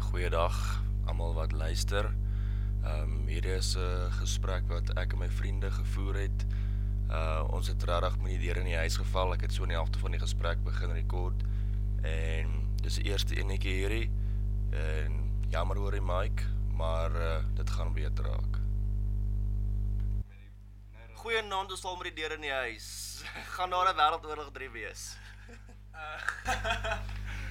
Goeiedag almal wat luister. Ehm um, hierdie is 'n gesprek wat ek en my vriende gevoer het. Uh ons het regtig met die deur in die huis geval. Ek het so in die helfte van die gesprek begin rekord en dis die eerste enetjie hierdie en jammer oor die mic, maar uh, dit gaan beter raak. Goeienaand, ons val met die deur in die huis. gaan daar 'n wêreldoorlog 3 wees? Eh,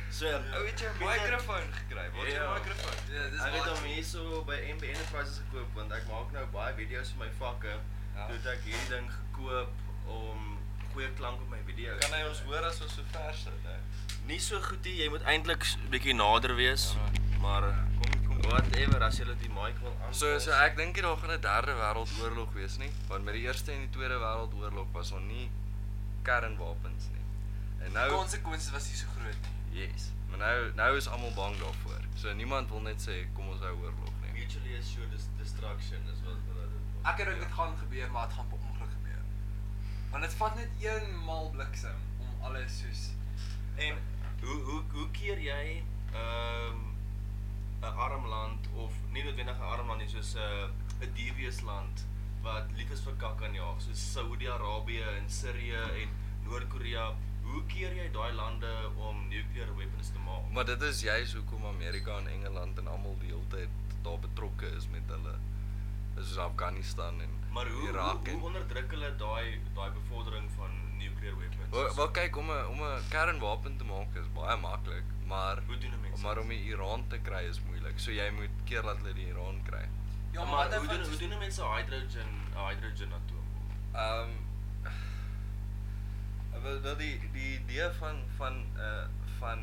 So, Ou het jou mikrofoon gekry. Wat jou Ja. mikrofoon? Ja, Ek het hom hierso by MB Enterprises gekoop want ek maak nou baie video's vir my vakke. Ja. Toe het ek hierdie ding gekoop om goeie klank op my Ja. video's. Kan hy ons hoor as ons so ver sit, hè? Nie so goed nie, jy moet eintlik 'n bietjie nader wees. Ja. Maar eh, Kom kom. whatever as jy die mic wil aan. So so ek dink nie daar gaan 'n derde wêreldoorlog wees nie, want met die eerste en die tweede wêreldoorlog was daar nie kernwapens nie. En nou konsekwensies was nie so groot nie. Yes. Maar nou nou is almal bang daarvoor. So niemand wil net sê kom ons hou oorlog nie. mutually assured dis- destruction is wat wat dit is. Ek Ja. dink dit gaan gebeur, maar dit gaan per ongeluk gebeur. Want dit vat net eenmal bliksem om alles soos En hoe hoe hoe keer jy ehm 'n arm land of nie noodwendig 'n arm land nie soos 'n 'n devious land wat lief is vir kak aan jaag soos Saudi-Arabië en Sirië en Noord-Korea. Hoe keer jy daai lande om nuclear weapons te maak? Maar dit is juis hoekom Amerika en Engeland en almal die hele tyd daar betrokke is met hulle. Dis soos Afghanistan en maar hoe, Irak hoe, en hoe onderdruk hulle daai daai bevordering van nuclear weapons? Wel, wel kyk om 'n om 'n kernwapen te maak is baie maklik, maar Hoe doen 'n mens Maar dit? om die Iran te kry is moeilik. So jy moet keer dat hulle die Iran kry. ja, maar, maar hoe doen hoe doen mense hydrogen hydrogen atoom? Ehm um, wel wel die die idee van van uh van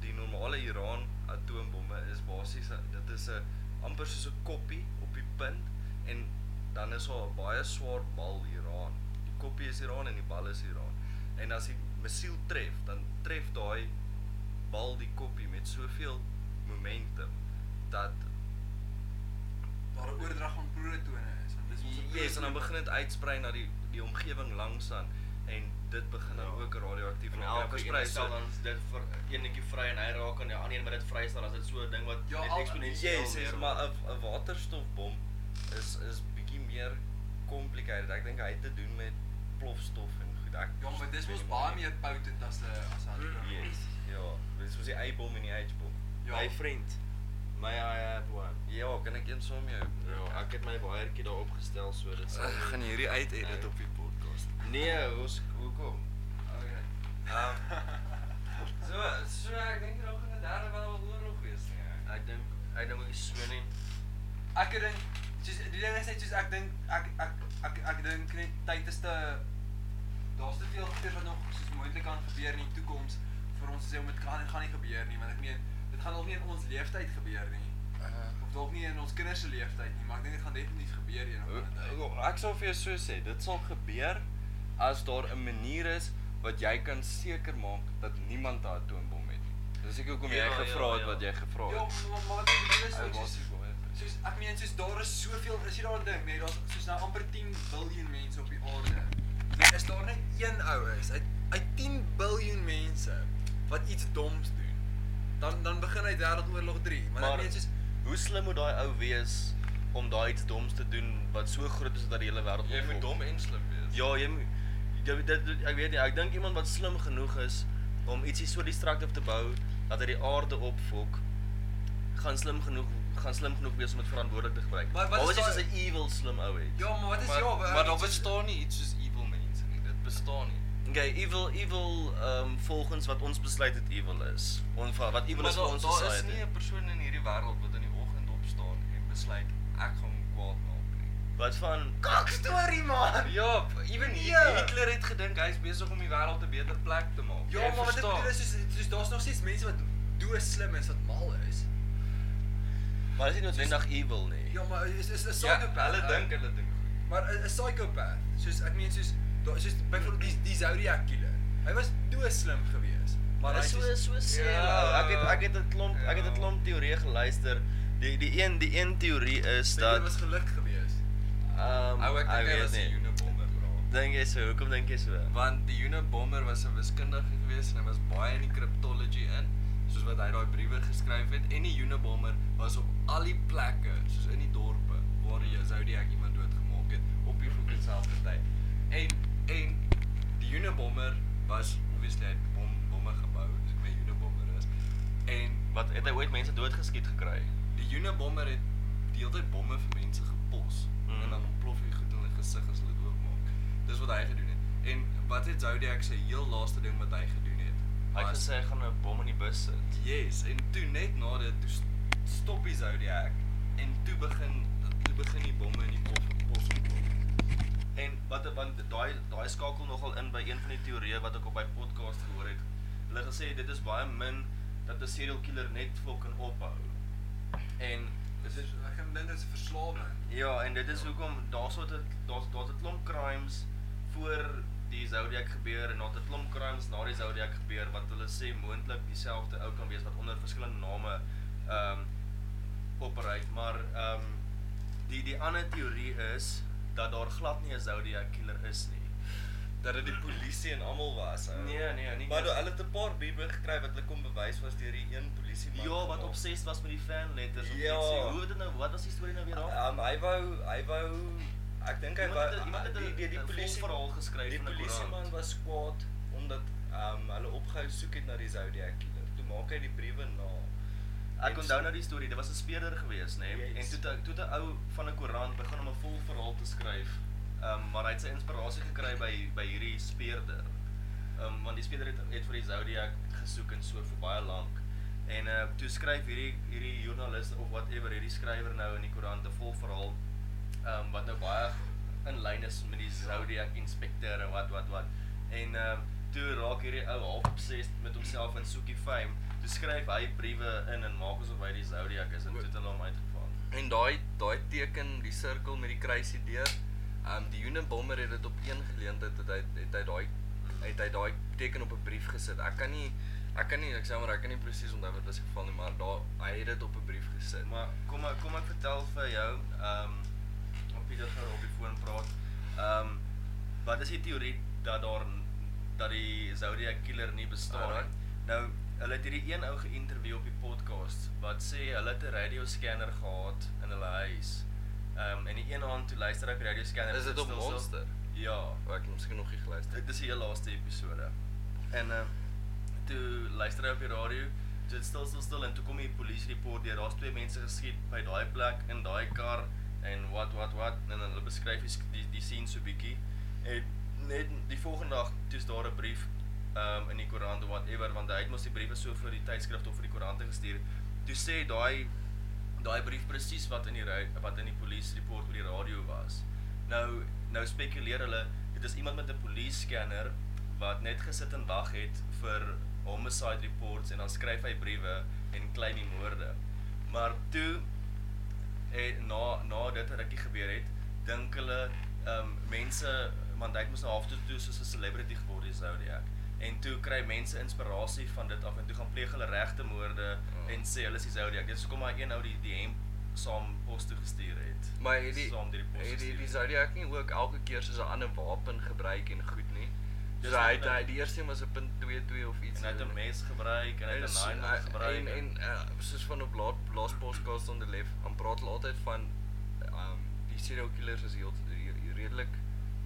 die normale Iran atoombomme is basies a- dit is 'n amper soos 'n koppie op die punt en dan is daar 'n baie swaar bal Iran. Die koppie is Iran en die bal is Iran. En as die missiel tref, dan tref daai bal die koppie met soveel momentum dat daar 'n oordrag van protone is, want dis ons Yes, en dan begin dit uitsprei na die die omgewing langs aan en dit begin dan Ja. ook radioaktief En raak. elke versprei een so. stel dan dit vir eenetjie vry en hy raak aan die ander een wat dit vrystel as dit so 'n ding wat Ja, net al- eksponensieel Yes, yes, meer maar word. 'n 'n waterstofbom is is bietjie meer complicated. Ek dink hy het te doen met plofstof en goed. Ek Ja, maar dis weet mos nie baie nie. meer potent as 'n as 'n hydrogen. Yes. Ja, dis mos die Y-bom en die H-bom. Ja. my vriend, may I have one? Ja, kan ek een saam met jou? Ja, ek het my waaiertjie daar opgestel so dit sal Ek gaan hierdie uit edit op die podcast. Nee, ons hoekom? Ehm, Okay. so so ek dink daar gaan 'n derde wêreldoorlog wees nie. Ek dink ek dink ek is so nie. Ek dink soos die ding is net soos ek dink ek ek ek ek dink net tyd is te daar's te veel goeie wat nog soos moontlik kan gebeur in die toekoms vir ons te sê om dit kan en gaan nie gebeur nie want ek meen dit gaan nog nie in ons lewenstyd gebeur nie of dalk nie in ons kinders se lewenstyd nie maar ek dink dit gaan definitief gebeur eendag van die tyd. Ek sal vir jou so sê, dit sal gebeur as daar 'n manier is wat jy kan seker maak dat niemand 'n atoombom het nie. Dis ek hoekom jy Ja, ja, ja, gevra ja. het ja, ja. wat jy gevra Ja, het. maar maar wat ek bedoel is Ou ook soos waterboom, hè. soos ek meen soos daar is soveel is jy daar dink nee daar's soos nou amper 10 miljard mense op die aarde. Nee, is daar net een ou is uit uit 10 miljard mense wat iets doms doen. Dan dan begin hy wêreldoorlog 3, maar, maar ek meen soos hoe slim moet daai ou wees om daai iets doms te doen wat so groot is dat die hele wêreld Jy moet opvolg? dom en slim wees. Ja, jy moet dit, dit, dit ek weet nie, ek dink iemand wat slim genoeg is om ietsie so destructief te bou dat hy die aarde opfok, gaan slim genoeg gaan slim genoeg wees om dit verantwoordelik te gebruik. Maar wat is Behalwe as daai- jy 'n evil slim ou het? ja, maar wat is maar, ja, maar daar bestaan nie iets soos evil mense nie. Dit bestaan nie. Okay, evil evil ehm um, volgens wat ons besluit het evil is. Onver wat evil is vir ons daar is nie society. 'n persoon in hierdie wêreld wat in die oggend opstaan en besluit ek gaan hom kwaad maak nie. Wat van Kak storie man. Ja, ewen Nee. Hitler het gedink hy's besig om die wêreld 'n beter plek te maak. Ja, Jy maar wat ek verstaan. bedoel is soos soos daar's nog steeds mense wat doos slim is wat mal is. Maar dis nie noodwendig evil nie. Ja, maar is is 'n ja, psychopath. hulle ou. dink hulle dink goed. Maar 'n 'n psychopath, soos ek meen soos daar soos byvoorbeeld die die Zodiac killer. Hy was doos slim geweest, maar hy Dis so soos- so sê Ja. ja, ek het ek het 'n klomp ja. ek het 'n Ja. klomp teorieë geluister. Die die een die een teorie is Hy dat was geluk geweest. Ehm Ou ek ek dink hy weet was 'n nie. Unabomber bro. Dink jy so? Hoekom dink jy so? Want die Unabomber was 'n wiskundige gewees en hy was baie in die cryptology in, soos wat hy hy daai briewe geskryf het en die Unabomber was op al die plekke, soos in die dorpe waar die Zodiac iemand doodgemaak het op die vloek dieselfde tyd. En en die Unabomber was obviously hy het bom bomme gebou, dis my Unabomber is. En Wat het hy ooit mense doodgeskiet gekry? die Unabomber het die hele tyd bomme vir mense gepos Mhm. mm. en dan ontplof die goed in hulle gesig as hulle dit oopmaak. Dis wat hy gedoen het. En wat het Zodiac se heel laaste ding wat hy gedoen het? Hy het was- gesê hy gaan 'n bom in die bus sit. Yes, en toe net na dit toe st- stop die Zodiac en toe begin toe begin die bomme in die pos pos ontplof. En wat want daai daai skakel nogal in by een van die teorieë wat ek op by podcast gehoor het. Hulle het gesê dit is baie min dat 'n serial killer net fucking ophou. En Dis is ek gaan dink dit is 'n verslawing. ja, en dit is hoekom daarso dat daar's daar's 'n klomp crimes voor die Zodiac gebeur en daar's 'n klomp crimes na die Zodiac gebeur wat hulle sê moontlik dieselfde ou kan wees wat onder verskillende name ehm um, operate, maar ehm um, die die ander teorie is dat daar glad nie 'n Zodiac killer is nie. dat dit die polisie en almal was. ou. Nee, nee, nie Maar dis- hulle het 'n paar briewe gekry wat hulle kon bewys was deur die een polisie man. Ja, wat obsessed was met die fanletters of Ja. iets. sê. Hoe het dit nou wat was die storie nou weer daar? Um, hy wou hy wou Ehm, ek dink hy Iemand wou uh, het- iemand het die een- die, die een polisie volverhaal geskryf Die in 'n koerant. polisieman was kwaad omdat um, hulle opgehou soek het na die Zodiac killer. Toe maak hy die briewe na. Ek onthou nou die storie, dit was 'n speerder gewees, nê? Nee? Yes. En toe het- toe het 'n ou van 'n koerant begin om 'n vol verhaal te skryf. Ehm um, maar hy het sy inspirasie gekry by by hierdie speerder. Ehm um, want die speerder het het vir die Zodiac gesoek en so vir baie lank. En uh toe skryf hierdie hierdie joernalis of whatever hierdie skrywer nou in die koerant 'n vol verhaal ehm um, wat nou baie in lyn is met die Zodiac inspekteur en wat wat wat. En ehm um, toe raak hierdie ou half obsessed met homself en soekie fame. Toe skryf hy briewe in en maak asof hy die Zodiac is en toe het hulle hom uitgevang. En daai daai teken, die sirkel met die kruisie deur. Um die Unabomber het dit op een geleentheid het hy het hy daai het hy daai teken op 'n brief gesit. Ek kan nie ek kan nie ek sê maar ek kan nie presies onthou wat was geval nie, maar daar hy het dit op 'n brief gesit. Maar kom maar kom ek vertel vir jou, ehm um, Pieter gaan op die foon praat. Ehm um, wat is die teorie dat daar n- dat die Zodiac killer nie bestaan nie? Alright. Nou, hulle het hierdie een ou geïnterview op die podcast wat sê hulle het 'n radio scanner gehad in hulle huis. Ehm um, en die een aand toe luister ek radio scanner. Is dit op stilstel. Monster? Ja. Waar ek miskien nog nie geluister Dit is die heel laaste episode. En ehm toe luister hy op die radio, toe het stil stil stil en toe kom die polisie report deur. Daar's twee mense geskiet by daai plek in daai kar en wat wat wat en hulle beskryf die sk- die, die scene so bietjie. En net die volgende dag toe's daar 'n brief ehm um, in die koerant of whatever want hy het mos die briewe so vir die tydskrif of vir die koerante gestuur. Toe sê daai daai brief presies wat in die ra- wat in die police report op die radio was. Nou nou spekuleer hulle dit is iemand met 'n police scanner wat net gesit en wag het vir homicide reports en dan skryf hy briewe en klein die moorde. Maar toe en na na dit 'n rukkie gebeur het, dink hulle ehm um, mense want hy het mos nou half toe toe soos 'n celebrity geword die Zodiac. En toe kry mense inspirasie van dit af en toe gaan pleeg hulle regte moorde Ja. oh. en sê hulle is die Zodiac. Dis hoekom hy een ou die die hemp saam pos toe gestuur het. Maar het die saam deur die pos het die, gestuur die Zodiac nie ook elke keer soos 'n ander wapen gebruik en goed nie. Dis So hy het, wat hy- hy die eerste een was 'n .22 of iets. En hy het 'n mes gebruik en hy het is- 'n hy- knife gebruik. En en uh, soos van op laat laas podcast on the left, dan praat hulle altyd van um die serial killers is heel heel- redelik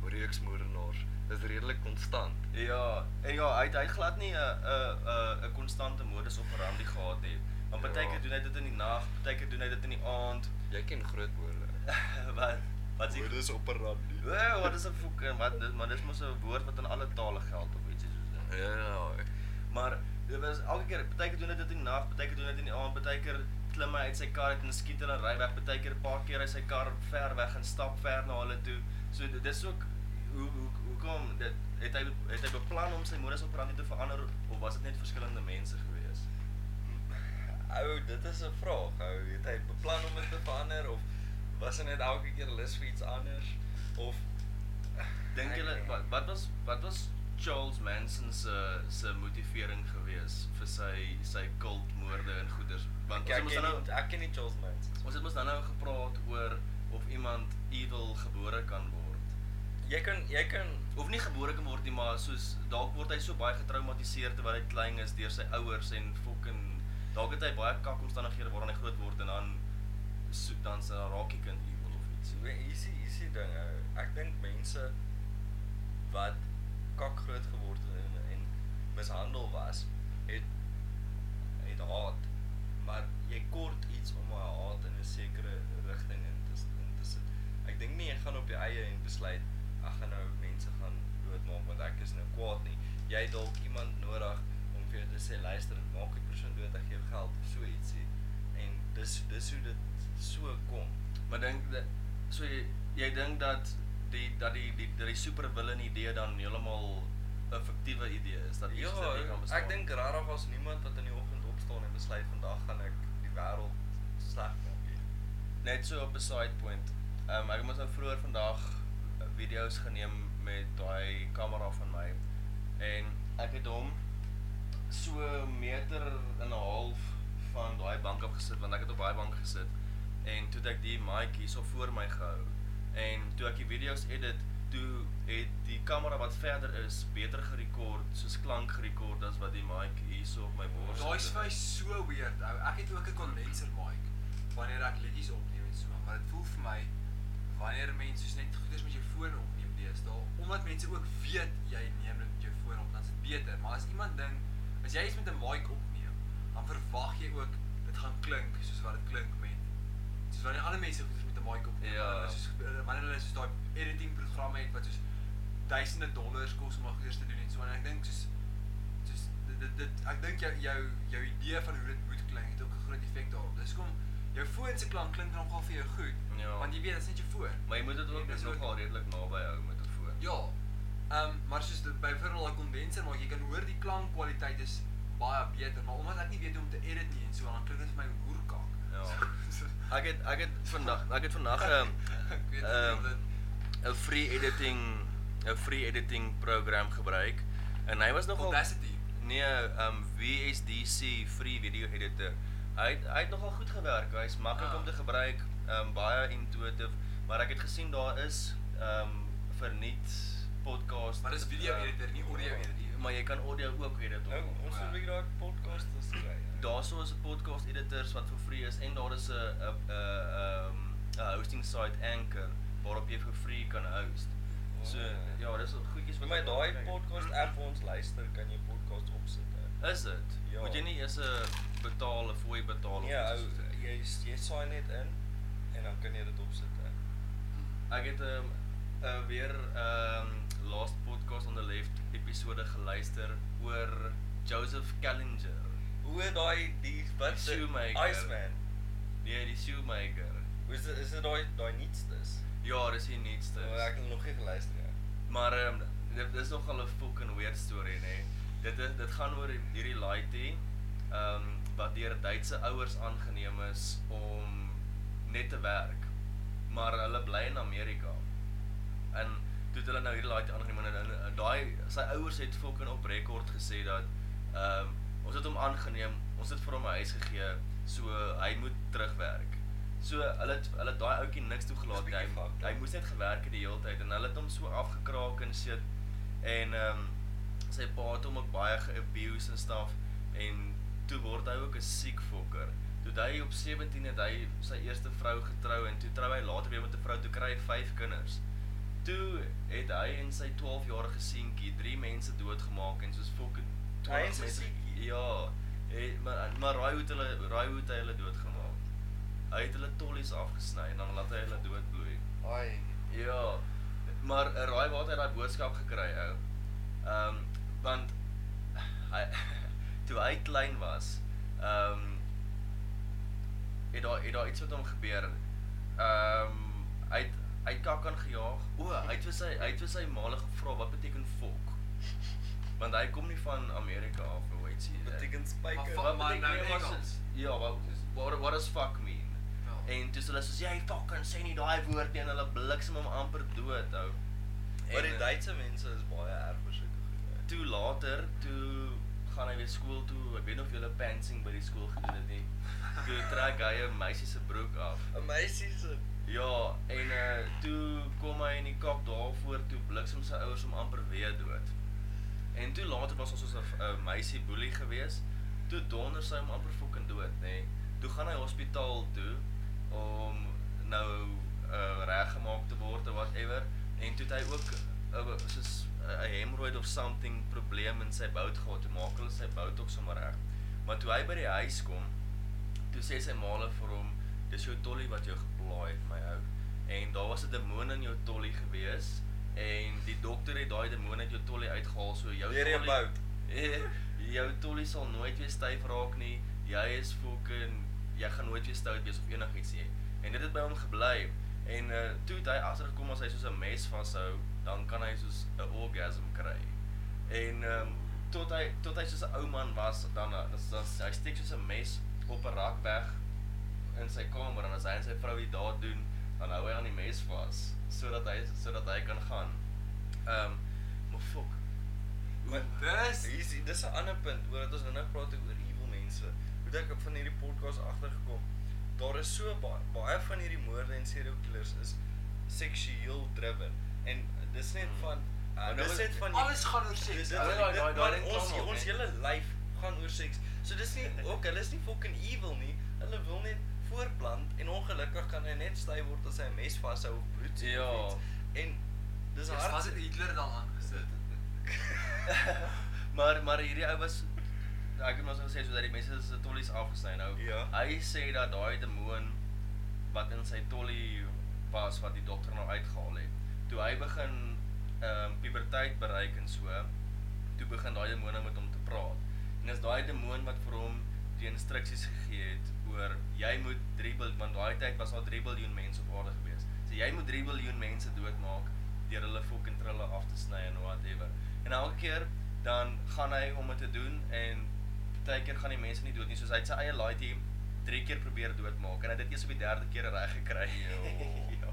reeksmoordenaars. Dit is redelik konstant. Ja, en ja, hy het, hy het glad nie 'n 'n 'n 'n konstante modus operandi gehad nie. Want Ja. partykeer doen hy dit in die nag, partykeer doen hy dit in die aand. Jy ken groot woorde. wat wat is die- operandi. Wel, wat is 'n fucking wat dis maar dis mos 'n woord wat in alle tale geld of ietsie soos dit. Ja. Maar dit was elke keer, partykeer doen hy dit in die nag, partykeer doen hy dit in die aand, partykeer klim hy uit sy kar uit en skiet hulle en ry weg, partykeer 'n paar keer hy sy kar ver weg en stap ver na hulle toe. So dit dis ook hoe hoe hoekom dit het hy het hy beplan om sy modus operandi te verander of was dit net verskillende mense gewees? Ou, dit is 'n vraag. Ou, het hy beplan om dit te verander of was hy net elke keer lus vir iets anders of Dink julle wat wat was wat was Charles Manson se se motivering gewees vir sy sy kultmoorde en goeders? Want ons ek het mos ken dan nou nie- ek ken nie Charles Manson. ons het mos dan nou gepraat oor of iemand evil gebore kan word. Jy kan jy kan Of nie gebore kan word nie, maar soos dalk word hy so baie getraumatiseer terwyl hy klein is deur sy ouers en fucking party baie kak omstandighede waaraan hy groot word en dan soek dan sy dan raak die kind evil of iets. Weet jy, is die- is die ding ou. Ek dink mense wat kak groot geword het en, en mishandel was, het het haat. Maar jy kort iets om daai haat in 'n sekere rigting in te s- in te sit. Ek dink nie jy gaan op die eie en besluit ek gaan nou mense gaan doodmaak want ek is nou kwaad nie. Jy het dalk iemand nodig om vir jou te sê luister, maak die persoon dood, ek gee jou geld of so ietsie. En dis dis hoe dit so kom. Maar dink dat- so jy, jy dink dat die dat die die dat die supervillain idee dan heeltemal 'n fiktiewe idee is dat Ja, iets dit nie kan bestaan. ek dink regtig as niemand wat in die oggend opstaan en besluit vandag gaan ek die wêreld sleg maak nie. net so op 'n side point. Ehm ek het mos nou vroeër vandag video's geneem met daai kamera van my en ek het hom so 'n meter en 'n half van daai bank af gesit want ek het op daai bank gesit en toe het ek die mic hierso voor my gehou en toe ek die video's edit toe het die kamera wat verder is beter gerekord soos klank gerekord as wat die mic hierso op my bors Daai sit. is vir my so weird ou. Ek het ook 'n condenser mic wanneer ek liedjies opneem en so, maar dit voel vir my wanneer mense soos net goeders met jou foon opneem deesdae, omdat mense ook weet jy neem dit met jou foon op, dan is dit beter. Maar as iemand ding, as jy iets met 'n mic opneem, dan verwag jy ook dit gaan klink soos wat dit klink met soos wanneer ander mense goeders met 'n mic opneem. Ja. wanneer hulle Soos eh, wanneer hulle soos daai editing programme het wat soos duisende dollars kos om al goeders te doen en so en ek dink soos soos dit dit, dit ek dink jou jou jou idee van hoe dit moet klink het ook 'n groot effek daarop. Dis kom jou foon se klank klink nogal vir jou goed. Ja. Want jy weet, dit is net jou foon. maar jy moet dit ook En dis nogal redelik naby hou met 'n foon. Ja. Ehm um, maar soos dit byvoorbeeld 'n kondenser maak, jy kan hoor die klankkwaliteit is baie beter, maar omdat ek nie weet hoe om te edit nie en so dan klink dit vir my hoerkak. Ja. Ek het ek het vandag ek het vandag 'n Ek weet nie ehm, of dit- 'n free editing 'n free editing program gebruik en hy was nogal Audacity. Nee, um VSDC free video editor. Hy het, hy het nogal goed gewerk. Hy's maklik Ah. om te gebruik, um baie intuïtief, maar ek het gesien daar is um vir nuut podcast Maar dis video Oh. editor, nie audio editor. Eh, Ja. Maar jy kan audio ook edit. Nou hoor. ons moet weer daai podcast te skry. Daarso is 'n podcast editors wat vir free is en daar is 'n 'n 'n ehm 'n hosting site Anchor waarop jy vir free kan host. So Ah. ja, dis al goedjies wat vir my ek Hm. daai kyk. podcast app waar ons luister, kan jy podcast opsit. ou. Is dit? Ja. Moet jy nie eers 'n betaal of fooi betaal of Nee, iets ou, soos dit nie? jy jy saai net in en dan kan jy dit opsit. ou. Ek het 'n um, uh, weer ehm um, last podcast on the left episode geluister oor Joseph Callinger. Hoe daai die wat se- Shoemaker. Iceman. Nee, die shoemaker. Is dit is dit daai daai nietstes? Ja, dis die nuutste. Oh, ek het nog nie geluister ja. nie. Maar ehm dit is nogal 'n fucking weird storie nê. Dit is dit gaan oor hierdie laity ehm wat deur Duitse ouers aangeneem is om net te werk. Maar hulle bly in Amerika. En toe het hulle nou hierdie laity aangeneem en en- en daai sy ouers het fucking op rekord gesê dat ehm ons het hom aangeneem, ons het vir hom 'n huis gegee, so hy moet terugwerk. So hulle het- hulle het daai ouetjie niks toegelaat Dis nie. Hy, bietjie fucked up. hy moes net gewerk het die hele tyd en hulle het hom so afgekraak en shit en ehm um, sy pa het hom ook baie ge-abuse en stuff en toe word hy ook 'n siek fokker. Toe het hy op 17 het hy sy eerste vrou getrou en toe trou hy later weer met 'n vrou toe kry hy 5 kinders. Toe het hy en sy 12-jarige seentjie drie mense doodgemaak en soos fucking Hy en 20 sy mense. seentjie? Ja, het, maar maar raai hoe het hulle raai hoe het hy hulle doodgemaak? Hy het hulle tollies afgesny en dan laat hy hulle doodbloei. Ai. Ja, maar eh, raai waar het hy daai boodskap gekry ou. Ehm want hy toe hy klein was, ehm het daar het daar iets met hom gebeur. Ehm hy het hy het kak aangejaag. O, hy het vir sy hy het vir sy maale gevra wat beteken fok. Want hy kom nie van Amerika af of hoe iets hier. Beteken Maar spyker. fuck Wat man, beteken- nou in nee, maar Engels. soos- Ja, wat what, what does fuck mean? Ja. En toe sê hulle soos jy fucking sê nie daai woord nie en hulle bliksem hom amper dood ou. Maar die eh, Duitse mense is baie erg vir sulke goed. toe later toe gaan hy weer skool toe. Ek weet nog julle pantsing by die skool gedoen het nie. Toe trek hy 'n meisie se broek af. Amazing. Ja, en uh toe kom hy in die kak daarvoor toe bliksem sy ouers hom amper weer dood. eh, En toe later was ons ons 'n uh, meisie boelie gewees. Toe donder sy hom amper fucking dood. gaan hy hospitaal toe om nou uh, reggemaak te word of whatever en toe het hy ook uh, soos 'n uh, hemorrhoid of something probleem in sy bout gehad. Toe maak hulle sy bout ook sommer reg. Maar toe hy by die huis kom, toe sê sy maale vir hom, dis jou tollie wat jou geplaai het, my ou. En daar was 'n demoon in jou tollie gewees en die dokter het daai demoon uit jou tollie uitgehaal, so jou Weer 'n bout. Eh, jou tollie sal nooit weer styf raak nie. Jy is fucking jy gaan nooit weer stout wees of enigiets nie. En dit het by hom gebly. En uh, toe het hy agtergekom as hy soos 'n mes vashou, dan kan hy soos 'n orgasm kry. En ehm um, tot hy tot hy soos 'n ou man was, dan dan, dan hy steek soos 'n mes op 'n rak weg in sy kamer en as hy en sy vrou dit daar doen, dan hou hy aan die mes vas sodat hy sodat hy kan gaan. Ehm um, maar fuck. Maar Dis- hier is dis 'n ander punt oor dat ons nou nou praat oor evil mense. Hoe ek van hierdie podcast agtergekom. Daar is so baie baie van hierdie moorde en serial killers is seksueel driven en dis net Hmm. van Maar uh, nou is- dis net van alles gaan oor seks. Dis dit Daai- dit- daai- dit- daai maar ding ons kom op, ons hè. hele lyf gaan oor seks. So dis nie ook hulle is nie fucking evil nie. Hulle wil net voorplant en ongelukkig kan hy net styf word as hy 'n mes vashou of bloed sien of Ja. iets. En dis Eers hard. Was dit Hitler dan aangesit? maar maar hierdie ou was ek het mos nou gesê sodat die mense se tollies afgesny nou. Ja. Hy sê dat daai demoon wat in sy tollie was wat die dokter nou uitgehaal het. Toe hy begin ehm um, puberteit bereik en so, toe begin daai demone met hom te praat. En is daai demoon wat vir hom die instruksies gegee het oor jy moet 3 biljoen want daai tyd was daar 3 biljoen mense op aarde gewees. So jy moet 3 biljoen mense doodmaak deur hulle fucking trille af te sny en whatever. En elke keer dan gaan hy om dit te doen en baie keer gaan die mense nie dood nie. Soos hy het sy eie laaitie 3 keer probeer doodmaak en hy het dit eers op die derde keer reg gekry. Jo. ja.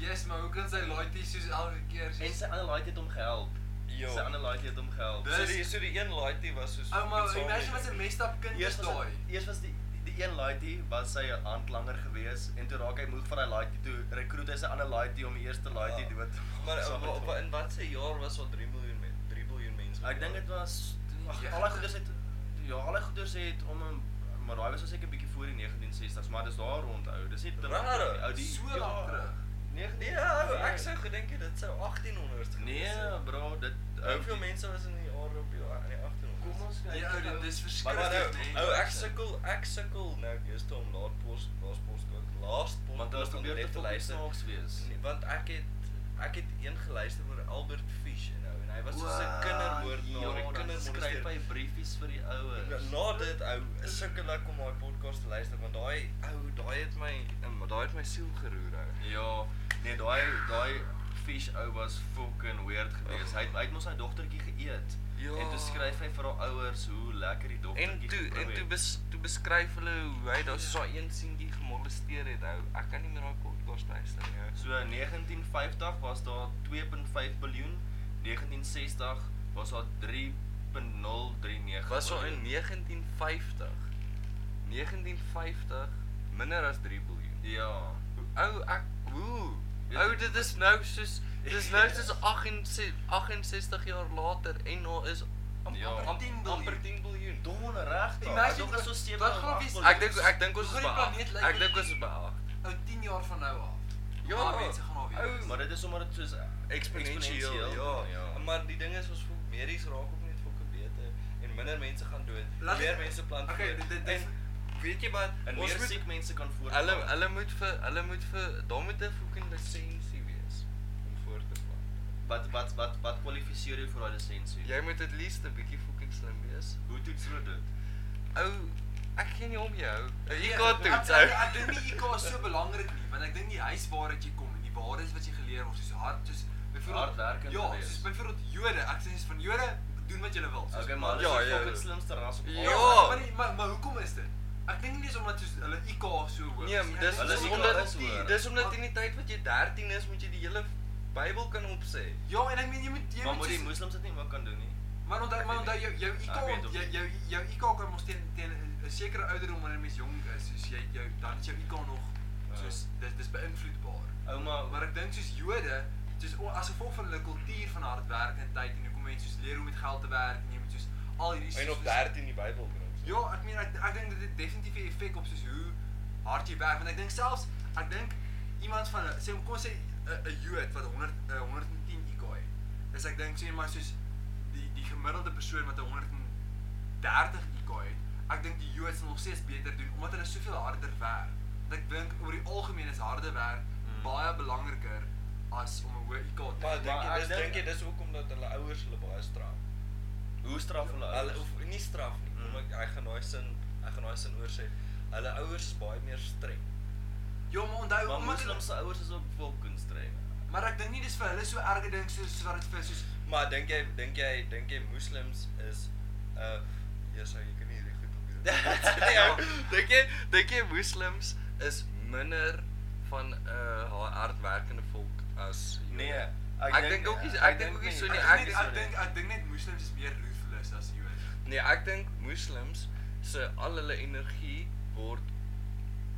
Yes, maar hoe kan sy laaitie soos elke keer En sy ander laaitie het hom gehelp. Jo. Sy ander laaitie het hom gehelp. So Dis- die so die een laaitie was soos Ouma, fucking imagine wat saamlewe. 'n messed up kind is Eers was daai. dit- eers was die die een laaitie was sy hand langer gewees en toe raak hy moeg van daai laaitie toe rekruut hy sy ander laaitie om die eerste laaitie Ja. dood te maak. Maar saam op, met op, hom. in watse jaar was al 3 miljoen men, 3 biljoen mense? Ek dink dit was ag Ja. alle goeders het ja, alle goeders het om 'n maar daai was al seker bietjie voor die 1960s, maar dis daar rondhou. Dis nie te lank Raar, terug nie. Ou, die so ja, lank terug. 19 Nee, ou, ek sou gedink het dit sou 1800s gewees Nee, het. bro, dit Hoeveel mense was in die aarde op die in die 1800s? Kom ons kyk. Nee, ou, dit is Maar maar nou, verskriklik, nee. ou, ek sukkel, ek sukkel nou deesdae om laat pos, laas pos kook, laas pos. Want daar is om probeer dit te fucking snaaks wees. Nee, want ek het ek het een geluister oor Albert Fish en nou en hy was soos 'n kindermoordenaar, 'n skryf hy kindermonster. briefies vir die ouers. Ja, Na dit ou, is sukkel ek om daai podcast te luister want daai ou, daai het my em, daai het my siel geroer ou. Ja, nee, daai daai fish ou was fucking weird geweest. Hy het- hy het mos sy dogtertjie geëet. Ja. En toe skryf hy vir haar ouers hoe lekker die En dogtertjie toe geproe en toe het. bes, toe beskryf hulle hoe hy daar Ja. so een seentjie gemolesteer het ou. Ek kan nie meer daai podcast luister nie. ou. So 1950 was daar 2.5 biljoen, 1960 was daar 3.039. was so in biljoen. 1950. 1950 minder as 3 miljard. Ja. Ou ek hoe? Weet Ou ek- dit is nou soos dis nou soos 68 68 jaar later en daar is am- Ja. am- Amper 10 amper 10 biljoen. miljard. Don reg. Imagine Imagine wat- so wat 7. gaan wees- Ek dink ek dink ons Hoe is gaan die planeet behaag. lyk Ek dink met ons die- is behaag. Ou 10 jaar van nou af. Ja. Baie mense gaan al weer. Ou, maar dit is sommer dit soos Eksponensieel. Ja. Maar die ding is ons voel medies raak ook net vir beter en minder mense gaan dood. Laat ek- Meer mense plant. Okay, voort. dit- dit- En weet jy wat? en Ons meer moet- siek mense kan voort. Hulle hulle moet vir hulle moet vir daar moet 'n fucking lisensie wees om voort te plant. wat wat wat wat kwalifiseer jou vir daai lisensie? Jy moet at least 'n bietjie fucking slim wees. Hoe toets hulle dit? Ou, ek gee nie om jou. Jy Nee, kan ek- toets ek- ou. Ek ek dink nie IQ is so belangrik nie, want ek dink die huis waaruit jy kom en die waardes wat jy geleer word, soos hard soos Hard werk en Ja, gewees. soos byvoorbeeld Jode, ek sê soos van Jode, doen wat jy wil. Soos, Okay, maar hulle Ja, is die ja. fucking slimste ras op Ja. Ja, aarde. maar nie, maar, maar hoekom is dit? Ek dink nie dis omdat soos hulle IQ so hoog Nee, nie. Ek dis dink Hulle dis is dis nie omdat klaar is, hoor. dis omdat in die tyd wat jy 13 is, moet jy die hele Bybel kan opsê. Ja, en ek meen jy moet jy Maar moet die soos- moslims dit nie ook kan doen nie. Maar onthou, maar onthou jou jou IQ, Ah, Ek weet of jou nie. jou jou IQ kan mos teen teen 'n sekere ouderdom wanneer 'n mens jonk is, soos jy jou dan is jou IQ nog Ja. soos dis dis beïnvloedbaar. Ouma, Maar ek dink soos Jode, soos o- as gevolg van hulle kultuur van hard werk en tyd en hoekom mense soos leer hoe om met geld te werk en jy moet soos al hierdie soos- die Bybel kan opsê. Ja, ek meen ek ek dink dit het definitief 'n effek op soos hoe hartjie werk want ek dink selfs ek dink iemand van 'n- sê kom ons sê 'n 'n Jood wat 100 'n 110 IQ het. Dis ek dink sê maar soos die die gemiddelde persoon wat 'n 130 IQ het. Ek dink die Jood sal nog steeds beter doen omdat hulle soveel harder werk. Want ek dink oor die algemeen is harde werk Mm. Hmm. mm. baie belangriker as om 'n hoë IQ te Maar dink jy ek dis dink- dink jy dis ook omdat hulle ouers hulle baie straf. Hoe straf hulle Hulle ouers? of nie straf nie, Mm. kom ek ek gaan daai sin ek gaan daai sin oor sê. Hulle ouers is baie meer streng. Ja, maar onthou Maar omdat hulle- moslims se ouers is ook vol kunstreg. maar ek dink nie dis vir hulle so erge ding soos wat dit vir soos Maar dink jy dink jy dink jy moslems is 'n uh, ja, Jesus, jy kan nie hierdie goed op hierdie. Nee, ou, dink jy dink jy moslems is minder van 'n uh, hardwerkende volk as Jode? Nee, Ek, ek dink ook nie ek dink ook nie so Ek nie. dink Ek net- is ek dink ek dink net moslims is meer ruthless as Jode. Nee, ek dink moslems se al hulle energie word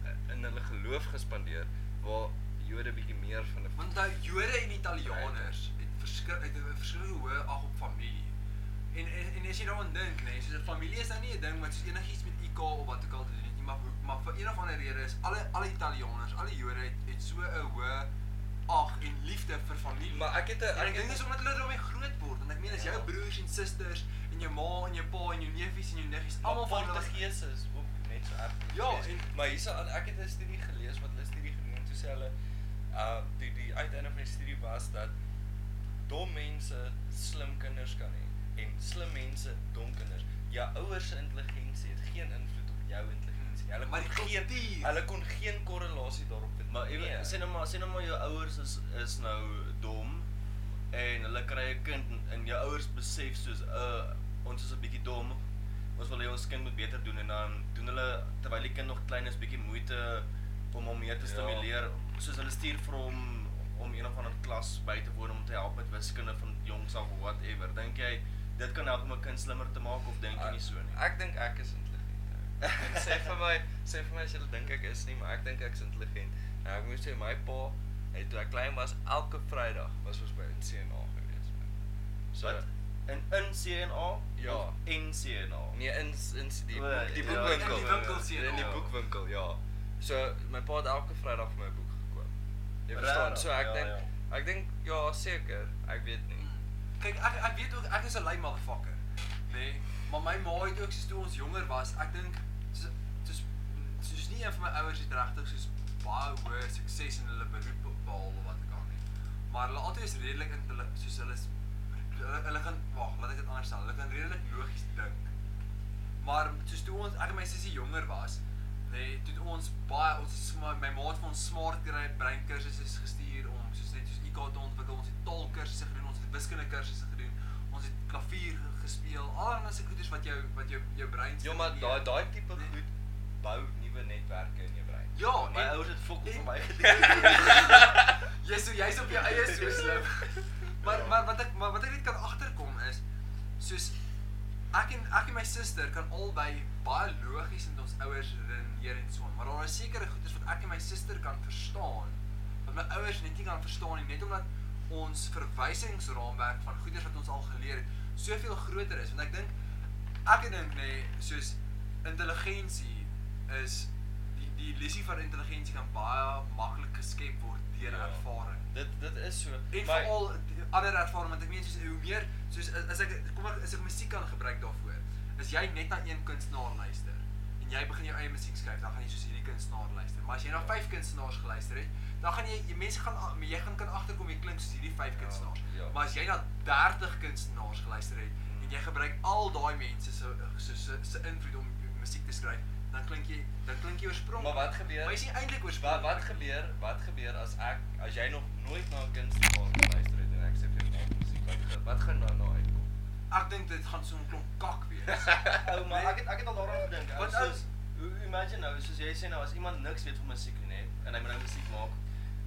uh, in hulle geloof gespandeer waar Jode bietjie meer van 'n Want daai Jode en Italianers het verskil het 'n verskillende hoë ag op familie. En en, en as jy daaraan dink, nê, nee, soos 'n familie is nou nie 'n ding wat soos enigiets met IQ of wat ook al te doen het nie, maar hoe- maar vir een of ander rede is alle alle Italianers, alle Jode het, het so 'n hoë ag en liefde vir familie. Maar ek het 'n- ek En ek dink het- Ja. dis omdat hulle daarmee groot word, want ek meen as jou broers en susters en jou ma en jou pa en jou neefies en jou niggies almal van hulle Portugese is ook net so erg. Ja, Portugees. en- maar hierso ek het 'n studie gelees wat hulle studie gedoen het, toe sê hulle uh die die uiteinde van die studie was dat dom mense slim kinders kan hê en slim mense dom kinders. Jou ouers se intelligensie het geen invloed op jou intelligensie. Hulle Maar kon die geen kultuur. hulle kon geen korrelasie daarop Nee. vind. Maar ewe, sê nou maar sê nou maar jou ouers is is nou dom en hulle kry 'n kind en- en jou ouers besef soos uh ons is 'n bietjie dom. Ons wil hê ons kind moet beter doen en dan doen hulle terwyl die kind nog klein is bietjie moeite om hom meer te Ja. stimuleer. Ja. Soos hulle stuur vir hom om een of ander klas by te woon om te help met wiskunde van jongs af of whatever. Dink jy dit kan help om 'n kind slimmer te maak of dink jy nie so nie? Ek dink ek is intelligent. ou. En sê vir my, sê vir my as jy dink ek is nie, maar ek dink ek is intelligent. Nou ek moet sê my pa, hy toe ek klein was, elke Vrydag was ons by CNA gewees. so Wat? in in CNA Ja. of in CNA. Nee, in in die O, boek, die ja, boekwinkel. in die winkel C&A. In die boekwinkel, ja. So my pa het elke Vrydag vir my boek gekoop. Jy verstaan, Regtig? so ek Ja, dink ja. ek dink ja, seker, ek weet nie. Kyk, ek ek weet ook ek is 'n lui motherfucker, nê? Nee, maar my ma het ook soos toe ons jonger was, ek dink soos soos soos nie een van my ouers het regtig soos baie hoë sukses in hulle beroep behaal of wat ook al nie. Maar hulle altyd is redelik intelligent, soos hulle is hulle, hulle gaan wag, laat ek dit anders stel. Hulle kan redelik logies dink. Maar soos toe ons ek en my sussie jonger was, nê, nee, toe het ons baie ons is maar my maat van ons smart kry brein kursusse gestuur om soos net soos IQ te ontwikkel. Ons het taalkursusse gedoen, ons het wiskunde kursusse gedoen. Ons het klavier ge- gespeel, allerlei sulke goeders wat jou wat jou jou brein Ja, maar stimuleer. daai daai tipe Nee. goed bou nuwe netwerke in jou brein. Ja, My en- ouers het fokol vir en- my Ja, gedoen. Jy's so jy's op jou eie so slim. Maar Ja. maar wat ek maar wat ek net kan agterkom is soos ek en ek en my suster kan albei baie logies met ons ouers redeneer en so, aan, maar daar is sekere goeders wat ek en my suster kan verstaan wat my ouers net nie kan verstaan nie, net omdat ons verwysingsraamwerk van goeders wat ons al geleer het soveel groter is, want ek dink ek dink nê soos intelligensie is die die illusie van intelligensie kan baie maklik geskep word deur Ja. ja. ervaring. Dit dit is so. En maar- veral die ander ervaring want ek meen soos hoe meer soos as- as ek kom ek as ek musiek kan gebruik daarvoor. As jy net na een kunstenaar luister en jy begin jou eie musiek skryf, dan gaan jy soos hierdie kunstenaar luister. Maar as Ja. jy na vyf kunstenaars geluister het, dan gaan jy jy mense gaan a- jy gaan kan agterkom jy klink soos hierdie vyf Ja, kunstenaars. ja. Maar as jy na 30 kunstenaars geluister het Mm. en jy gebruik al daai mense se se se- se invloed om musiek te skryf, dan klink jy dan klink jy oorspronklik. Maar wat gebeur? Maar jy's nie eintlik Wat oorspronklik. wat gebeur? Wat gebeur as ek as jy nog nooit na 'n kunstenaar geluister het en ek sê vir jou maak musiek wat ge- wat gaan nou nou uitkom? Ek dink dit gaan so 'n klomp kak wees. Ou Oh, maar ek het, ek het al daaraan gedink. ou, Wat soos hoe- imagine nou soos jy sê nou as iemand niks weet van musiek nie hè, en hy moet nou musiek maak,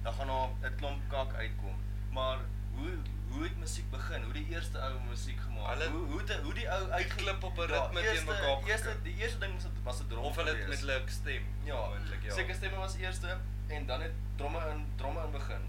dan gaan daar 'n klomp kak uitkom. Maar hoe hoe het musiek begin? Hoe die eerste ou musiek gemaak? Hulle- hoe hoe het hoe die ou Ja, die klip op 'n ritme teen eerste- mekaar geklik. Eerste die eerste ding was dit was 'n drom. Of hulle het met gewees. hulle stem. ja, moontlik, ja. Seker stemme was eerste en dan het dromme in dromme in begin.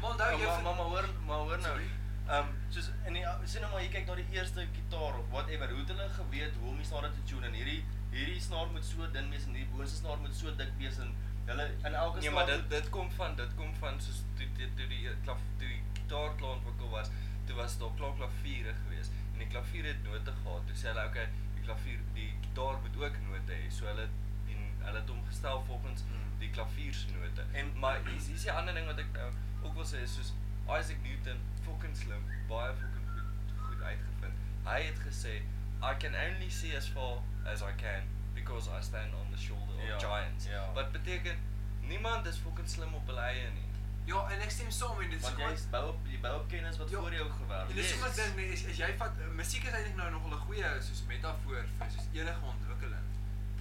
Maar onthou jy maar maar maar hoor maar hoor nou. Sorry? Ehm um, soos in die sien nou maar jy kyk na die eerste gitaar of whatever, hoe het hulle geweet hoe om die snare te tune en hierdie hierdie snaar moet so dun wees en hierdie boonste snaar moet so dik wees en hulle in elke Nee, staat maar dit moet- dit kom van dit kom van soos toe toe, toe die eh, klaf toe die gitaar klaar ontwikkel was, toe was daar klaar klaviere geweest en die klavier het note gehad. Toe sê hulle okay, die klavier die gitaar moet ook note hê. So hulle het die hulle het hom gestel volgens Hmm. Mm. die klavier se note. En maar hier's hier's 'n ander ding wat ek nou ook wil sê is soos Isaac Newton fucking slim, baie fucking goed goed uitgevind. Hy het gesê I can only see as far as I can because I stand on the shoulder of Ja, giants. ja. Wat beteken niemand is fucking slim op hulle eie nie. Ja, en ek stem saam en dit is want jy gewoon- bou op jy bou op kennis wat Ja. voor jou gewerk En dis Yes. sommer 'n ding, nee, as, as jy vat musiek is eintlik nou nogal 'n goeie soos metafoor vir soos enige ontwikkeling.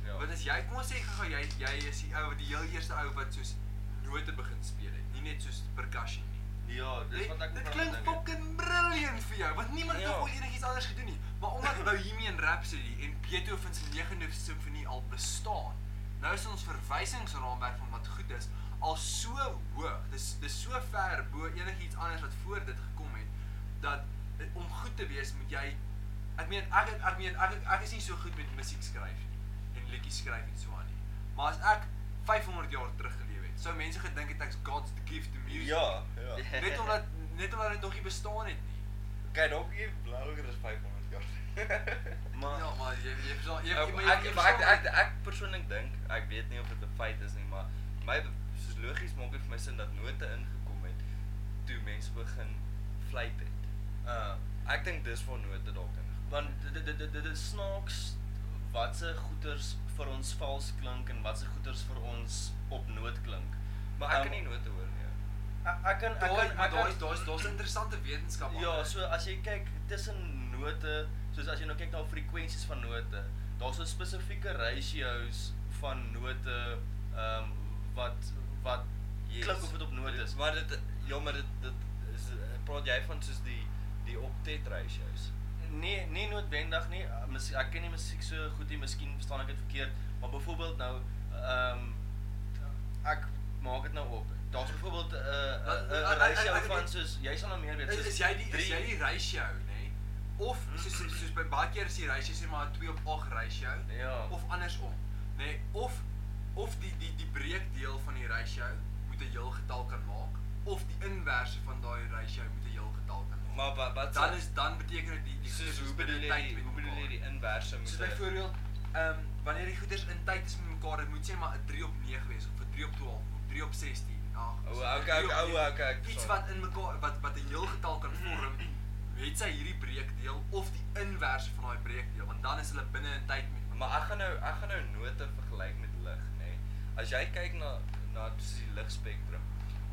Ja. Want as jy kom ons sê gou jy jy is die ou wat die heel eerste ou wat soos note begin speel het, nie net soos percussion nie. Ja, dis Dit, wat ek dit ook klink aan dink het. fucking brilliant vir jou, want niemand Ja. het nog ooit enigiets anders gedoen nie. Maar omdat Bohemian Rhapsody en Beethoven se 9de simfonie al bestaan, nou is ons verwysingsraamwerk van wat goed is al so hoog. Dis dis so ver bo enigiets anders wat voor dit gekom het dat eh, om goed te wees moet jy ek meen ek het- ek meen ek het- ek is nie so goed met musiek skryf nie en liedjies skryf en so aan nie. Maar as ek 500 jaar terug geleef het, sou mense gedink het ek's God's gift to music. Ja, ja. Net omdat net omdat dit nog nie bestaan het nie. Kyk, dalk jy langer as 500 jaar. Maar ja, maar jy jy verstaan jy Ek jy- ek jy Nou, maar ek verstaan- ek, ek persoonlik dink, ek weet nie of dit 'n feit is nie, maar my soos logies maak dit vir my sin dat note ingekom het toe mense begin fluit het. Uh, ek dink dis waar note dalk ingekom. Ah. want dit dit dit dit is snaaks wat se goeters vir ons vals klink en wat se goeters vir ons op noot klink. het. Maar ek Ehm, kan nie note hoor nie. ja. Ek ek kan ek Daai kan ek maar kan daai daai daar's interessante wetenskap aan Ja, dit. so as jy kyk tussen note, soos as jy nou kyk na frekwensies van note, daar's so spesifieke ratios van note ehm um, wat wat yes. klink of dit op note is. Maar dit ja, maar dit dit is eh, praat jy van soos die die octet ratios. nee, nie noodwendig nie. Uh, mis- Ek ken nie musiek so goed nie, miskien verstaan ek dit verkeerd, maar byvoorbeeld nou ehm um, ek maak dit nou op. Daar's eh, byvoorbeeld 'n Wat- 'n- 'n ek- ek- ratio ek- ek- van soos jy sal nou meer weet. Is, soos is jy die is drie- jy die ratio, nê? Of Hmm. soos soos- soos by baie keer is die ratio sê maar 'n 2 op 8 ratio Ja. of andersom, nê? Of of die die die breekdeel van die ratio moet 'n heel getal kan maak of die inverse van daai ratio moet 'n heel getal kan maak. Maar wat wat dan is dan beteken dit die die soos goeders hoe is bedoel binne jy tyd die- met hoe bedoel jy mekaar. die inverse moet Soos byvoorbeeld, ehm um, wanneer die goeders in tyd is met mekaar, dit moet sê maar 'n 3 op 9 wees of 'n 3 op 12 of 3 op 16. Ag. O, so okay, 'n okay, 3 op o, 9. okay, oh, ek Iets verstaan. wat in mekaar wat wat 'n heel getal kan vorm, het sy hierdie breekdeel of die inverse van daai breekdeel, want dan is hulle binne in tyd met mekaar. Maar ek gaan nou ek gaan nou note vergelyk met lig, nê. Nee. As jy kyk na na soos die ligspektrum,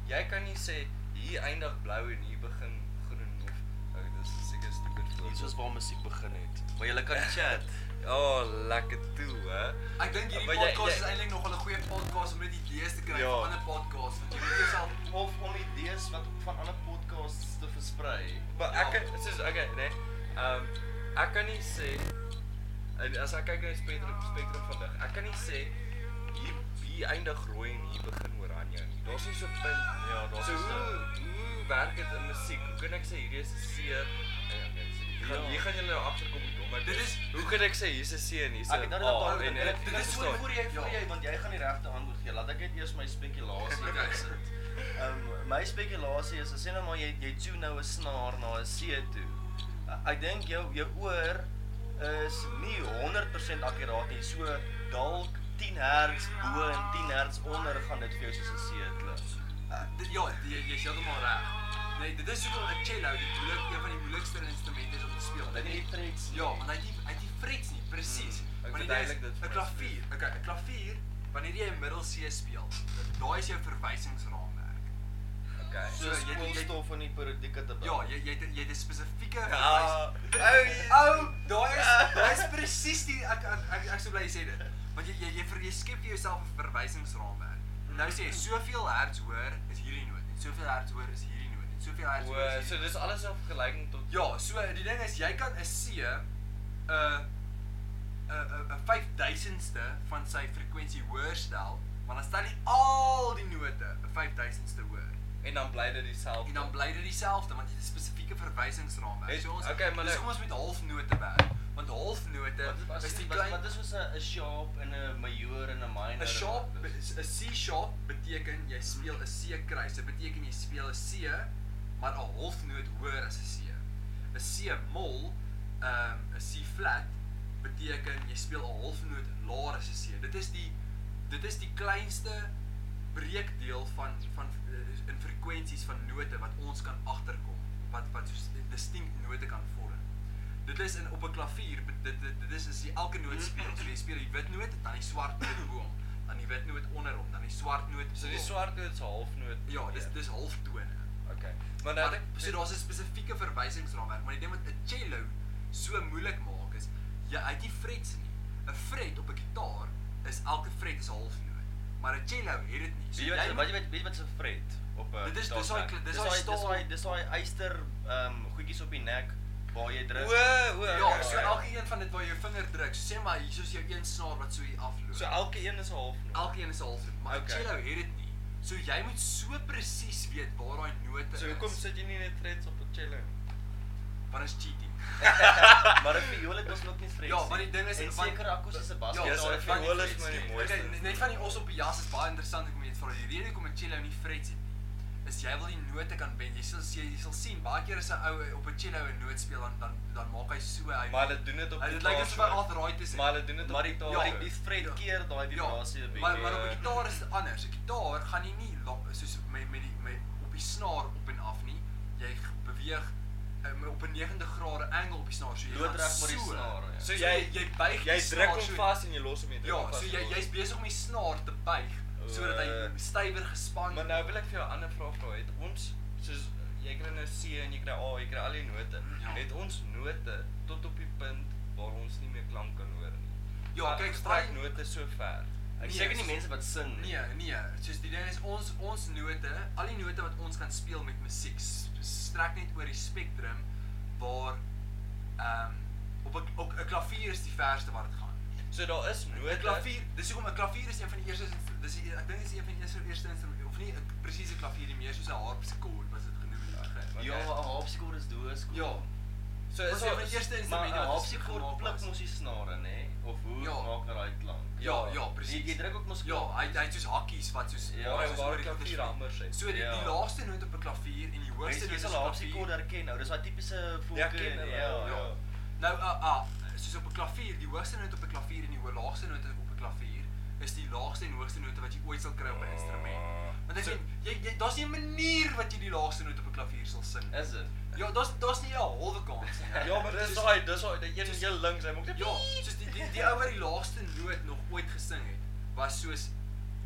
jy kan nie sê hier eindig blou en hier begin groen of ou dis is seker stupid voorbeeld. Hier is waar musiek begin het. Maar jy kan chat. Ja, oh, lekker toe, hè. Ek dink hierdie Maar jy- podcast jy- is eintlik nog 'n goeie podcast om net idees te kry Ja. vir ander podcasts, want jy moet jouself of om idees wat van ander podcasts te versprei. Maar ek kan soos okay, nê. Nee, ehm um, ek kan nie sê en as ek kyk na die spektrum spektrum van lig, ek kan nie sê hier hier eindig rooi en hier begin oranje nie. Daar's nie so 'n punt. Ja, daar's so nie so- hoe hoe werk dit in musiek? Hoe kan ek sê hierdie is 'n C? Ja, en- okay, so Hier gaan Ja. hier gaan julle nou agterkom hoe dom ek Dit is- Hoe kan ek sê hier's 'n C en hier's 'n A? Ek het nou net op daai en en dit is so verstaan. voor jy voor Ja. jy want jy gaan die regte antwoord gee. Laat ek net eers my spekulasie Okay. sit. Ehm my spekulasie is as jy nou maar jy jy tune nou 'n snaar na 'n C toe. Uh, Ek dink jou jou oor is nie 100% akuraat nie. So dalk 10 Hz bo en 10 Hz onder gaan dit vir jou soos 'n C klink. Uh, dit- ja, jy jy's heeltemal reg. Nee, dit is hoekom 'n cello die moeilik een van die moeilikste instrumente is om te speel. want hy Dit is het- die frets. Ja, want hy het nie hy het nie frets nie, presies. Hmm, ek Maar die ding is, verduidelik dit vir my 'n klavier, okay, 'n klavier, wanneer jy 'n middel C speel, daai is jou verwysingsraamwerk. Okay. So, Soos Ja, jy- jy- koolstof in die periodieke tabel. Ja, jy jy het- jy het 'n spesifieke Ja. verwys- Ou, daai is daai is presies die ek ek ek, ek sou bly jy sê dit. Want jy jy jy, ver, jy skep vir jouself 'n verwysingsraamwerk. En nou Mm. sê jy soveel hertz hoor is hierdie noot en soveel hertz hoor is hierdie noot en soveel hertz O, hoor is hierdie so dis alles in vergelyking tot Ja, so die ding is jy kan 'n C eh, 'n 'n 'n 5000ste eh, van sy frekwensie hoër stel, want dan stel jy al die note 'n 5000ste hoër. en dan bly dit dieselfde. En dan bly dit dieselfde want jy het 'n spesifieke verwysingsraamwerk. Het- So ons okay, maar dis nou- kom ons met halfnote werk. want halfnote Wat was is die wat klein wat is ons 'n 'n sharp en 'n major en 'n minor? 'n sharp 'n C sharp beteken jy speel 'n C kruis. Dit beteken jy speel 'n C maar 'n halfnoot hoër as 'n C. 'n C mol, ehm 'n C flat beteken jy speel 'n halfnoot laer as 'n C. Dit is die dit is die kleinste breekdeel van van eh, in frekwensies van note wat ons kan agterkom wat wat soos distinct note kan vorm. Dit is in op 'n klavier bet- dit dit, dit is as jy elke noot speel. So jy speel die wit noot, dan die swart noot bo hom, dan die wit noot onder hom, dan die swart noot. So bo die hom. swart noot is halfnoot. Ja, dis dis halftone. Okay. Maar Maar nou nou dink so daar's 'n spesifieke verwysingsraamwerk, maar die ding wat 'n cello so moeilik maak is jy ja, uit die frets nie. 'n Fret op 'n gitaar is elke fret is 'n halfnoot, maar 'n cello het dit nie. Weet jy wat moet- wat jy weet weet wat se fret op eh, 'n Dit is- dis daai kle- dis daai dis staal- daai dis daai eyster ehm goedjies op die nek waar jy druk. O, o, Ja, so okay. elke een van dit waar jou vinger druk, so sê maar hier is jou een snaar wat so hier afloop. So elke een is 'n halfnoot. elkeen is 'n halfnoot, maar 'n Okay. cello het dit nie. So jy moet so presies weet waar daai note So is. hoekom sit jy nie net frets op 'n cello? want dit is cheating. maar 'n viool het ons ook nie frets. Ja, maar die ding is en want- seker akoestiese bas. Ja, gitaar so het van die viool is frets maar die nie. mooiste. Okay, net- net van die nee, os op die jas is baie interessant ek moet vir die rede hoekom 'n cello nie frets het nie. Is jy wil die note kan bend. Jy sal jy, jy sal sien baie keer as 'n ou op 'n cello 'n noot speel dan dan dan maak hy so hy Maar hulle doen dit op Hy- dit gitaar lyk asof hy so. arthritis het. Maar hulle doen dit op Maar die gitaar maar so. die- die fret keer daai vibrasie eh, 'n ja, bietjie. maar maar op 'n gitaar is dit anders. 'n Gitaar gaan jy nie la- soos met met die met op die snaar op en af nie. Jy g- beweeg um, op 'n 90 grade angle op die snaar. So jy gaan Loodreg met die so. snaar, ja. So jy jy buig jy die druk snaar hom so- vas en jy los hom jy druk Ja, hom vas so en jy los. jy's besig om die snaar te buig sodat hy O. stywer gespan Oh. Maar nou wil ek vir jou 'n ander vraag vra. Het ons soos jy kry nou C en jy kry A, jy kry al die note. Ja. Het ons note tot op die punt waar ons nie meer klank kan hoor nie. Ja, Waar kyk, strek al- note so ver. Ek Ek Nee, seker dis- nie mense wat sing nie. Nee, nee, soos die ding is ons ons note, al die note wat ons kan speel met musiek s- strek net oor die spektrum waar ehm op 'n op 'n klavier is die verste waar dit gaan. So daar is note. 'n Klavier, dis hoekom 'n klavier is een van die eerste instru- dis die- ek dink dis een van die eerste eerste instrumente of nie 'n presiese klavier nie, meer soos 'n harpsichord was dit genoem in die begin. Ja, Okay. 'n harpsichord is doodskoon. Ja. So Ons is een van die eerste instrumente maar 'n wat ons harpsichord gemaak pluk was. mos die snare, nê? Of hoe Ja. maak hy daai klank? Ja, ja, presies. Jy, jy druk ook mos Ja, hy hy het soos hakkies wat soos Ja, waar en soos waar oor die klavier goeters- hammer sit. So die, Ja. die laagste noot op 'n klavier en die hoogste Hoogste noot dis is al 'n harpsichord klavier. herken nou. Dis daai tipiese Ja, volke. ken hulle, ja, Ja. ja. Nou ah ah, soos op 'n klavier, die hoogste noot op 'n klavier en die ho- laagste noot op 'n klavier is die laagste en hoogste note wat jy ooit sal kry op 'n instrument. Want as So- jy jy, jy daar's nie 'n manier wat jy die laagste noot op 'n klavier sal sing. nie. Is dit? Ja, daar's daar's nie 'n halwe kans nie. Ja, maar dis daai, dis daai, die een soos- heel links, hy maak net Ja, soos die die, die ou wat die laagste noot nog ooit gesing het, was soos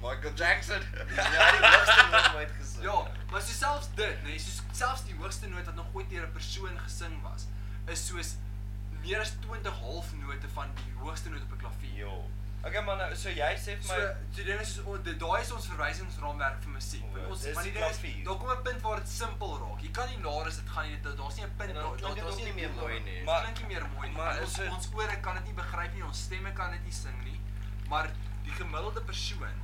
Michael Jackson. Ja, die hoogste wat ooit gesing. Ja, maar so selfs dit, nê, nee, soos selfs die hoogste noot wat nog ooit deur 'n persoon gesing was, is soos meer as 20 halfnote van die hoogste noot op 'n klavier. Jo. Okay man, nou, so jy sê vir So, my so die ding is soos o- dit- daai is ons verwysingsraamwerk vir musiek. O, Want ons Oh, dis maar die die ding is klavier. daar kom 'n punt waar dit simpel raak. Jy kan nie laer as dit gaan nie. dit- Daar's nie 'n punt En dan daar- klink dit daar's ook nie een meer punt mooi daar- nie. dit Maar- klink nie meer mooi nie. maar Maar ons is dit- ons ore kan dit nie begryp nie. Ons stemme kan dit nie sing nie. Maar die gemiddelde persoon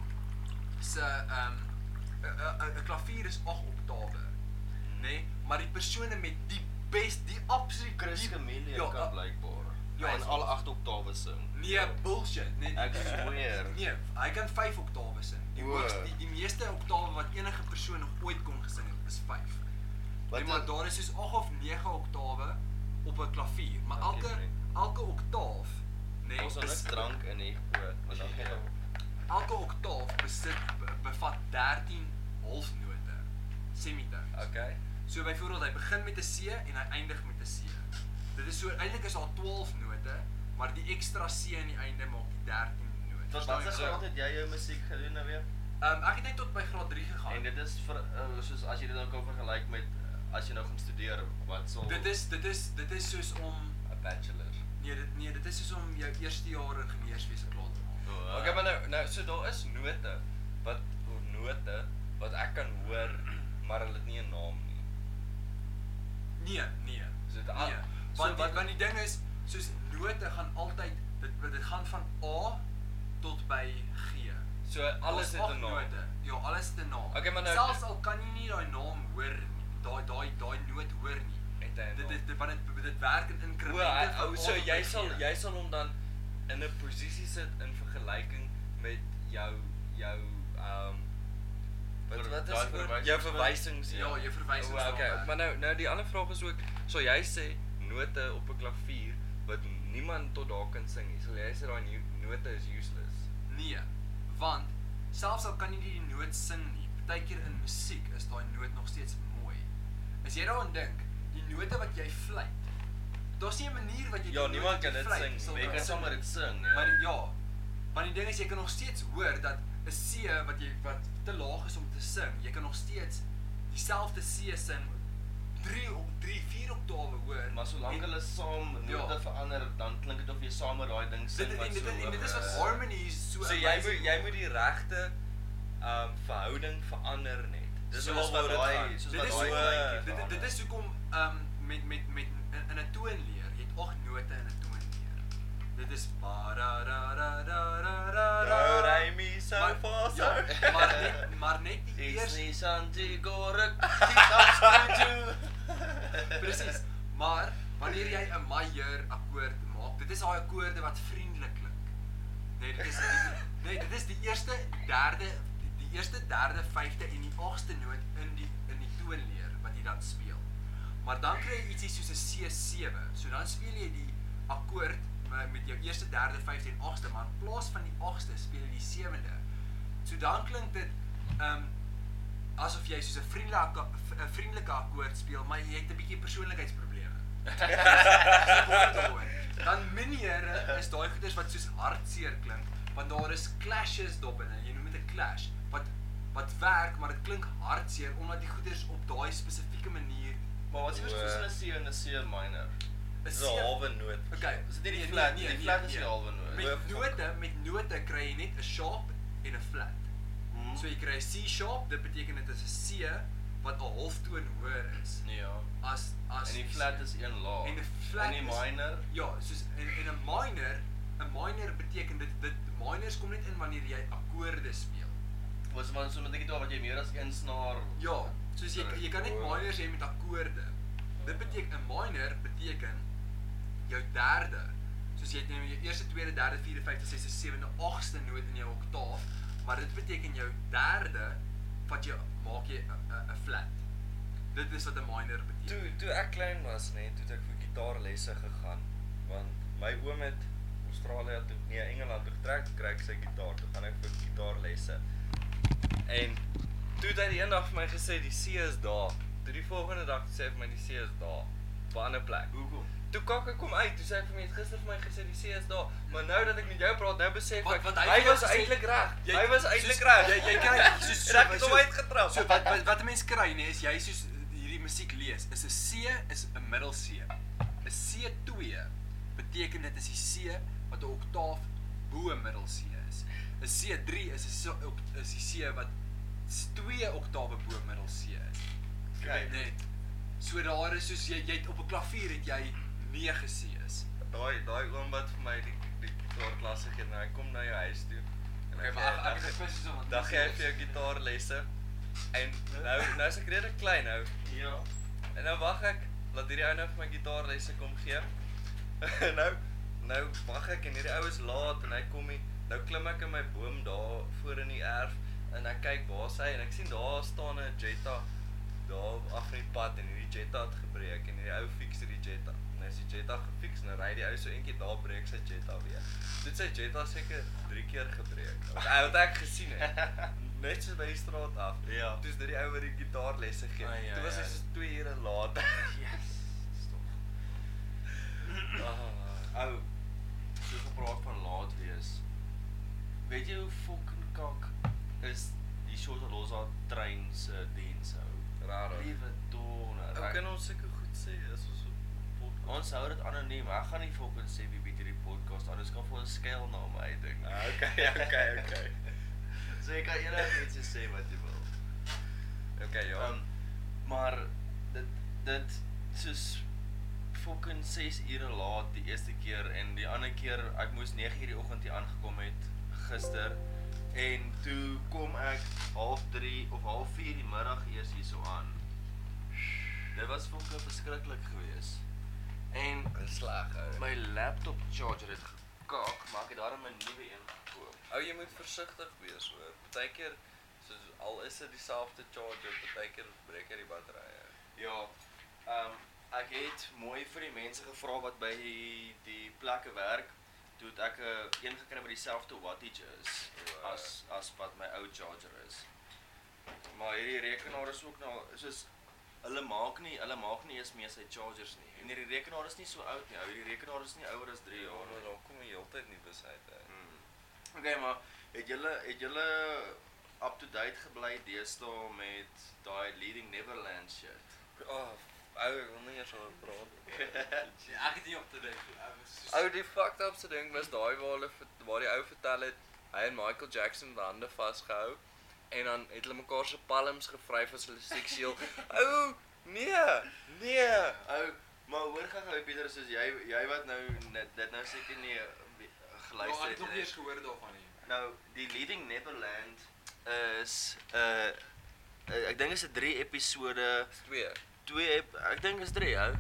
se ehm 'n- 'n- 'n- 'n klavier is 8 oktawe, nê? Nee? Maar die persone met die bes die absoluut Chris die- Camille ja, kan uh, blykbaar Ja, ja, in so- alle 8 oktawe sing. Nee, bullshit. Nee, Ek sweer. Nee, hy kan 5 oktawe sing. Die O. hoogste die, die meeste oktawe wat enige persoon nog ooit kon gesing het, is 5. Wat Nee, maar is- daar is soos 8 of 9 oktawe op 'n klavier, maar Dankie, elke vriend. elke oktaaf, nee, Ons het bes- drank in hier oor, want dan gaan elke oktaaf besit be- bevat 13 halfnote, semitones. Okay. So byvoorbeeld hy begin met 'n C en hy eindig met 'n C. Dit is so eintlik is daar 12 note, maar die ekstra C aan die einde maak die 13 note. Tot Verstaan wat er jy? se So- graad het jy jou musiek gedoen nou weer? Ehm ek het net tot by graad 3 gegaan. En dit is vir uh, soos as jy dit dan kan vergelyk met uh, as jy nou gaan studeer, wat sal dit is dit is dit is soos om 'n bachelor. nee, dit nee, dit is soos om jou eerste jaar ingenieurswese klaar te maak. Oh, okay, maar nou nou so daar is note wat note wat ek kan hoor, maar hulle het nie 'n naam nie. Nee, nee. Is dit al- nee. so Want wat- so, wat want die ding is, soos note gaan altyd dit dit gaan van A tot by G. So alles Daar's het acht 'n naam. Note. Ja, alles het 'n naam. Okay, maar nou- selfs al kan jy nie daai naam hoor nie, daai daai daai noot hoor nie. En te handle. Dit is dit want dit dit werk in Ja, O, hy- inkremente. o, so jy sal jy sal hom dan in 'n posisie sit in vergelyking met jou jou ehm wat Ver- wat is daai die woord? jou verwysings- verwysings Ja, jou verwysings O, okay, daarvan. maar nou nou die ander vraag is ook sal jy sê note op 'n klavier wat niemand tot daar kan sing nie. Sal jy sê daai nu- note is useless? Nee, want selfs al kan jy nie die noot sing nie, partykeer in musiek is daai noot nog steeds mooi. As jy daaraan dink, die note wat jy fluit, daar's nie 'n manier wat jy Ja, die noot niemand wat jy kan dit fluit sing nie, sal maar jy kan kan sing. sommer dit sing, ja. Maar die- ja, maar die ding is jy kan nog steeds hoor dat 'n C wat jy wat te laag is om te sing, jy kan nog steeds dieselfde C sing 3 3 4 oktawe hoor. Maar solank en- hulle saam Ja. note verander, dan klink dit of jy saam met daai ding dit sing en wat dit so en dit is hoog wat is. harmonies so So jy amazing moet jy maak. moet die regte ehm verhouding verander net. Dis Soos waaroor wat dit daai- gaan. soos Dit wat is daai hoe- kleintjie dit dit is hoekom ehm met met met in- in 'n toonleer, jy het agt note in 'n toonleer. Dit is ba ra ra ra ra ra ra Nou Do, re, mi, so, Maar- fa, so. ja, Maar net maar net die Eers eerste nie Santiago ruk, dit is goed. presies. Maar wanneer jy 'n majeur akkoord maak, dit is daai akkoorde wat vriendelik klink. Nee, dit is nee, dit is die eerste, die derde, die, die eerste, derde, vyfde en die agste noot in die in die toonleer wat jy dan speel. Maar dan kry jy ietsie soos 'n C7. So dan speel jy die akkoord me- met jou eerste, derde, vyfde en agste, maar in plaas van die agste speel jy die sewende. So dan klink dit ehm um, asof jy soos 'n vriendelike 'n vriendelike akkoord speel, maar jy het 'n bietjie persoonlikheidsprobleme. Dis word daaroor. Dan minere is daai goeders wat soos hartseer klink, want daar is clashes dobbinne. Jy noem dit 'n clash wat wat werk, maar dit klink hartseer omdat die goeders op daai spesifieke manier Maar wat is die verskil tussen 'n C en 'n C minor? Dis 'n seer- halwe noot. Okay, Is dit nie die nee, nee, flat nie? nee, Die nee, flat is die nee. halwe noot. Met Hoofvlak. note, met note kry jy net 'n sharp en 'n flat. Hmm. So jy kry 'n C sharp, dit beteken dit is 'n C wat 'n halftoon hoër is. Nee, ja. As as En die C. flat is een laag. En 'n flat en Oh, die is- minor Ja, soos en en 'n minor, 'n minor beteken dit dit minors kom net in wanneer jy akkoorde speel. was man so met 'n gitaar wat jy meer as een snaar. Ja, soos jy jy kan net Akkoorde. minors hê met akkoorde. Dit beteken 'n minor beteken jou derde. Soos jy het nou jou eerste, tweede, derde, vierde, vyfde, sesde, sewende, agste noot in jou oktaaf, maar dit beteken jou derde wat jy maak jy 'n- 'n 'n flat. Dit is wat 'n minor Toe beteken. toe ek klein was, nee, nê, toe het ek vir gitaarlesse gegaan want my oom het Australië toe nee, Engeland toe getrek, kry ek sy gitaar, toe gaan ek vir gitaarlesse. En toe het hy die eendag vir my gesê die see is daar. Toe die volgende dag toe sê hy vir my die see is daar op 'n ander plek. Hoekom? Toe kak ek kom uit, toe sê ek vir my het gister vir my gesê die see is daar, maar nou dat ek met jou praat, nou besef Wat- ek wat hy hy vir jou was gesê- eintlik reg. Jy- Hy was soos- eintlik reg. Jy jy kry soos soos ek het hom uitgetrap. Ja, So wat wat wat 'n mens kry nê is jy soos hierdie musiek lees is 'n C is 'n middel C. 'n C2 beteken dit is die C wat 'n oktaaf bo 'n middel C is. 'n C3 is 'n so- ok- is die C wat s- twee oktawe bo middel C is. Kyk. Nê. So daar is soos jy jy het op 'n klavier het jy 9 C's. Daai daai oom wat vir my die die gitaarklas gegee het, en hy kom na jou huis toe. en hy Okay, gee- maar ek ek dan- het gekwis so want Dan gee hy vir jou gitaarlesse. En nou nou is ek redelik klein nou. Ja. En nou wag ek laat hierdie ou nou vir my gitaarlesse kom gee. nou nou wag ek en hierdie ou is laat en hy kom nie. Nou klim ek in my boom daar voor in die erf en ek kyk waar sy en ek sien daar staan 'n Jetta daar af in die pad en hierdie Jetta het gebreek en hierdie ou fiks hierdie Jetta. En as die Jetta gefiks en ry die ou so eentjie daar breek sy Jetta weer. Dit sy Jetta seker 3 keer gebreek. Ou wat ek gesien het. Net so by die straat af. Ja. Toe is dit die ou wat die gitaarlesse gee. Ai, ai, Toe was hy ai. so 2 ure laat. Ah. Ou, so gepraat van laat wees. Weet jy hoe fucking kak is die Shotalosa trein se diens ou? Raar. Liewe donder. Ou ek- kan ons seker goed sê as ons op podcast. Ons hou dit anoniem. Ek gaan nie fucking sê wie bied hierdie podcast aan. Ons kan vir 'n skuilnaam uitdink. Ah, okay, okay, okay. so jy kan enigiets sê wat jy wil. Okay, ja. Ehm, maar dit dit soos fucking 6 ure laat die eerste keer en die ander keer ek moes 9 uur die oggend hier aangekom het gister en toe kom ek half 3 of half 4 die middag eers hierso aan. Dit was vonke verskriklik geweest. En Dis sleg ou. my laptop charger het gekaak, maar ek het daarom 'n nuwe een gekoop. Ou jy moet versigtig wees hoor. Partykeer soos al is dit dieselfde charger, partykeer breek hy die batterye. Ja. Ehm um, ek het mooi vir die mense gevra wat by die, die plekke werk. Toe het ek 'n een gekry wat dieselfde wattage is Wow. as as wat my ou charger is. Maar hierdie rekenaar is ook nou soos hulle maak nie, hulle maak nie eens meer sy chargers nie. En hierdie rekenaar is nie so oud nie. Ou, hierdie rekenaar is nie ouer as 3 Ja, jaar maar nie. dan kom jy heeltyd nie besluit uit. Mm. Okay, maar het julle het julle up to date gebly deesdae met daai leading Neverland shit? Oh, ou, ek wil nie eers oor praat. Ja, ek het nie op te dink. Ek was soos- Ou die fucked upste ding was daai waar hulle vert- waar die ou vertel het hy en Michael Jackson het hande vasgehou en dan het hulle mekaar se palms gevryf as hulle seksueel. ou, nee, nee. Ou, maar hoor gou-gou Pieter, soos jy jy wat nou net dit nou seker nie eh, be- Maar Ja, ek geluister het het nog nie nie. eens gehoor daarvan nie. Nou, die Leading Neverland is 'n uh, uh, ek dink is 'n 3 episode, Dis twee. 2 ep, ek dink is 3 ou.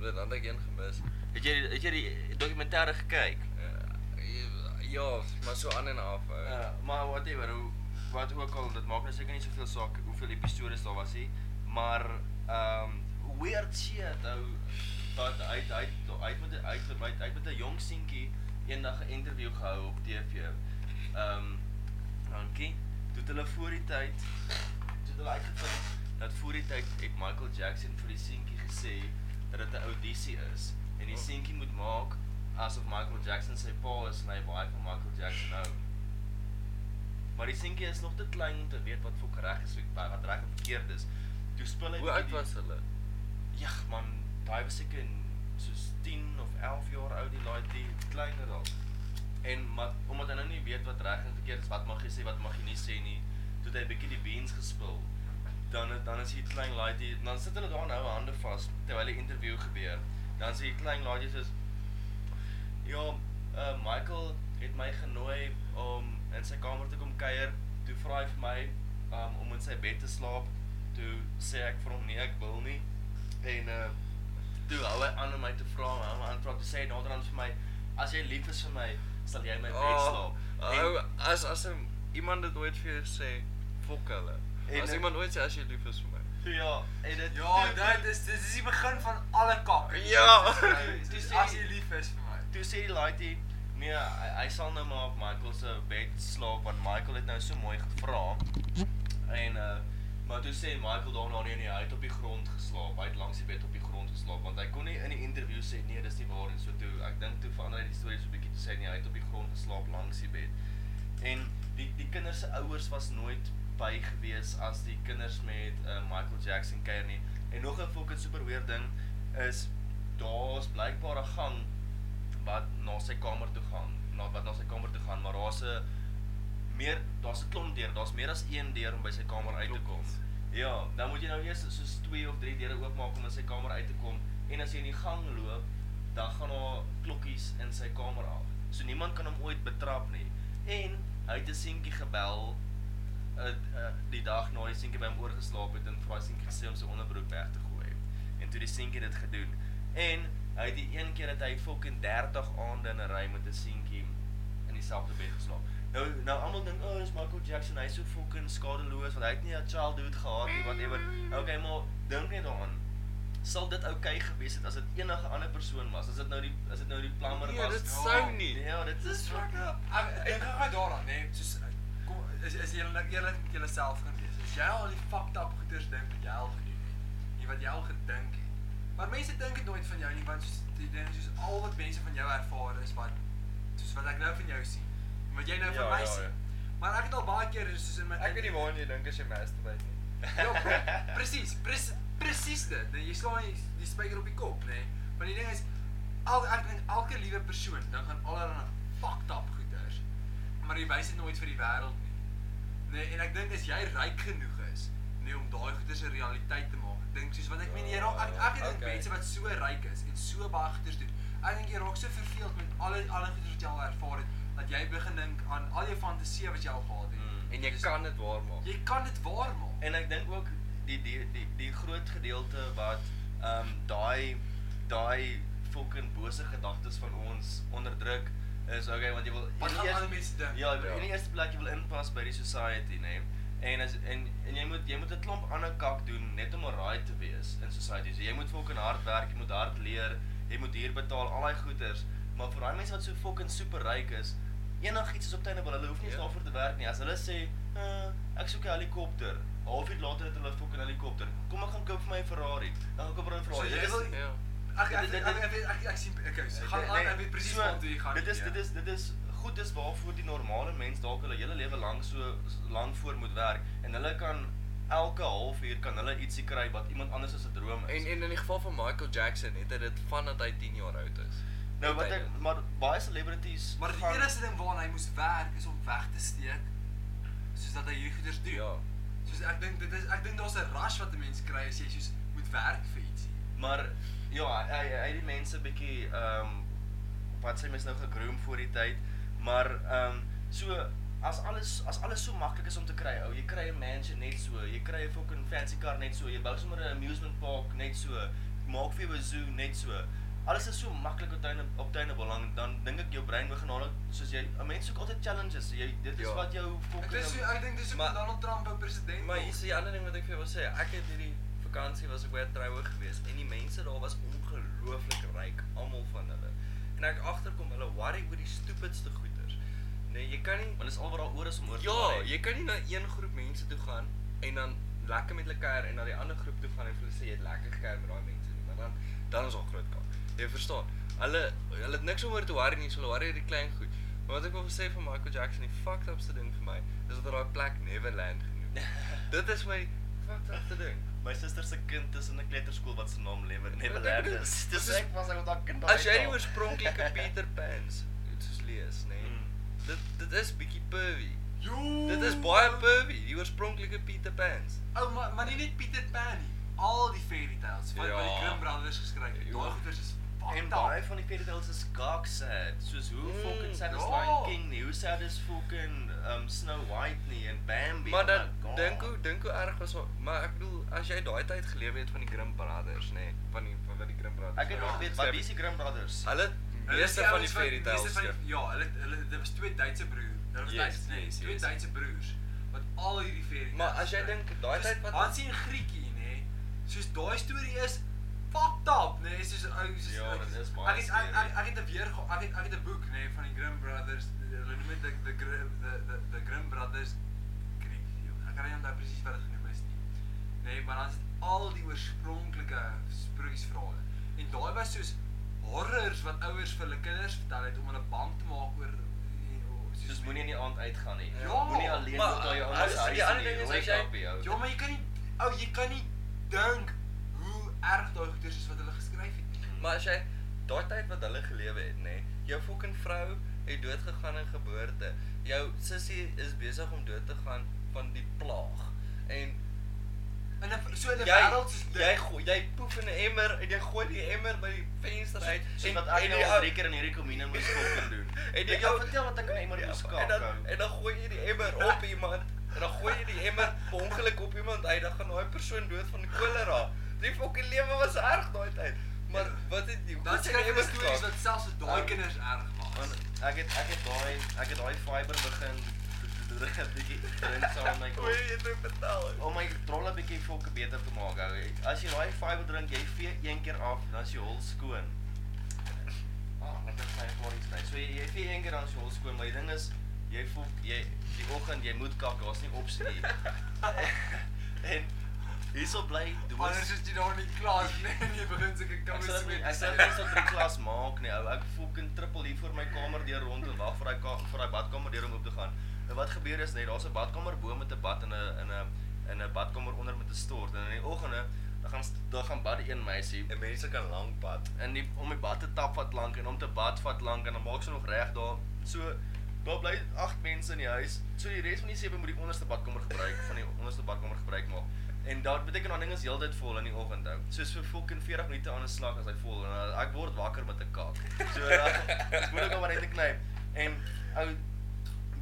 Dit dan het ek een gemis. Het jy die- het jy die dokumentêre gekyk? Ja, ja, maar so aan en af. ou. Ja, maar whatever, hoe wat ook al, dit maak nou seker nie soveel saak hoeveel episode daar was nie, maar ehm um, weird shit ou dat hy hy hy het met hy het met hy het met 'n jong seentjie eendag 'n onderhoud gehou op TV. Ehm um, dankie. Toe het hulle voor die tyd toe het hulle uitgevind dat voor die tyd het Michael Jackson vir die seentjie gesê dat dit 'n audisie is en Oh. die seentjie moet maak asof Michael Jackson sy pa is en hy baie van Michael Jackson hou. Maar die seentjie is nog te klein om te weet wat fok reg is en wat reg en verkeerd is. Toe speel hy Hoe oud was hulle? Ja man, daai was seker in soos 10 of 11 jaar oud die laaitie, kleiner dalk. En maar omdat hy nou nie weet wat reg en verkeerd is, wat mag jy sê, wat mag jy nie sê nie, toe het hy bietjie die beans gespil. Dan dan is hy klein laaitie, dan sit hulle daar nou hande vas terwyl die interview gebeur. Dan sê hy klein laaitie soos Ja, uh, Michael het my genooi om in sy kamer te kom kuier. Toe vra hy vir my um, om in sy bed te slaap. Toe sê ek vir hom nee, ek wil nie. En uh toe hou hy aan om my te vra, hou my aan te vra te sê naderhand vir my, as jy lief is vir my, sal jy in my bed Oh, slaap. ou, as as 'n- iemand dit ooit vir jou sê, fok hulle. En As ek- iemand ooit sê as jy lief is vir my. ja, en dit Ja, dit is dis is die begin van alle kak. Ja. Dis Dis as die- jy lief is vir my. Toe sê die laaitie, nee, hy, hy sal nou maar op Michael se bed slaap want Michael het nou so mooi gevra. En uh maar toe sê Michael daarna nee nee, hy het op die grond geslaap. Hy het langs die bed op die grond geslaap want hy kon nie in die onderhoud sê nee, dis nie waar nie. So toe ek dink toe verander hy die storie so 'n bietjie toe sê hy, nee, hy het op die grond geslaap langs die bed. En die die kinders se ouers was nooit by gewees as die kinders met uh, Michael Jackson kuier nie. En nog 'n fucking super weird ding is daar's blykbaar 'n gang wat na sy kamer toe gaan, na wat na sy kamer toe gaan, maar daar's 'n meer daar's 'n klomp deur, daar's meer as een deur om by sy kamer uit te kom. Ja, dan moet jy nou eers soos 2 of 3 deure oopmaak om in sy kamer uit te kom en as jy in die gang loop, dan gaan daar klokkies in sy kamer af. So niemand kan hom ooit betrap nie. En hy het 'n seentjie gebel uh, uh, die dag na die seentjie by hom oorgeslaap het en vir daai seentjie gesê om sy onderbroek weg te gooi. En toe die seentjie dit gedoen. En hy het die een keer dat hy fucking 30 aande in 'n ry met 'n seentjie in dieselfde bed geslaap. Nou nou almal dink, "O, oh, is Michael Jackson, hy's so fucking skadeloos want hy het nie 'n childhood gehad nie, whatever." Okay, maar dink net daaraan. Sal dit oukei okay gewees het as dit enige ander persoon was? As dit nou die as dit nou die plammer Nee, was? dit Ja, sou nie. Ja, dit is fucking Ek dink ek gaan daaraan, né? Soos kom is is jy nou eerlik met jouself gaan wees. As jy al die fucked up goeders dink wat jy al gedoen het, nie wat jy al gedink het. Maar mense dink dit nooit van jou nie want soos die ding soos al wat mense van jou ervaar is wat soos wat ek nou van jou sien. en Wat jy nou Ja, van my ja, ja. sien. Maar ek het al baie keer soos in my Ek weet nie waarna jy dink as jy masturbate nie. Ja, pre- presies, pres, presies dit. Nee, jy slaan die, die spyker op die kop, nê. Nee. Want die ding is al ek dink elke liewe persoon dan gaan allerlei fucked up goeters. Maar jy wys dit nooit vir die wêreld nie. Nee, en ek dink as jy ryk genoeg is, nee om daai goeters 'n realiteit te maak. Ek dink soos want ek meen jy raak ek ek dink Okay. okay. mense wat so ryk is en so baie goeters doen. Ek dink jy raak so verveeld met al die alle goeters wat jy al ervaar het dat jy begin dink aan al jou fantasieë wat jy al gehad het. Mm, En jy Dis- kan dit waar maak. jy kan dit waar maak. En ek dink ook die die die die groot gedeelte wat ehm daai daai fucking bose gedagtes van ons onderdruk is okay want jy wil Wat in die gaan eers- ander mense dink? Ja, Ja. in die eerste plek jy wil inpas by die society, nê. En as en en jy moet jy moet 'n klomp ander kak doen net om alraai te wees in society. So jy moet fucking hard werk, jy moet hard leer, jy moet huur betaal, al daai goeders. Maar vir daai mense wat so fucking super ryk is, enigiets is op tuine, hulle hoef nie eens Ja. daarvoor te werk nie. As hulle sê, uh, "Ek soek 'n helikopter." Halfuur later het hulle 'n fucking helikopter. Kom ek gaan koop vir my 'n Ferrari. Dan gaan koop hulle 'n So Ferrari. jy Dit is- wil- Ja. Ek ek Dit- dit- ek ek weet ek ek sien okay, so gaan Nee, aan nee, ek weet presies so, waartoe jy gaan. Dit is ja. dit is dit is goed dis waarvoor die normale mens dalk hulle hele lewe lank so so lank voor moet werk en hulle kan elke halfuur kan hulle ietsie kry wat iemand anders se droom is. En en in die geval van Michael Jackson het hy dit vandat hy 10 jaar oud is. nou Het wat hy ek dit. maar baie celebrities Maar die gaan- enigste ding waaraan hy moes werk is om weg te steek soos dat hy hierdie goeders doen. Ja. Soos ek dink dit is ek dink daar's 'n rush wat 'n mens kry as jy soos moet werk vir ietsie. maar ja, hy hy hy het die mense bietjie ehm wat sy mens nou gegroom voor die tyd, maar ehm so as alles as alles so maklik is om te kry, ou, jy kry 'n mansion net so, jy kry 'n fucking fancy kar net so, jy bou sommer 'n amusement park net so, maak vir jou 'n zoo net so. Alles is so maklik obtainable obtainable en dan dink ek jou brein begin nader soos jy 'n mens soek altyd challenges. Jy dit is ja. Ja. wat jou Ek fucking dis so ek dink dis hoe Maar- Donald Trump ou president Maar word. hier is die ander ding wat ek vir jou wil sê. Ek het hierdie vakansie was ek by 'n troue gewees en die mense daar was ongelooflik ryk, almal van hulle. En ek agterkom hulle worry oor die stupidste goeders. Nee, jy kan nie want dis al wat daar oor is om oor te Ja, bly. jy kan nie na een groep mense toe gaan en dan lekker met hulle kuier en na die ander groep toe gaan en vir hulle sê jy het lekker gekuier met daai mense nie, want dan dan is al groot kak. Jy verstaan. Hulle hulle het niks om oor te worry nie, so hulle worry oor die klein goed. Maar wat ek wil sê van Michael Jackson, die fucked upste ding vir my, is dat hy daai plek Neverland genoem het. Dit is my fucked upste ding. My suster se kind is in 'n kleuterskool wat se naam Lever Wat ek Neverland bedoel, is. Dis dis is- ek was ek met daai kind As jy die uithaal. oorspronklike Peter Pan's het soos lees, nê. Nee, Mm. dit dit is bietjie pervy. Jo. Dit is baie pervy, die oorspronklike Peter Pan's. Ou maar maar nie net Peter Pan nie. Al die fairy tales wat ja. by die Ja. Grimm brothers geskryf het. Ja. Daai goeders is en fucked baie up. van die fairy tales is gaak sad. Soos hoe Mm, fucking sad is ja. Lion King nie, hoe sad is fucking um Snow White nie en Bambi. Maar oh dan my God. dink hoe dink hoe erg was wa- maar ek bedoel as jy daai tyd geleef het van die Grimm Brothers, nê, nee, van die van wat die Grimm Brothers. ek het nog weet wat wie is die Grimm Brothers? Ja, Hulle het Hulle is meeste die van die ouens wat- fairy meeste tales. van die- skryf. Ja, hulle hulle dit was twee Duitse broers. Hulle was Yes, Duits, nee, yes, twee yes. Duitse broers wat al hierdie fairy tales. Maar as jy skryf. dink, daai Soos tyd wat- Hansie en Grietjie, nê, soos daai storie is fucked up, nê, soos ou soos Ja, ou- dit is baie Ek het ek scary. ek, ek het 'n weer ge- ek het ek het 'n boek, nê, van die Grimm Brothers. eh, Hulle noem dit the the Grimm the the, the Grimm Brothers Griek. Ek kan nie onthou presies wat dit genoem is nie. Nee, maar dan is dit al die oorspronklike sprokiesverhale. En daai was soos horrors wat ouers vir hulle kinders vertel het om hulle bang te maak oor eh, Soos moenie in die aand uitgaan nie. Ja. Moenie alleen Maar, met daai as- ouers die ander ding is, as jy- Ja, maar jy kan nie ou jy kan nie dink hoe erg daai goeters is wat hulle geskryf het. nie. Maar as jy daai tyd wat hulle gelewe het, nê, nee, jou fucking vrou het dood gegaan in geboorte. Jou sussie is besig om dood te gaan van die plaag. En In 'n so in 'n Jy- wêreld soos dit. jy gooi jy poef in 'n emmer en jy gooi die emmer by die venster uit en wat Nee, ek nou al drie keer in hierdie komune moes fucking doen. En jy jy kan vertel wat ek aan iemand Ja, moes en kaap. dan ou. en dan gooi jy die emmer op iemand en dan gooi jy die emmer per ongeluk op iemand uit dan gaan daai persoon dood van kolera. Die fucking lewe was erg daai tyd. Ja. Maar wat het jy dan skryf hulle stories wat selfs vir daai Ou. kinders erg maak. Want ek het ek het daai ek het daai fiber begin 'n bietjie drink saam met my Hoe kop. jy dit betaal. om my trolle bietjie fokke beter te maak. ou. As jy daai fiber drink, jy vee een keer af, dan is jy hol skoon. Ah, net as my body stay. So jy, jy vee een keer dan is jy hol skoon, maar die ding is jy voel jy die oggend jy moet kak, daar's nie opsie nie. en hierso bly Anders is jy daar nie klaar nie en jy begin seker Ek kamers sal dit nie, ek sal dit nie so met. drie klas maak nie. Ou, ek fucking trippel hier voor my kamer deur rond en wag vir daai ka- vir daai badkamer deur om oop te gaan. En wat gebeur is net, daar's 'n badkamer bo met 'n bad en 'n in 'n in 'n badkamer onder met 'n stort en in die oggende dan gaan st- dan gaan bad een meisie En mense kan lank pad. in die om die bad te tap vat lank en om te bad vat lank en dan maak sy nog reg daar. So daar bly agt mense in die huis. So die res van die sewe moet die onderste badkamer gebruik van die onderste badkamer gebruik maak. En daar beteken dan ding is heeltyd vol in die oggend ou. Soos vir fucking 40 minute aan 'n slag as hy vol en dan- ek word wakker met 'n kaak. So dan ek moet ek hom maar net knyp. En ou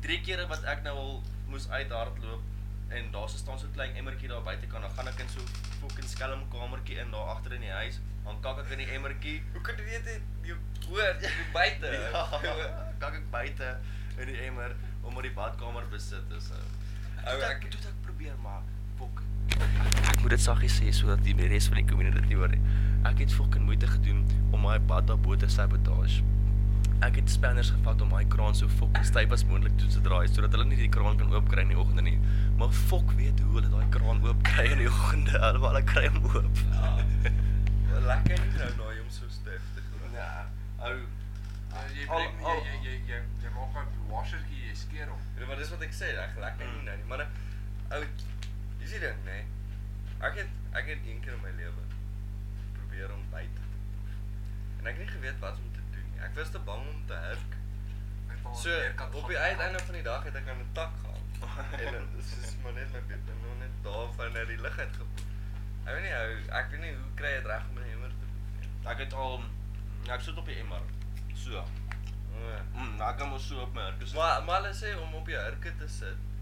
drie kere wat ek nou al moes uithardloop en daar so staan so klein emmertjie daar buite kan dan gaan ek in so fucking skelm kamertjie in daar agter in die huis dan kak ek in die emmertjie Hoe kan dit net jy hoor jy buite? ja, kak ek buite in die emmer omdat die badkamer besit is ou Ou, ou ek ek- toe ek probeer maar fok ek moet dit saggies sê sodat die die res van die community dit nie hoor nie ek het fucking moeite gedoen om my bad daarbo te sabotage Ek het spanners gevat om my kraan so fucking styf as moontlik toe te draai sodat hulle nie die kraan kan oopkry in die oggende nie. Maar fok weet hoe hulle daai kraan oopkry in die oggende. Hulle wil hulle kry hom oop. Ja. Lekker nie nou nou om so styf te glo. Ja. Ou, Nou, Jy Al- breek al- jy jy jy jy, jy maak 'n washertjie, jy skeer hom. Ja, maar dis wat ek sê, reg lekker nie nou nie, maar eh, ou dis die ding, né? Ek het ek het een keer in my lewe probeer om by te proef. En ek het nie geweet wat om te doen nie. Ek was te bang om te hurk. Ek wil So, Oh, weer kat op gaan. die uiteinde van die dag het ek aan 'n tak gehang. en dit is maar net like dit en nou net daarvan uit die lug uit gepoep. Ek weet nie hoe ek weet nie hoe kry jy dit reg om 'n emmer te poep nie. ek het al ja, ek sit op die emmer. So. Ja. Mm, nou kan ons so op my hurke sit. Maar maar hulle sê om op jou hurke te sit.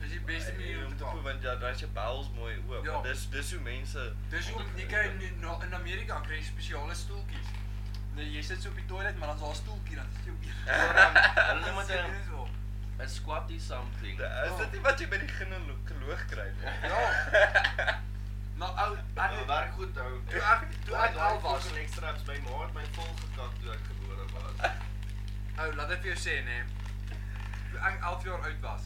Dis Dus die beste Ah, manier om te poep doen. want ja, dan is jou bowels mooi oop. Ja. Ja. Dis dis hoe mense Dis hoekom jy kry in na- in Amerika kry jy spesiale stoeltjies. Nee, jy sit so op die toilet, maar dan is daar 'n stoeltjie dan sit jy op. Hulle noem dit 'n- so. 'n squatty something. Da- Ja, Is dit nie wat jy by die ginekoloog kry nie? Ja. Nou ou, Ek ek werk goed hou. Toe Ja, ek toe ek al was, en ekstra apps my ma het my vol gekak toe ek gebore was. ou, laat ek vir jou sê nê. Toe ek 11 jaar oud was,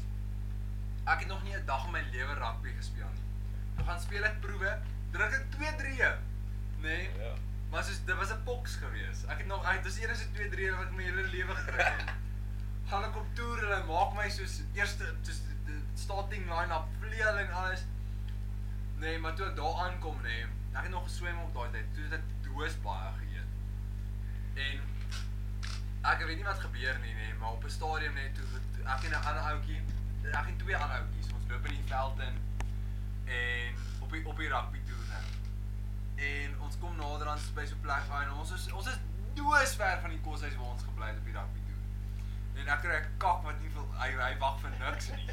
ek het nog nie 'n dag in my lewe rugby gespeel nie. Toe gaan speel ek proewe, druk ek 2 3e. Nê? Ja. Maar soos dit was 'n poks gewees. Ek het nog ek dis eers 'n 2 3 wat ek my hele lewe gedruk het. Gaan ek op toer en hulle maak my soos eerste soos die- die starting line-up vleel en alles. Nee, maar toe ek daar aankom nê, nee, ek het nog geswem op daai tyd. Toe het ek doos baie geëet. En ek weet nie wat gebeur nie nê, maar op 'n stadium net toe toe- ek en 'n ander ouetjie, ek en twee ander ouetjies, ons loop in die veld in en op die op die rugby toer nou. En ons kom nader aan by so 'n plek aan en ons is ons is doos ver van die koshuis waar ons gebly het op die rugby toe. En ek kry 'n kak wat nie wil hy hy wag vir niks nie.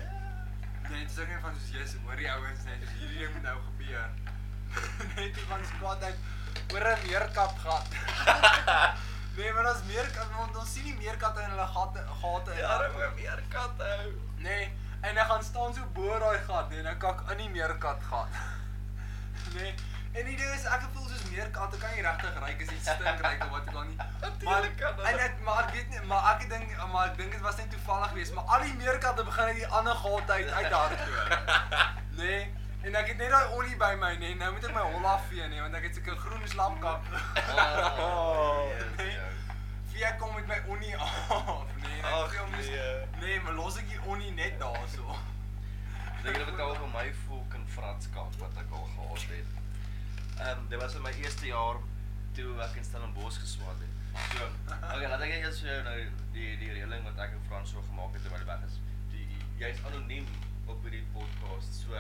Net so geen van soos Jesus, hoor die ouens net as hierdie ding moet nou gebeur. net toe van squad uit oor 'n meerkap gat. nee, maar ons meer ons, ons sien nie meerkatte in hulle gate gate in. Ja, maar meer katte hou. Nee, en dan gaan staan so bo daai gat, nee, en dan kak in die meerkat gat. nee. En die ding is ek voel soos meerkatte kan nie regtig ryk as iets stink ryk of wat ook al nie. Natuurlijk kan hulle. En ek maar ek weet nie, maar ek dink maar ek dink dit was net toevallig geweest, maar al die meerkatte begin uit die ander gat uit uit hardloop. nee. En ek het net daai olie by my, nee. Nou moet ek my hol afvee, nee, want ek het seker groen slaapkap. Oh, nee. Wie ek kom met my onnie af, nee. en ek Ag, sê hom, "Mis- nee. Nee, maar los ek die onnie net daarso. Dink julle wat al vir my fucking fratskap wat ek al gehad het. Ehm um, dit was in my eerste jaar toe ek in Stellenbosch geswaat het. So, okay, laat ek net eers vir jou nou die die reëling wat ek en Frans so gemaak het terwyl hy weg is. Die jy's anoniem op hierdie podcast. So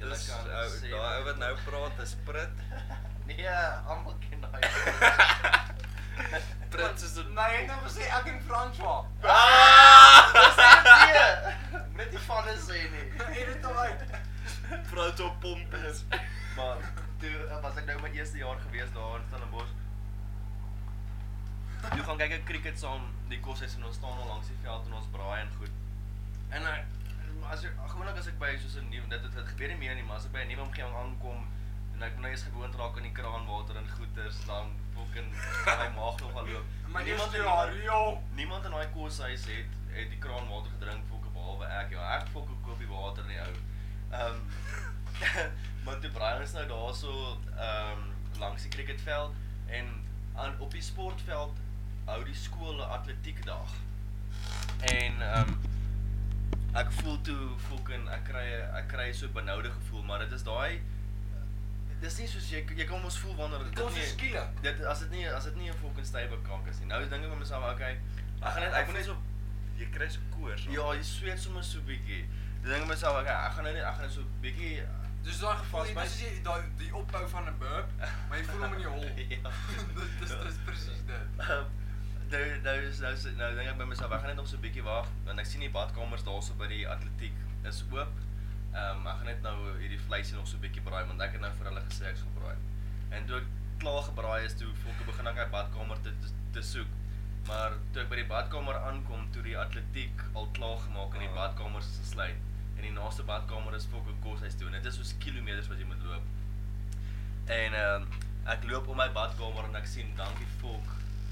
julle Dis kan ou sê daai ou wat nou praat is Prit. Nee, almal ken daai. Prins is een- Maar jy het nou gesê ek en François. Ah! Nee. Net die vanne sê nie. Jy het dit al uit. Praat op pomp is. Maar toe eh, was ek nou my eerste jaar gewees daar in Stellenbosch. Toe gaan kyk ek cricket saam die koshuis en ons staan al langs die veld en ons braai en goed. En eh, as ek gewoonlik as ek by soos 'n nuwe dit dit dit gebeur nie meer nie, maar as ek by 'n nuwe omgewing aankom en ek moet nou eers gewoond raak aan die kraanwater en goeters dan fucking gaan my maag nogal loop. Maar En jy niemand was in daar, die- jo. Niemand in daai koshuis het het die kraanwater gedrink fokke behalwe ek. Ja, ek fokke koop die water nie ou. Ehm maar toe Brian is nou daarso ehm langs die cricketveld en aan op die sportveld hou die skool 'n atletiekdag. En ehm ek voel toe fokin ek kry 'n- ek kry so 'n benoude gevoel, maar dit is daai dis nie soos jy jy kan mos voel wanneer Dit kom so nie- skielik. Dit as dit nie as dit nie 'n fucking stywe kak is nie. Nou dink ek met myself, okay, ek gaan net ek moet net so jy kry so koors. ja, jy sweet sommer so bietjie. Dan dink ek met myself, okay, ek gaan nou net ek gaan net so bietjie Dis daai Dus gevoel, Pas jy- by. dis as jy daai die opbou van 'n burp, maar jy voel hom in die hol. Ja. Dis dis dis presies dit. Ehm, nou nou is nou sit- nou dink ek by myself, ek gaan net nog so 'n bietjie wag want ek sien die badkamers daarso by die atletiek is oop. Ehm um, ek vleisie nog so 'n bietjie braai want ek het nou vir hulle gesê ek sal braai. En toe ek klaar gebraai is, toe fokke begin ek uit badkamer te, te te soek. Maar toe ek by die badkamer aankom, toe die atletiek al klaar gemaak en die Ah. badkamers is gesluit. En die naaste badkamer is fokke koshuis toe en dit is soos kilometers wat jy moet loop. En ehm ek loop om my badkamer en ek sien dankie fok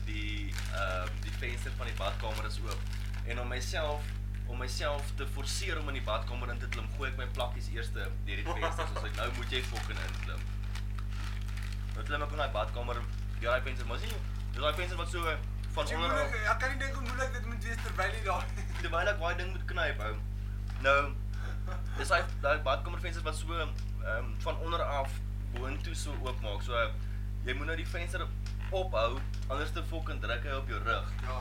die ehm die venster van die badkamer is oop. En om myself om myself te forceer om in die badkamer in te klim, gooi ek my plakkies eers deur die venster soos ek nou moet jy fucking inklim. Nou klim ek in daai badkamer, ja daai venster, maar sien jy, dis daai venster wat so van onder af- Ek kan nie dink hoe moeilik dit moet wees terwyl jy daar terwyl ek daai ding moet knyp ou. Nou dis daai daai badkamervensters wat so ehm um, van onder af boontoe so oopmaak. So jy moet nou die venster ophou anders te fucking druk hy op jou rug. Ja.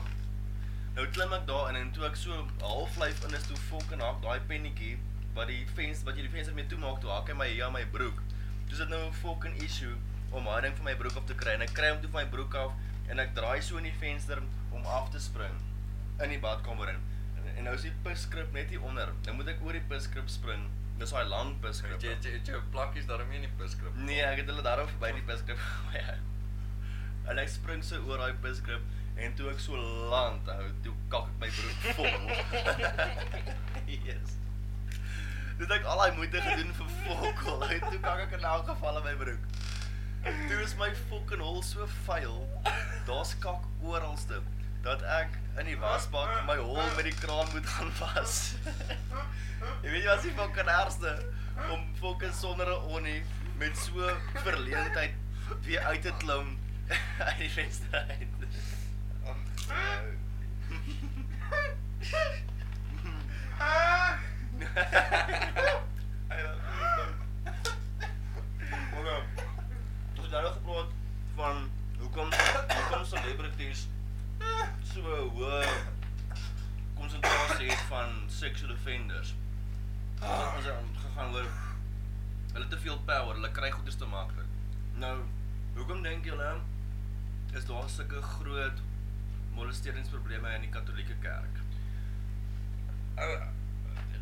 Nou klim ek daarin en toe ek so half lyf in is toe fucking hak daai pennetjie wat die venster wat jy die venster mee toemaak toe hak hy my hier aan my broek. Dis dit nou 'n fucking issue om daai ding van my broek af te kry en ek kry hom toe van my broek af en ek draai so in die venster om af te spring in die badkamer in. En, en nou is die pisskrip net hier onder. Nou moet ek oor die pisskrip spring. Dis daai lang pisskrip. Het jy het jy- het jou plakkies daarmee in die piskrip. Nee, ek het hulle daarom verby die piskrip gegooi. En ek spring so oor daai piskrip en toe ek so land hou, toe kak ek my broek vol. yes. Dit ek al daai moeite gedoen vir fokol. En toe kak ek in elk geval in my broek. Toe is my fucking hol so vuil. Daar's kak oralste dat ek in die wasbak my hol met die kraan moet gaan was. Jy weet jy was die fucking ergste om fucking sonder 'n onnie met so verleentheid weer uit te klim uit die venster uit. Ah. Okay. nou, Ons het nou gepraat van hoekom hoekom celebrities so hoë konsentrasie het van sexual offenders. Ons het aan gegaan oor hulle te veel power, hulle kry goeders te maklik. Nou, hoekom dink julle is daar sulke groot molesteringsprobleme in die Katolieke Kerk? Ou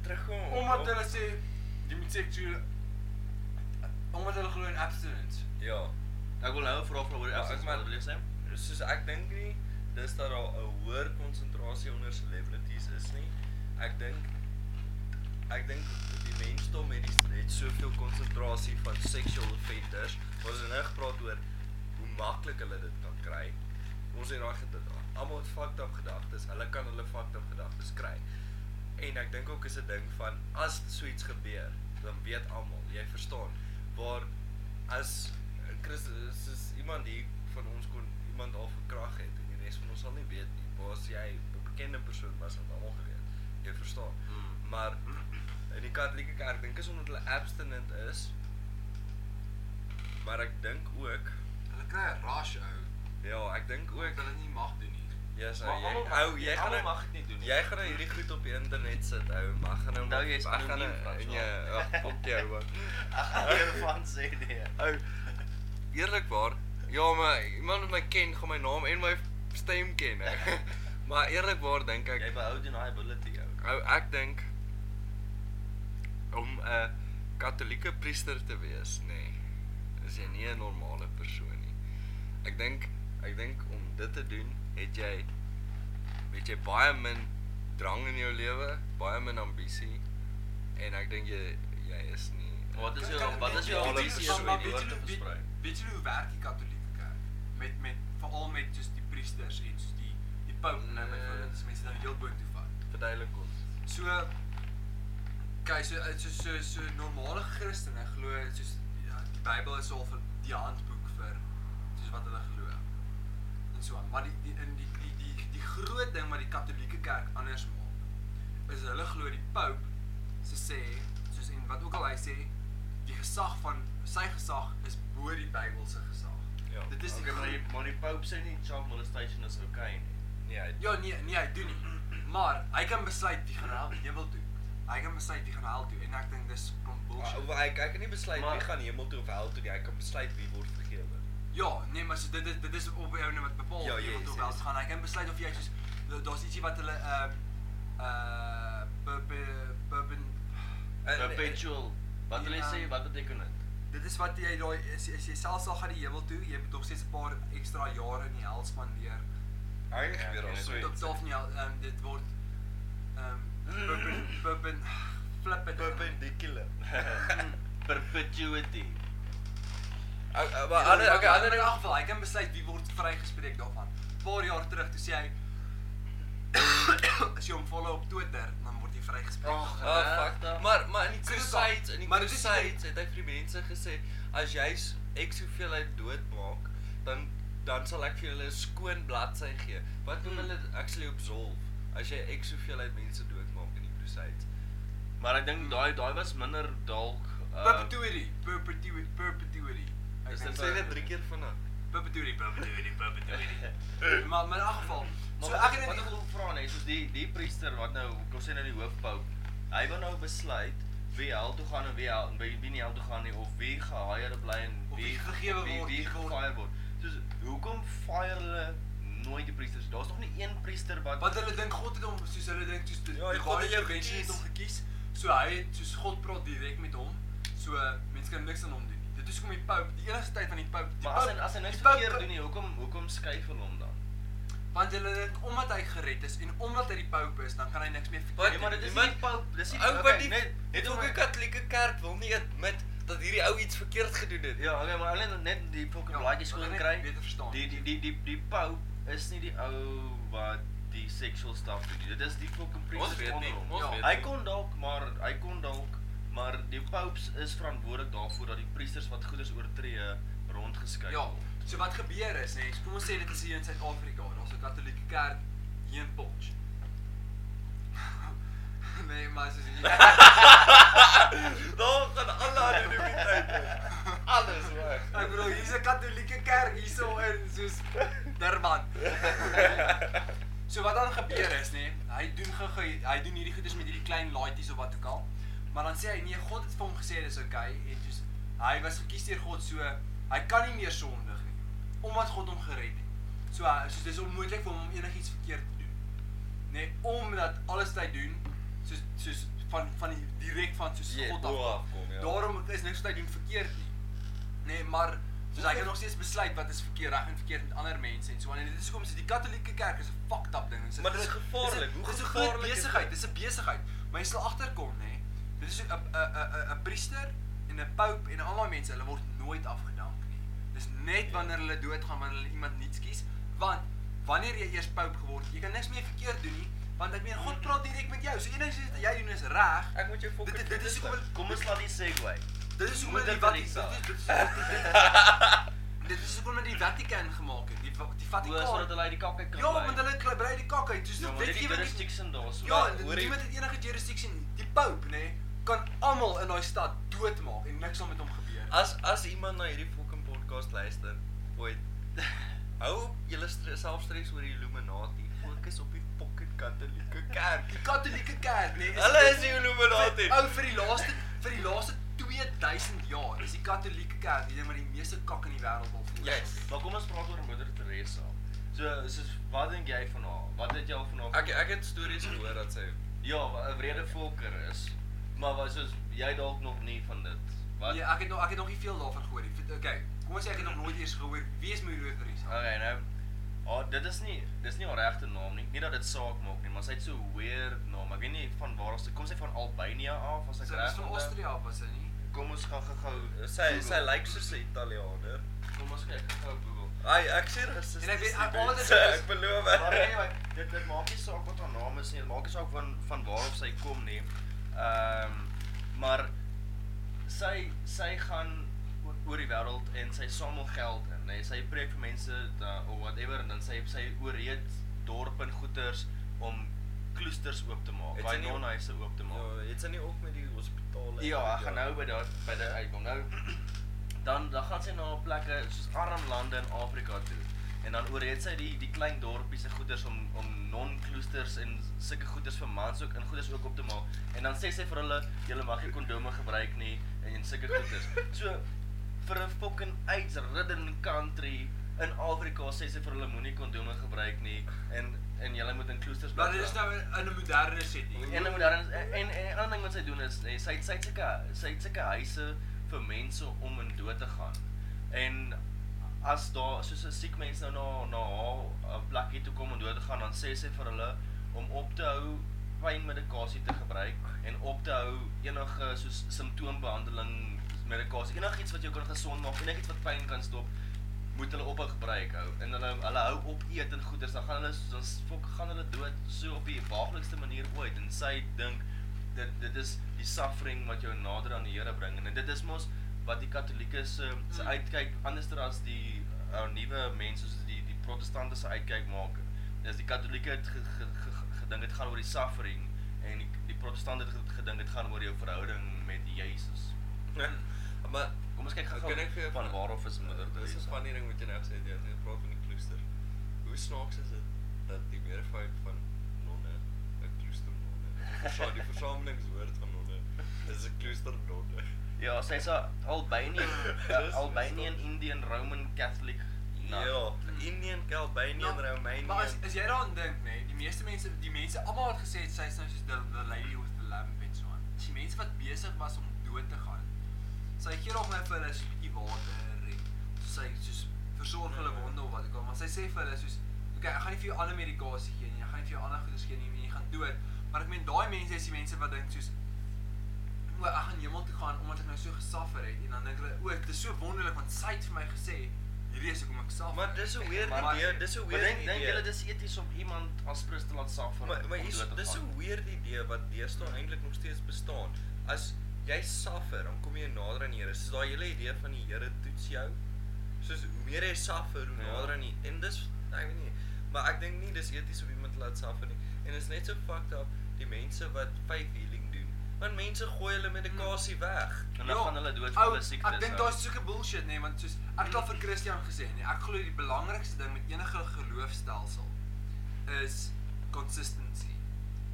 terugkom. Omdat hulle sê jy moet seksueel omdat hulle glo in abstinence. ja, Ek wil nou 'n vraag vra oor die Ja, ek afsig maar- wat hulle sê. soos ek dink nie dis dat daar 'n hoër konsentrasie onder celebrities is nie. Ek dink ek dink die mensdom het die het soveel konsentrasie van sexual offenders. Ons het nou gepraat oor hoe maklik hulle dit kan kry. Ons het daai gedagte, almal het fucked up gedagtes. Hulle kan hulle fucked up gedagtes kry. En ek dink ook is 'n ding van as so iets gebeur, dan weet almal, jy verstaan. Waar as Christus is iemand hier van ons kon iemand al verkrag het en die res van ons sal nie weet nie. Waar's jy 'n bekende persoon was wat almal geweet. Jy verstaan. Mm. Maar in die Katolieke Kerk dink is omdat hulle abstinent is. Maar ek dink ook Hulle kry 'n rush ou. ja, ek dink ook Ook hulle nie mag doen nie. Ja, so Maar jy almal mag ou, dit jy nie, gaan almal nou- mag dit nie doen nie. Jy gaan nou hierdie goed op die internet sit, ou. Mag gaan nou Onthou, jy is ek gaan nou anoniem, François. en jy ag pop jou ou. Ek gaan nie van sê nee. Ou, eerlikwaar, ja, maar iemand wat my ken, gaan my naam en my stem ken. Ou. Maar eerlikwaar dink Jy ek behou deniability ou. ou ek dink om 'n Katolieke priester te wees, nê. Nee, is jy nie 'n normale persoon nie. Ek dink ek dink om dit te doen, het jy weet jy baie min drang in jou lewe, baie min ambisie en ek dink jy jy is nie Wat is jou Kan- wat is jou normale weet jy- ambisie persoon om maar die weet woord jy te hoe- weet- versprei? Weet jy hoe werk die Katolieke Kerk? Met met veral met soos die priesters en soos die die pope nou Nee. byvoorbeeld, as mense nou heel boontoe vat. verduidelik ons. So kyk so uh, so so so normale Christene glo soos ja, die Bybel is al vir die handboek vir soos wat hulle glo. En so aan. Maar die, die in die die die die groot ding wat die Katolieke Kerk anders maak is hulle glo die Pope se sê soos en wat ook al hy sê die gesag van sy gesag is bo die Bybelse gesag. Ja. Dit is die Okay, maar die groot- maar die Pope sê nie child molestation is okay nie. Nee, hy Ja nee, nee, hy doen nie. Maar hy kan besluit wie gaan hel hemel toe. Hy kan besluit wie gaan hel toe en ek dink dis kom Ou, bullshit. Ah, hy hy kan nie besluit Maar- wie gaan hemel toe of hel toe nie. Hy kan besluit wie word vergewe. Ja, nee, maar so dit is dit is op jou nou wat bepaal Ja, of yes, jy wil toe yes. wel gaan. Hy kan besluit of jy soos da- daar's ietsie wat hulle eh, ehm uh, uh bourbon En- Perpetual Wat wil jy Ja. sê? Wat beteken dit? Dit is wat jy daai as, as jy selfs al gaan die hemel toe, jy moet nog steeds 'n paar ekstra jare in die hel spandeer. Hy Ja, gebeur en al dit so is Tot iets. Sweet. self nie ehm dit word ehm um, perpen flip it. Perpendicular. Ja. Perpetuity. Ou- Maar Ah, Ja, Maar ander ander okay, ander in okay, elk geval, hy kan besluit wie word vrygespreek daarvan. 'n Paar jaar terug toe sê hy as jy hom follow op Twitter, dan word jy vrygespreek. Ag, daarvan. Ah, fuck. Maar maar in die Dit is crusades, al- in die Ja. maar dit is crusades het hy vir die mense gesê as jy s- ek soveel uit dood maak, dan dan sal ek vir julle 'n skoon bladsy gee. Wat noem Hmm. hulle dit actually absolve? As jy ek soveel uit mense doodmaak in die crusades. Maar ek Hmm. dink daai daai was minder dalk uh, perpetuity, perpetuity, perpetuity. Ek Is dink eh, dit so. sê dit drie keer vinnig. perpetuity, perpetuity, perpetuity. maar maar in elk geval, Maar so wat ek ek het wat ek net wil vra net soos die die priester wat nou kom sê nou die hoofpaup. Hy wil nou besluit wie hel toe gaan en wie hel wie, wie nie hel toe gaan nie of wie gehaier bly en Of wie gegewe wie, word, wie wie word- gefire word. Soos hoekom fire hulle nooit die priesters? Daar's nog nie een priester wat wat hulle dink God het hom soos hulle dink soos Ja, die God het jou gekies. het hom gekies. So hy het soos God praat direk met hom. So mense kan niks aan hom doen. nie. Dit is hoekom die Pope, die enigste tyd van die Pope, die maar as Pope- hy as hy niks die Pope- verkeerd doen nie, hoekom hoekom skuif hulle hom dan? Want hulle dink omdat hy gered is en omdat hy die Pope is, dan kan hy niks meer Ja, Wat- Nee, maar dit is iemand- nie paup, dis nie Ou wat die net het ook 'n Katolieke kerk wil nie admit dat hierdie ou iets verkeerd gedoen het. Ja, okay, maar alleen net die fucking Ja, blaadjies wat skoon ek kry. beter verstaan. Die die die die die paup is nie die ou wat die sexual stuff doen. nie. Dit is die fucking Ons priesters weet onder nie. hom. Ons Ja. weet. Hy nie. kon dalk maar hy kon dalk maar die paus is verantwoordelik daarvoor dat die priesters wat goeders oortree rondgeskuif Ja, word. so wat gebeur is, nee, kom ons sê dit is hier in Suid-Afrika, daar's 'n Katolieke kerk hier in Potch. nee, maar soos jy Daar gaan alle anonimiteit. Alles weg. Ek bedoel, hier's 'n Katolieke kerk hierso in soos Durban. so wat dan gebeur is, nê, hy doen gou hy doen hierdie goeders met hierdie klein laaitjies of wat ook al. Maar dan sê hy nee, God het vir hom gesê dis oukei en soos hy was gekies deur God so hy kan nie meer sondig nie omdat God hom gered het. So hy- soos dis onmoontlik vir hom om enigiets verkeerd te doen. Nê, omdat alles wat hy doen soos soos van van die direk van soos Ja, God bo af. afkom, ja. Daarom is niks wat hy doen verkeerd nie. Nee, maar soos hy kan nog steeds besluit wat is verkeerd reg en verkeerd met ander mense en so aan. En dit is hoekom so die Katolieke Kerk is 'n fucked up ding. Maar dit is gevaarlik. Hoe Dis 'n groot gevaarlik is dit? besigheid. Dis 'n besigheid. Maar jy sal agterkom, nê. Dit is ook 'n 'n 'n- 'n 'n priester en 'n pope en al daai mense, hulle word nooit afgedank nie. Dis Ja. net wanneer hulle doodgaan wanneer hulle iemand niets kies, want wanneer jy eers pope geword het, jy kan niks meer verkeerd doen nie, want ek meen Mm. God praat direk met jou. So enigsins wat jy doen is reg. Ek moet jou Dit- fucking dit- dit is hoekom Kom ons laat die segue. Dit is hoekom Moet hulle dit die van Vatikaan die saak. dit is dit is hoekom hulle die Vatikaan gemaak het. Die Va- die Hoe is dat Vatikaan. hulle uit die kak uit kan Ja, want hulle kla- brei die kak uit. Soos Ja, dit maar dit is wetgewing. jurisdiction daarso. Ja, en hoor jy- niemand het enige jurisdiksie nie. Die Pope, nê, kan almal in daai stad doodmaak en niks aan met hom gebeur. As as iemand na hierdie fucking podcast luister, ooit hou op julle stre- self stres oor die Illuminati. Fokus op die fucking Katolieke kerk. Die Katolieke Kerk, nê, Hulle is die Illuminati. Ou vir die laaste vir die laaste 2000 jaar is die Katolieke Kerk die ding wat die meeste kak in die wêreld wil voer. Yes. Maar kom ons praat oor Moeder Teresa. So, soos wat dink jy van haar? Wat het jy al van haar? Ek ek het stories gehoor dat sy Ja, 'n wrede volker is. Maar was soos jy dalk nog nie van dit. Wat? Nee, ek het nog ek het nog nie veel daarvan gehoor nie. Vind- Okay, kom ons sê ek het nog nooit eers gehoor wie is Moeder Teresa? Okay, nou. Oh, dit is nie dis nie haar regte naam nie. Nie dat dit saak maak nie, maar sy het so 'n weird naam. Ek weet nie van waar sy kom sy van Albanië af as ek Sy reg was van onthou? Austria af was sy nie? Kom ons gaan gou-gou sy sy Google. lyk soos 'n Italiaaner. Kom ons kyk gou Google. Hy ek sê rassisties. En ek weet- nie, ek- al wat mense, ek weet is- ek beloof. Maar anyway, dit dit maak nie saak wat haar naam is nie. Dit maak nie saak van van waar af sy kom nie. Ehm maar sy sy gaan oor- oor die wêreld en sy samel geld in, nê. Sy preek vir mense da, of whatever en dan sy sy ooreed dorpe en goeters om kloosters oop te maak, Het sy baie nie- nonhuise oop te maak. Ja, het sy nie ook met die hospitale. Ja, ek gaan nou by daai by daai uitkom. Nou dan dan gaan sy na plekke soos arm lande in Afrika toe. En dan oorreed sy die die klein dorpies se goeders om om non-kloosters en sulke goeders vir mans ook in goeders ook op te maak. En dan sê sy vir hulle, julle mag nie kondome gebruik nie en sulke goeders. So vir 'n fucking AIDS-ridden country in Afrika sê sy vir hulle moenie kondome gebruik nie en en jy moet in kloosters Maar dit is nou in ja. in 'n moderne setting. en dan moet daar en en 'n ander ding wat sy doen is eh, sy het- sy het sulke sy het sulke huise vir mense om in dood te gaan. En as daar soos 'n siek mens nou na na haar eh, plekkie toe kom om dood te gaan, dan sê sy vir hulle om op te hou pynmedikasie te gebruik en op te hou enige soos simptoombehandeling medikasie, enigiets wat jou kan gesond maak, enigiets wat pyn kan stop moet hulle op 'n gebruik hou en hulle hulle hou op eet en goeders dan gaan hulle s- dan s- fok gaan hulle dood so op die waaglikste manier ooit en sy dink dit dit is die suffering wat jou nader aan die Here bring en dit is mos wat die Katolieke se se Mm. uitkyk anderster as die uh, nuwe mense soos die die Protestante se uitkyk maak is die Katolieke het ge, ge, ge, ge- gedink dit gaan oor die suffering en die, die Protestante het ge- gedink dit gaan oor jou verhouding met Jesus. Ja, maar Kom ons kyk gou-gou Kan ek vir van waarof is moeder Dis 'n Teresa. funny ding wat jy nou gesê het, jy het gepraat van die klooster. Hoe snaaks is dit dat die meervoud van nonne 'n klooster nonne. Verstaan die versamelingswoord van nonne is 'n klooster nonne. Ja, sy's 'n Albanian Dis- Albanian Indian Roman Catholic. nun. Ja, Indian, Albanian, Romanian. Nou, Ja. Maar as as jy daaraan dink, nê, nee, die meeste mense, die mense almal wat gesê het sy is nou soos the, the lady with the lamp en so aan. Dis die mense wat besig was om dood te gaan. Sy gee nog net vir hulle so 'n bietjie water en sy soos versorg hulle Ja. wonde of wat ook al, maar sy sê vir hulle soos okay, ek gaan nie vir jou ander medikasie gee nie, ek gaan nie vir jou ander goedes gee nie, en jy gaan dood. Maar ek meen daai mense is die mense wat dink soos maar ek gaan hemel toe gaan omdat ek nou so gesuffer het en dan dink hulle o, dit is so wonderlik want sy het vir my gesê hierdie is hoekom ek suffer. Maar dis 'n weird Maar- idee, dis 'n maar weird idee. Dink dink julle dis eties om iemand as prins te laat suffer? Maar maar om hier's dood te dis gaan? 'n weird idee wat deesdae eintlik nog steeds bestaan. As jy suffer, dan kom jy nader aan die Here. Soos daai hele idee van die Here toets jou. Soos hoe meer jy suffer, hoe Ja. nader aan die en dis ek weet nie, maar ek dink nie dis eties om iemand te laat suffer nie. En dit is net so fucked up die mense wat faith healing doen. Want mense gooi hulle medikasie weg. Hmm. En dan Ja, gaan hulle dood van ou, hulle siektes. ja. Ek dink ou. daar's soeke bullshit nê, nee, want soos ek het al vir Christian gesê nê, ek glo die belangrikste ding met enige geloofstelsel is consistency.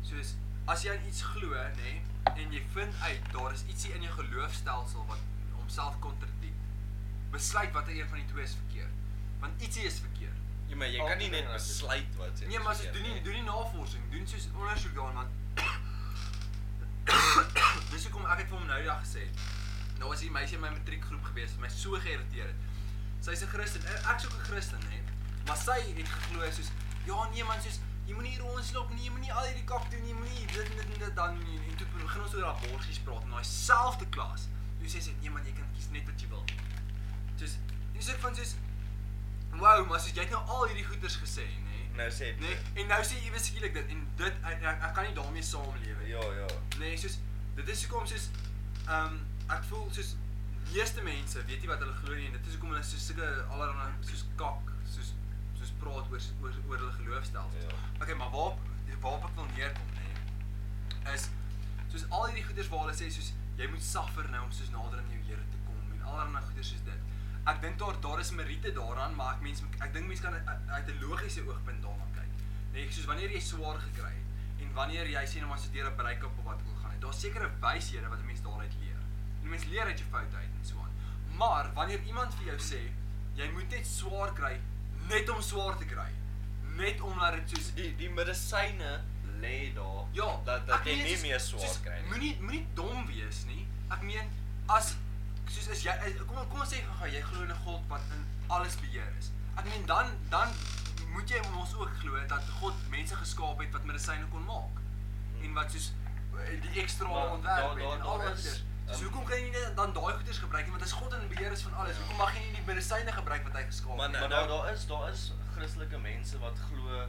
Soos as jy aan iets glo nê nee, en jy vind uit daar is ietsie in jou geloofstelsel wat homself kontradiek. Besluit watter een van die twee is verkeerd. Want ietsie is verkeerd. Ja, maar jy kan nie net besluit wat jy Nee, maar soos doen nie doen nie navorsing, doen soos ondersoek daaraan want dis hoekom ek het vir hom nou die dag gesê. Nou was hier meisie in my matriekgroep gewees wat my so geïrriteer het. Sy's 'n Christen. en Ek's ook 'n Christen, hè. Maar sy het geglo soos ja, nee man, soos jy moenie hier rondslop nie, jy moenie al hierdie kak doen nie, jy moenie dit en dit en dit dan nie. En toe begin ons oor daai borgies praat in daai selfde klas. Toe sê sy, "Nee man, jy kan kies net wat jy wil." Soos dis ek van soos wow, maar soos jy het nou al hierdie goeters gesê, nê? Nou sê het Nee, jy. en nou sê ewe skielik dit en dit ek, ek, ek kan nie daarmee saamlewe nie. Ja, ja. Nee, soos dit is hoekom soos ehm um, ek voel soos meeste mense weet nie wat hulle glo nie en dit is hoekom hulle so sulke allerlei soos kak soos soos praat oor oor, oor hulle geloofstelsels. Ja. Okay, maar waar waar ek wil neerkom nê is soos al hierdie goeders waar hulle sê soos jy moet suffer nou om soos nader aan jou Here te kom en allerlei goeders soos dit. Ek dink daar daar is meriete daaraan, maar ek mens ek dink mense kan uit- uit 'n logiese oogpunt daarna kyk. Nee, soos wanneer jy swaar gekry het en wanneer jy sien maar so deur 'n break-up of wat ook al gaan het, daar's sekere wyshede wat 'n mens daaruit leer. En 'n mens leer uit jou foute uit en so aan. Maar wanneer iemand vir jou sê jy moet net swaar kry net om swaar te kry, net omdat dit soos Die die medisyne lê daar Ja, dat dat ek jy meen, nie soos- meer swaar soos, kry nie. Moenie moenie dom wees nie. Ek meen as soos as jy is- kom kom ons sê gou-gou, jy glo in 'n God wat in alles beheer is. Ek meen dan dan moet jy mos ook glo dat God mense geskaap het wat medisyne kon maak. Hmm. En wat soos eh, die ekstra Maar ontwerp daar- het daar- en al daar daai is, goeders. Dus ehm, hoekom kan jy nie dan daai goeders gebruik nie want as God in beheer is van alles, hoekom mag jy nie die medisyne gebruik wat hy geskaap Ja. Maar het? nou- Maar daar daar is daar is Christelike mense wat glo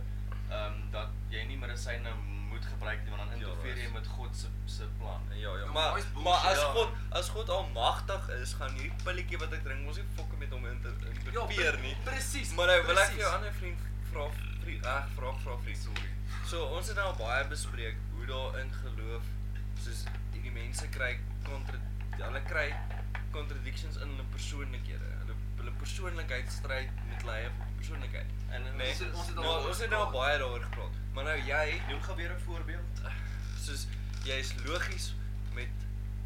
ehm dat jy nie medisyne moet gebruik nie want dan Ja, interfereer daar jy is- met God se se plan. Ja ja, Ja, maar maar hy is maar bullshit, as ja. God as God almagtig is, gaan hierdie pilletjie wat ek drink mos nie fokke met hom in te Ja, pre- interfereer nee, nie. presies, Maar nou wil ek presies. vir jou ander vriend vra vriend, ag vra vra vriend sorry. So ons het nou baie bespreek hoe daar in geloof soos hierdie mense kry kontra hulle kry contradictions in hulle persoonlikhede. Hulle hulle persoonlikheid stryd met hulle eie persoonlikheid. En Nee, ons het- ons het al nou, daaroor ons het nou gepraat. baie daaroor gepraat. Maar nou jy Noem gou weer 'n voorbeeld. soos jy is logies met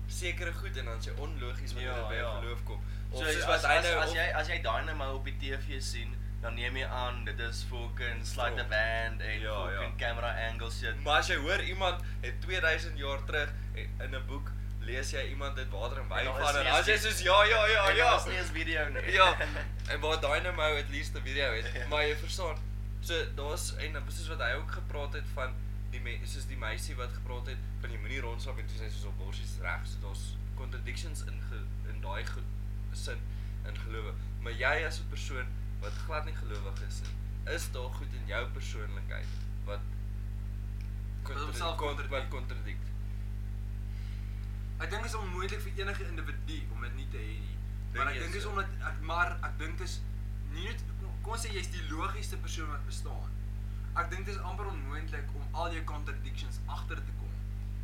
sekere goed en dan is jy onlogies wanneer Ja, dit by jou ja. geloof kom. Of So soos as, wat hy nou as, of- as jy as jy Dynamo op die TV sien dan neem jy aan dit is fucking slide the Klop. band en Ja, ja. fucking camera angles shit. Maar as jy hoor iemand het 2000 jaar terug eh, in 'n boek lees jy iemand dit water en wyn dan is van en nie eens as jy die- soos ja ja ja En ja. daar is nie eens video nie. Ja. En waar Dynamo at least 'n video het, Ja. maar jy verstaan. So daar's en soos wat hy ook gepraat het van die me- soos die meisie wat gepraat het van jy moenie rondstap en toe sê soos op borsies reg. So daar's contradictions in ge, in daai ge- sin in gelowe. Maar jy as 'n persoon wat glad nie gelowig is nie, is daar goed in jou persoonlikheid wat Wat homself kontra- wat contradict. kontradikt. Ek dink dit is onmoontlik vir enige individu om dit nie te hê nie. Maar Dink ek jy dink so? is omdat ek maar ek dink dis nie net kom ons sê jy's die logiesste persoon wat bestaan. Ek dink dit is amper onmoontlik om al jou contradictions agter te kom.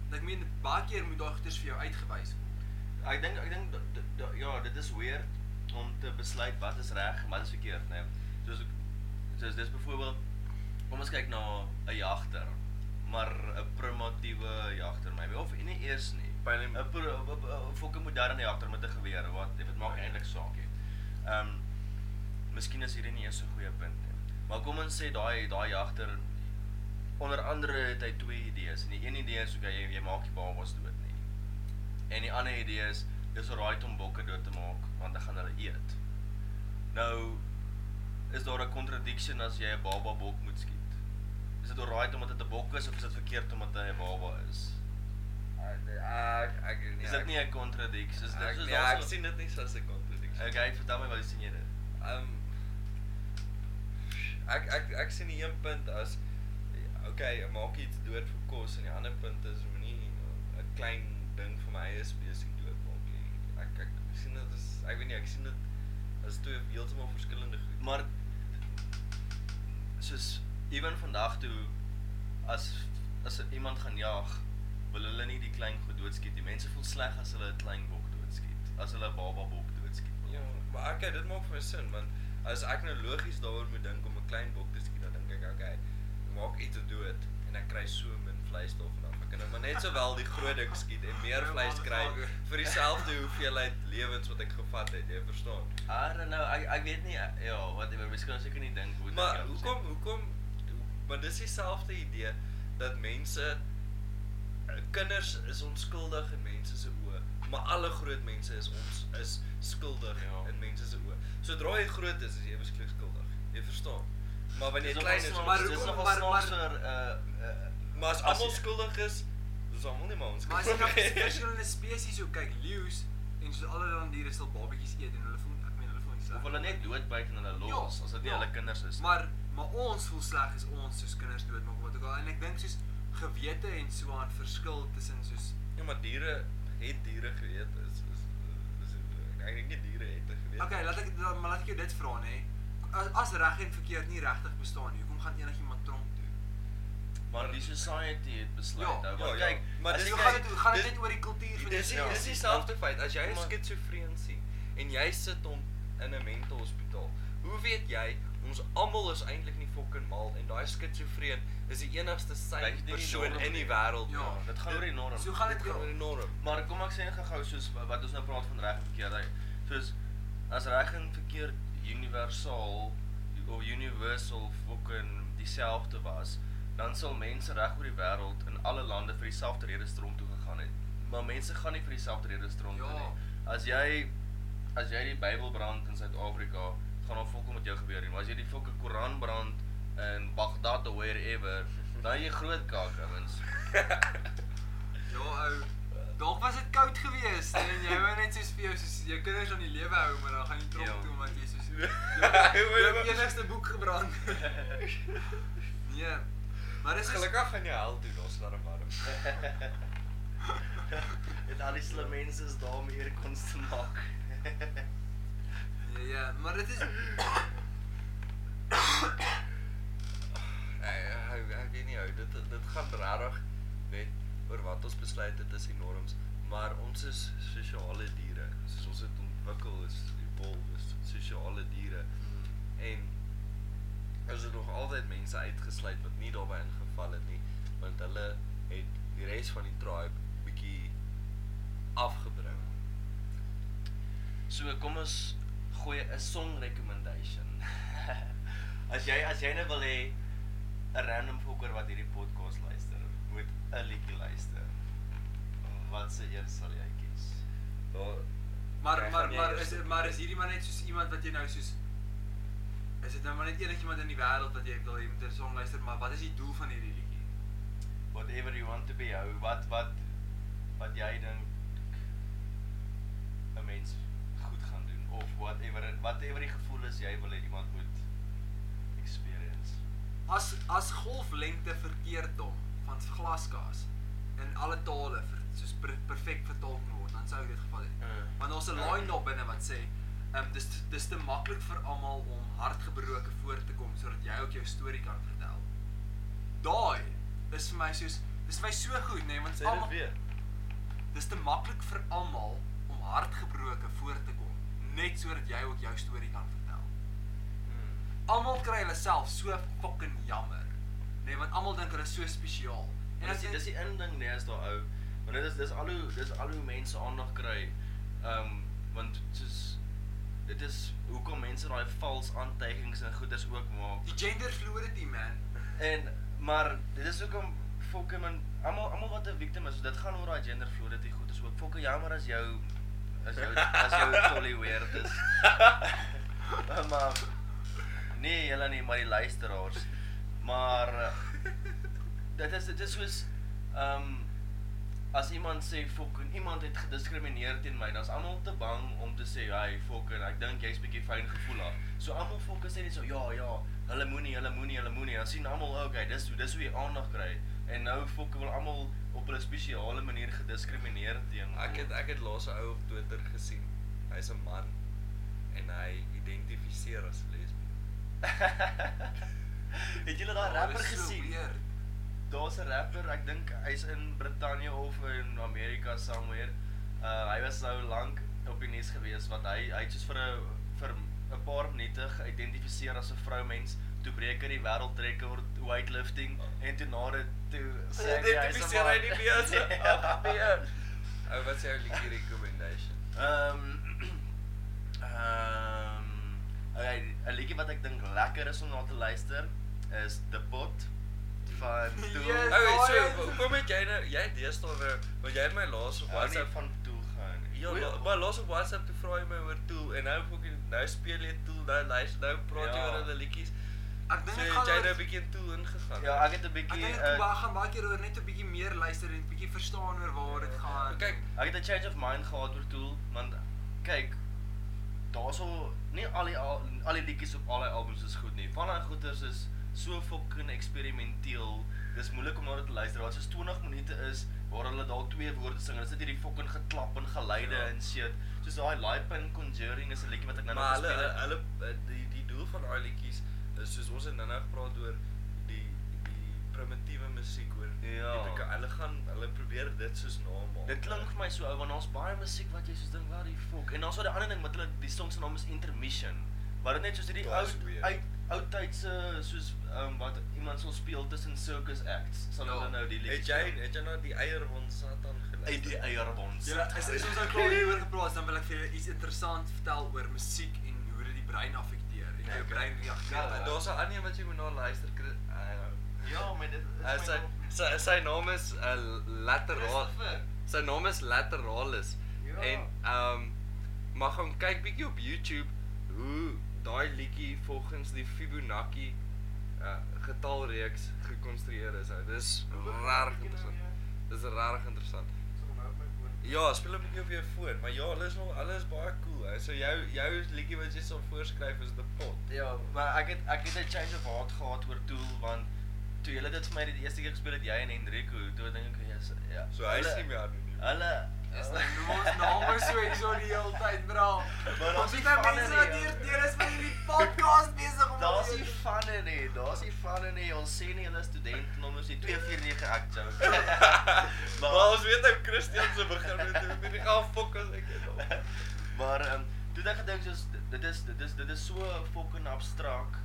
Want Ek meen baie keer moet daai goeters vir jou uitgewys word. Ek dink ek dink dat- dat- dat- ja, dit is weird om te besluit wat is reg en wat is verkeerd, né? Nee. Soos soos dis byvoorbeeld kom ons kyk na 'n jagter, maar 'n primatiewe jagter, maybe of nie eers nie. By 'n- 'n pro- 'n- 'n- 'n fucking moderne jagter met 'n geweer, wat dit maak eintlik saak nie. Ehm Miskien is hierdie nie eens so 'n goeie punt nie. Maar kom ons sê daai daai jagter onder andere het hy twee idees. En die een idee is okay, jy, jy maak die babas dood nie. En die ander idee is dis alright om bokke dood te maak want dan gaan hulle eet. Nou is daar 'n contradiction as jy 'n baba bok moet skiet. Is dit alright omdat dit 'n bok is of is dit verkeerd omdat hy 'n baba is? nee, Ek Ja, ek Is dit nie 'n contradiction? Is dit Ek- soos nee, daar ek so- sien dit nie so as 'n contradiction. Okay, vertel my wat sien jy dit? Ehm ek ek ek sien die een punt as okay, maak iets dood vir kos en die ander punt is moenie 'n klein ding vir my eie spesies doodmaak nie. Ek ek sien dit as ek weet nie, ek sien dit as twee heeltemal verskillende goed. Maar soos ewen vandag toe as as iemand gaan jag, wil hulle nie die klein goed doodskiet nie. Mense voel sleg as hulle 'n klein bok doodskiet, as hulle 'n baba bok doodskiet. Ja, maar okay, dit maak vir my sin want as ek nou logies daaroor moet dink om 'n klein bok te skiet, dan dink ek okay, maak iets te dood en ek kry so min vleis daarvan af. Ek kan nou maar net sowel die groot ding skiet en meer vleis kry vir dieselfde hoeveelheid lewens wat ek gevat het, jy verstaan. I don't know. Ek ek weet nie eh, ja, wat ek miskien seker nie dink hoe dit Maar jou hoekom sê. hoekom maar dis dieselfde idee dat mense eh, kinders is onskuldig in mense se oë, maar alle groot mense is ons is skuldig Ja. ja. in mense se oë. Sodra jy groot is, is jy beslis skuldig. Jy verstaan. Maar wanneer Dis jy nogal klein is, snaaks, maar dis hoekom- nogal maar- maar- snaakser, eh, eh, maar as as almal jy- skuldig is, is almal nie maar ons Maar as jy na skuldig. verskillende spesies ook kyk, leeu's en soos allerlei diere sal babatjies eet en hulle voel ek meen hulle voel nie sleg. Of hulle net doodbyt en hulle Ja. los as dit nie hulle kinders is nie. Ja. Maar maar ons voel sleg as ons soos kinders doodmaak wat ook al en ek dink soos gewete en so aan verskil tussen soos Ja, maar diere het diere geweet is is, is, is ek dink nie diere het dit geweet. Okay, laat ek dan maar laat ek jou dit vra nê. As, as reg en verkeerd nie regtig bestaan nie, hoekom gaan enigiemand tronk toe? maar die society het besluit. Ja, ou, ja, want ja. kyk, Maar as dis jy hoe kyk, gaan dit kyk- hoe gaan dit dis- net oor die kultuur van Dis Ja. die- dis dieselfde feit as jy Maar- skitsofreen sien en jy sit hom in 'n mentalhospitaal. Hoe weet jy ons almal is eintlik nie fucking mal en daai skitsofreen is die enigste Lyk syn dit nie die persoon norm in die nie? wêreld. Ja, dit gaan oor die norm. So gaan dit gaan ja. oor die norm. Maar kom ek sê net gou soos wat ons nou praat van reg en verkeerd. Soos as reg en verkeerd universaal of universal fucking dieselfde was, dan sal mense reg oor die wêreld in alle lande vir dieselfde rede strom toe gegaan het. Maar mense gaan nie vir dieselfde rede strom toe Ja. nie. As jy as jy die Bybel brand in Suid-Afrika, gaan hom fucking met jou gebeur nie. Maar as jy die fucking Koran brand in Baghdad of wherever, dan jy groot kak, ouens. Ja, ou. Dalk was dit koud geweest en jy wou net soos vir jou soos jou kinders aan die lewe hou, maar dan gaan jy tronk Ja. toe omdat jy soos Jy jou, jou enigste boek gebrand. nee. Maar dis is gelukkig gaan jy hel toe, daar's darm warm. Dit al die slim mense is daar om hier kons te maak. Ja, ja, maar dit is Ek ek- ek weet nie ou, dit dit gaan regtig net oor wat ons besluit het is die norms, maar ons is sosiale diere. Soos ons het ontwikkel is evolve is sosiale diere. en is er nog altyd mense uitgesluit wat nie daarbey ingeval het nie want hulle het die res van die tribe bietjie afgebring. So kom ons gooi 'n song recommendation. As jy as jy nou wil hê 'n random fokker wat hierdie podcast luister, moet 'n liedjie luister. Wat se een sal jy kies? Daar Maar Kry maar van jy maar eers is op- maar is hierdie maar net soos iemand wat jy nou soos is dit nou maar net enigiemand in die wêreld wat jy wil hê moet 'n song luister, maar wat is die doel van hierdie liedjie? Whatever you want to be, ou, wat wat wat jy dink 'n mens goed gaan doen of whatever whatever die gevoel is jy wil hê iemand moet experience. As as golflengte verkeerd dom van glaskaas in alle tale ver, soos per, perfek vertaal kan word, dan sou ek dit geval het. Mm. Want daar's 'n line daar binne wat sê, ehm um, dis te- dis te maklik vir almal om hartgebroke voor te kom sodat jy ook jou storie kan vertel. Daai is vir my soos dis vir my so goed, nee, want Sê almal dit weer. Dis te maklik vir almal om hartgebroke voor te kom, net sodat jy ook jou storie kan vertel. Mm. Almal kry hulle self so fucking jammer. Nee, want almal dink hulle is so spesiaal. En dis as die- jy- dis die inding nee is daar ou. Want dit is dis al hoe dis al hoe mense aandag kry. Ehm um, want soos dit is hoekom mense daai vals aanteigings en goeders ook maak. die gender fluidity man. En maar dit is hoekom fucking man almal almal wat 'n victim is, dit gaan oor daai gender fluidity goed. Dit is ook fucking jammer as jou as jou as jou tolly weird is. maar nee, julle nie, maar die luisteraars. Maar eh, dit is dit is soos ehm um, as iemand sê fucking iemand het gediskrimineer teen my, dan's almal te bang om te sê, "Hey fucking, ek dink jy's bietjie fyn gevoel daar." So almal fucking sê net so, "Ja, ja, hulle moenie, hulle moenie, hulle moenie." Dan sien almal, "Okay, dis hoe dis hoe jy aandag kry." En nou fucking wil almal op 'n spesiale manier gediskrimineer teen. Ek het ek het laas 'n ou op Twitter gesien. Hy's 'n man en hy identifiseer as lesbien. het julle daai rapper gesien? Daar's 'n rapper, ek dink hy's in Brittanje of in Amerika somewhere. Uh hy was nou lank op die nuus gewees wat hy hy het soos vir 'n vir 'n paar minute geïdentifiseer as 'n vroumens, toe breek hy die wêreldrekker word weightlifting en toe na dit toe hy "Ja, hy's 'n Identifiseer hy man. nie meer as 'n Ja. ag nee. Ou wat sê jou liedjie recommendation? Ehm ehm okay, 'n liedjie wat ek dink lekker is om na te luister is The Pot van Tool. Yes, Ou, daai so een. ho- hoekom het jy nou jy het deesdae nou, want jy het my laas op Wat sou WhatsApp van Tool gaan? Ja, Hoe- la- maar laas op WhatsApp toe vra jy my oor Tool en nou fucking nou speel jy Tool, nou luister, nou praat jy Ja. oor hulle liedjies. Ek dink So ek het gaan jy oor- nou 'n bietjie in Tool ingegaan. Ja, ek het 'n Ek bietjie dink eh, ek uh, gaan baie keer oor net 'n bietjie meer luister en bietjie verstaan oor waar dit gaan. Kyk, Ek het 'n change of mind gehad oor Tool, want kyk, daarso nie al die al, al die liedjies op al die albums is goed nie. Van daai goeters is so fucking eksperimenteel. Dis moeilik om na dit te luister. Daar's so 20 minute is waar hulle dalk twee woorde sing en dit sit hierdie fucking geklap en geluide Ja. ja. en shit. Soos daai Live Pin Conjuring is 'n liedjie wat ek nou nog maar hulle gespeel het. hulle eh, die die doel van daai liedjies is soos ons het nou-nou gepraat oor die die primitiewe musiek oor Ja. die beka- hulle gaan hulle probeer dit soos namal. Dit klink vir my so ou want daar's baie musiek wat jy soos dink, "Wat die fuck?" En daar's wel die ander ding wat hulle die song se naam is Intermission. Wat dit net soos hierdie ou Daar's weer. uit oudtydse soos ehm um, wat iemand sal speel tussen circus acts. Sal Ja. hulle nou die liedjie. Het jy het jy nou die eier van Satan geluister? uit die eierbond. Julle is is ons nou klaar hieroor gepraat, dan wil ek vir julle iets interessant vertel oor musiek en hoe dit die brein afekteer en hoe jou Okay. brein reageer. Ja, daar's 'n ander een wat jy moet na luister. Chris- uh, Ja, maar dit is Uh, my sy, naam. sy sy naam is uh, Lateraal. Christopher. Sy naam is Lateralis. Ja. En ehm um, maar gaan kyk bietjie op YouTube hoe daai liedjie volgens die Fibonacci uh, getalreeks gekonstrueer is. ou. Dis nou, regtig interessant. Dis regtig interessant. Ja, speel 'n bietjie op jou foon, maar ja, hulle is nog hulle is baie cool. Ou. So jou jou liedjie wat jy sal voorskryf is the pot. Ja, maar ek het ek het 'n change of heart gehad oor Tool want toe julle dit vir my die eerste keer gespeel het, jy en Henrico, toe dink ek jy's ja. So hy is Hulle- nie meer anoniem. Hulle Dis nou noem ons name so hierso die hele tyd, bra. Maar Ons daar's het die nou van mense in wat die- hier deur is met hierdie podcast besig om Daar's ons- nie van in nie, daar's nie van in nie. Ons sê nie hulle is studente en ons is die 249 ek joke. Maar ons weet hy Christian se begin met met die gaan fok as ek dit op. maar ehm um, toe het ek gedink soos dit is dit is dit is so fucking abstrakt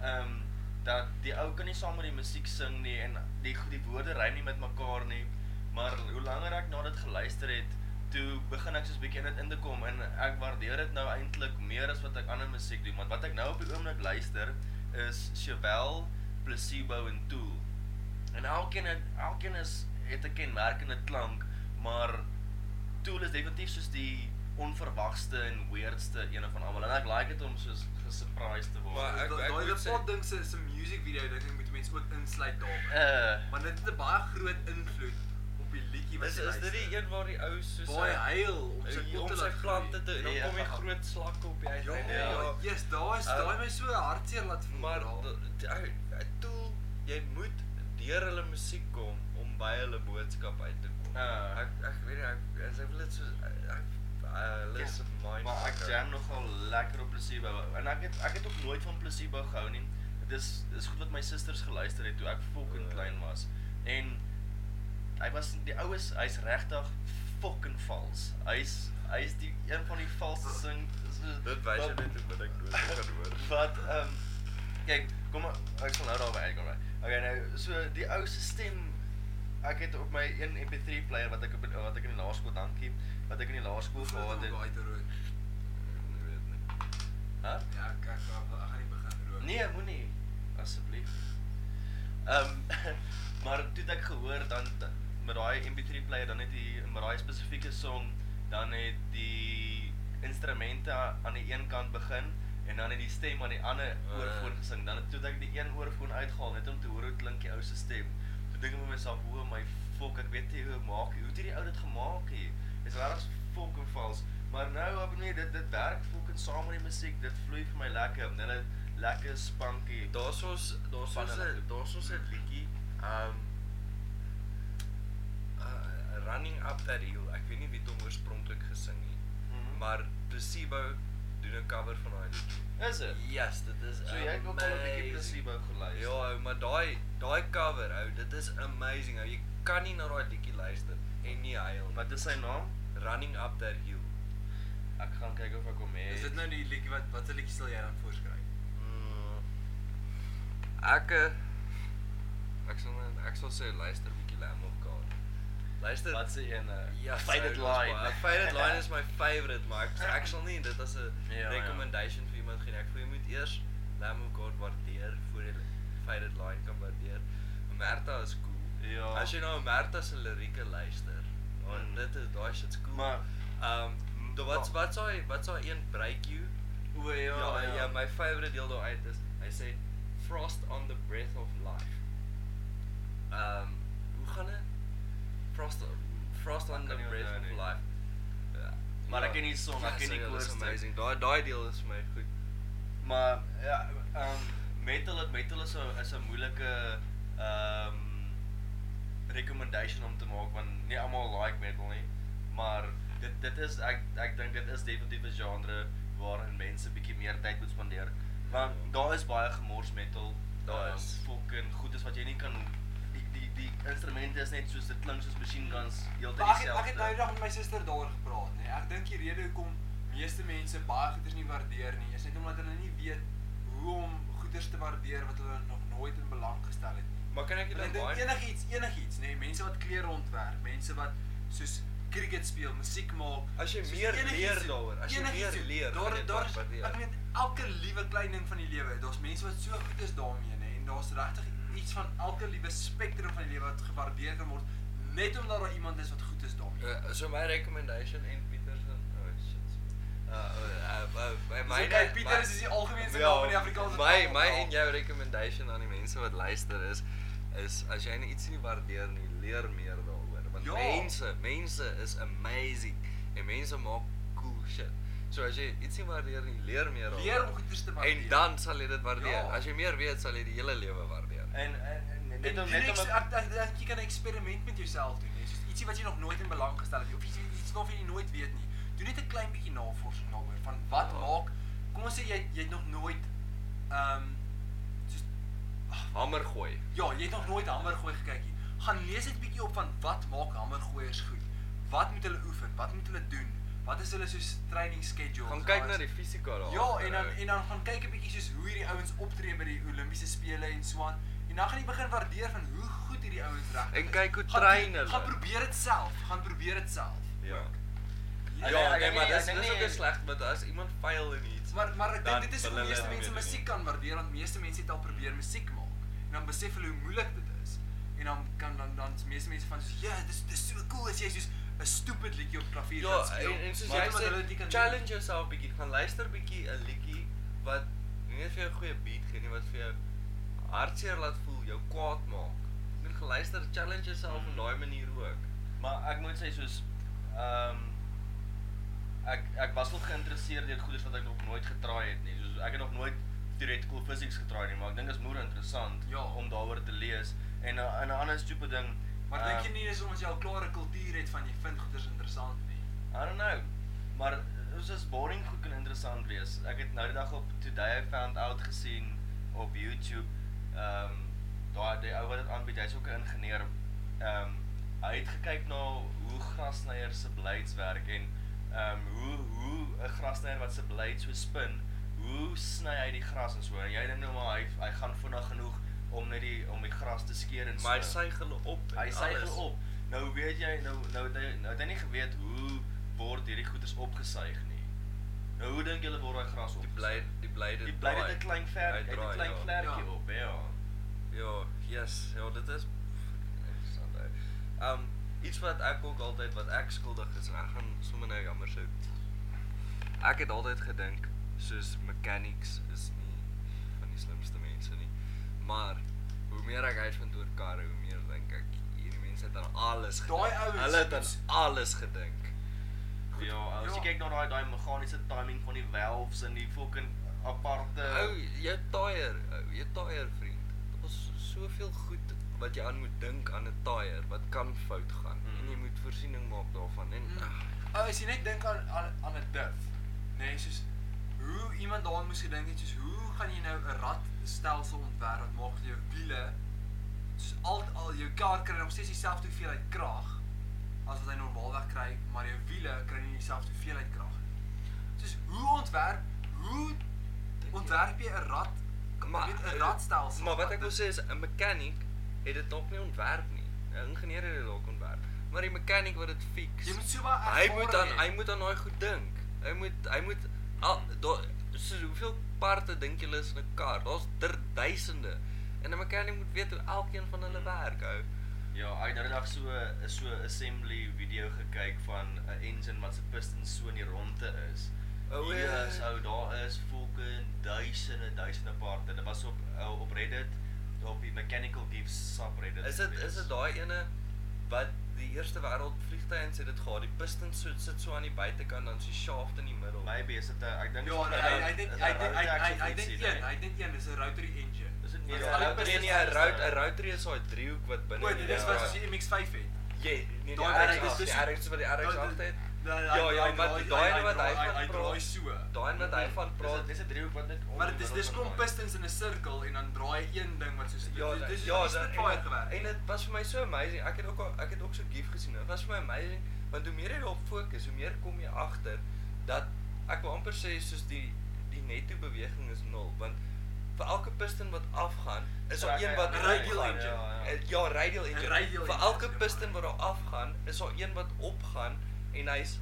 ehm um, dat die ou kan nie saam met die musiek sing nie en die die woorde rym nie met mekaar nie. Maar hoe langer ek na dit geluister het, toe begin ek soos bietjie in dit in te kom en ek waardeer dit nou eintlik meer as wat ek ander musiek doen want wat ek nou op die oomblik luister is Cheval, Placebo en Tool. En elkeen het elkeen is het 'n kenmerkende klank, maar Tool is definitief soos die onverwagste en weirdste een van almal. En ek like dit om soos gesurprised te word. Maar Maar ek- ek ek daai moet die sê- pot ding se se music video dink ek moet mense ook insluit Eh. daarin. uh Want dit het 'n baie groot invloed op die liedjie wat Is jy is dit die luister. een waar die ou soos baie hy- huil om sy hy- pot om te sy laat plante groei? te en dan Ja. kom die groot slakke op die uit. Ja, en- Ja. ja, yes, Ja. daai is Ehm, daai my so hartseer laat voel. Maar bro. d- d- ou, toe jy moet deur hulle musiek kom om by hulle boodskap uit te kom. Ja. Ek ek weet nie ek as ek wil dit so ek hulle is Ja, mind. Maar ek jam nogal lekker op Placebo en ek het ek het ook nooit van Placebo gehou nie. Dit is dis goed wat my susters geluister het toe ek fucking Ja. klein was. En hy was die oues, hy's regtig fucking vals. Hy's hy's die een van die valste sing so- Dit wys jou wat- net hoe min ek nooit kan hoor. Wat ehm kyk, kom maar ek sal nou daarby uitkom. nou. Okay, nou so die ou se stem ek het op my een MP3 player wat ek op wat ek in die laerskool dankie wat ek in die laerskool Hoe voel gehad dit om het. daai te rook? Ek Ja, weet nie. Hæ? Ja, ek ek gaan ek gaan nie begin rook. Nee, moenie asseblief. Ehm um, maar toe het ek gehoor dan dan- met daai MP3 player dan het die met daai spesifieke song dan het die instrumente aan die een kant begin en dan het die stem aan die ander Ah. oorfoon gesing. Dan het toe het ek die een oorfoon uitgehaal net om te hoor hoe klink die ou se stem. Toe dink ek met myself, "O my fok, ek weet nie hoe maak hy. Hoe het hierdie ou dit gemaak hier?" Dis regtig fucking vals. Maar nou op nee, dit dit werk fucking saam met die musiek. Dit vloei vir my lekker. En Hulle lekker spunky. Daar's ons daar's Van ons hulle. een- daar's ons 'n liedjie. Um uh, Running Up That Hill. Ek weet nie wie dit hom oorspronklik gesing het nie. Mhm. Maar Placebo doen 'n cover van daai liedjie. is dit? Yes, dit is. So jy het ook al 'n bietjie amazing. placebo geluister. Ja, ou, maar daai daai cover, ou, dit is amazing. Ou, jy kan nie na daai liedjie luister en nie huil nie. Wat is sy naam? Running Up That Hill. Ek gaan kyk of ek hom het. Is dit nou die liedjie wat watter liedjie sal jy dan voorskryf? Mm. Ek eh, ek sal net- ek sal sê luister bietjie Lamb of God. Luister. Wat se een? Ja, Faded Line. Faded Line is my favorite, maar ek ek sal nie dit as 'n Ja, ja. ja, recommendation ja. vir iemand gee. nie. Ek voel jy moet eers Lamb of God waardeer voor jy Faded Line kan waardeer. Omerta is cool. Ja. As jy na Omerta se lirieke luister, dan Mm. mm. dit is daai shit's cool. Maar- Hmm, ehm um, wat wat sou hy wat sou hy een break you? O ja, ja, ja, ja. my favorite deel daaruit is hy sê frost on the breath of life. Ehm, um, hoe gaan dit? Frost frost on Ek the kan nie breath onthou of nie. life. Ja. Maar Ja. ek ken die song, ek Ja, ken die sorry, dit is koorstuk. Amazing. Daai daai deel is my goed. Maar ja, ehm metal metal is 'n is 'n moeilike ehm recommendation om te maak want nie almal like metal nie, maar dit dit is ek ek dink dit is definitief 'n genre waarin Ja, mense bietjie meer tyd moet spandeer. Want daar is baie gemors metal. Daar Daar is is. fucking goed is wat jy nie kan die die die instrumente is net soos dit klink soos machine guns heeltyd Maar Ek het, dieselfde. ek het nou eendag met my suster daaroor gepraat, nê. Ek dink die rede hoekom meeste mense baie goeders nie waardeer nie, is net omdat hulle nie weet hoe om goeders te waardeer wat hulle nog nooit in belang gestel het nie. Maar kan ek dit Want Ek baie- dink enigiets, enigiets, nê. Mense wat klere ontwerp, mense wat soos cricket speel, musiek maak. As jy soos meer enigiets leer doen, daaroor, as jy enigiets meer doen. leer, gaan daar jy ja. dit daar is- waardeer. ek weet elke liewe klein ding van die lewe, daar's mense wat so goed is daarmee, nê. En daar's regtig iets van elke liewe spektrum van die lewe wat gewaardeer kan word net omdat daar iemand is wat goed is daarmee. Uh, so my recommendation en Pieter se oh shit. Uh, uh, uh, by Dis my Ja, okay, Pieter is die algemeenste naam in die My Afrikaanse taal, my bro. en jou recommendation aan die mense wat luister is is as jy nie iets nie waardeer nie, leer meer daaroor want Ja. mense, mense is amazing en mense maak cool shit. So as jy iets nie waardeer nie, leer meer daaroor. Leer om goeders te waardeer. En dan sal jy dit waardeer. Ja. Ja. As jy meer weet, sal jy die hele lewe waardeer. en, en, en net Net om net net om ek ek dink jy kan 'n eksperiment met jouself doen, hè. Soos ietsie wat jy nog nooit in belang gestel het nie, of iets iets nog wat jy nooit weet nie. Doen net 'n klein bietjie navorsing daaroor van wat Ja. maak kom ons sê jy jy het nog nooit ehm um, soos ag, Hamer gooi. Ja, jy het nog nooit hamergooi gekyk nie. Gaan lees net 'n bietjie op van wat maak hamergooiers goed. Wat moet hulle oefen? Wat moet hulle doen? Wat is hulle soos training schedule? Gaan kyk na die fisika daar. Ja, en dan en dan gaan kyk 'n bietjie soos hoe hierdie ouens optree by die Olimpiese spele en so aan. En dan gaan jy begin waardeer van hoe goed hierdie ouens reg En kyk hoe train hulle. Gaan probeer dit self, gaan probeer dit self. Ja. Ek Ja, dink- ek nee, dink maar ja, nie- dis ek dink dis nie- ook 'n sleg want as iemand fail in iets, maar maar ek Dan dink dit is wil hoe hulle meeste ook mense dit musiek doen. kan waardeer want meeste mense het al probeer musiek maak en dan besef hulle hoe moeilik dit is en dan kan dan dan is meeste mense van soos ja dis dis so cool as jy soos 'n stupid liedjie op klavier Ja, kan speel en, en soos maar jy omdat sê, hulle dit nie kan doen challenge nie. jouself bietjie, gaan luister bietjie 'n liedjie wat nie net vir jou 'n goeie beat gee nie, wat vir jou hartseer laat voel, jou kwaad maak. Jy moet geluister, challenge jouself op Mm. daai manier ook. Maar ek moet sê soos ehm ek ek was nog geïnteresseerd deur goeders wat ek nog nooit getry het nie. Soos ek het nog nooit theoretical physics getry nie, maar ek dink dit is moer interessant Ja. om daaroor te lees. En 'n en 'n ander stupid ding. maar Ja. dink jy ehm, nie dis omdat jy al klare kultuur het van jy vind goeders interessant nie I don't know. Maar ons is boring goed kan interessant wees. Ek het nou die dag op Today I Found Out gesien op YouTube. Ehm daai die ou wat dit aanbied, hy's ook 'n ingenieur. Ehm hy het gekyk na hoe grasnyers se blades werk en ehm hoe hoe 'n grasnyer wat se blade so spin, hoe sny hy die gras en so. En jy dink nou maar hy hy gaan vinnig genoeg om net die om die gras te skeer en so. Maar hy suig hulle op. en Hy suig alles. hulle op. Nou weet jy nou nou het hy nou het hy nie geweet hoe word hierdie goeders opgesuig nie. Nou hoe dink julle word daai gras op? Die bly die bly dit. die bly dit 'n klein ver, uit 'n klein vlekkie Ja. op, ja. Ja, yes. Ja, dit is interessant. ou. Um iets wat ek ook altyd wat ek skuldig is en ek gaan sommer nou jammer sê. Ek het altyd gedink soos mechanics is nie van die slimste mense nie. Maar hoe meer ek uitvind oor karre, hoe meer dink ek hierdie mense het aan alles Daai gedink. ouens Hulle het aan is- alles gedink. Goed, Ja, ou, as ja. jy kyk na daai daai meganiese timing van die valves en die fucking aparte Ou, jou tyre, ou, jou tyre vriend. Daar's soveel goed wat jy aan moet dink aan 'n tyre wat kan fout gaan mm. en Mm. jy moet voorsiening maak daarvan en Mm. mm. Ou, as jy net dink aan aan aan 'n diff, nê, nee, soos hoe iemand daaraan moes gedink het, soos hoe gaan jy nou 'n radstelsel ontwerp wat maak dat jou wiele soos al al jou kar kry nog steeds dieselfde hoeveelheid krag as wat hy normaalweg kry, maar jou wiele kry nie dieselfde hoeveelheid krag nie. Soos hoe ontwerp, hoe ontwerp jy 'n rad maar, weet 'n radstelsel? eh, Maar wat ek wil sê is 'n mechanic het dit dalk nie ontwerp nie. 'n Ingenieur het dit dalk ontwerp. Maar die mechanic wat dit fix. Jy moet so baie Hy moet dan ervaring hê. hy moet aan daai goed dink. Hy moet hy moet al daar so hoeveel parte dink julle is in 'n kar? Daar's dir- duisende. En 'n mechanic moet weet hoe elkeen van hulle Mm. werk, ou. Ja, hy het eendag so 'n so 'n assembly video gekyk van 'n engine wat se pistons so in die ronde is. Oh, O, Hier ja. is ou daar is fucking duisende duisende parte. Dit was op uh, op Reddit op die Mechanical Geeks subreddit. Is dit is gewees. dit daai ene wat die eerste wêreld vliegtye en sê dit gehad, die pistons so, sit so aan die buitekant dan is die shaft in die middel. Maybe is dit 'n ek dink Ja, is nee, dit 'n- hy hy is dink dit 'n hy dink hy rotary hy action hy dink fietsie, een, nee? hy dink een is 'n rotary engine. Is dit nie Want Ja, alle rotary Nee pistons nee, is 'n dit- rout 'n routree is daai driehoek wat binne. O, in die- dit is Ja. wat soos die MX5 het. Nou, Ja, nee, die Daai- RX, dit is die dis- RX wat die RX daai- agter het. daai- Ja, ja, daai- maar daai- daai daai- wat hy daai- van hy praat- draai so. Daai een wat hy van praat. Dis 'n dis 'n driehoek wat net om Maar die dit is middel dis kan klomp gaan. pistons in 'n sirkel en dan draai hy een ding wat soos Ja, dis- da- dis ja, dis da- net en baie dit- gewerk. En dit was vir my so amazing. Ek het ook al, ek het ook so GIF gesien. Dit was vir my amazing want hoe meer jy daarop fokus, hoe meer kom jy agter dat ek wil amper sê soos die die netto beweging is nul want vir elke piston wat afgaan is daar Trek een hy wat aan die radial radial engine. engine. Ja, ja, radial engine. radial vir engine elke is die piston wat man. daar afgaan, is daar een wat opgaan en hy's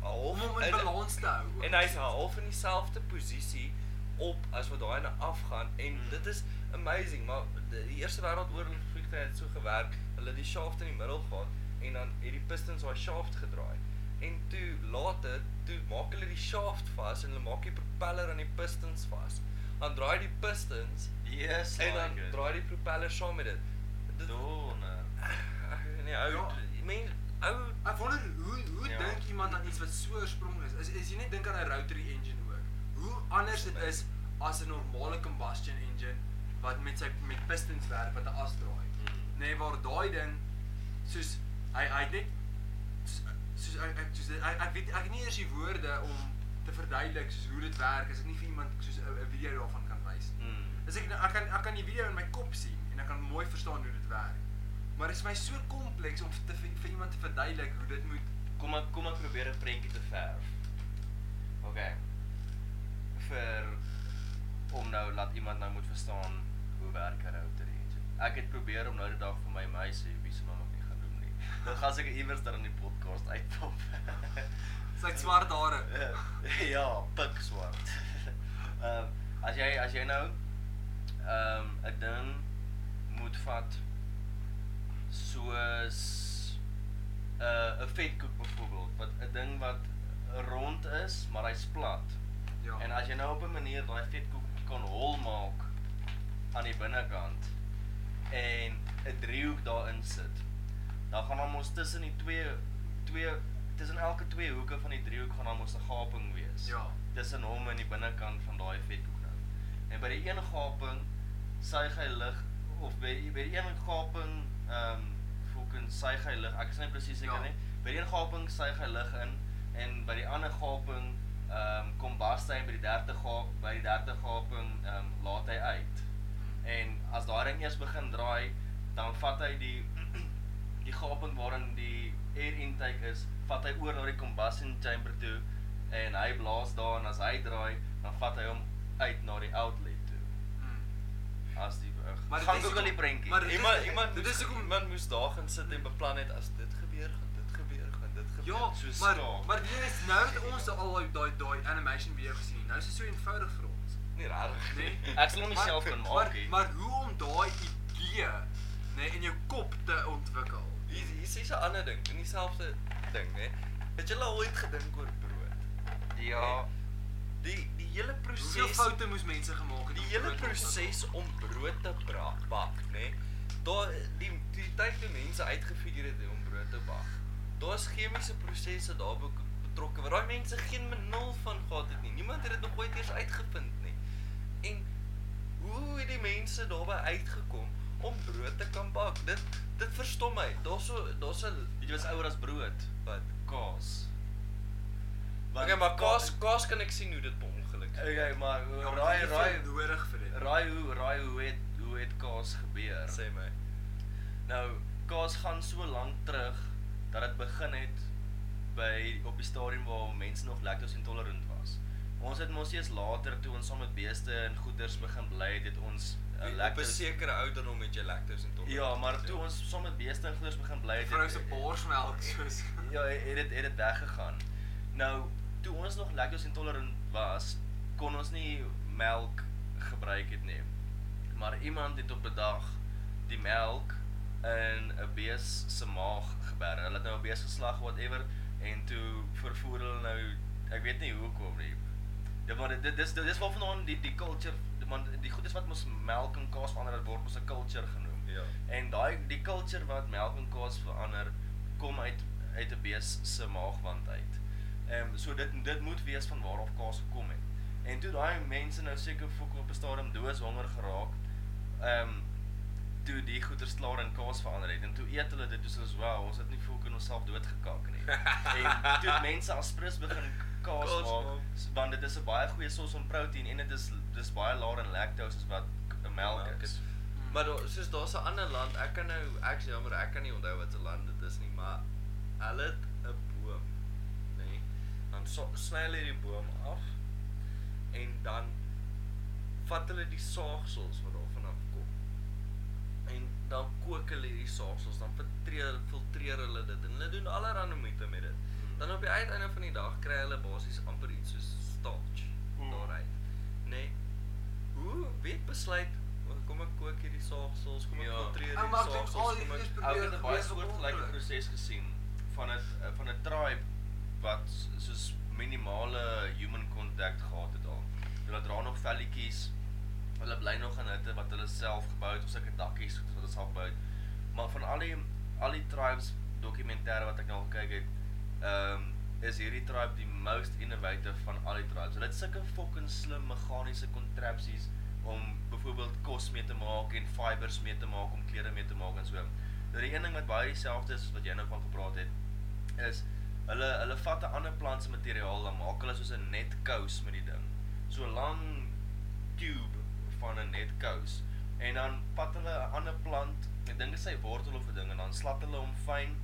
Om half hom in balans te hou. ook. En hy's half in dieselfde posisie op as wat daai nou afgaan en Mm. mm. dit is amazing, maar die die Eerste Wêreldoorlog vliegtye het so gewerk. Hulle het die shaft in die middel gehad en dan het die pistons daai shaft gedraai. En toe later, toe maak hulle die shaft vas en hulle maak die propeller aan die pistons vas. Dan draai die pistons Yes, en dan draai die propeller saam met dit. Dit donder. nee, ou, Ja. ja. mens ou Ek wonder hoe hoe Ja. dink iemand aan iets wat so oorspronklik is? Is is jy net dink aan 'n rotary engine ook? Hoe anders dit is as 'n normale combustion engine wat met sy met pistons werk wat 'n as draai. Mm. Nê nee, waar daai ding soos hy hy het net soos- soos ek ek soos ek, ek weet ek het nie eers die woorde om te verduidelik soos hoe dit werk as ek nie vir iemand soos 'n 'n video daarvan kan wys nie. Mm. As ek nou- ek kan ek kan die video in my kop sien en ek kan mooi verstaan hoe dit werk. Maar dit is vir my so kompleks om te vir, vir iemand te verduidelik hoe dit moet Kom ek kom ek probeer 'n prentjie te verf. OK. Vir om nou laat iemand nou moet verstaan hoe werk 'n rotary engine. Ek het probeer om nou die dag vir my meisie wie se mamma nie gaan doen nie. Nou gaan seker iewers daar in die podcast uitpop. Sy het swart hare. Ja. Ja, pik Ja, swart. nou, ehm, eh, maar hy's plat. Ja. En as jy nou op 'n manier daai vetkoekie kan hol maak aan die binnekant en 'n driehoek daarin sit, dan gaan hom ons tussen die twee twee tussen elke twee hoeke van die driehoek gaan hom ons 'n gaping wees. Ja. Tussen hom en die binnekant van daai vethoek nou. En by die een gaping suig hy lug of by die- by die een gaping ehm um, fucking suig hy lug. Ek is nie presies seker Ja. nie. By die een gaping suig hy lug in en by die ander gaping ehm um, kom bas hy en by die 30 gap by die 30 gaping ehm um, laat hy uit. Hmm. En as daai ding eers begin draai, dan vat hy die die gaping waarin die air intake is, vat hy oor na die combustion chamber toe en hy blaas daar en as hy draai, dan vat hy hom uit na die outlet toe. As die uh, Maar dit gaan is Google die hoekom- prentjie. maar dit Iemand- is- iemand dit moes- is hoekom- iemand moes daar gaan sit en beplan het as dit gebeur, gaan dit gebeur, gaan dit gebeur. Ja, so maar skaak. maar dit is nou dat ons al daai- daai daai animation video gesien het. Nou is dit so eenvoudig vir ons. nie regtig Nee. Ek sal hom Maar- myself kan maak. Maar hè. maar hoe om daai idee nê in jou kop te ontwikkel? Hier hier is 'n ander ding, in dieselfde ding, hè. Het julle ooit gedink oor brood? Ja. Hè? Die die hele proses Hoeveel foute moes mense gemaak het? die om hele brood te ontwikkel? proses om brood te bra- bak, nê? Daar die die tyd toe mense uitgefigure het om brood te bak. Daar's chemiese prosesse daarbo betrokke wat daai mense geen benul van gehad het nie. Niemand het dit nog ooit eers uitgevind nie. En hoe het die mense daarby uitgekom om brood te kan bak? Dit dit verstom my. Daar's so daar's 'n Weet jy wat's ouer as brood? wat Kaas. Wat okay, maar kaas kaas kan ek sien hoe dit per ongeluk. Okay, maar Ja, maar raai dit is raai veel nodig vir dit. raai hoe raai hoe het hoe het kaas gebeur? Sê my. Nou, kaas gaan so lank terug dat dit begin het by op die stadium waar mense nog lactose intolerant was. Ons het mos eers later toe ons saam met beeste en goeders begin bly het, het ons uh, Op 'n sekere ouderdom het jy lactose intolerant. Ja, maar toe ons saam met beeste en goeders begin bly Die het, vrou het- se borsmelk soos ja, het dit het dit weggegaan. Nou, toe ons nog lactose intolerant was, kon ons nie melk gebruik het nie. Maar iemand het op 'n dag die melk in 'n bees se maag geberg. Hulle het nou 'n bees geslag whatever en toe vervoer hulle nou ek weet nie hoekom nie. Dit maar dit dit dis dis waarvandaan die die culture man die goed is wat mos melk en kaas verander dit word mos 'n culture genoem. Ja. En daai die culture wat melk en kaas verander kom uit uit 'n bees se maagwand uit. Ehm um, so dit dit moet wees van waar af kaas gekom het. En toe daai mense nou seker fok op 'n stadium doos honger geraak. Ehm um, toe die goeters klaar in kaas verander het en toe eet hulle dit soos ons wow, ons het nie fok in onsself doodgekak nie. en toe het mense aspres begin kaas, Kaas kaas maak, maak. s- want dit is 'n baie goeie sos van proteïen en dit is dis baie laer in lactose as wat k- melk Melk is. is. Maar daar soos daar's 'n ander land, ek kan nou ek is jammer, ek kan nie onthou wat 'n land dit is nie, maar hulle het 'n boom, nê? Nee, dan so, sny hulle die boom af en dan vat hulle die saagsels wat daarvan afkom. En dan kook hulle hierdie saagsels, dan filtreer filtreer hulle dit en hulle doen allerlei moeite met dit. Dan op die uiteinde van die dag kry hulle basies amper iets soos starch Mm. daaruit. Nê? Nee, Hoe weet besluit o, kom ek kook hierdie saagsels, kom ek Ja. filtreer hierdie Ou, Ah, maar ek dink saagsels, al die kom eers ek probeer Ou het 'n baie gewees op soortgelyke ongeluk. proses gesien van 'n van 'n tribe wat s- soos minimale human contact gehad het al. Hulle dra nog velletjies. Hulle bly nog in hutte wat hulle self gebou het of sulke dakkies wat hulle self gebou het. Maar van al die al die tribes dokumentêre wat ek nou al gekyk het, ehm um, is hierdie tribe die most innovative van al die tribes. Hulle het sulke fucking slim meganiese contraptions om byvoorbeeld kos mee te maak en fibers mee te maak om klere mee te maak en so. Nou die een ding wat baie dieselfde is as wat jy nou van gepraat het is hulle hulle vat 'n ander plant se materiaal dan maak hulle soos 'n net kous met die ding. So 'n lang tube van 'n net kous en dan vat hulle 'n ander plant, ek dink dit is sy wortel of 'n ding en dan slat hulle hom fyn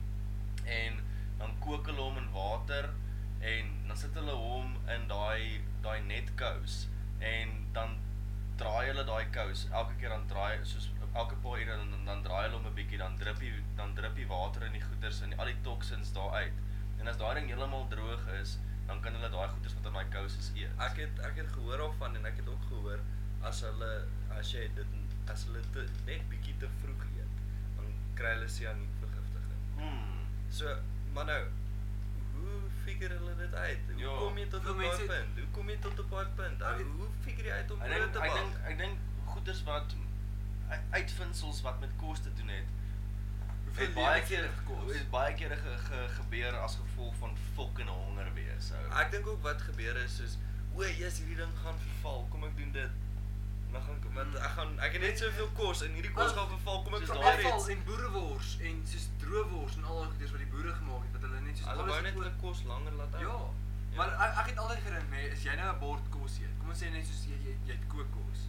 en dan kook hulle hom in water en dan sit hulle hom in daai daai netkous en dan draai hulle daai kous elke keer dan draai soos elke paar ure dan dan draai hulle hom 'n bietjie dan druppie dan druppie water in die goeters en al die toksins daar uit. En as daai ding heeltemal droog is, dan kan hulle daai goeters wat in daai kous is eet. Ek het ek het gehoor daarvan en ek het ook gehoor as hulle as jy dit as hulle te, net bietjie te vroeg eet, dan kry hulle sianietvergiftiging. mm. So, maar nou, hoe fik figure hulle dit uit? Hoe Ja, kom jy tot hoeveel 'n baie mense- punt? Hoe kom jy tot 'n baie punt? Ek Ou, weet- Hoe figure jy uit om Ek brood dink te ek bak? dink ek dink goeders wat uit- uitvindsels wat met kos te doen het. Hoeveel Het baie lewens het keer dit gekos? het baie keer ge, ge, gebeur as gevolg van fucking honger wees. ou. Ek dink ook wat gebeur is soos o, jy's hierdie ding gaan verval. Kom ek doen dit. En dan gaan ek want ek gaan ek het net soveel kos en hierdie kos Ou, gaan verval. Kom ek soos Soos daai probeer afval iets. en boerewors en soos droewors en al daai goeders wat die boere gemaak het wat hulle net soos Hulle wou net gekoop- hulle kos langer laat hou. Ja. Maar ek, ek het altyd gedink nê, as jy nou 'n bord kos eet. Kom ons sê net soos jy jy, jy het kookkos.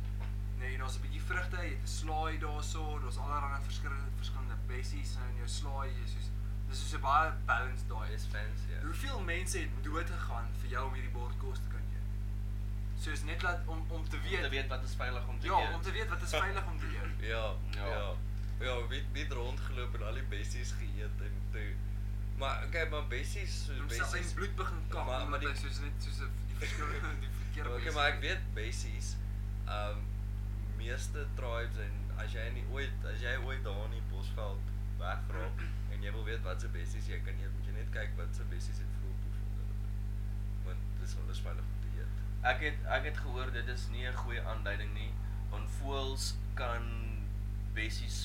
Nê, en daar's 'n bietjie vrugte, jy het 'n slaai daarso, daar's allerlei verskillende verskillende bessies nou in jou slaai, jy soos dis soos 'n baie balanced daai diet. is fancy. ja. Hoeveel mense het dood gegaan vir jou om hierdie bord kos te kan eet? Soos net laat om om te Om weet, te weet wat is veilig om te ja, eet. om te weet wat is veilig om te eet. Ja, Ja. ja. Ja, ja wie wie het rondgeloop en al die bessies geëet en toe. Maar okay, maar bessies, soos Om self bessies in bloed begin kak, Maar- maar maar die- dit soos net soos 'n- die verskillende die verkeerde Okay, mense maar ek eet. weet bessies. Um meeste tribes en as jy nie ooit as jy ooit daar in die bosveld wegraak en jy wil weet wat se bessies jy kan eet, moet jy net kyk wat se bessies het vroeg bevind. Want dis alles veilig om te eet. Ek het ek het gehoor dit is nie 'n goeie aanduiding nie. Want voëls kan bessies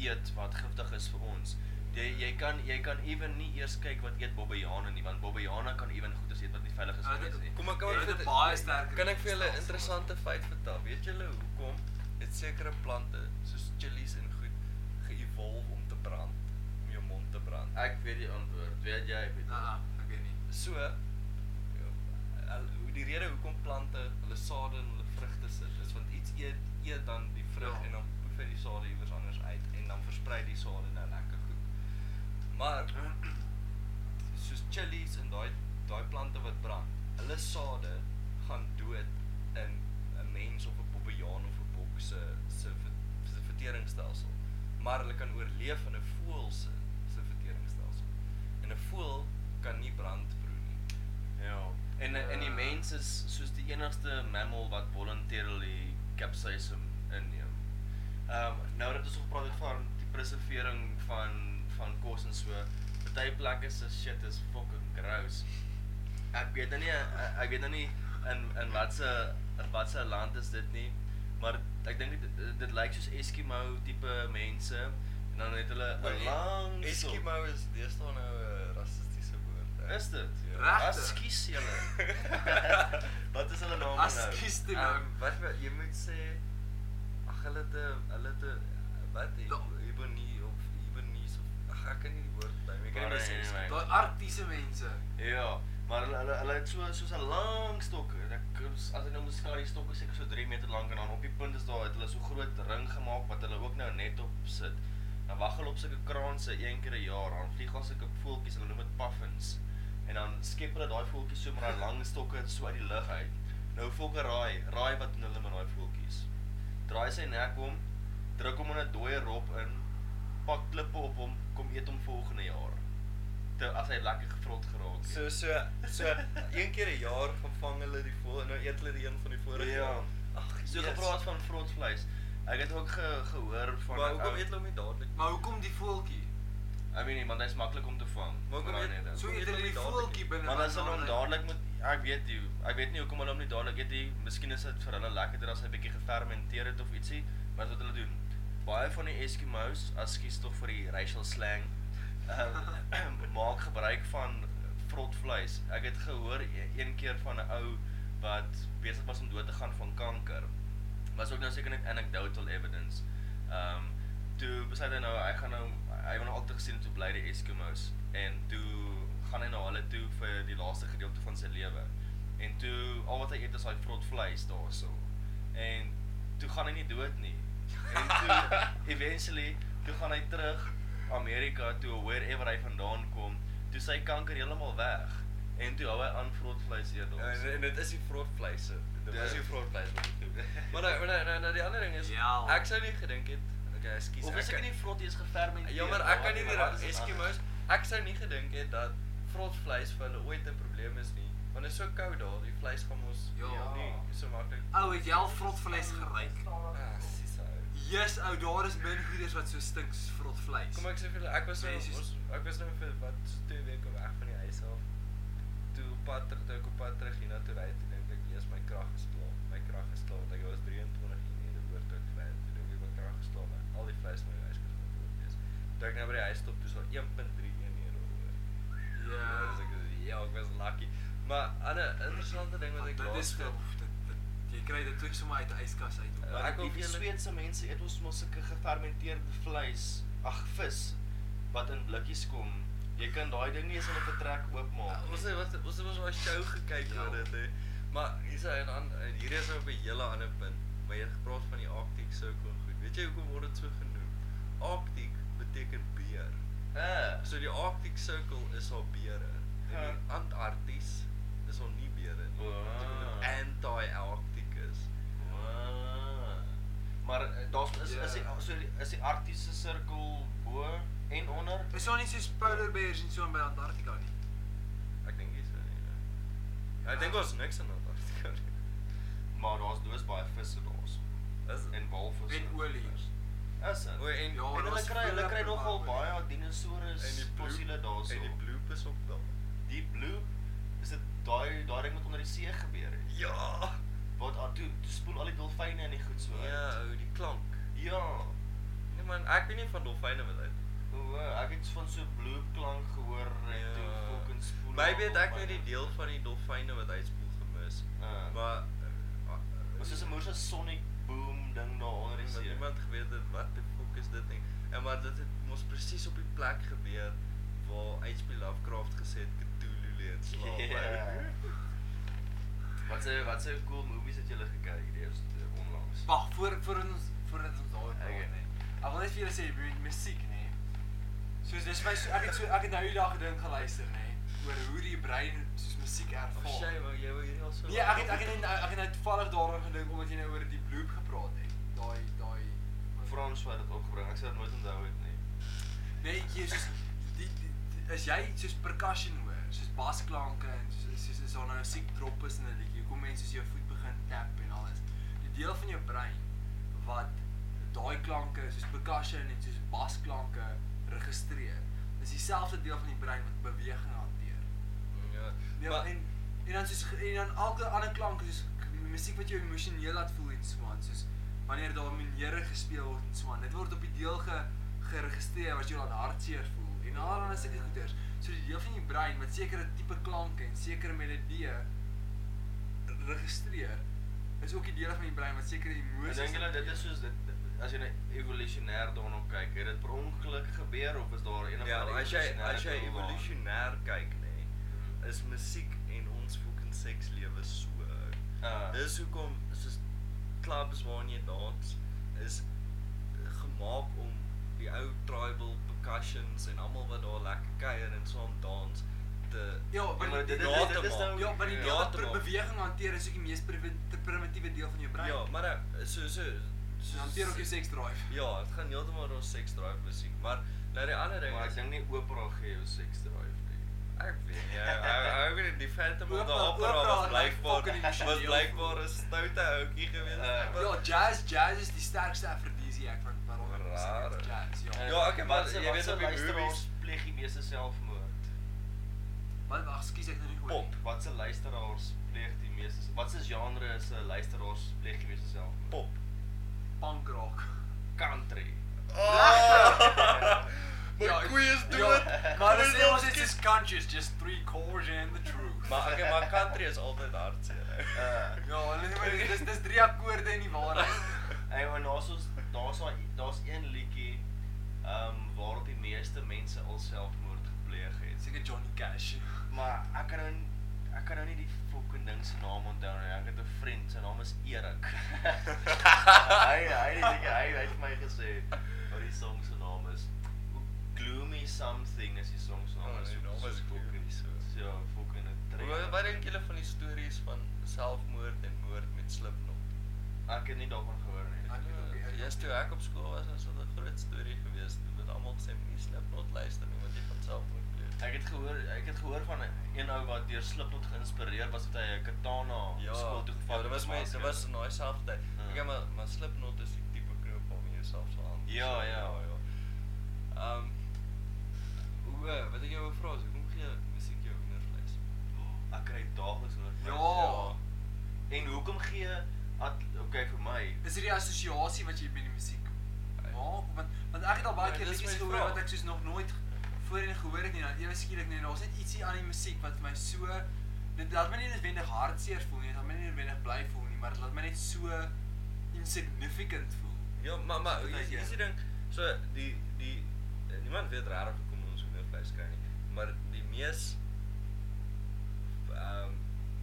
eet wat giftig is vir ons. Jy jy kan jy kan ewen nie eers kyk wat eet bobbejane nie want bobbejane kan ewen goeders eet wat nie veilig is Ah, vir dit- mense nie. Kom ek kan Jy ek het vir- 'n baie sterker Kan ek vir julle 'n stelsel. interessante feit vertel? Weet julle hoekom het sekere plante soos chillies en goed ge-evolve om te brand, om jou mond te brand? Ek weet die antwoord. Weet jy? Weet jy? Ah, ah, okay nie. So ja, hoe die rede hoekom plante hulle sade en hulle vrugte sit is want iets eet eet dan die vrug Ja. ja. en dan poef hy die sade iewers anders uit en dan versprei die sade nou lekker goed. Maar soos chillies en daai daai plante wat brand, hulle sade gaan dood in 'n mens of 'n bobbejaan of 'n bok se se ver- se verteringsstelsel. Maar hulle kan oorleef in 'n voël se se verteringsstelsel. En 'n voël kan nie brand proe nie. Eh, Ja. En en die Ja. mens is soos die enigste mammal wat voluntarily capsaicin inneem. Ehm um, nou dat ons gepraat het van die preservering van van kos en so, party plekke se shit is fucking gross. Ek weet nou nie ek- ek weet nou nie in in watse in watse land is dit nie, maar ek dink dit dit lyk soos Eskimo tipe mense en dan het hulle Nee, 'n eh, lang sok. Eskimo is deesdae nou 'n rassistiese woord. hè? Is dit? Ja. Regtig? Askies julle. Wat is hulle name nou? Askies toe nou. Ehm, wat wat- jy moet sê ag hulle het 'n- hulle het 'n- wat Da- Ibonie of Ibonies of ag ek kan nie die woord onthou nie. Ek kan Maar nie anyway. sê Daai artiese mense. Ja, maar hulle hulle hulle het so soos 'n lang stok. Ek as ek nou moet skaar, die stok is seker so 3 meter lank en dan op die punt is daar het hulle so groot ring gemaak wat hulle ook nou net op sit. Dan wag hulle op sulke kraanse een keer 'n jaar, dan vlieg daar sulke voeltjies, hulle noem dit puffins. En dan skep hulle daai voeltjies so met daai lang stokke so uit die lug uit. Nou volke raai, raai wat doen hulle met daai voeltjies? Draai sy nek om, druk hom in 'n dooie rop in, pak klippe op hom, kom eet hom volgende jaar. Toe as hy lekker gevrot geraak het. So so so een keer 'n jaar gevang hulle die voël en nou eet hulle die een van die vorige Ja. jaar. Ag, So Jesus. gepraat van vrot vleis. Ek het ook ge, gehoor van Maar hoekom eet hulle hom nie dadelik? nie? Maar hoekom die voeltjie? I mean, want hy's maklik om te vang. Maar Ja, hoekom Maar eet- nee, dan- So eet eet hulle hulle die dadelik voeltjie nie. binne. Maar as hulle hom dan- dadelik moet ek weet nie, ek weet nie hoekom hulle hom nie dadelik eet nie. Miskien is dit vir hulle lekkerder as hy bietjie gefermenteer het of ietsie, maar dis wat hulle doen. Baie van die Eskimos, askies tog vir die racial slang, ehm maak gebruik van vrot vleis. Ek het gehoor e- een keer van 'n ou wat besig was om dood te gaan van kanker. Was ook nou seker net anecdotal evidence. Ehm um, toe besluit hy nou hy gaan nou hy wou nou altyd gesien het hoe bly die Eskimos en toe gaan hy na hulle toe vir die laaste gedeelte van sy lewe. En toe al wat hy eet is daai vrot vleis daarso. En toe gaan hy nie dood nie. En toe eventually toe gaan hy terug Amerika toe wherever hy vandaan kom, toe sy kanker heeltemal weg. En toe hou hy aan vrot vleis eet daarso. Ja, En en dit is die vrotvleise. Dit Ja. is die vrotvleis wat ek doen. Maar nou maar nou nou, nou die ander ding is Ja. ek sou nie gedink het. Okay, ekskuus. Of is ek- ek nie vrot eers gefermenteer? Ja, maar ek kan nie die maar ra- dit is Eskimos anders. ek sou nie gedink het dat vrotvleis vir hulle ooit 'n probleem is nie. Want dit is so koud daar, die vleis gaan mos Ja. nie so maklik. Ou, het jy al vrotvleis geryk? Ah, sis, ou. Jesus, ou, daar is min goeders wat so stink soos vrotvleis. Kom ek sê vir julle, ek was nou Nee, soos- ons, ek was nou vir wat so 2 weke weg van die huis af. toe op pad terug, toe ek op pad terug hierna toe ry, toe dink ek eers my krag is klaar. My krag is klaar want ek was 23 ure oor toe ek ry, toe dink ek my krag is klaar. maar Al die vleis my huis gaan dood wees. Toe ek nou by die huis stop, dis al 1.31 ure oor. Ja. dis ek is ja, ek was lucky. Maar 'n ander interessante ding wat ek Want Ah, dit is laas dit, dit jy kry dit toe sommer uit die yskas uit. Maar Maar ek ek wil wil die vir julle- Sweedse mense eet ons mos sulke gefermenteerde vleis, ag vis wat in blikkies kom. Jy kan daai ding nie eens in 'n vertrek oopmaak Ja, nie. Ons het wat ons het mos daai show gekyk Ja. oor dit hè. Maar hier's 'n aan en hier is op 'n hele ander punt. Maar jy het gepraat van die Arctic Circle en goed. Weet jy hoekom word dit so genoem? Arctic beteken beer. Eh. So die Arctic Circle is al beere. En Ja. die Antarktis is al nie beere nie. Wow. Anti-Arctic is. Ah. Maar eh, daar is is die Ja. so die- is die Arktiese sirkel bo en onder. Is daar nie soos polar bears en so aan by Antarktika nie? Ek dink dis so. ja. Ek dink ons niks in Antarktika nie. Maar daar's doos baie visse daarso. Is En walvisse. En olies. Is dit? O, en Ja, en hulle daar's kry hulle veel kry lekker nogal baie baie olie. dinosourus en die fossiele bloep daarso. en die bloep is op daar. die blue is dit daai daai ding wat onder die see gebeur het. Ja. Wat aan toe, toe spoel al die dolfyne en die goed so. uit. Ja, ou, die klank. Ja. Nee man, ek weet nie van dolfyne wat uit. O, ek het van so blue klank gehoor en Ja. toe fucking spoel. Maybe het ek net die deel van die dolfyne wat uitspoel gemis. Ja. Maar eh, ah, was soos 'n moerse sonic boom ding daar onder die see. Niemand geweet het wat die fok is dit nie. En maar dit het mos presies op die plek gebeur waar H.P. Lovecraft gesê het Cthulhu leens slaap. Ja. Wat se wat se cool movies het julle gekyk hierdie eerste onlangs? Wag, voor voor ons voordat ons daaroor Okay. praat nê. Ek wil net vir julle sê met musiek nê. nee. Soos dis my so, ek het so ek het nou die dag gedink geluister nê oor hoe die brein soos musiek Oh, ervaar. Shay, maar jy wou hier also Nee, ek het ek het net nou- ek het nou toevallig daaroor gedink omdat jy nou oor die bloop gepraat het. Daai daai Frans wat dit opgebring. Ek sou dit nooit onthou het nie. Nee, jy soos die, die, die as jy soos percussion hoor, soos basklanke en soos soos is daar nou 'n siek drop is in 'n liedjie. Hoekom mense soos jou voet begin tap en alles. Die deel van jou brein wat daai klanke soos percussion en soos basklanke registreer, is dieselfde deel van die brein wat beweging hanteer. Ja. Ja, maar- en en dan soos en dan elke ander klank is soos k- musiek wat jou emosioneel laat voel en so aan, soos wanneer daar maniere gespeel word en so aan. Dit word op die deel ge geregistreer wat jou laat hartseer voel en allerlei sulke goeders. So die deel van die brein wat sekere tipe klanke en sekere melodieë registreer, is ook die deel van die brein wat sekere Ek emosies dink julle dit is hanteer. soos dit as jy nou evolusionêr daarna kyk, het dit per ongeluk gebeur of is daar een of Ja, ander as jy as jy doel daar? evolusionêr kyk nê, is musiek en ons fucking sekslewe so. ou. Ah. Dis hoekom soos clubs waarin jy dans is gemaak om die ou tribal percussions en almal wat daar lekker kuier en saam dans te Ja, want maar die- dit- die dit- data dit is maak. nou- Ja, maar die deel Ja, wat data per maak. beweging hanteer is ook die mees privi- te primitiewe deel van jou brein. Ja, maar eh, so so Dit hanteer ook jou seks drive. Ja, dit gaan heeltemal oor ons sex drive musiek, maar nou die ander ding Maar ek is- dink nie opera gee jou seks drive nie. Ek weet nie. Ek weet die Phantom of the Oprah- Opera Oprah was het my blykbaar fucking was emosioneel blykbaar gevoel. 'n stoute ouetjie gewees. Eh, Ek was- Ja, jazz, jazz is die sterkste afrodisiak van van onder die muziek, Raar, is jazz. Ja. Eh, Ja, ek- maar wat se- jy wat weet se op die luisteraars movies- pleeg die meeste selfmoord. Wat wag, skus ek nou nie gehoor. Pop. Wat se luisteraars pleeg die meeste Wat se genre is 'n luisteraars pleeg die meeste selfmoord? pop. punk rock. country. Ah! My Ja, koei is ja, dood. Maar Koei dit is ons dood. is just conscious, just three chords and the truth. Maar okay, maar country is altyd hartseer. Eh. ja, hulle sê maar dis dis drie akkoorde en die waarheid. Hey, maar daar's ons daar's daai daar's een liedjie ehm um, waarop die meeste mense al selfmoord gepleeg het. Seker Johnny Cash. Maar ek kan nou n- ek kan nou nie die fucking ding se naam onthou nie. Ek het 'n vriend, sy naam is Erik. hy hy het ek hy hy het vir my gesê wat die song se naam is. Gloomy something is die song se naam. Oh, die naam is Gloomy so. Ja, fucking 'n trek. Wat wat dink julle van die stories van selfmoord en moord met slipknot? Ek het nie daarvan gehoor nie. Ek het ook nie. Ja, Eers toe ek op skool was, was dit 'n groot storie geweest. Toe het almal gesê moenie slipknot luister nie want jy gaan selfmoord pleeg. Ek het gehoor ek het gehoor van een ou wat deur Slipknot geïnspireer was wat hy 'n katana Ja, op skool toe gevat ja, dit was my gemaak dit het. was in daai selfde tyd. Ja. Ek ja, maar maar Slipknot is die tipe knoop waarmee jy self slaan. Ja, ja. ja. Ehm hoe eh, wat ek jou wou vra is hoekom gee musiek jou hoendervleis? Oh, daagliks nodig Ja. En hoekom gee at oh, okay vir my Is hierdie assosiasie wat jy met die musiek maak want want ek het al baie Nee, Ja, keer dis liedjies my gehoor vraag. wat ek soos nog nooit voorheen gehoor het nie. Dan ewe skielik nee, daar's net ietsie aan die musiek wat vir my so dit laat my nie noodwendig hartseer voel nie, dit laat my nie noodwendig bly voel nie, maar dit laat my net so insignificant voel. Ja, maar maar Soos wat hier ek is die ding, so die die eh, niemand weet regtig hoekom ons hoender vleis kry nie, maar die mees ehm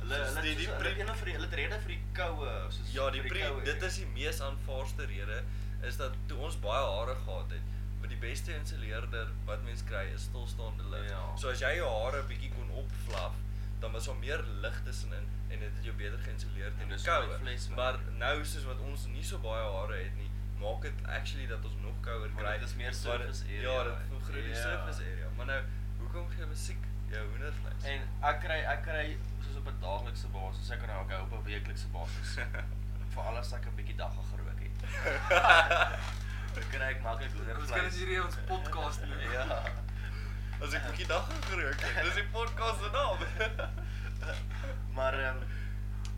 Hulle soos hulle die, die hulle het pre, een of die- hulle het rede vir die koue soos ja, die vir pre, koue, dit ja. is die mees aanvaarste rede is dat toe ons baie hare gehad het, wat die beste insuleerder wat mens kry is stilstaande lig. Ja. So as jy jou hare bietjie kon opvlaf, dan was daar meer lig tussenin en dit het jou beter geïnsuleer En teen die dis hoe koue. met vleis werk. Maar nou soos wat ons nie so baie hare het nie, maak dit actually dat ons nog kouer Want kry. dit is meer waar dit- surface area. Ja, dit vergroot die Ja. surface area. Maar nou, hoekom gee musiek jou hoendervleis? En ek kry ek kry soos op 'n daaglikse basis, ek kan nou okay op 'n weeklikse basis. Veral as ek 'n bietjie dag gerook het. Dan kry ek maklik hoender Ons kan dit hier in ons podcast noem. ja. as ek 'n bietjie dag gerook het, dis die podcast se naam. Maar ehm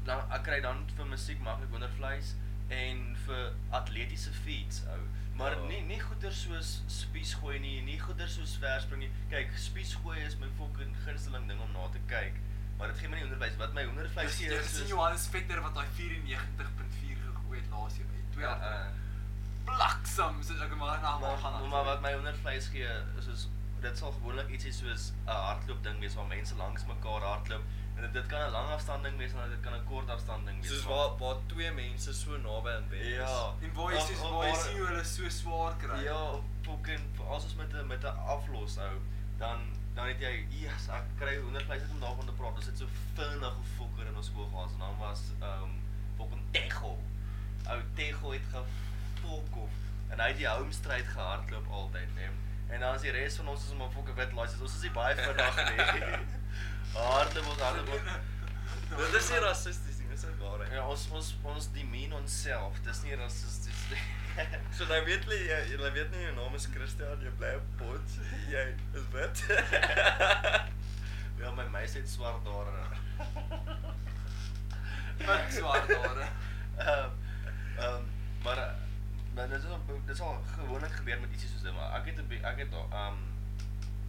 dan ek kry dan vir musiek maklik hoendervleis en vir atletiese feats ou. Maar Ja. oh. nie nie goeder soos spies gooi nie, nie goeder soos verspring nie. Kyk, spies gooi is my fucking gunsteling ding om na te kyk. Maar dit gee my nie onderwys wat my hoendervleis Jy gee het gesien Johannes Vetter wat daai 94.4 gegooi het laas jaar by 2 Ja, jaar. eh. Bliksem soos ek Ah, maar na hom maar, gaan. maar wat my hoendervleis gee is soos dit sal gewoonlik ietsie soos 'n hardloop ding wees waar mense langs mekaar hardloop en dit, dit kan 'n lang afstand ding wees en dit kan 'n kort afstand ding wees. Soos maar- waar waar twee mense so naby in bed is. Ja. en waar jy Ag, soos ag, waar jy maar- sien hoe hulle so swaar kry. Ja, fucking as ons met 'n met 'n aflos hou, dan dan het jy, "Jesus, ek kry hoendervleis net om daarvan te praat." Ons het so vinnig gefokker in ons skool gehad en dan was ehm um, fucking Tego. Ou Tego het gefokkof en hy het die home stryd gehardloop altyd, né? En dan is die res van ons is om 'n fucking wit laaies. Ons is nie baie vinnig nie. Hardloop ons hardloop. Dit is nie rassisties nie, dis 'n waarheid. Ja, ons ons ons demean onsself. Dis nie rassisties nie. So nou weet jy, jy, jy weet nie jou naam is Christian, jy bly op pot, jy is wit. Ja, my meisie het swart hare. Wat swart hare? Ehm ehm maar eh, maar dit is al dit is al gewoonlik gebeur met ietsie soos dit, maar ek het 'n bi- ek het ehm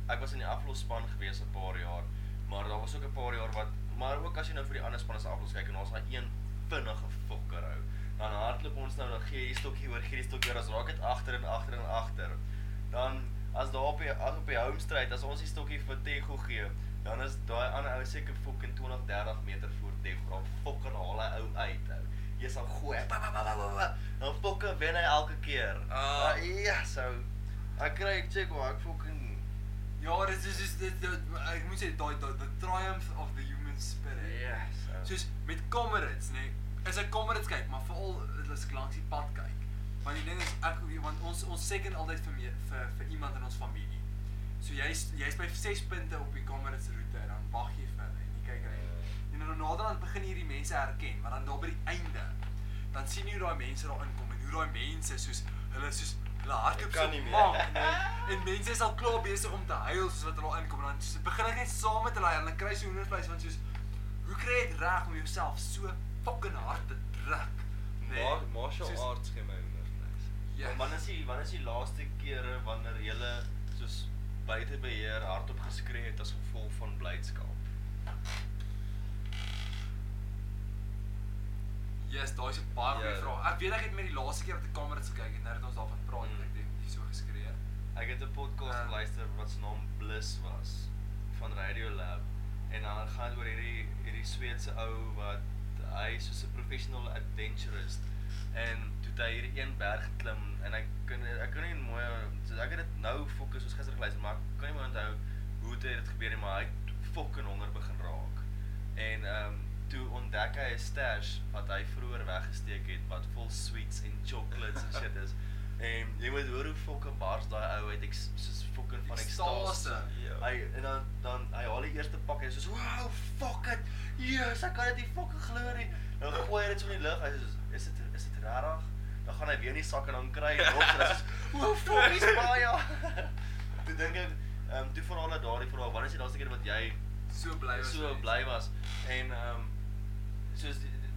ek was in die aflosspan gewees 'n paar jaar, maar daar was ook 'n paar jaar wat maar ook as jy nou vir die ander span as aflos kyk en ons daai een vinnige fokker hou, dan hardloop ons nou dan gee jy die stokkie oor, gee die stokkie oor, ons raak dit agter en agter en agter. Dan as daar op die as op die home stryd, as ons die stokkie vir Tego gee, dan is daai ander ou seker fucking 20, 30 meter voor Tego, dan fucking haal hy ou uit ou. Jy sal gooi. Pa, pa, pa, pa, pa, pa. Dan fucking wen hy elke keer. Ah. ja, so ek kry ek check hoe ek fucking Ja, dit is is dit dit- ek moet sê daai daai the triumph of the human spirit. Ja. Yes, ou. Soos met comrades, nê. Nee, as ek comrades kyk, maar veral as ek langs die pad kyk. Want die ding is ek want ons ons seken altyd vir me, vir vir iemand in ons familie. So jy's jy's by 6 punte op die comrades roete en dan wag jy vir hulle en jy kyk hulle. En dan naderhand begin hierdie mense herken, want dan daar by die einde dan sien jy hoe daai mense daar inkom en hoe daai mense soos hulle soos hulle hardloop Ek kan so nie meer. mank, nê. En mense is al klaar besig om te huil soos wat hulle daar inkom en dan soos, begin ek net saam met hulle huil en hulle kry so hoendervleis want soos hoe kry jy dit reg om jouself so fucking hard te druk? Nee. Maar martial soos, arts gee my hoendervleis. Ja, Yes. Wanneer is die wanneer is die laaste kere wanneer jy soos buite beheer hardop geskree het as gevolg van blydskap? yes, daai is 'n baie goeie Ja. vraag. Ek weet ek het met die laaste keer wat ek kamerad gekyk het, nou dat ons daarvan praat, het ek Mm. dink hier so geskree. Ek het 'n podcast Ja. geluister wat se naam Bliss was van Radio Lab en dan gaan dit oor hierdie hierdie Sweedse ou wat hy is soos 'n professional adventurist en toe het hy hierdie een berg klim en ek kan ek kan nie mooi so ek het dit nou fokus ons gister geluister maar ek kan nie meer onthou hoe het hy dit gebeur nie maar hy het fucking honger begin raak en ehm um, toe ontdek hy 'n stash wat hy vroeër weggesteek het wat vol sweets en chocolates en shit is En Ehm, jy moet hoor hoe fucking bars daai ou uit ek soos fucking van ekstase. Ekstase, ja. Hy en dan dan hy haal die eerste pak en hy soos wow fuck it. Yes, ek kan dit nie fucking glo nie. Nou gooi hy dit so in die lug. Hy soos is dit is dit regtig? Dan gaan hy weer in die sak en dan kry hy nog en hy soos wow fuck is baie. toe dink ek ehm um, toe verhaal hy daardie verhaal. Wanneer is die laaste keer wat jy so bly was. so mense. bly was en ehm soos die, die,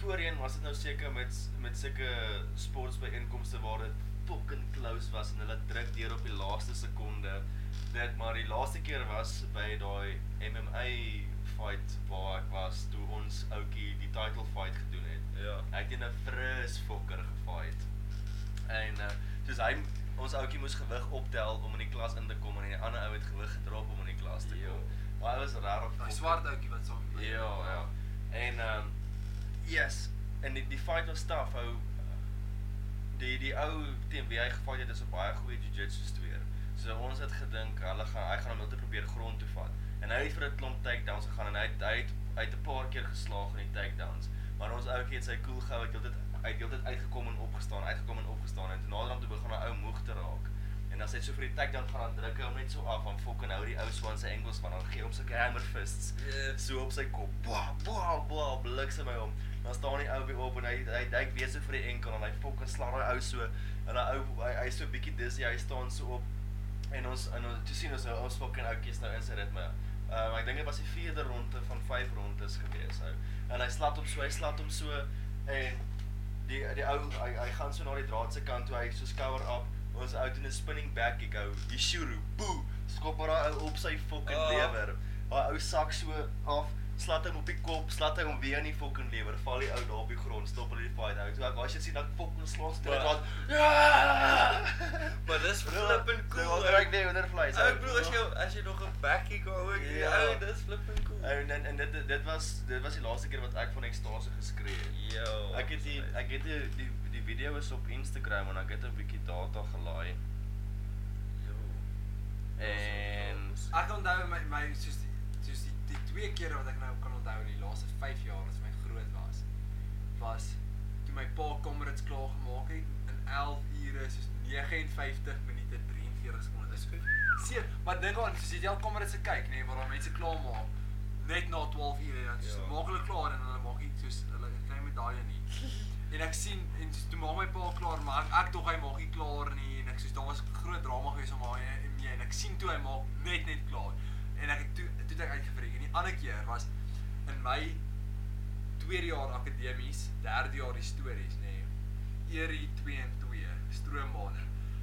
voorheen was dit nou seker met s- met sulke sportbyeenkomste waar dit fucking close was en hulle druk deur op die laaste sekonde dit maar die laaste keer was by daai MMA fight waar ek was toe ons ouetjie die title fight gedoen het Ja. hy het teen 'n fris fokker gefight en uh, soos hy ons ouetjie moes gewig optel om in die klas in te kom en die ander ou het gewig gedrop om in die klas te Ja. kom. Jo. Daai was regtig Daai swart ouetjie wat saam met my- Ja, ja. En ehm um, yes, en die, die fight was taaf. Ou die die ou teen wie hy gefight het is 'n baie goeie jiu-jitsu stoer. So ons het gedink hulle gaan hy gaan hom net probeer grond toe vat. En hy het vir 'n klomp takedowns gegaan en hy het, hy het hy het 'n paar keer geslaag in die takedowns. Maar ons ouetjie het sy cool gehou, hy het heeltyd hy het heeltyd uitgekom en opgestaan, uitgekom en opgestaan en toe naderhand toe begin hy ou moeg te raak. En as hy so vir die takedown gaan dan druk hy hom net so af van fucking hou die ou swaan se engels van dan gee hom sulke hammer fists. Ja. So op eh, sy kop. Boa, boa, boa, bliksem hy hom. Dan staan die ou weer op en hy hy duik weer so vir die enkel en hy fucking slaan daai ou so en daai ou hy hy's so bietjie dizzy, hy staan so op en ons en ons toe sien ons nou ons fucking ouetjies nou in sy ritme. Ehm um, ek dink dit was die vierde ronde van 5 rondes gewees ou. En hy slat hom so, hy slat hom so en die die ou hy hy gaan so na die draad se kant toe hy so skouer op ons ou doen 'n spinning back kick ou Hishuru boe skop maar daai ou op sy fucking Ah. oh. lewer daai ou sak so af slat hom op die kop slat hy hom weer in die fucking lewer val die ou daar op die grond stop hulle die fight ou toe ek daai shit sien dan fucking slaas dit Maar- wat ja Maar dis flippin' cool. nou ou. trek die butterflies Ou broer, as jy as jy nog 'n backie kan hou, Ja. nou, ou, dis flippin' cool. en en, en dit dit was dit was die laaste keer wat ek van ekstase geskree het Yo. Ek het die ek het die die, die video is op Instagram en ek het 'n bietjie data gelaai Yo. en Ek onthou my my soos die, soos die, die twee kere wat ek nou kan onthou in die laaste 5 jaar wat vir my groot was was toe my pa Comrades klaar gemaak het in 11 ure soos 59 minute 43 sekondes. Is goed. Seer, maar dink aan soos jy al Comrades se kyk nê nee, waar daai mense klaar maak net na 12 ure dan soos Ja. maak hulle klaar en hulle maak iets soos hulle 'n klein medalje nie. En ek sien en s- toe maak my pa klaar, maar ek, ek dog hy maak nie klaar nie en ek soos daar was groot drama gewees om haar en en mee en ek sien toe hy maak net net klaar. En ek het toe toe het ek uitgevreek. En die ander keer was in my tweede jaar akademies, derde jaar histories nê. Nee, Erie 2 en 2 stroombane.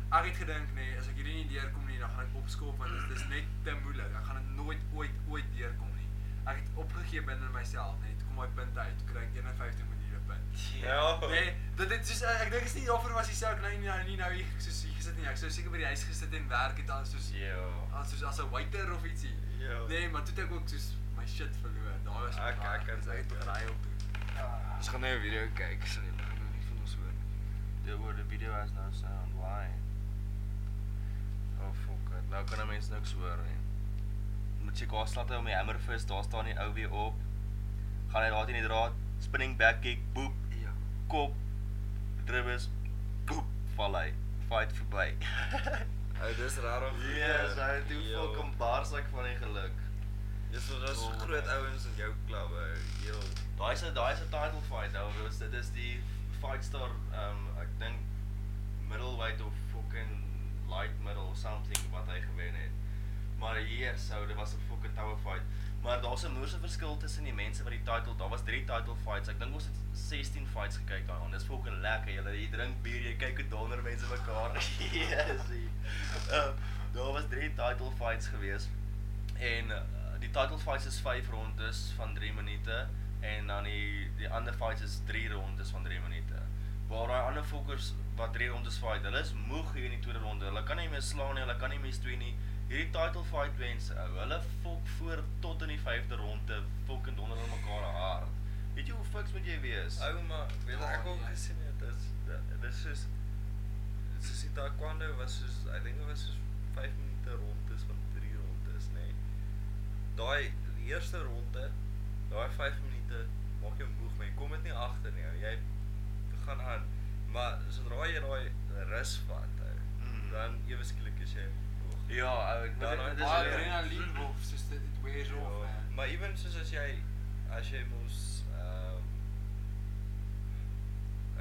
Ek het gedink nê, nee, as ek hierdie nie deurkom nie, dan gaan ek opskop want dit is net te moeilik. Ek gaan dit nooit ooit ooit deurkom nie. Ek het opgegee binne myself nê. Nee, toe kom daai punt uit. Toe kry ek 51 minute punt. Ja. Nee, dit dit soos ek dink is nie daarvoor was hy sou ek nou nie nou nie nou hier soos hier gesit nie. Ek sou seker by die huis gesit en werk het aan soos ja. as soos as 'n waiter of ietsie. Ja. Nee, maar toe het ek ook soos my shit verloor. Daai was Ek- raar. ek kan sê, Ek het ja. gery op Ons gaan nou 'n video kyk, so jy gaan nou nie van ons hoor nie. Die oor die video is nou so online. Oh fuck, it. nou kan 'n mens niks hoor nie. Moet jy gas laat hy om die hammer fist, daar staan die ou weer op. Gaan hy daar teen die draad, spinning back kick, boep, Ja. kop, dribbles, boep, val hy. Fight verby. Ou, dis rarig. Yes, hy het toe fucking bars ek van die geluk. Dis so daar's Oh, groot man. ouens in jou klub, ou. Yo. Daai is 'n daai is 'n title fight ou. Dit is dit is die fight star um ek dink middleweight of fucking light middle or something wat hy gewen het. Maar hier sou dit was 'n fucking tower fight. Maar daar's 'n moerse verskil tussen die mense wat die title, daar was 3 title fights. Ek dink ons het 16 fights gekyk daai aan. Dis fucking lekker. Jy jy drink bier, jy kyk hoe donder mense mekaar. Jesusie. Um, daar was 3 title fights geweest. En uh, die title fights is 5 rondes van 3 minute en dan die die ander fights is 3 rondes van 3 minute. Waar daai ander fokkers wat 3 rondes fight, hulle is moeg hier in die tweede ronde. Hulle kan nie meer slaan nie, hulle kan nie meer stoei nie. Hierdie title fight wens ou, hulle fok voor tot in die 5de ronde, fucking donder hulle mekaar hard. Weet jy hoe fiks moet jy wees? Ou maar weet jy, ek Ja, ook ja. gesien het dis dis soos soos die taekwondo was soos ek dink dit was soos 5 minute rondes van 3 rondes, nê. Nee. Daai die eerste ronde, daai 5 minute maak jou moeg, maar jy kom dit nie agter nie. ou. Jy gaan aan, maar sodra jy daai rus vat, ou, Mm. dan ewe skielik is jy moeg. Ja, ou, Dan maar dit- dit raak toe. is Daai weer- adrenalien wolf soos dit it wears off. nou, Ja, man. maar ewen soos as jy as jy mos ehm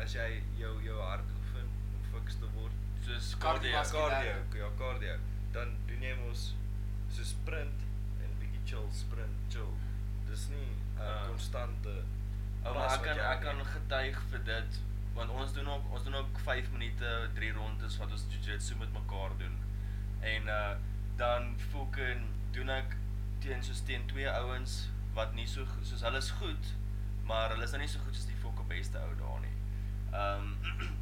as jy jou jou hart oefen om fiks te word, soos Cardio- cardio. cardio, ja cardio, dan doen jy mos so sprint en 'n bietjie chill, sprint, chill. Dis nie 'n Ja. konstante Ou pas maar ek wat kan jy ek kan aanneem. getuig vir dit want ons doen ook ons doen ook 5 minute 3 rondes wat ons jiu-jitsu met mekaar doen. En uh dan fucking doen ek teen soos teen twee ouens wat nie so go- soos hulle is goed, maar hulle is nou nie so goed soos die fucking beste ou daar nie. Ehm um,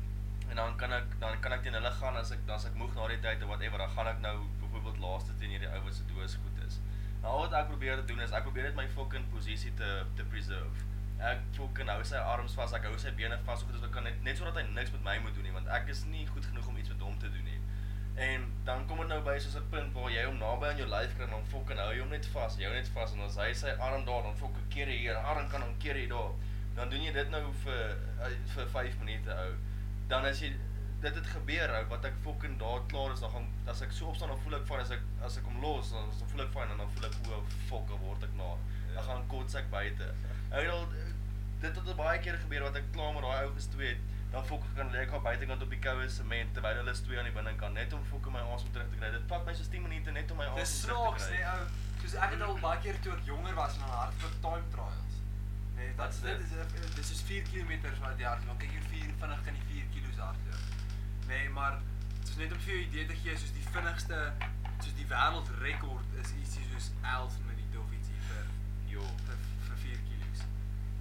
en dan kan ek dan kan ek teen hulle gaan as ek dan as ek moeg na die tyd of whatever, dan gaan ek nou byvoorbeeld laaste teen hierdie ou wat se doos goed is. Nou al wat ek probeer doen is ek probeer net my fucking posisie te te preserve. Ek fucking hou sy arms vas, ek hou sy bene vas so goed as ek kan net net sodat hy niks met my moet doen nie want ek is nie goed genoeg om iets met hom te doen nie. En dan kom dit nou by soos 'n punt waar jy hom naby aan jou lyf kry en dan fucking hou jy hom net vas, jy hou net vas en as hy sy arm daar dan fucking keer hy hier, arm kan hom keer hy daar. Dan doen jy dit nou vir vir 5 minute ou. Dan as jy dit het gebeur ou wat ek fucking daar klaar is dan gaan as ek so opstaan dan voel ek van as ek as ek hom los dan, dan voel ek van en dan voel ek hoe fuck dan word ek na. Ja. Dan gaan kots ek buite. Ek het al dit het al baie keer gebeur wat ek klaar met daai ou gestoei het. Dan fokker kan lê ek op buitekant op die koue sement terwyl hulle is twee aan die binnekant net om fokker my asem terug te kry. Dit vat my so 10 minute net om my asem Dis terug snaaks te kry. nê ou. Soos ek het al baie keer toe ek jonger was na hard vir time trials. Nê, Wat dat is dit dit? is eh, dis is 4 km wat jy hardloop. Kyk hier 4 vinnig kan jy 4 kg hardloop. Nê, maar dit is net om vir jou 'n idee te gee soos die vinnigste soos die wêreldrekord is ietsie soos 11 minute of ietsie vir Jo. vir vir 4 kg.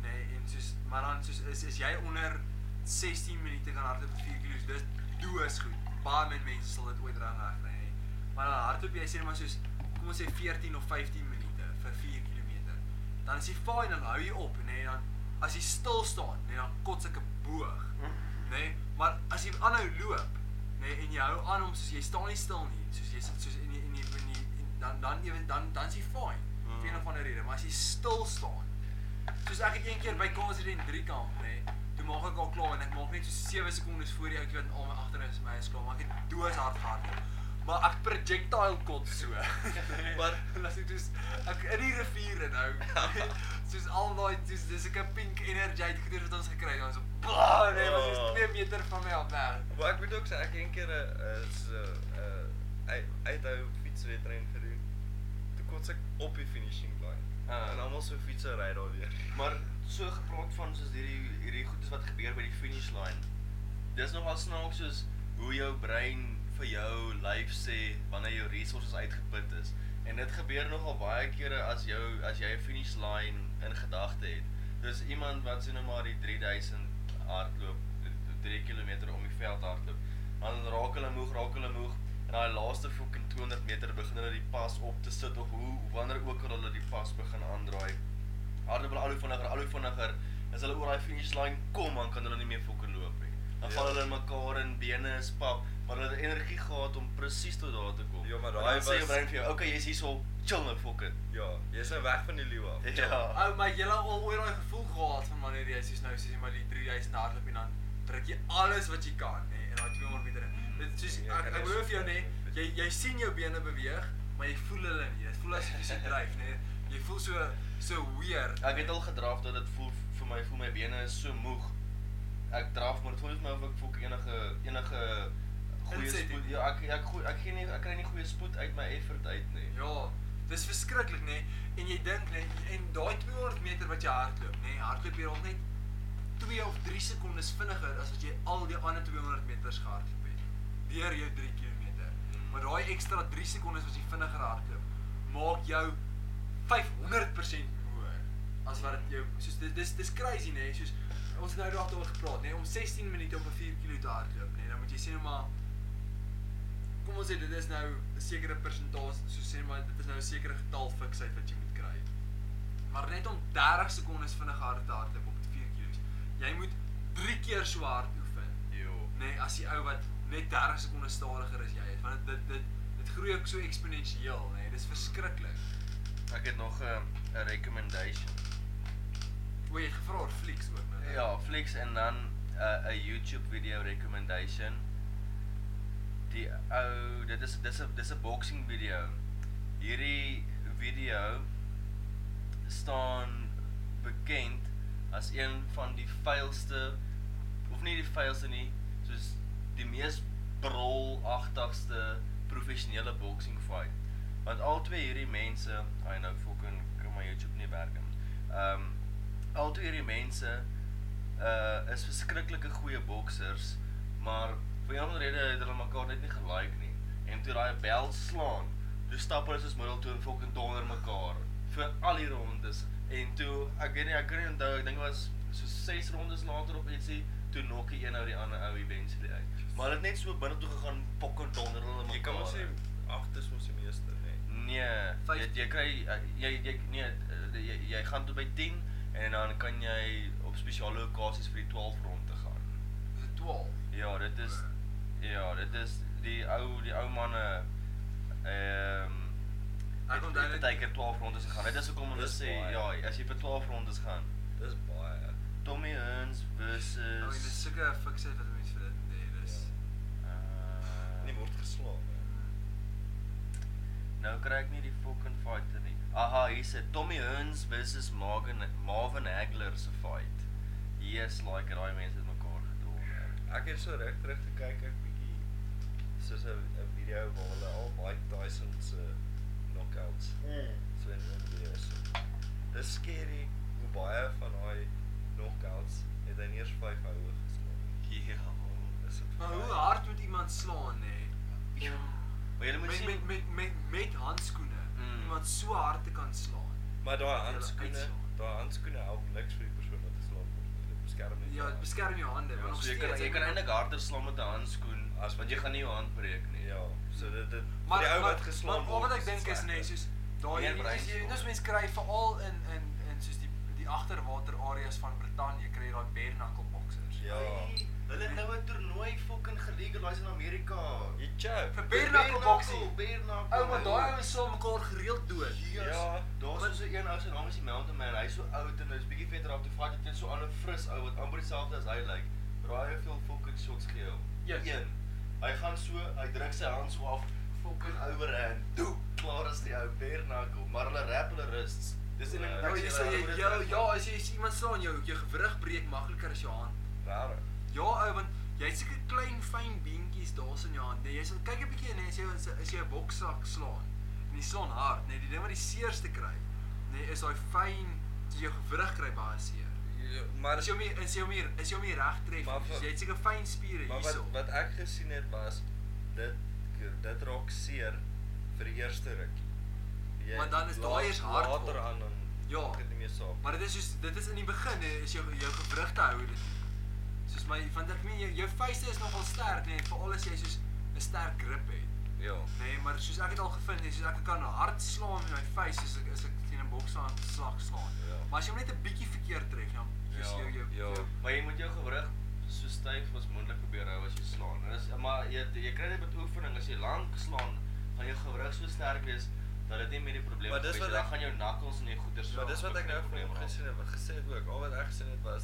Nê, en soos maar dan soos is is jy onder 16 minute kan hardloop vir 4 kg. Dis doos goed. Baie min mense sal dit ooit reg reg kry. Maar dan hardloop jy sê maar soos kom ons sê 14 of 15 minute vir 4 km. Dan is jy fyn dan hou jy op, nê, dan as jy stil staan, nê, dan kots ek 'n boog nê? Nee, maar as jy aanhou loop, nê, nee, en jy hou aan om soos jy staan nie stil nie, soos jy sit soos in die, in die, in die en dan dan ewen dan dan is jy fyn. Mm. Vir een of ander rede, maar as jy stil staan. Soos ek het een keer by Kaapstad 3 kamp, nê, nee, toe maak ek al klaar en ek maak net so 7 sekondes voor die ouetjie wat al my agter is, my is klaar, maar ek het doos hard gehardloop. Maar ek projectile kot so. Nee, Maar- laat ek dus ek in die rivier inhou. soos al daai soos dis ek 'n pink energy goeder wat ons gekry het, ons op bla, nee, Ja. maar dis Oh. 2 meter van my af nee. weg. Maar ek moet ook sê ek het een keer 'n eh, so 'n uit uithou fietswedren gedoen. Toe kots ek op die finishing line. Ah. En almal so fietsse ry daar weer. Maar so gepraat van soos hierdie hierdie goedes wat gebeur by die finish line. Dis nogal snaaks soos hoe jou brein vir jou lyf sê wanneer jou resources uitgeput is. En dit gebeur nogal baie kere as jou as jy 'n finish line in gedagte het. Dis iemand wat sien nou maar die 3000 hardloop, 3 km om die veld hardloop. Dan raak hulle moeg, raak hulle moeg en daai laaste fucking 200 meter begin hulle die pas op te sit of hoe wanneer ook al hulle die pas begin aandraai hardloop hulle al hoe vinniger, al hoe vinniger. As hulle oor daai finish line kom, dan kan hulle nie meer fokker loop nie. Dan Ja. val hulle in mekaar en bene is pap, maar hulle het energie gehad om presies tot daar te kom. Ja, maar En daai dan sê jou was- brein vir jou, "Okay, jy's hierso, chill nou fokker." Ja, jy's nou weg van die leeu af. Ja. Ou, maar jy het al ooit daai gevoel gehad van wanneer jy soos nou soos jy maar die 3000 hardloop en dan druk jy alles wat jy kan, nê, nee, en daai 200 meter. in. Dit soos Ja, Jy ek kan ek nie belowe so- vir jou nê, nee, jy jy sien jou bene beweeg, maar jy voel hulle nie. Dit voel asof jy so dryf, nê. Nee. Jy voel so so weird. Ek het al gedraaf dat dit voel vir my voel my bene is so moeg. Ek draf maar dit voel vir my of ek fokker enige enige goeie Inset spoed. het. Ja, ek ek gooi ek gee nie ek kry nie goeie spoed uit my effort uit nie. Ja, dis verskriklik nê. En jy dink nê en daai 200 meter wat jy hardloop nê, hardloop jy rond net 2 of 3 sekondes vinniger as wat jy al die ander 200 meters gehardloop het. Deur jou 3 km. Maar daai ekstra 3 sekondes wat jy vinniger hardloop, maak jou 500% moer as wat dit jou soos dit dis dis crazy nê, soos ons het nou daaroor gepraat nê, om 16 minute op 'n 4 km te hardloop nê, dan moet jy sê nou maar kom ons sê dit is nou 'n sekere persentasie, so sê maar dit is nou 'n sekere getal fiksheid wat jy moet kry. Maar net om 30 sekondes vinnig hard te hardloop op 4 km. Jy moet 3 keer so hard oefen, Jo. nê, nee, as die ou wat net 30 sekondes stadiger is jy is, want dit dit dit groei ook so eksponensieel, nê. Nee, dis verskriklik. Ek het nog 'n 'n recommendation. O, jy het gevra oor flieks ook nou. né? Ja, Flix en dan 'n 'n YouTube video recommendation. Die ou, dit is dis 'n dis 'n boxing video. Hierdie video staan bekend as een van die vuilste of nie die vuilste nie, soos die mees brolagtigste professionele boxing fight. Want al twee hierdie mense, I know fucking kan my YouTube nie werk nie. Ehm um, al twee hierdie mense uh is verskriklike goeie boksers, maar vir 'n ander rede het hulle mekaar net nie gelike nie. En toe daai bel slaan, toe stap hulle soos middel toe en fucking donder mekaar vir al die rondes. En toe ek weet nie ek kan nie onthou, ek dink dit was so 6 rondes later of ietsie, toe nog die een ou die ander ou eventually uit. Maar hulle het net so binne toe gegaan, fucking donder hulle mekaar. Jy kan mos sê agters mos die meeste, nê. Nee, Vyf- jy jy kry eh, jy jy nee, eh, jy, jy gaan tot by 10 en dan kan jy op spesiale lokasies vir die 12 ronde gaan. Dis 12. Ja, dit is ja, dit is die ou die ou manne ehm Ek onthou dit- partykeer 12 rondes gegaan. Dit is hoekom hulle Dis sê baie. ja, as jy vir 12 rondes gaan. Dis baie. Tommy Hearns I mean, dis versus sulke fiksheid wat mense vir dit nee, dis Ja. uh, Nie word geslaan nie. Mm. Nou kry ek nie die fucking fighter nie. Aha, hier's 'n Tommy Hearns versus Marvin Marvin Hagler se fight. Yes, like daai mense het mekaar gedol. Ek het so reg terug gekyk ek bietjie soos 'n 'n video waar hulle al Mike Tyson se knockouts Mm. so in 'n video so. Dis skerry hoe baie van daai knockouts het hy nie eers vyf houe geslaan nie. Ja. Dis so Maar hoe baie. hard moet iemand slaan nê? Ja. Maar jy moet met, sien met met met met handskoene Mm. mm. iemand so hard te kan slaan. Maar daai dat jy hulle handskoene, uitslaan. daai handskoene help niks vir die persoon wat geslaan word. nie. Dit beskerm net. Ja, jou. dit beskerm jou hande, Ja, maar nog so jy kan steeds, jy ek kan bedoel- eintlik harder slaan met 'n handskoen as As- want jy gaan nie jou hand breek nie. Ja, so dit dit Maar die ou maar- wat geslaan maar wat word, ek dink is nê, slegter. soos daai Meer jy brein jy slaan. dis mense kry veral in in in soos die die agterwater areas van Brittanje kry jy daai bare knuckle boxers. Ja. Ai, Hulle het nou 'n toernooi fucking gelegalise in Amerika. Jy choke. Vir Bare bare knuckle boxing. Bernacle. Ou, maar daai ouens sal mekaar gereeld dood. Ja, daar's so 'n een ou se naam is die Mountain Man. Hy's so oud en hy's bietjie vetter af te vat teen so 'n ander fris ou wat amper dieselfde as hy lyk. Like. Braai hy veel fucking shots gee hom. Yes. Een. Hy gaan so, hy druk sy hand so af, fucking overhand. Doep, klaar is die ou bare knuckle, maar hulle rap hulle wrists. Dis een ding Ja, Ja, wat jy sê jy ja, ja, as jy as iemand slaan jou jou gewrig breek makliker as jou hand. Rarig. Ja, ou, want jy het seker klein fyn beentjies daarso in jou hand. Nee, jy sal kyk 'n bietjie en as jy as jy- as jy 'n bokssak slaan en jy slaan hard, nee, die ding wat die seerste kry, nee, is daai fyn as jy jou gewrig kry baie seer. Ja, Maar Maar as jy hom nie as jy hom nie as jy hom nie reg tref, Maar nie, vir- so jy het seker fyn spiere maar hierso. wat wat ek gesien het was dit dit raak seer vir die eerste rukkie. Maar dan is daai eers hard Later word. aan dan Ja. maak dit nie meer saak. Maar dit is soos dit is in die begin hè, is jou jou gewrigte hou dit. nie. Soos my want ek meen jou, jou vuiste is nogal sterk nê, nee, veral as jy soos 'n sterk grip het. Ja. Nee, maar soos ek het al gevind, nee, soos ek kan hard slaan met my vuis as ek as ek teen 'n boksaan slag slaan. Ja. Maar as jy hom net 'n bietjie verkeerd tref, dan kies jy jou ja, jou- maar jy moet jou gewrig so styf as moontlik probeer hou as jy slaan. En dis maar jy jy kry dit met oefening as jy lank slaan, gaan jou gewrig so sterk wees dat dit nie meer die probleem Maar dis is wat nie. Dan ek- gaan jou nakkels en jou Ja, goeters Maar dis wat ek nou vir hom gesien het, wat gesê het ook. Al wat ek gesien het was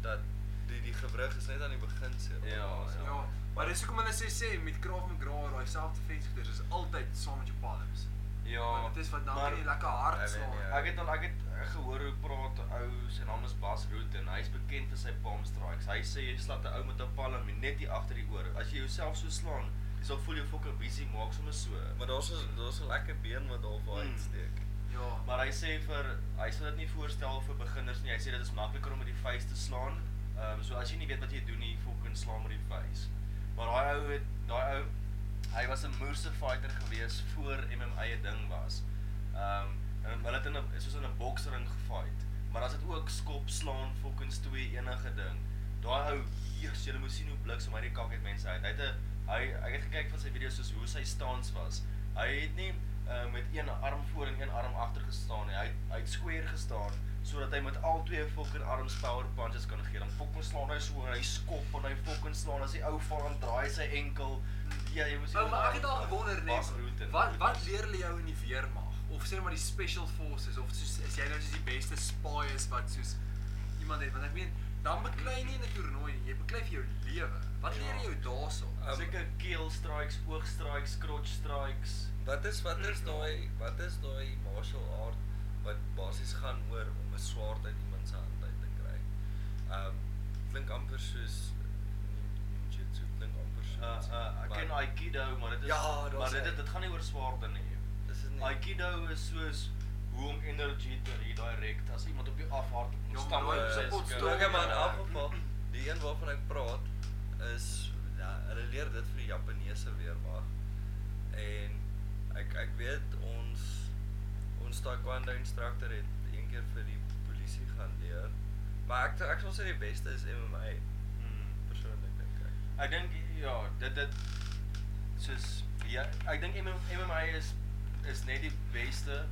dat die die gewrig is net aan die begin seer. Ja, Ja. ja. Maar dis hoekom hulle sê sê met Krav McGraw, daai self-defense goeders is altyd saam met jou palms. Ja. Want dit is wat dan maar- Nee, kan jy lekker Ek hard weet nie, slaan. Ek het al ek het eh, gehoor hoe praat 'n ou sy naam is Bas Root en hy's bekend vir sy palm strikes. Hy sê jy slat 'n ou met 'n palm en net hier agter die oor. As jy jouself so slaan, jy sal voel jou fucking visie maak sommer so. Maar daar's so daar's 'n lekker been wat daar vir Hmm. uitsteek. Ja. Maar hy sê vir hy sal dit nie voorstel vir beginners nie. Hy sê dit is makliker om met die vuis te slaan. Ehm um, so as jy nie weet wat jy doen nie, fucking slaan met die vuis. Maar daai ou het daai ou hy was 'n moerse fighter gewees voor MMA 'n ding was. Ehm um, en hulle het in 'n soos in 'n boksering gefight. Maar as dit ook skop, slaan, fucking twee enige ding. Daai ou, Jesus, jy moet sien hoe bliksem hy die kak het mense uit. Hy het 'n hy ek het gekyk van sy video's soos hoe sy stance was. Hy het nie uh, met een arm voor en een arm agter gestaan nie. Hy het- hy het square gestaan sodat hy met al twee fucking arms power punches kan gee. Dan fucking slaan hy so en hy skop en hy fucking slaan as die ou val en draai sy enkel. Ja, jy moet sien Ou, hoe Nou, maar ek hy- het al gewonder Bas Root net en- wat wat leer hulle jou in die weermag of sê maar die special forces of soos is jy nou soos die beste spy is wat soos iemand het want ek meen dan beklei jy nie in 'n toernooi nie, jy beklei vir jou lewe. Wat leer jy jou daarso? Um, Sulke keel strikes, oog strikes, crotch strikes. Wat is wat is daai wat is daai martial art wat basies gaan oor om 'n swaard uit iemand se hand uit te kry. Um klink amper soos ninjutsu klink amper Uh soos. uh ek ken maar Aikido, maar dit is Ja, daar's maar dit hy. Nee. dit dit gaan nie oor swaarde nie. Dis is nie Aikido is soos hoe om energy te redirect as iemand op jou afhard Ja, en maar stamp nooit Eh, is. sy Ja, pot stoel. Okay man, in Ja, elk geval, die een waarvan ek praat is ja, hulle leer dit vir die Japaneese weermag. En ek ek weet ons ons taekwondo instrukteur het een keer vir die polisie gaan leer. Maar ek ek sal sê die beste is MMA Hmm. Mm, persoonlik dink ek. Ek dink ja, dit dit soos ja, ek dink MMA is is net die beste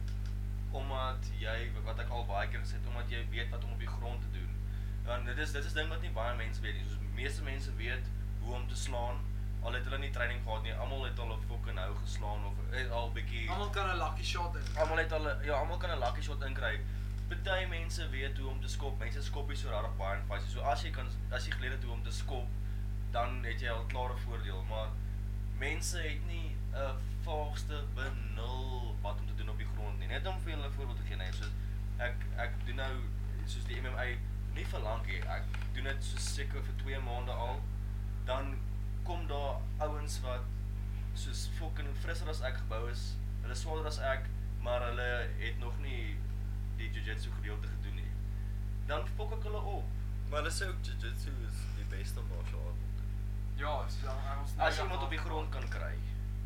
omdat jy wat ek al baie keer gesê het, omdat jy weet wat om op die grond te doen. Want dit is dit is ding wat nie baie mense weet nie. Soos meeste mense weet hoe om te slaan. Al het hulle nie training gehad nie. Almal het al 'n fucking hou geslaan of het al bietjie Almal kan 'n lucky shot in. Almal het al ja, almal kan 'n lucky shot inkry. Party mense weet hoe om te skop. Mense skop hier so regtig baie en vas. So as jy kan as jy geleer het hoe om te skop, dan het jy al klare voordeel, maar mense het nie 'n vaagste benul wat om te doen op die grond nie. Net om vir julle 'n voorbeeld te gee, nee, soos ek ek doen nou soos die MMA nie vir lank hier. Ek doen dit so seker vir 2 maande al. Dan kom daar ouens wat soos fucking frisser as ek gebou is. Hulle is swaarder as ek, maar hulle het nog nie die jiu-jitsu gedeelte gedoen nie. Dan fok ek hulle op. Maar hulle sê ook jiu-jitsu is die beste martial art. om te doen. Ja, so ons As jy iemand op die grond kan kry,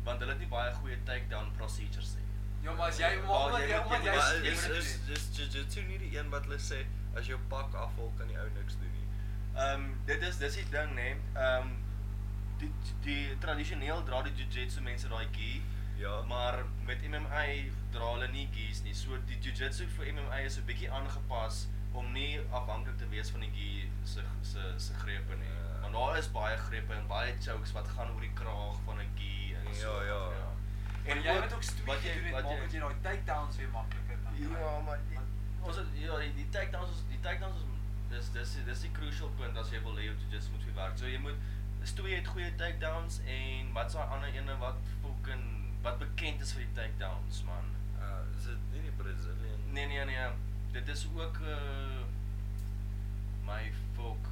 want hulle het nie baie goeie takedown procedures nie. Ja, maar as jy maar Wel, omdat jy jy moet- omdat jy jy ja, moet- Maar jy is moet dit is doen. dis jiu-jitsu nie die een wat hulle sê as jou pak afval kan die ou niks doen nie. Ehm dit is dis die ding nê. Ehm die die tradisioneel dra die jiu-jitsu mense daai gi. Ja. Maar met MMA dra hulle nie gi's nie. So die jiu-jitsu vir MMA is 'n bietjie aangepas om nie afhanklik te wees van die gi se se se grepe nie. Ja. Want daar is baie grepe en baie chokes wat gaan oor die kraag van 'n gi en so. Ja, ja. En jy moet ook wat street doen en maak dat jy daai takedowns weer makliker kan kry. Ja, maar die- ons het- ja, die, die takedowns is die takedowns is dis dis dis die crucial punt as jy wil hê jy just moet vir werk. So jy moet is twee het goeie takedowns en wat's daai ander ene wat fucking wat bekend is vir die takedowns man. Uh, is dit nie die Brazilian? Nee nee nee. Dit is ook uh my fuck.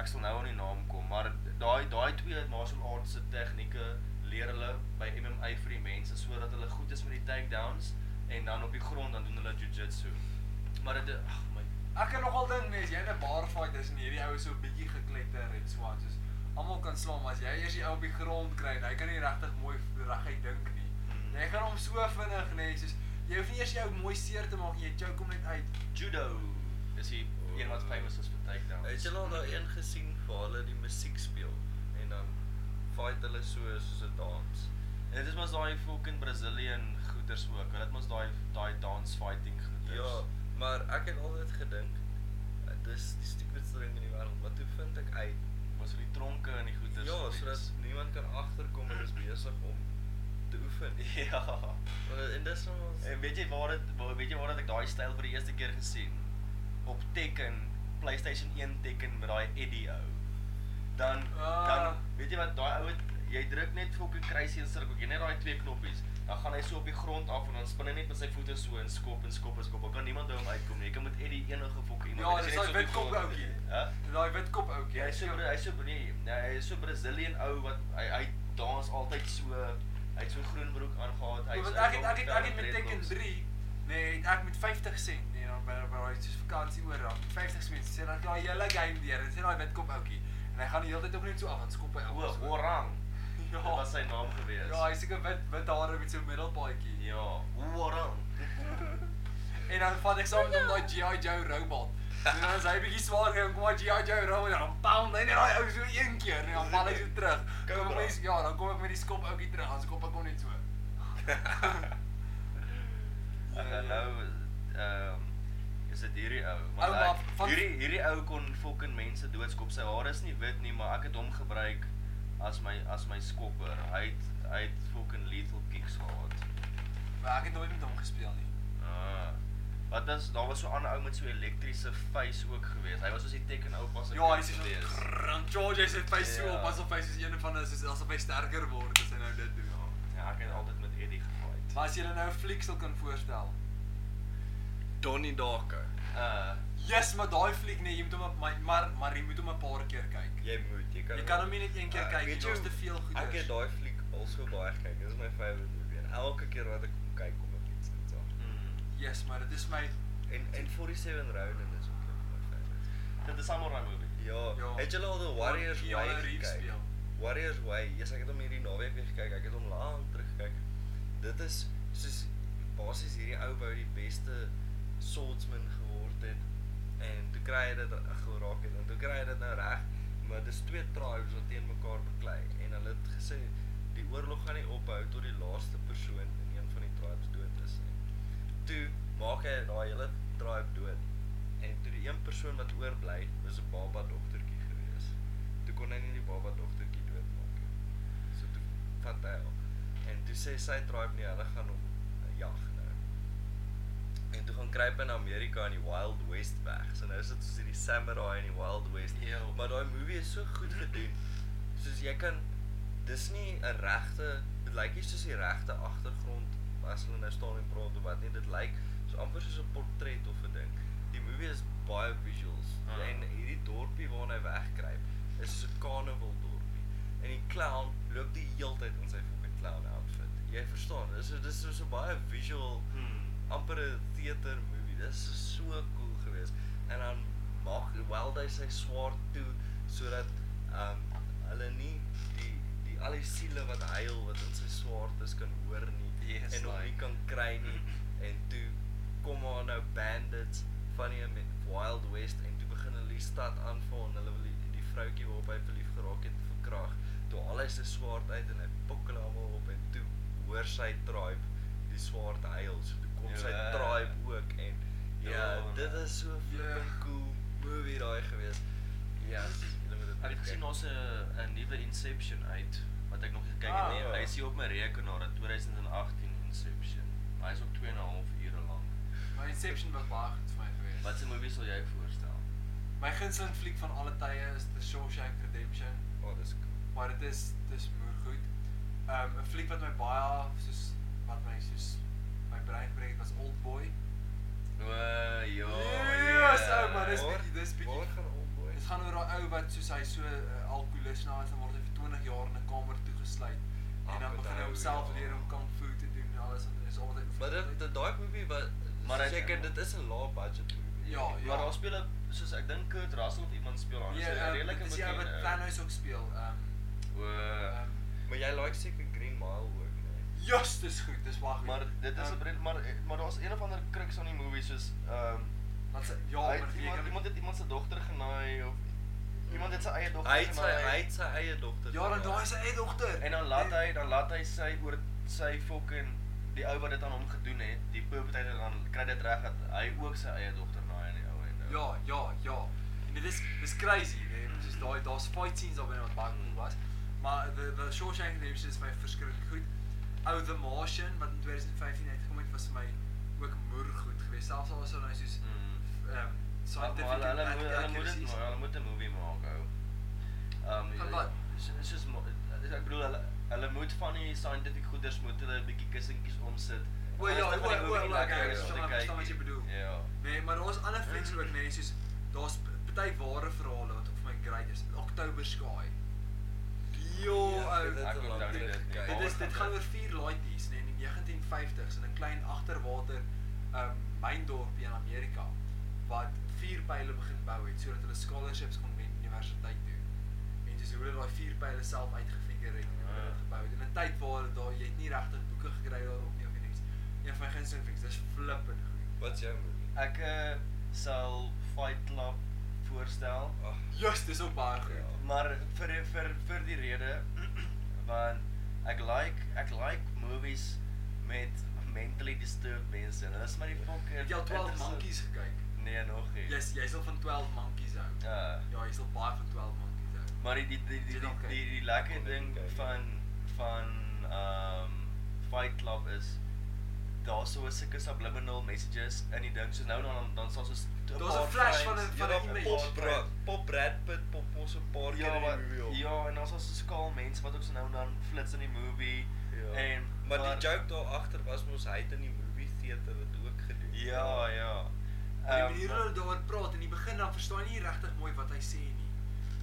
Ek sal nou aan die naam kom, maar daai daai twee martial arts se tegnieke leer hulle by MMA vir die mense sodat hulle goed is met die takedowns en dan op die grond dan doen hulle jiu-jitsu. Maar dit ag my Ek kan nogal dink nee, as jy in 'n bar fight is en hierdie ou is so bietjie gekletter en swat, soos almal kan slaan, maar as jy eers die ou op die grond kry en hy kan nie regtig mooi reguit dink nie. Mm. Jy gaan hom so vinnig nê, nee, soos jy hoef nie eers jou mooi seer te maak nie, jy choke hom net uit. judo is die een wat famous is vir takedowns. Het julle al daai een gesien waar hulle die musiek speel en dan fight hulle so soos 'n dans? En dit is mos daai fucking Brazilian goeters ook. Hulle het mos daai daai dance fighting goeters. Ja, maar ek het altyd gedink dit is die stupidste ding in die wêreld, maar toe vind ek uit was vir die tronke en die goeters. ja, sodat niemand kan agterkom en is besig om te oefen. Ja. Maar En dis nou ons En weet jy waar dit waar- weet jy waar het ek daai styl vir die eerste keer gesien? Op Tekken, PlayStation 1 Tekken met daai Eddie ou. Dan Ah. dan weet jy wat daai ou het jy druk net fucking kruisie en sirkel, jy net daai twee knoppies. Dan gaan hy so op die grond af en dan spin hy net met sy voete so en skop en skop en skop. Dan kan niemand by hom uitkom nie. Jy kan met Eddie enige fucking iemand Ja, as jy net dis daai so op die witkop grond- ouetjie. Hæ? Daai wit kop ou, Ja, hy's so Bra- hy's so nee, nee, hy's so Brazilian ou wat hy hy dans altyd so hy het so groen broek aangetree. Ja, Ek het ek het ek het, ek het met Tekken 3 nee, het ek met 50 sent nee, dan by by daai soos vakansie oor dan 50 sent sê dan daai hele game deur en sê daai wit kop ouetjie en hy gaan die hele tyd ook net so af en skop hy O, ouetjie so. Orang. Ja. Ja, dit was sy naam gewees. Ja, hy's seker wit wit hare met so 'n middelpaadjie. Ja, Orang. En dan vat ek saam met hom daai GI Joe robot. En dan is hy bietjie swaar en kom hy GI Joe robot en dan pound hy net daai ou so een keer en dan val hy so terug. Kom ek Cobra. met die- ja, dan kom ek met die skop ouetjie terug. Dan skop ek hom net so. Ja. Ek gaan nou ehm is dit hierdie ou? Ou, Want maar hy- van- hierdie hierdie ou kon fucking mense doodskop. Sy hare is nie wit nie, maar ek het hom gebruik as my as my skopper. Hy het hy het fucking lethal kicks gehad. Maar ek het nooit met hom gespeel nie. Ah. Wat is daar was so 'n ander ou met so 'n elektriese face ook geweest. Hy was soos die Tekken ou pas Ja, hy sê so dan charge hy sy face so Ja. op asof hy soos een van hulle soos asof hy sterker word as hy nou dit doen. Ja, ek het altyd met Eddie gefight. Maar as jy nou 'n fliek sal kan voorstel. Donnie Darko. Uh Yes, maar daai fliek nee, jy moet hom op my maar maar jy moet hom 'n paar keer kyk. Jy moet, jy kan Jy kan hom nie net een keer Ah, kyk nie, weet jy daar's hoe- te veel goeders. Ek het daai fliek al so baie gekyk. Dis my favourite movie. En elke keer wat ek hom kyk kom ek iets iets aan. Hmm. hmm. Yes, maar dit is my En en 47 Ronin is ook een van my favorites. Dit is 'n samurai movie. Ja, Ja. het julle al the Warriors Keanu Way Reeves gekyk? speel. Warriors Way. Yes, ek het hom hierdie naweek weer gekyk. Ek het hom lank terug gekyk. Dit is soos basies hierdie ou wou die beste swordsman geword het en toe kry hy dit geraak het en toe kry hy dit nou reg, maar dis twee tribes wat teen mekaar beklei en hulle het gesê die oorlog gaan nie ophou tot die laaste persoon in een van die tribes dood is nie. Toe maak hy daai hele tribe dood en toe die een persoon wat oorbly was 'n baba dogtertjie gewees toe kon hy nie die baba dogtertjie doodmaak nie. So toe vat hy haar en toe sê sy tribe nee, hulle gaan hom eh, jag nou. En toe gaan kruip in Amerika in die Wild West weg. So nou is dit soos hierdie samurai in die Wild West. Ew. Maar daai movie is so goed gedoen. Soos jy kan dis nie 'n regte dit lyk nie soos die regte agtergrond as hulle nou staan en praat of wat nie. Dit lyk so amper soos 'n portret of 'n ding. Die movie is baie visuals Ah. en hierdie dorpie waarna hy wegkruip is soos 'n carnival dorpie. En die clown loop die heeltyd in sy fucking clown outfit. Jy verstaan, dis so dis so, so baie visual Hmm. amper 'n teater movie. Dis so, so cool geweest. En dan maak wel hy sy swaard toe sodat ehm um, hulle nie die die al die siele wat huil wat in sy swaard is kan hoor nie Yes, en hom nie like- Hmm. kan kry nie. En toe kom daar nou bandits van die Ame- Wild West en toe begin hulle die stad aanval en hulle wil die, die vroutjie waarop hy verlief geraak het verkrag. Toe haal hy sy swaard uit en hy pok hulle almal op en toe hoor sy tribe die swaard huil. So toe kom sy Ja. tribe ook en ja, Ja, ja dit man. is so flipping Ja. cool movie daai gewees. Ja, julle moet dit Al het kyk. gesien ons 'n 'n nuwe Inception uit wat ek nog nie gekyk het Ah, nie. ja. Hy is hier op my rekenaar, 'n 2018 Inception. Hy is ook 2 en 'n half ure lank. my Inception was baie goed vir my gewees. Wat 'n movie sal jy voorstel? My gunsteling fliek van alle tye is The Shawshank Redemption, Oh, dis cool. maar dit is dis moer goed. Um 'n fliek wat my baie soos wat my soos my brein breek was Oldboy. O, ja. Yes, ja. ou, maar dis Waar- bietjie dis bietjie waar gaan Oldboy? Dit gaan oor daai ou wat soos hy so uh, alkoholist na is en word hy vir 20 jaar in 'n kamer toegesluit. Ah, En dan goed, begin hy ou, homself ja. leer om kung fu te doen en alles en dit is altyd Maar dit dit- daai movie wat Maar hy- seker dit is 'n lae budget movie. Ja, Maar daar speel 'n soos ek dink Kurt Russell of iemand speel aan. Ja, so 'n ehm, redelike dit is die ou wat bekende ou. Thanos ook speel. Ehm O. ehm, Maar jy like seker Green Mile ook, né? Yes, dis goed, dis Ehm, wag. Maar dit is 'n brand maar eh, maar daar's een of ander kruks aan die movie soos ehm Wat se ja, hy maar het jy iemand kan- iemand het iemand se dogter genaai of iemand het sy eie dogter Hy het sy hy het sy eie dogter. Ja, dan genaai. daai is sy dogter. En dan laat Nee. hy dan laat hy sy oor sy fucking die ou wat dit aan hom gedoen het, die perpetrator dan kry dit reg dat hy ook sy eie dogter naai aan die ou en eh, Ja, ja, ja. En dit is dis crazy, né? Soos daai daar's fight scenes daarin wat baie cool was. Maar the the Shawshank Redemption is my verskriklik goed. Ou The Martian wat in 2015 uitgekom het was vir my ook moer goed geweest. Selfs al was dit nou soos Mm. ehm Maar scientific Hulle hulle and moet- hulle moet dit accuracies. maar hulle moet 'n movie maak ou. Ehm Van wat? so- soos mo- ek bedoel hulle hulle moet van die scientific goeders moet hulle 'n bietjie kussentjies omsit. O ja, Anders o dan gaan die o movie o, nie like, lekker ek wees om te verstaan- kyk verstaan wat jy nie. bedoel. Ja. Nee, maar daar's ander flieks ook, nee, soos daar's p- party ware verhale wat vir my great is. October Sky. Jo, Ja, ou, dit Ek het onthou lank dit terug nie. gekyk. Dit is Waar dit gaan gaan dit? oor vier laities nê nee, in die 1950s in 'n klein agterwater um myndorpie in Amerika wat vier pile begin bou het sodat hulle scholarships kon wen universiteit toe. En dis hoe hulle daai vier pile self uitgefigure het en hoe hulle dit gebou het in 'n tyd waar daar jy het nie regtig boeke gekry daarop nie of iets. Een van my gunsteling flicks, dis flippend goed. Wat's jou movie? Ek eh, sal Fight Club voorstel. Ag. Just dis ook baie goed. Ja. Maar vir vir vir die rede want ek like ek like movies met mentally disturbed mense. En Hulle is maar die fucking Het jy al 12 interessant- monkeys gekyk? Nee, nog nie. Jy's jy's al van 12 monkeys hou. Ja. Ja, jy's al baie van 12 monkeys hou. Maar die die die die Jy die, dan kyk. die, die lekker Kon dit ding nie kyk. van van ehm um, Fight Club is daar's so 'n sulke subliminal messages in die ding. So nou en dan dan sal so 'n Daar's 'n paar flash van frames- 'n- Ja, van dan 'n image. pop Brad, pop Brad Pitt pop ons 'n paar keer Ja, in maar, die movie. op. ja, en daar's also skaal mense wat ook so nou en dan flits in die movie. Ja. En maar die joke daar agter was mos hy het in die movie theater dit ook gedoen. Ja, ja. Die Ehm, manier hoe hulle daaroor praat in die begin dan verstaan jy nie regtig mooi wat hy sê nie.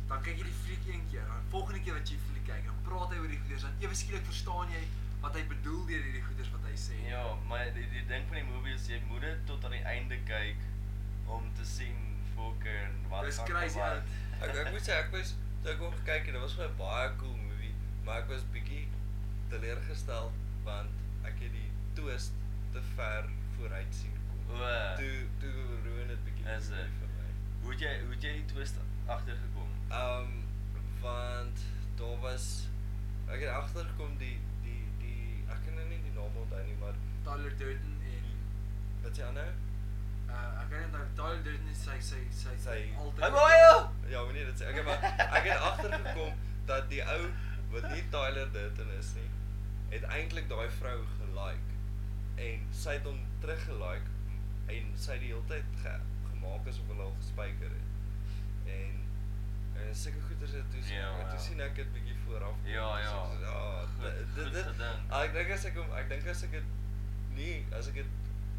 Dan kyk jy die fliek een keer, dan volgende keer wat jy die fliek kyk, dan praat hy oor die goeders, dan ewe skielik verstaan jy wat hy bedoel deur hierdie goeders wat hy sê. Ja, maar die, die ding van die movie is jy moet dit tot aan die einde kyk om te sien fucking wat Dis gaan crazy, gebeur. Ek ek moet sê ek was toe ek hom gekyk het, dit was vir my 'n baie cool movie, maar ek was bietjie teleurgestel want ek het die twist te ver vooruit sien kom. O. ja. Toe toe ruin dit bietjie Is die dit? movie vir my. Hoe het jy hoe het jy die twist agtergekom? Ehm want daar was ek het agtergekom die die die ek kan nou nie die naam onthou nie, maar Tyler Durden en wat se ander? uh ek weet nie Tyler Durden is sy sy sy Sy- altyd Hy baie. Ja, wanneer dit sê. Okay, maar ek het agtergekom dat die ou wat nie Tyler Durden is nie, het eintlik daai vrou gelike en sy het hom teruggelike en sy het die hele tyd ge gemaak asof hulle al gespyker het. En en seker goeters het toe sien, Ja, ja, toe ja. sien ek dit bietjie vooraf. kom, Ja, toe ja. sien ek soos, ah, Goed- dit- goed dit- dit- gedink. ah, Ek dink as ek hom ek dink as ek dit nie as ek dit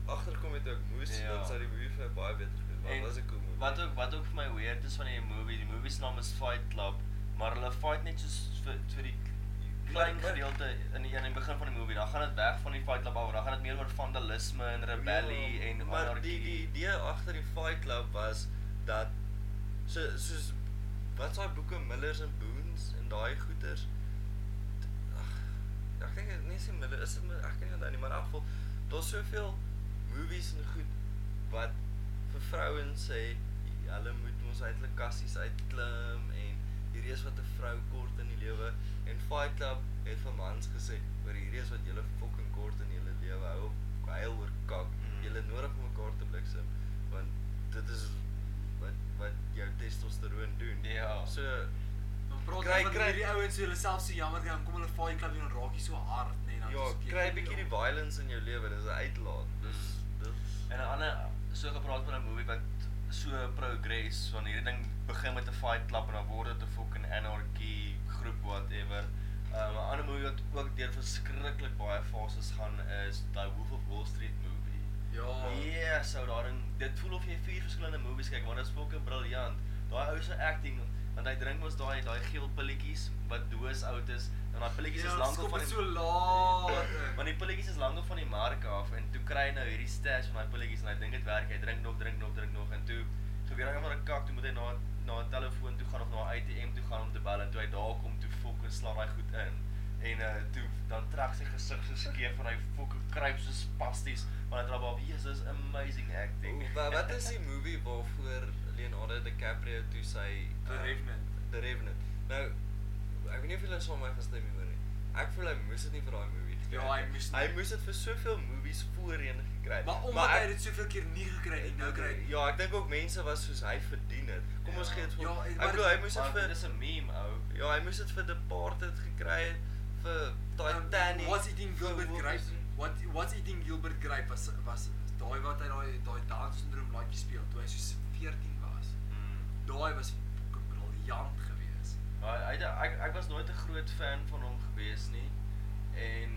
agterkom het hoe ek moes, Ja. dan sou die movie vir my baie beter gewees, maar En dit was 'n cool movie. Wat ook wat ook vir my weird is van die movie, die movie se naam is Fight Club, maar hulle fight net soos vir vir die klein Maar- maar- gedeelte in die, in die begin van die movie. Dan gaan dit weg van die Fight Club af, dan gaan dit meer oor vandalisme en rebellie Ja, en maar die die anargie. idee agter die Fight Club was dat so soos wat is daai boeke Millers and Boons en daai goeters Ag, ek dink dit nie se Miller is dit Miller? ek kan nie onthou nie maar in elk geval daar's soveel movies en goed wat vir vrouens sê hulle moet ons uit hulle kassies uitklim en hierdie is wat 'n vrou kort in die lewe en Fight Club het vir mans gesê oor hierdie is wat julle fucking kort in julle lewe hou op huil oor kak Mm. julle nodig om mekaar te bliksem want dit is wat wat jou testosteroon doen Ja. so Dan praat Kry- jy van kry- hierdie ouens hoe hulle self so jammer kry, dan kom hulle vaai klap en raak jy so hard, nee, dan ja is dit- kry 'n bietjie die violence in jou lewe dis 'n uitlaat dis Mm. dis En 'n ander so gepraat van 'n movie wat so progress van hierdie ding begin met 'n fight club en dan word dit 'n fucking anarchy groep whatever. Um, 'n ander movie wat ook deur verskriklik baie fases gaan is daai Wolf of Wall Street movie. Ja. Ah. Nee, Ja, yes, ou daarin. Dit voel of jy vier verskillende movies kyk, maar dit is fucking briljant. Daai ou se acting want hy drink mos daai daai geel pilletjies wat doos oud is en daai pilletjies Ja, is lank skop op van het die- so laat Nee, in. Want die pilletjies is lank op van die mark af en toe kry hy nou hierdie stash van daai pilletjies en hy dink dit werk. Hy drink nog, drink nog, drink nog en toe gebeur hy maar 'n kak, toe moet hy na na 'n telefoon toe gaan of na 'n ATM toe gaan om te bel en toe hy daar kom toe fucking slaap hy goed in. En uh toe dan trek sy gesig so skeef en hy fucking kruip so spasties want hy dra baie Jesus amazing acting. Oeh, wa- wat is die movie waarvoor Leonardo DiCaprio toe sy The ehm, Revenant. The Revenant. Nou ek weet nie of julle saam met my gestem hieroor nie. Ek voel hy moes dit nie vir daai movie gekry Ja, het hy nie. moes Hy nie. moes dit vir soveel movies voorheen gekry het. Maar omdat hy dit soveel keer nie gekry het nie, nou kry hy- Ja, ek dink ook mense was soos hy verdien het. Kom ons Ja. gee dit vir Ja, hom. maar Ek glo hy dit- moes Maar dit vir dis 'n meme ou. Ja, hy moes dit vir Departed gekry het vir Ja, Ehm, Titanic. What's eating vir Gilbert Wolf- Grape? What What's eating Gilbert Grape was was daai wat hy daai daai Down syndroom liedjie speel toe hy soos 14 was. Mm. Daai was fucking briljant geweest. Maar hy hy- ek ek was nooit 'n groot fan van hom gewees nie. En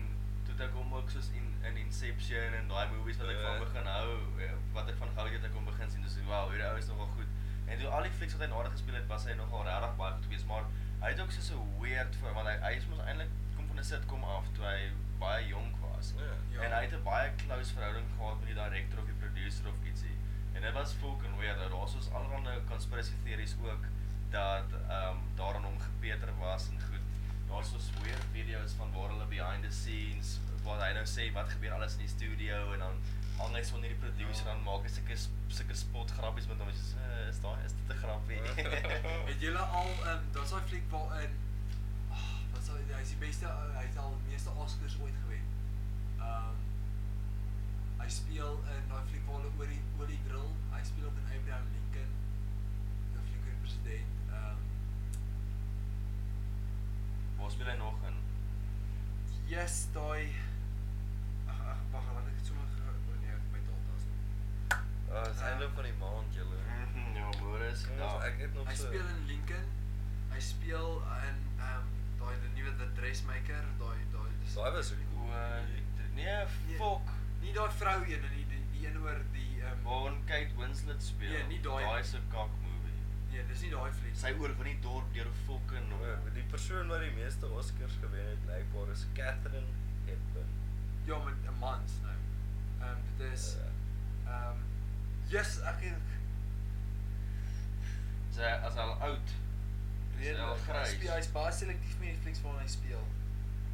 toe het ek hom ook soos in in Inception en daai movies wat ek van Ja. begin hou, eh, wat ek van gehou het, het ek hom begin sien, dis wow, hierdie ou is nogal goed. En toe al die flieks wat hy nader gespeel het, was hy nogal regtig baie goed geweest, maar hy het ook so 'n weird vir want hy hy is mos eintlik kom van 'n sitcom af toe hy baie jonk was. Ja. Ja. En hy het 'n baie close verhouding gehad met die direkteur of die producer of ietsie. En dit was fucking weird. Daar was soos allerlei conspiracy theories ook dat ehm um, daar aan hom gepeter was en goed. Daar's soos weird video's van waar hulle behind the scenes wat hy nou sê wat gebeur alles in die studio en dan hang hy so onder die producer Ja. dan maak hy sulke sulke spot grappies met hom. Hy sê uh, is daai is dit 'n grappie? Het julle al ehm um, daar's daai fliek waarin oh, wat sou hy is die beste ou- hy het al die meeste Oscars ooit gewen. Ehm hy speel in daai fliek waar hulle oor die olie drill. Hy speel ook in Abraham Lincoln. Die fliek oor die president. Ehm Waar speel hy nog in? yes, daai ag ag wag, laat ek dit sommer gou- oh nee, ek het my data is. Ah, dis einde van die maand julle. Mhm, Ja, Boris. Kom ons- ek het nog Hy so- speel in Lincoln. Hy speel in ehm um, daai die nuwe The Dressmaker, daai daai Daai was 'n O, nee, Nee. fuck. Nie daai vrou een en die die, die een oor die ehm Waarin Kate Winslet speel. Nee, nie daai- Daai se kak movie. Nee, dis nie daai fliek. Sy oor van die Ja, dorp deur 'n fucking Die persoon wat die meeste Oscars gewen het, blykbaar is Catherine happen. Ja, met 'n mans nou. Ehm um, dit is Ja. ehm um, yes, ek Sy as al oud. weet al grys. Hy hy's baie selektief met Netflix waarna hy speel.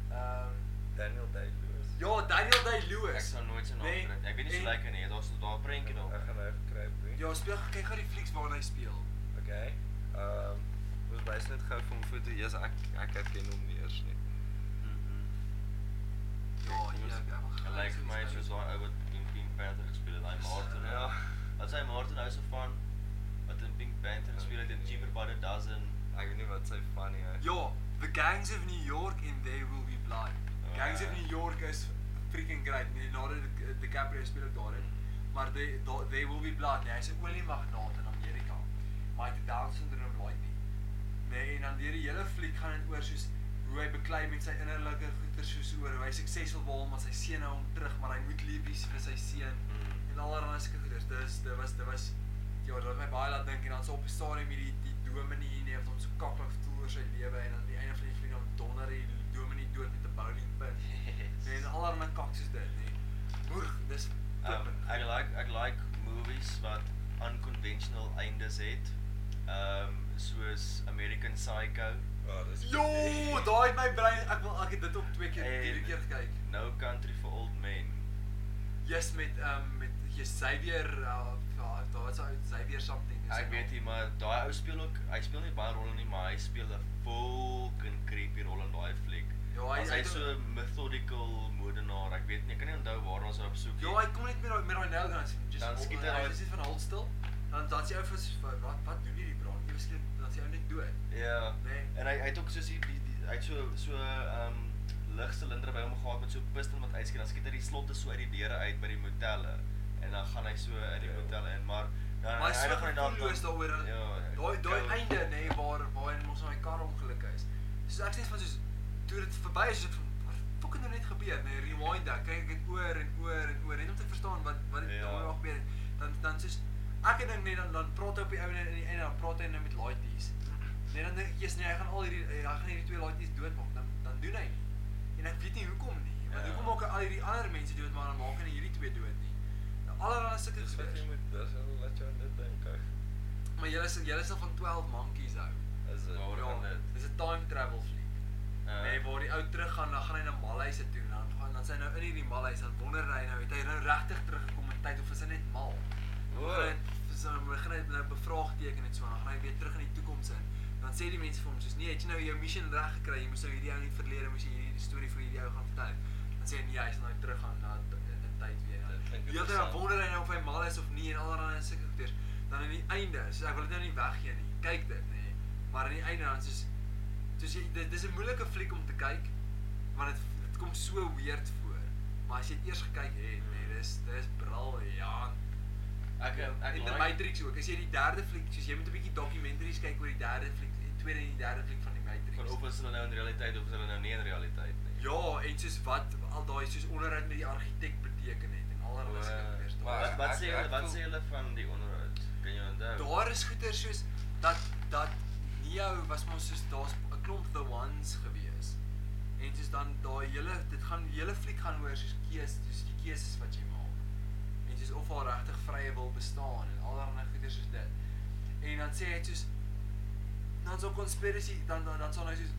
Ehm um, Daniel Day-Lewis. ja, Daniel Day-Lewis. Ek sal nooit sy naam Nee, kry. Ek weet nie hoe en- lyk hy nie. Daar's daar 'n prentjie daar. Ek gaan nou gekry het. Ja, speel kyk gou die flieks waarna hy speel. Okay. Ehm um, Ons wys net gou vir hom foto. Jesus, ek ek herken hom nie eers nie. Mhm. Ja, hier ek Hy lyk vir my soos daai ou wat in Pink Panther gespeel het, daai Martin. Ja. Wat sy Martin House of Fun wat in Pink Panther gespeel het en Cheaper by the Dozen. ek weet nie wat sy funny is. Ja, The Gangs of New York and There Will Be Blood. Gangs of Ah. New York is freaking great. Nee, Leonardo Di- DiCaprio speel ook daarin. Maar they da- There Will Be Blood, nee, hy's 'n oliemagnaat in Amerika. Maar hy het 'n Down syndroom laai nie. Nee, en dan deur die hele fliek gaan dit oor soos hoe hy beklei met sy innerlike goeie soos oor hoe hy suksesvol wil maar sy seun hou hom terug, maar hy moet lief wees vir sy seun Hmm. Mm. en allerlei sulke goeders. Dis dit was dit was ja, dit het my baie laat dink en dan so op die stadium hierdie die dominee nee, wat hom so kaklik voel oor sy lewe en dan aan die einde van die fliek dan donder hy die dominee dood met 'n bowling pin. Nee, Yes. En allerlei kak soos dit, nee. Boer, dis Um, flippend. ek like ek like movies wat unconventional eindes het. Ehm um, soos American Psycho. Ja, dis Jo, daai het my brein, ek wil ek het dit op twee keer, En nou- drie keer gekyk. No Country for Old Men. Yes met ehm um, met Xavier uh, ja, daar is hy Xavier something. is Ek sy weet naam. nie, maar daai ou speel ook, hy speel nie baie rolle nie, maar hy speel 'n fucking creepy rol in daai fliek. Ja, hy- As hy hy doen- so methodical moordenaar. Ek weet nie, ek kan nie onthou waar ons op soek Ja, hy kom net met daai met daai nail guns. Just Dan hol- skiet hy daai- Hy sit van hol stil. Dan dan sê ou vir vir- wat wat doen hierdie braak? Ewe skielik dan sê ou net dood. Ja. Nee. En hy hy het ook soos die, die, die hy het so so ehm um, ligsilinder by hom gehad met so 'n piston wat uitskiet. Dan skiet hy die slotte so uit die deure uit by die motelle en dan gaan hy so uit die Ja. motelle in, maar dan Maar hy eindig sê hy dan- gevoelloos dan- Ja, daaroor. dat- ja, Daai daai einde nê nee, waar waarin ons aan my kar ongeluk is. So ek sê van soos toe dit verby is, soos ek van wat fucking nou net gebeur nê, nee, rewind dan kyk ek dit oor en oor en oor net om te verstaan wat wat dit Ja. daai dag gebeur het. Dan dan soos ek dink net dan dan praat hy op die ouene in die einde dan praat hy nou met laities. Nee dan dink ek jy's nee, hy gaan al hierdie hy gaan hierdie twee laities doodmaak. Dan dan doen hy nie. En ek weet nie hoekom nie. Want Ja. hoekom maak hy al hierdie ander mense dood maar dan maak hy nie hierdie twee dood nie. Nou allerlei sulke Dis wat goeders. jy moet dis en laat jou aan dit dink. ou. Maar julle is julle is al van 12 monkeys ou. Is dit? Waar gaan dit? Dis 'n time travel fliek. Ja. Nee, waar die ou terug gaan, dan gaan hy na Malhuise toe en dan gaan dan sy nou in hierdie Malhuise dan wonder hy nou het hy nou regtig teruggekom in tyd of is hy net mal? Wow. Hoor, so begin hy nou bevraagteken en so dan gaan hy weer terug in die toekoms in. Dan sê die mense vir hom soos nee, het jy nou jou mission reg gekry? Jy moes nou hierdie ou in die verlede moes jy hierdie storie vir hierdie ou gaan vertel. Dan sê hy nee, hy sal nou terug gaan na t- in die tyd weer. Dit klink Heeltyd dan interessant. wonder hy nou of hy mal is of nie en allerlei sulke goeders. Dan aan die einde, soos ek wil dit nou nie weggee nie. Kyk dit nê. Maar aan die einde dan soos soos jy dit dis 'n moeilike fliek om te kyk want dit dit kom so weird voor. Maar as jy dit eers gekyk het, nê, dis dis briljant. Mm. Ek ek En The like- Matrix ook. As jy die derde fliek, soos jy moet 'n bietjie documentaries kyk oor die derde fliek, die tweede en die derde fliek van die Matrix. van of is hulle nou in realiteit of is hulle nou nie in realiteit nie. Ja, en soos wat al daai soos onderhoud met die argitek beteken het en allerlei sulke Oor- goeders. maar Wat Daar- wat ek- sê ek hulle wat voel- sê hulle van die onderhoud? Kan jy onthou? Daar is goeder soos dat dat Neo was mos soos daar's 'n klomp the ones gewees. En soos dan daai hele dit gaan die hele fliek gaan oor soos keus, soos die keuses wat jy maak. En soos of daar regtig vrye wil bestaan en allerlei goeder soos dit. En dan sê hy soos dan so conspiracy dan dan dan sal hy soos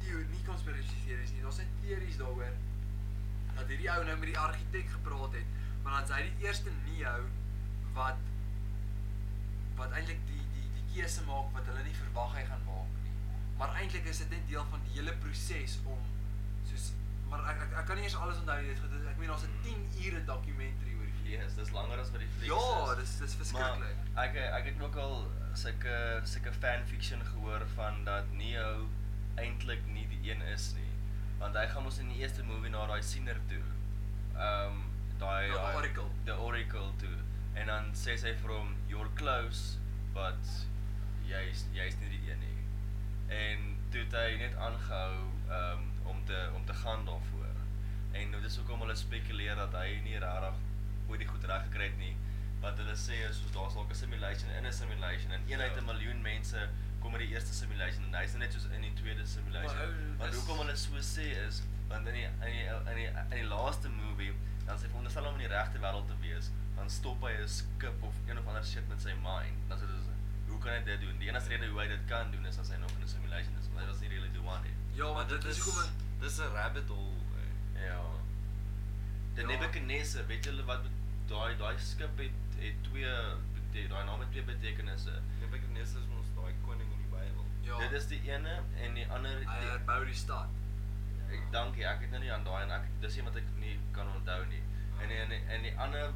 die nie conspiracy theories nie, daar's net teories daaroor dat hierdie ou nou met die argitek gepraat het, maar dan is hy die eerste Neo wat wat eintlik die die die keuse maak wat hulle nie verwag hy gaan maak nie. Maar eintlik is dit net deel van die hele proses om soos maar ek ek, ek kan nie eers alles onthou nie, dit is goed, ek meen daar's 'n 10 ure dokumentary oor hierdie. Yes, dis langer as wat die fliek Ja, is. dis- dis Maar verskriklik. Ek ek het ook al sulke sulke fanfiction gehoor van dat Neo eintlik nie die een is nie. Want hy gaan mos in die eerste movie na daai siener toe. Ehm um, daai Na die oracle. The Oracle toe. En dan sê sy vir hom you're close but jy's jy's nie die een nie. En toe het hy net aangehou um, om te om te gaan daarvoor. En dit is hoekom hulle spekuleer dat hy nie regtig ooit die goed reg gekry het nie. Wat hulle sê is soos daar's dalk 'n simulation in 'n simulation en een uit Ja. 'n miljoen mense kom uit die eerste simulation en hy's net soos in die tweede simulation. Maar ou, Want dis- hoekom hulle so sê is want in die in die in die in die laaste movie dan sê veronderstel om in die regte wêreld te wees, dan stop hy 'n skip of een of ander shit met sy mind. Dan sê dit hoe kan hy dit doen? Die enigste rede hoe hy dit kan doen is as hy nog in 'n simulation is, want hy was nie really the one nie. Ja, maar want dit is hoekom dis 'n rabbit hole. eh. Ja. Die ja. Ja. Nebuchadnezzar, weet julle wat bet- daai daai skip het het twee bete- daai naam het twee betekenisse. Nebuchadnezzar is ons daai koning in die Bybel. Ja. Eh, Dit is die ene en die ander hy die, herbou die stad. Ek dankie, ek het nou nie aan daai en ek dis een wat ek nie kan onthou nie. En nee, en en die ander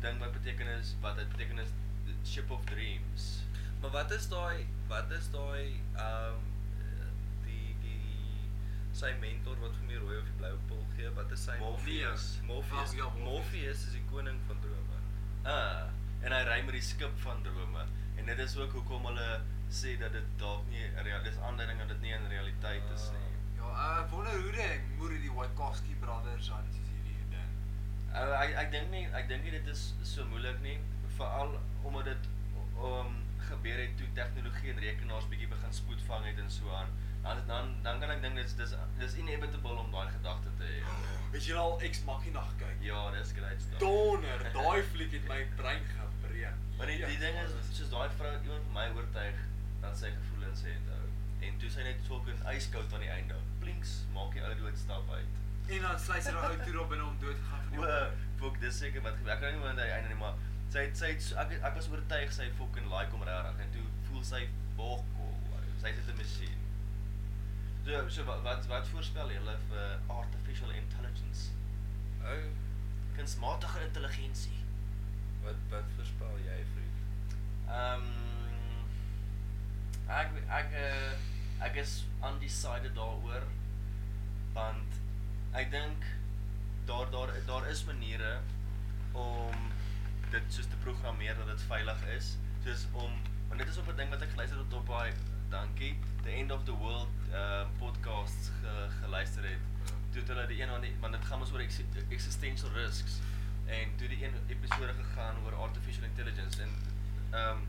ding wat beteken is wat dit beteken is the ship of dreams. Maar wat is daai wat is daai ehm eh, die die sy mentor wat vir my rooi of die blou pil gee? Wat is sy Morpheus. Morpheus. Ag, ja, Morpheus. Morpheus is die koning van drome. Uh en hy ry met die skip van drome. En dit is ook hoekom hulle sê dat dit dalk nie 'n real dis aanduiding dat dit nie 'n realiteit is nie. Ja, ek wonder hoe die moer die Wykowski brothers aan soos hierdie ding. Ou, Eh, Ek ek dink nie ek dink nie dit is so moeilik nie, veral omdat dit um gebeur het toe tegnologie en rekenaars bietjie begin spoed vang het en so aan. Dan dan dan kan ek dink dit is dis dis inevitable om daai gedagte te hê. Het jy al Ex Machina gekyk? Ja, dis great stuff. Donner, daai fliek het my brein gebreek. Ja. Maar die, die ding is soos daai vrou iemand my oortuig dat sy gevoelens het ou. En toe sy net sulke yskoud aan die einde. Blinks maak die ou dood stap uit. en dan sluit sy daai ou toe op binne om dood te gaan van die O, honger. fok, eh, dis seker wat gebeur. Ek kan nie meer aan die einde nie, maar sy het, sy het, so- ek ek was oortuig sy fucking like hom regtig en toe voel sy bok. Sy is 'n masjien. So, so wat wat wat voorspel julle vir artificial intelligence? Ou, Kunsmatige intelligensie. wat wat voorspel jy vriend? Ehm ek ek eh, ek is undecided daaroor want ek dink daar daar daar is maniere om dit soos te programmeer dat dit veilig is soos om want dit is op 'n ding wat ek geluister het op daai dankie the end of the world uh podcasts ge, geluister het Ja. toe het hulle die een aan die want dit gaan mos oor ex- existential risks en toe die een episode gegaan oor artificial intelligence en ehm um,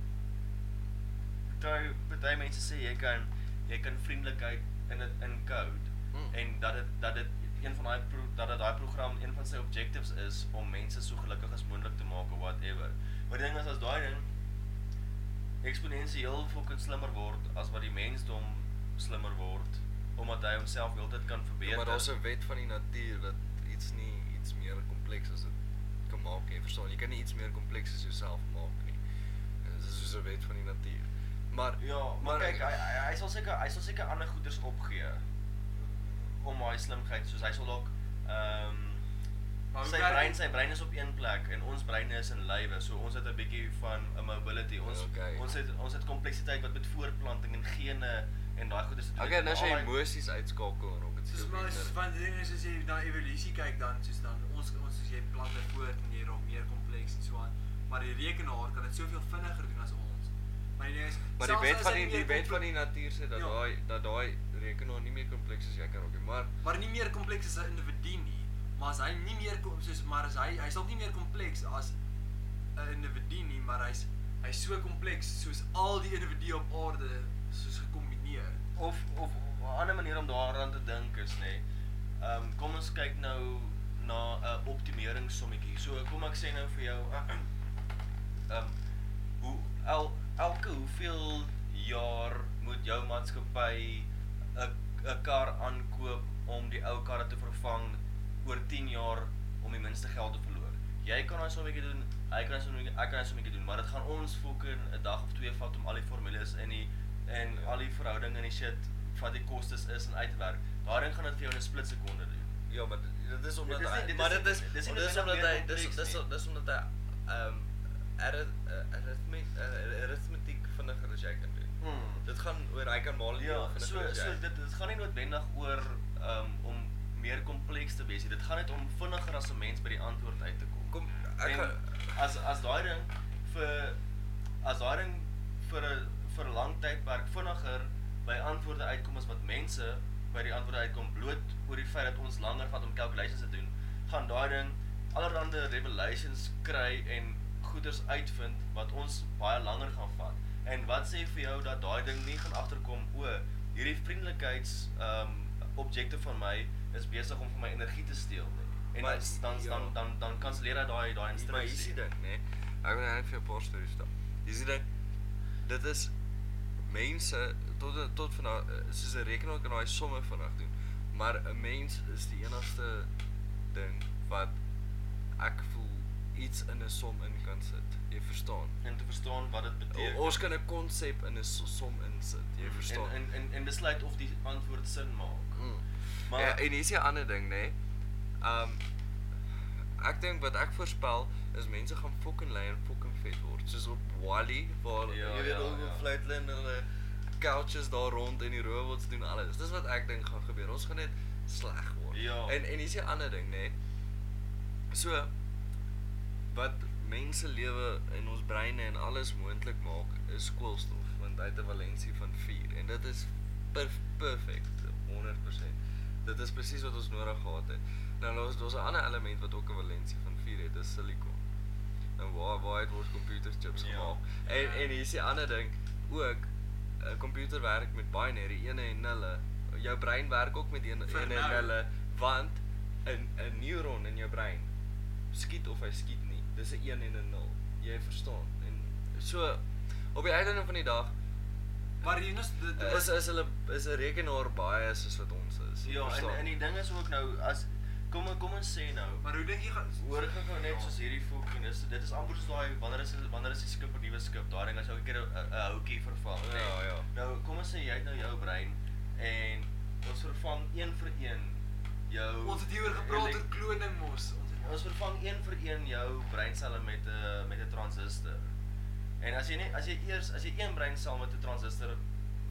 party party mense sê jy kan jy kan vriendelikheid in dit in code Mm. Hmm. mm. en dat dit dat dit een van daai pro- dat dit daai program een van sy objectives is om mense so gelukkig as moontlik te maak of whatever. Maar die ding is as daai ding eksponensieel fucking slimmer word as wat die mensdom slimmer word omdat hy homself heeltyd kan verbeter. Ja, maar daar's 'n wet van die natuur dat iets nie iets meer kompleks as dit kan maak nie. Verstaan? Jy kan nie iets meer kompleks as jouself maak nie. En Dit is soos 'n wet van die natuur. Maar Ja, maar kyk, hy hy, hy sal seker hy sal seker ander goeders opgee om daai slimheid soos hy sal dalk ehm Maar hoe sy werk brein dit? sy brein is op een plek en ons breine is in lywe. So ons het 'n bietjie van 'n mobility. Ons Okay. ons het ons het kompleksiteit wat met voortplanting en gene en daai goeders te doen okay, het. nou as jy Al daai- emosies uitskakel en rocket Soos maar soos van die ding is as jy na evolusie kyk dan soos dan ons ons soos jy plante voort en jy raak meer kompleks en so aan. Maar die rekenaar kan dit soveel vinniger doen as ons. Maar die ding is Maar die selfs wet as van hy die, meer die wet komple- van die natuur sê dat Ja. daai dat daai rekenaar nie meer kompleks as jy kan raak nie. Maar maar nie meer kompleks as 'n individu nie. Maar as hy nie meer kom soos maar as hy hy's dalk nie meer kompleks as 'n individu nie, maar hy's hy's so kompleks soos al die individue op aarde soos gekombineer. of of 'n ander manier om daaraan te dink is nê. Ehm kom ons kyk nou na 'n uh, optimeringssommetjie. So kom ek sê nou vir jou ehm hoe el, elke hoeveel jaar moet jou maatskappy 'n 'n kar aankoop om die ou karre te vervang oor 10 jaar om die minste geld te verloor. Jy kan daai sommetjie doen, hy kan daai sommetjie, ek kan daai sommetjie doen, maar dit gaan ons fucking 'n dag of twee vat om al die formules in die en Ja. al die verhoudinge en die shit wat die kostes is en uitwerk. Daai ding gaan dit vir jou in 'n split sekonde doen. Ja, maar dit- dit is omdat Dit is nie- hy dit maar is dit nie- is dit is dis nie dis noodwendig omdat meer hy dis kompleks dis nie. dis omdat hy ehm aritmetiek eh, aritmetiek vinniger as jy kan doen. Mm. Dit gaan oor hy kan maal Ja, so so dit dit gaan nie noodwendig oor um, om meer kompleks te wees nie. Dit gaan net om vinniger as 'n mens by die antwoord uit te kom. Kom, ek En gaan- as as daai ding vir as daai ding vir 'n vir 'n lang tydperk vinniger by antwoorde uitkom as wat mense by die antwoorde uitkom bloot oor die feit dat ons langer vat om calculations te doen, gaan daai ding allerlei revelations kry en goeders uitvind wat ons baie langer gaan vat. En wat sê vir jou dat daai ding nie gaan agterkom o, hierdie vriendelikheids ehm um, objekte van my is besig om van my energie te steel nie. En Maar dan dan ja. dan dan, dan kanselleer hy daai daai Maar hier is die instruksie. ding, né? Ek wil net vir jou 'n paar stories vertel. Hier is die ding. Dit is mense tot tot van daai soos 'n rekenaar kan daai somme vinnig doen. Maar 'n mens is die enigste ding wat ek voel iets in 'n som in kan sit. Jy verstaan? En te verstaan wat dit beteken. O, ons kan 'n konsep in 'n so- som insit. Jy verstaan? Mm, En en en, en besluit of die antwoord sin maak. Mm. Maar- Maar ja, en hier's 'n ander ding, nê. Nee. Um ek dink wat ek voorspel is mense gaan fucking lei en fucking vet word, soos op Wally waar Ja, jy weet ja, hoe ja. ja. fluit hulle en hulle couches daar rond en die robots doen alles. Dis wat ek dink gaan gebeur. Ons gaan net sleg word. Ja. En en hier's 'n ander ding, nê. Nee. So wat mense lewe in ons breine en alles moontlik maak is koolstof want hy het 'n valensie van 4 en dit is perf perfek 100%. Dit is presies wat ons nodig gehad het. Nou daar's daar's 'n ander element wat ook 'n valensie van 4 het, dis silikon. Nou waar waar het ons computerchips Ja. gemaak? En en hier's die ander ding ook 'n computer werk met binary, ene en nulle. Jou brein werk ook met ene Vir ene en nou. nulle want 'n 'n neuron in jou brein skiet of hy skiet nie. Dis 'n 1 en 'n 0. Jy verstaan. En so op die einde van die dag eh, Maar hier is dit dit is is hulle is 'n rekenaar baie soos wat ons is. jy Ja, en verstaan. en die ding is ook nou as kom kom ons sê nou Maar hoe dink jy gaan Hoor ek gou net Ja. soos hierdie fucking is dit is amper soos daai wanneer is wanneer is die skip 'n nuwe skip daai ding as elke keer 'n- 'n houtjie vervang nê. Ja, ja. Nou kom ons sê jy het nou jou brein en ons vervang een vir een jou Ons het hieroor gepraat elek- oor kloning mos. Ons het Ons vervang een vir een jou breinselle met 'n met 'n transistor. En as jy net as jy eers as jy een breinsel met 'n transistor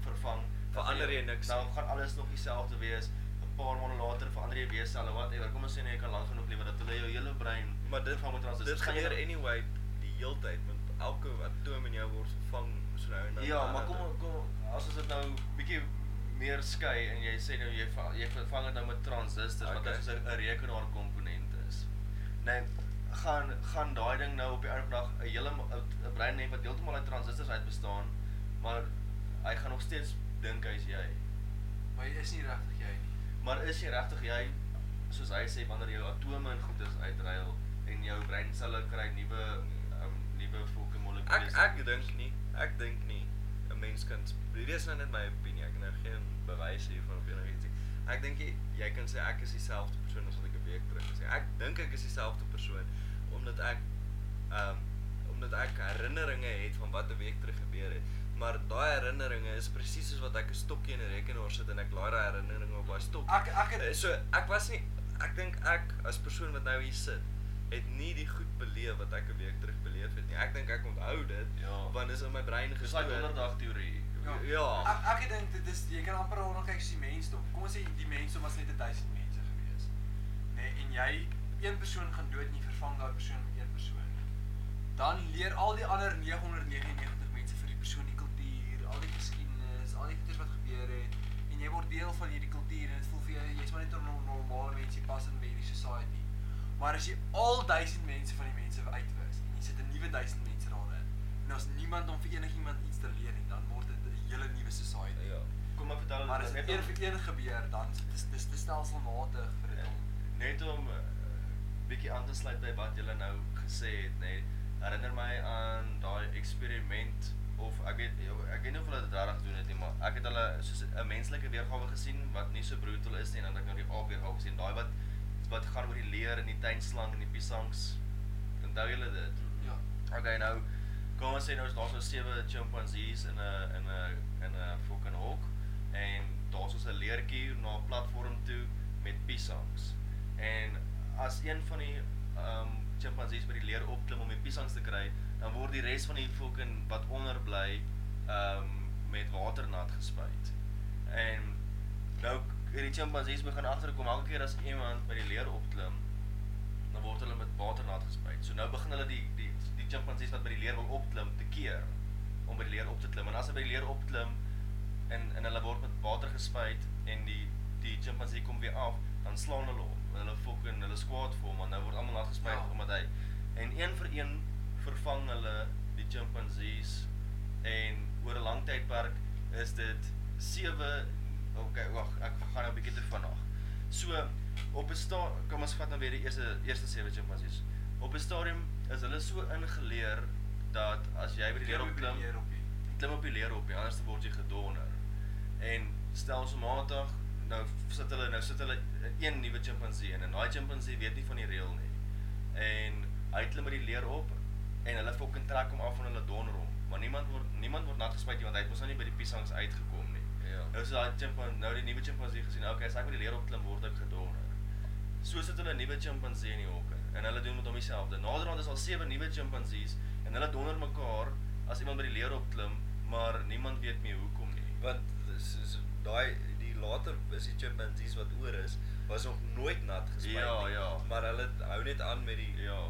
vervang, dan Verander gaan jy niks Dan nie. gaan alles nog dieselfde wees. 'n Paar maande later verander jy weer selle whatever. Kom ons sê net jy kan lank genoeg lewe dat hulle jou hele brein maar dit vervang met transistors. Dit Gaan jy gebeur dan- anyway die heeltyd want elke atoom in jou word vervang so nou en dan. Ja, maar kom kom as ons dit nou bietjie meer skei en jy sê nou jy va- jy vervang dit nou met transistors okay. wat Okay. is 'n 'n rekenaar komponent is. Nou Nee. gaan gaan daai ding nou op die einde van die dag 'n hele ma- 'n 'n brein hê wat heeltemal uit transistors uit bestaan, maar hy gaan nog steeds dink hy's jy. maar jy is nie regtig jy nie. Maar is jy regtig jy soos hy sê wanneer jou atome en goedes uitruil en jou breinselle kry nuwe um, nuwe volke Ek molekules. ek dink nie. Ek dink nie 'n mens kan sp- hierdie is nou net my opinie. Ek het nou geen bewys hiervan of enigiets nie. Ek dink jy, jy kan sê ek is dieselfde persoon as wat ek 'n week terug gesê. Ek dink ek is dieselfde persoon omdat ek ehm um, omdat ek herinneringe het van wat 'n week terug gebeur het. Maar daai herinneringe is presies soos wat ek 'n stokkie in 'n rekenaar sit en ek laai daai herinneringe op daai stokkie. Ek- ek het- Eh, so ek was nie ek dink ek as persoon wat nou hier sit het nie die goed beleef wat ek 'n week terug beleef het nie. Ek dink ek onthou dit Ja. want dit is in my brein Dis daai gestoor. donderdag teorie. Ja. Ek ek het dink dit is jy kan amper daarna kyk as die mensdom. Kom ons sê die mensdom was net 1000 mense gewees. Nê nee, en jy een persoon gaan dood en jy vervang daai persoon met een persoon. Dan leer al die ander 999 mense vir die persoon die kultuur, al die geskiedenis, al die goeders wat gebeur het en jy word deel van hierdie kultuur en dit voel vir jou jy's maar net 'n no- normale mens, jy pas in by hierdie society. Maar as jy al 1000 mense van die mense uitwis en jy sit 'n nuwe 1000 mense daarin en daar's niemand om vir enigiemand iets te leer nie, dan word dit 'n hele nuwe society. Ja. Kom maar vertel Maar as net dit om- een vir een gebeur, dan is dis dis dis stelselmatig vir Ja. dit om net om eh, bietjie aan te sluit by wat julle nou gesê het, nê. Herinner my aan daai eksperiment of ek weet ek weet nie of hulle dit regtig doen het nie, maar ek het hulle soos 'n menslike weergawe gesien wat nie so brutal is nie en dan het ek nou die aap weergawe gesien, daai wat wat gaan oor die leer en die tuinslang en die piesangs. Onthou julle dit? ja. Okay, nou kom ons sê nou is daar so sewe chimpansees in 'n in 'n in 'n fucking hok en daar's so 'n leertjie na 'n platform toe met piesangs. En as een van die ehm um, chimpansees by die leer opklim om die piesangs te kry, dan word die res van die fucking wat onder bly ehm um, met water nat gespuit. En nou k- hierdie chimpansees begin agterkom elke keer as iemand by die leer opklim, dan word hulle met water nat gespuit. So nou begin hulle die die die chimpansees wat by die leer wil opklim te keer om by die leer op te klim. En as hulle by die leer opklim en en hulle word met water gespuit en die die chimpansee kom weer af, dan slaan hulle op. En Hulle fok en hulle skwaad vir hom want nou word almal nat gespuit Ja. ja. omdat hy en een vir een vervang hulle die chimpansees en oor 'n lang tydperk is dit sewe Okay, wag, ek gaan nou 'n bietjie te vinnig. So op 'n sta kom ons vat nou weer die eerste eerste sewe chimpansees. Op 'n stadium is hulle so ingeleer dat as jy by die leer op klim, Hier op die. klim op die leer op, die anders dan word jy gedonder. En stelselmatig nou sit hulle nou sit hulle een nuwe chimpansee in en daai chimpansee weet nie van die reël nie. En hy klim met die leer op en hulle fucking trek hom af van hulle donder hom, maar niemand word niemand word nat gespuit nie want hy het mos nou nie by die piesangs uitgekom nie. Ja. Nou is daai chimpansee nou die nuwe chimpansee gesien, okay, as ek met die leer op klim word ek gedonder. So sit hulle 'n nuwe chimpansee in die hokke en hulle doen met hom dieselfde. Naderhand is al sewe nuwe chimpansees en hulle donder mekaar as iemand by die leer opklim, maar niemand weet meer hoekom nie. Want dis is daai die later is die chimpansees wat oor is, was nog nooit nat gespuit Ja, nie, ja. maar hulle hou net aan met die Ja.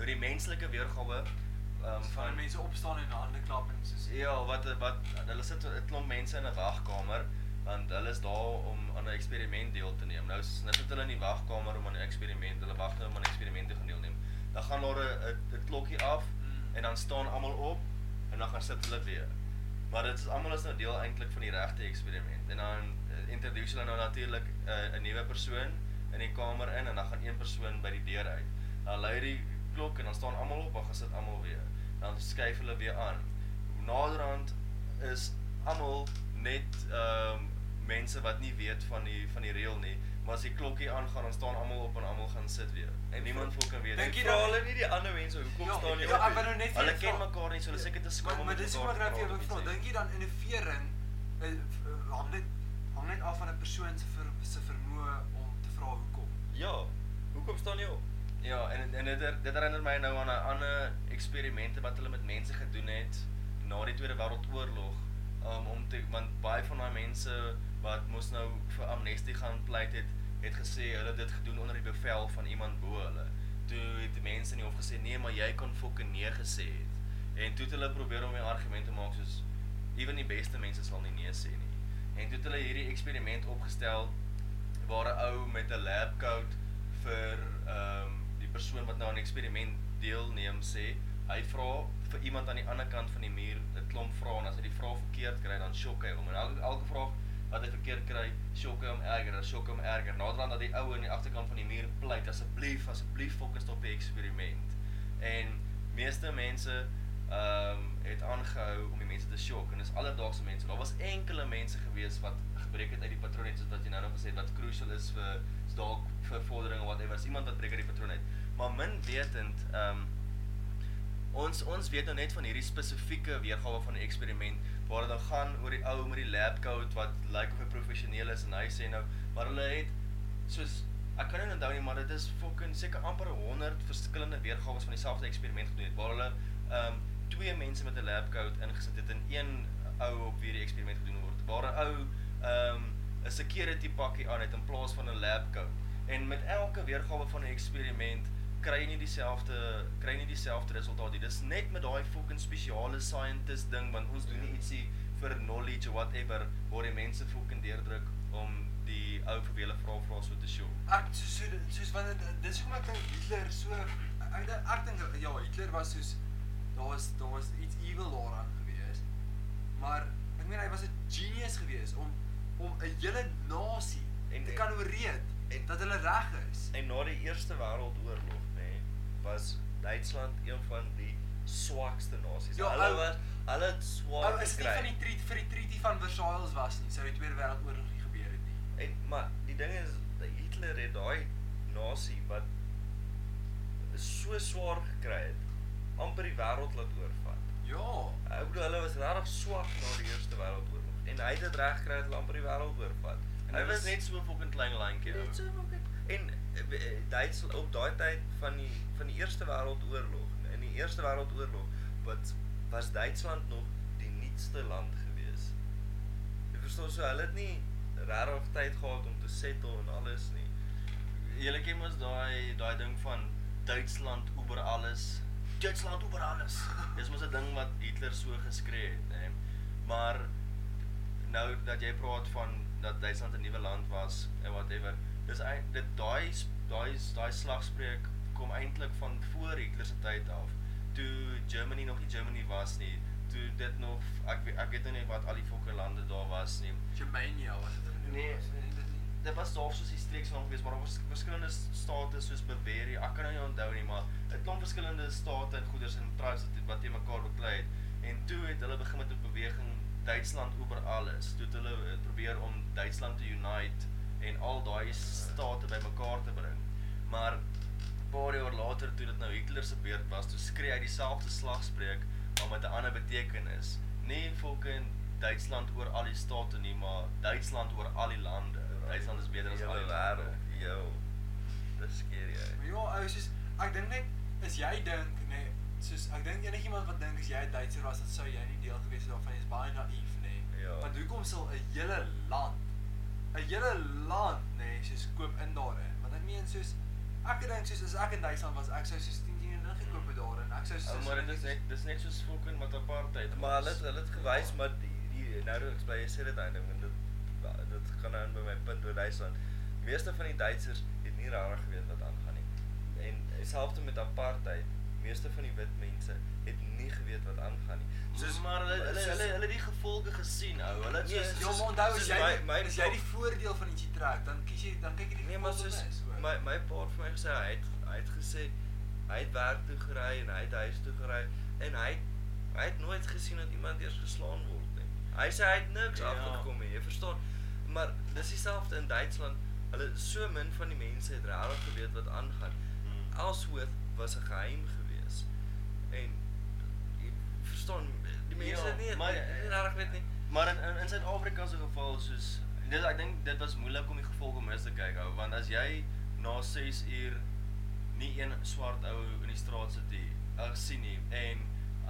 Nou die menslike weergawe ehm um, Dis van van mense opstaan en hulle hande klap en soos Ja, wat wat hulle sit 'n klomp mense in 'n wagkamer want hulle is daar om aan 'n eksperiment deel te neem. Nou is- nou sit hulle in die wagkamer om aan 'n eksperiment. Hulle wag nou om aan 'n eksperiment te gaan deelneem. Dan gaan daar 'n- 'n 'n klokkie af Mm. en dan staan almal op en dan gaan sit hulle weer. Maar dit is almal is nou deel eintlik van die regte eksperiment. En dan eh, introduce hulle nou natuurlik 'n 'n nuwe persoon in die kamer in en dan gaan een persoon by die deur uit. Dan lui die klok en dan staan almal op en gaan sit almal weer. Dan skuif hulle weer aan. Naderhand is almal net ehm um, mense wat nie weet van die van die reël nie, maar as die klokkie aangaan dan staan almal op en almal gaan sit weer. En En niemand vra- fucking weet. Dink nie. jy Vra dat- hulle nie die ander mense hoekom Ja, staan nie ja, op ek wou nou net vir Hulle jou ken vra- mekaar nie, so hulle is seker te skaam Maar- om Maar met dis mekaar maar te nou vir praat jou of vra, iets. dink jy dan innovering eh, eh, hang net hang net af van 'n persoon se ver, se vermoë om te vra hoekom. Ja. Hoekom staan jy op? Ja, en en dit dit herinner my nou aan 'n ander eksperimente wat hulle met mense gedoen het na die Tweede Wêreldoorlog. Um om te want baie van daai mense wat mos nou vir amnestie gaan pleit het, het gesê hulle het dit gedoen onder die bevel van iemand bo hulle. Toe het die mense in die hof gesê nee, maar jy kon fucking nee gesê het. En toe het hulle probeer om 'n argument te maak soos ewen die beste mense sal nie nee sê nie. En toe het hulle hierdie eksperiment opgestel waar 'n ou met 'n lab coat vir ehm um, die persoon wat nou aan die eksperiment deelneem sê, hy vra vir iemand aan die ander kant van die muur 'n klomp vrae en as hy die vraag verkeerd kry dan sjok hy hom. En elke elke vraag wat hy verkeerd kry, sjok hy hom erger, dan sjok hy hom erger. Naderhand dat die ou aan die agterkant van die muur pleit, asseblief, asseblief fokus op die eksperiment. En meeste mense ehm um, het aangehou om die mense te sjok en dis alledaagse mense. Daar was enkele mense gewees wat gebreek het uit die patroon uit soos wat jy nou nog gesê het wat crucial is vir is dalk vir vordering of whatever. Is iemand wat breek uit die patroon uit. Maar min wetend ehm um, ons ons weet nou net van hierdie spesifieke weergawe van 'n eksperiment waar dit nou gaan oor die ou met die lab coat wat lyk like of hy professioneel is en hy sê nou maar hulle het soos ek kan nie onthou nie maar dit is fucking seker amper 100 verskillende weergawe van dieselfde eksperiment gedoen het waar hulle ehm um, twee mense met 'n lab coat ingesit het en een ou op wie die eksperiment gedoen word waar 'n ou ehm um, 'n security pakkie aan het in plaas van 'n lab coat en met elke weergawe van 'n eksperiment kry nie dieselfde kry nie dieselfde resultaat nie. Dis net met daai fucking spesiale scientist ding want ons doen nie ietsie vir knowledge of whatever waar die mense fucking deurdruk om die ou vir wie hulle vra vra so te show. Ek soos so, soos want dit dis hoekom ek dink Hitler so ek dink ek dink ja, Hitler was soos daar was daar was iets evil daaraan gewees. Maar ek meen hy was 'n genius gewees om om 'n hele nasie En- te kan oreed en- dat hulle reg is. En na die Eerste Wêreldoorlog, nê, nee, was Duitsland een van die swakste nasies. Ja, hulle ou- was hulle het swaar Ou is dit nie van gekry. die treat vir die treaty van Versailles was nie, sou die Tweede Wêreldoorlog nie gebeur het nie. En maar die ding is dat Hitler het daai nasie wat so swaar gekry het, amper die wêreld laat oorvat. Ja. Ek bedoel hulle was regtig swak na die Eerste Wêreldoorlog en hy het dit reg gekry dat hulle amper die wêreld oorvat. En hy was net so fucking klein landjie Dit is ou. ook en eh, eh, Duitsland op daai tyd van die van die Eerste Wêreldoorlog, in die Eerste Wêreldoorlog wat was Duitsland nog die nuutste land gewees. Jy verstaan so hulle het nie regtig tyd gehad om te settle en alles nie. Julle ken mos daai daai ding van Duitsland oor alles. Duitsland oor alles. Dis mos 'n ding wat Hitler so geskree het, nê. Maar nou dat jy praat van dat Duitsland 'n nuwe land was en whatever. Dis ei- dit daai s- daai s- daai slagspreuk kom eintlik van voor Hitler se tyd af. Toe Germany nog nie Germany was nie. Toe dit nog ek we- ek weet nou nie wat al die fokker lande daar was nie. Germania was dit. genoem. Nee, dit was daar soos die streeksnaam gewees, maar daar was verskillende state soos Bavaria. Ek kan nou nie onthou nie, maar 'n klomp verskillende state en goeders en tribes wat wat te mekaar beklei het. En toe het hulle begin met 'n beweging Duitsland oor alles. Toe het hulle eh, probeer om Duitsland te unite en al daai state bymekaar te bring. Maar 'n paar jaar later toe dit nou Hitler se beurt was, toe skree hy dieselfde slagspreuk maar met 'n ander betekenis. Nie fucking Duitsland oor al die state nie, maar Duitsland oor al die lande. Duitsland is beter as al die Ja. wêreld. Jou. Dis skeer Maar jy. ja, ou, soos ek dink net as jy dink nê, nee, soos ek dink enigiemand wat dink as jy 'n Duitser was, dan sou jy nie deel gewees het daarvan nie. Is baie naïef nê. Nee. Ja. Want hoekom sal 'n hele land 'n hele land nê, nee, soos koop in daarin? Want ek meen soos ek dink soos as ek in Duitsland was, ek sou soos 10 teen ingekoop het daarin. Ek sou soos Ou, Maar dit is net dis net soos fucking met apartheid. Maar hulle het- hulle het gewys maar die, die nou dat ek bly jy sê dit eintlik want dit dit gaan nou in by my punt oor Duitsland. Meeste van die Duitsers het nie regtig geweet wat aangaan nie. En selfs met apartheid, meeste van die wit mense het nie geweet wat aangaan nie. soos maar hulle hulle soos- hulle hulle het die gevolge gesien ou. Hulle het Nee, soos soos- Ja, maar onthou as soos jy my- my as jy pa- die voordeel van ietsie trek, dan kies jy dan kyk jy die Nee, maar voordeel soos mis, hoor. my my pa het vir my gesê hy het hy het gesê hy het werk toe gery en hy het huis toe gery en hy hy het nooit gesien dat iemand eers geslaan word nie. Hy sê hy het niks Ja. ja. afgekom nie, jy verstaan. Maar dis dieselfde in Duitsland. Hulle so min van die mense het regtig geweet wat aangaan. Hmm. Elshoef was 'n geheim gewees. En jy verstaan, die mense Ja, het maar- nie maar regtig weet nie. Maar in in, in Suid-Afrika se geval soos dit ek dink dit was moeilik om die gevolge mis te kyk ou want as jy na 6 uur nie een swart ou in die straat sit nie, ek sien nie en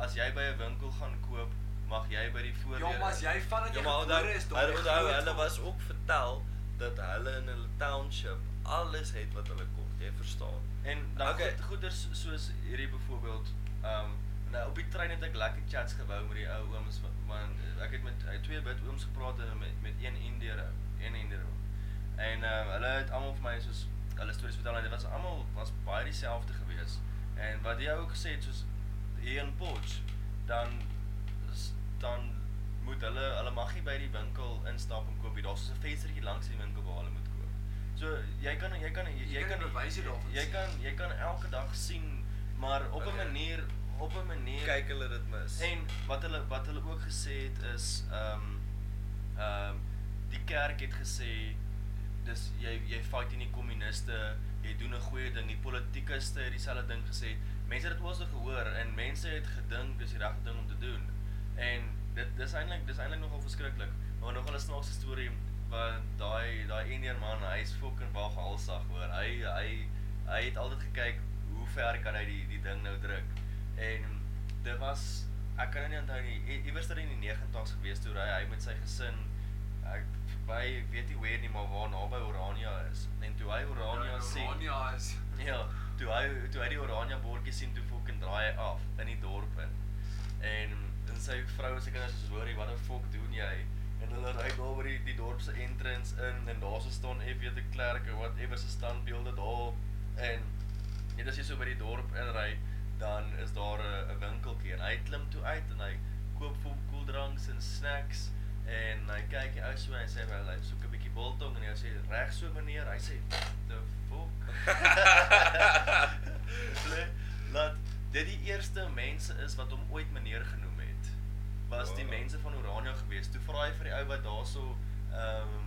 as jy by 'n winkel gaan koop mag jy by die voordeur Ja, maar as jy van dat jy Ja, maar gebore onthou- is daar. hulle onthou hulle was ook vertel dat hulle in hulle township alles het wat hulle kon. Jy verstaan. En dan Okay. okay. goed, goeders soos hierdie byvoorbeeld, ehm um, nou op die trein het ek lekker chats gebou met die ou ooms wa- want eh, ek het met eh, twee wit ooms gepraat en met met een Indiër, ou, een Indiër. oom. En ehm um, hulle het almal vir my soos hulle stories vertel en dit was almal was baie dieselfde gewees. En wat jy ook gesê het soos hier in Potch, dan s- dan moet hulle hulle mag nie by die winkel instap en koop nie. Daar's so 'n venstertjie langs die winkel waar hulle moet koop. So jy kan jy kan jy, Jy jy kan kan bewyse daarvan Jy sien. kan jy kan elke dag sien, maar op 'n Okay. manier op 'n manier Kyk hulle dit mis. En wat hulle wat hulle ook gesê het is ehm ehm die kerk het gesê dis jy jy fight teen die kommuniste, jy doen 'n goeie ding. Die politikuste het dieselfde ding gesê. Mense het dit oorse gehoor en mense het gedink dis die regte ding om te doen. En dit dis eintlik dis eintlik nogal verskriklik. Maar nog 'n snaakse storie want daai daai Indian man, hy's fucking waghalsig hoor. Hy hy hy het altyd gekyk hoe ver kan hy die die ding nou druk. En dit was ek kan nou nie onthou nie, i- iewers daar in die 90's gewees toe hy hy met sy gesin ek by ek weet nie waar nie, maar waar naby Orania is. En toe hy Orania sien Ja, Orania is. Ja, toe hy toe hy die oranje bordjie sien toe fucking draai hy af in die dorp in. En en sy vrou en sy kinders is hoorie, wat die fuck doen jy? En hulle ry daar by die, die dorp se entrance in en daar so staan FW te Klerk en whatever se standbeelde daar en net as jy so by die dorp inry, dan is daar 'n 'n winkeltjie en hy klim toe uit en hy koop vir hom koeldranks en snacks en hy kyk die ou so en hy sê wel hy soek 'n bietjie biltong en hy sê reg so meneer, hy sê the fuck. Le- Laat dit die eerste mense is wat hom ooit meneer genoem het. Was die Wow. mense van Oranje gewees. Toe vra hy vir die ou wat daarso ehm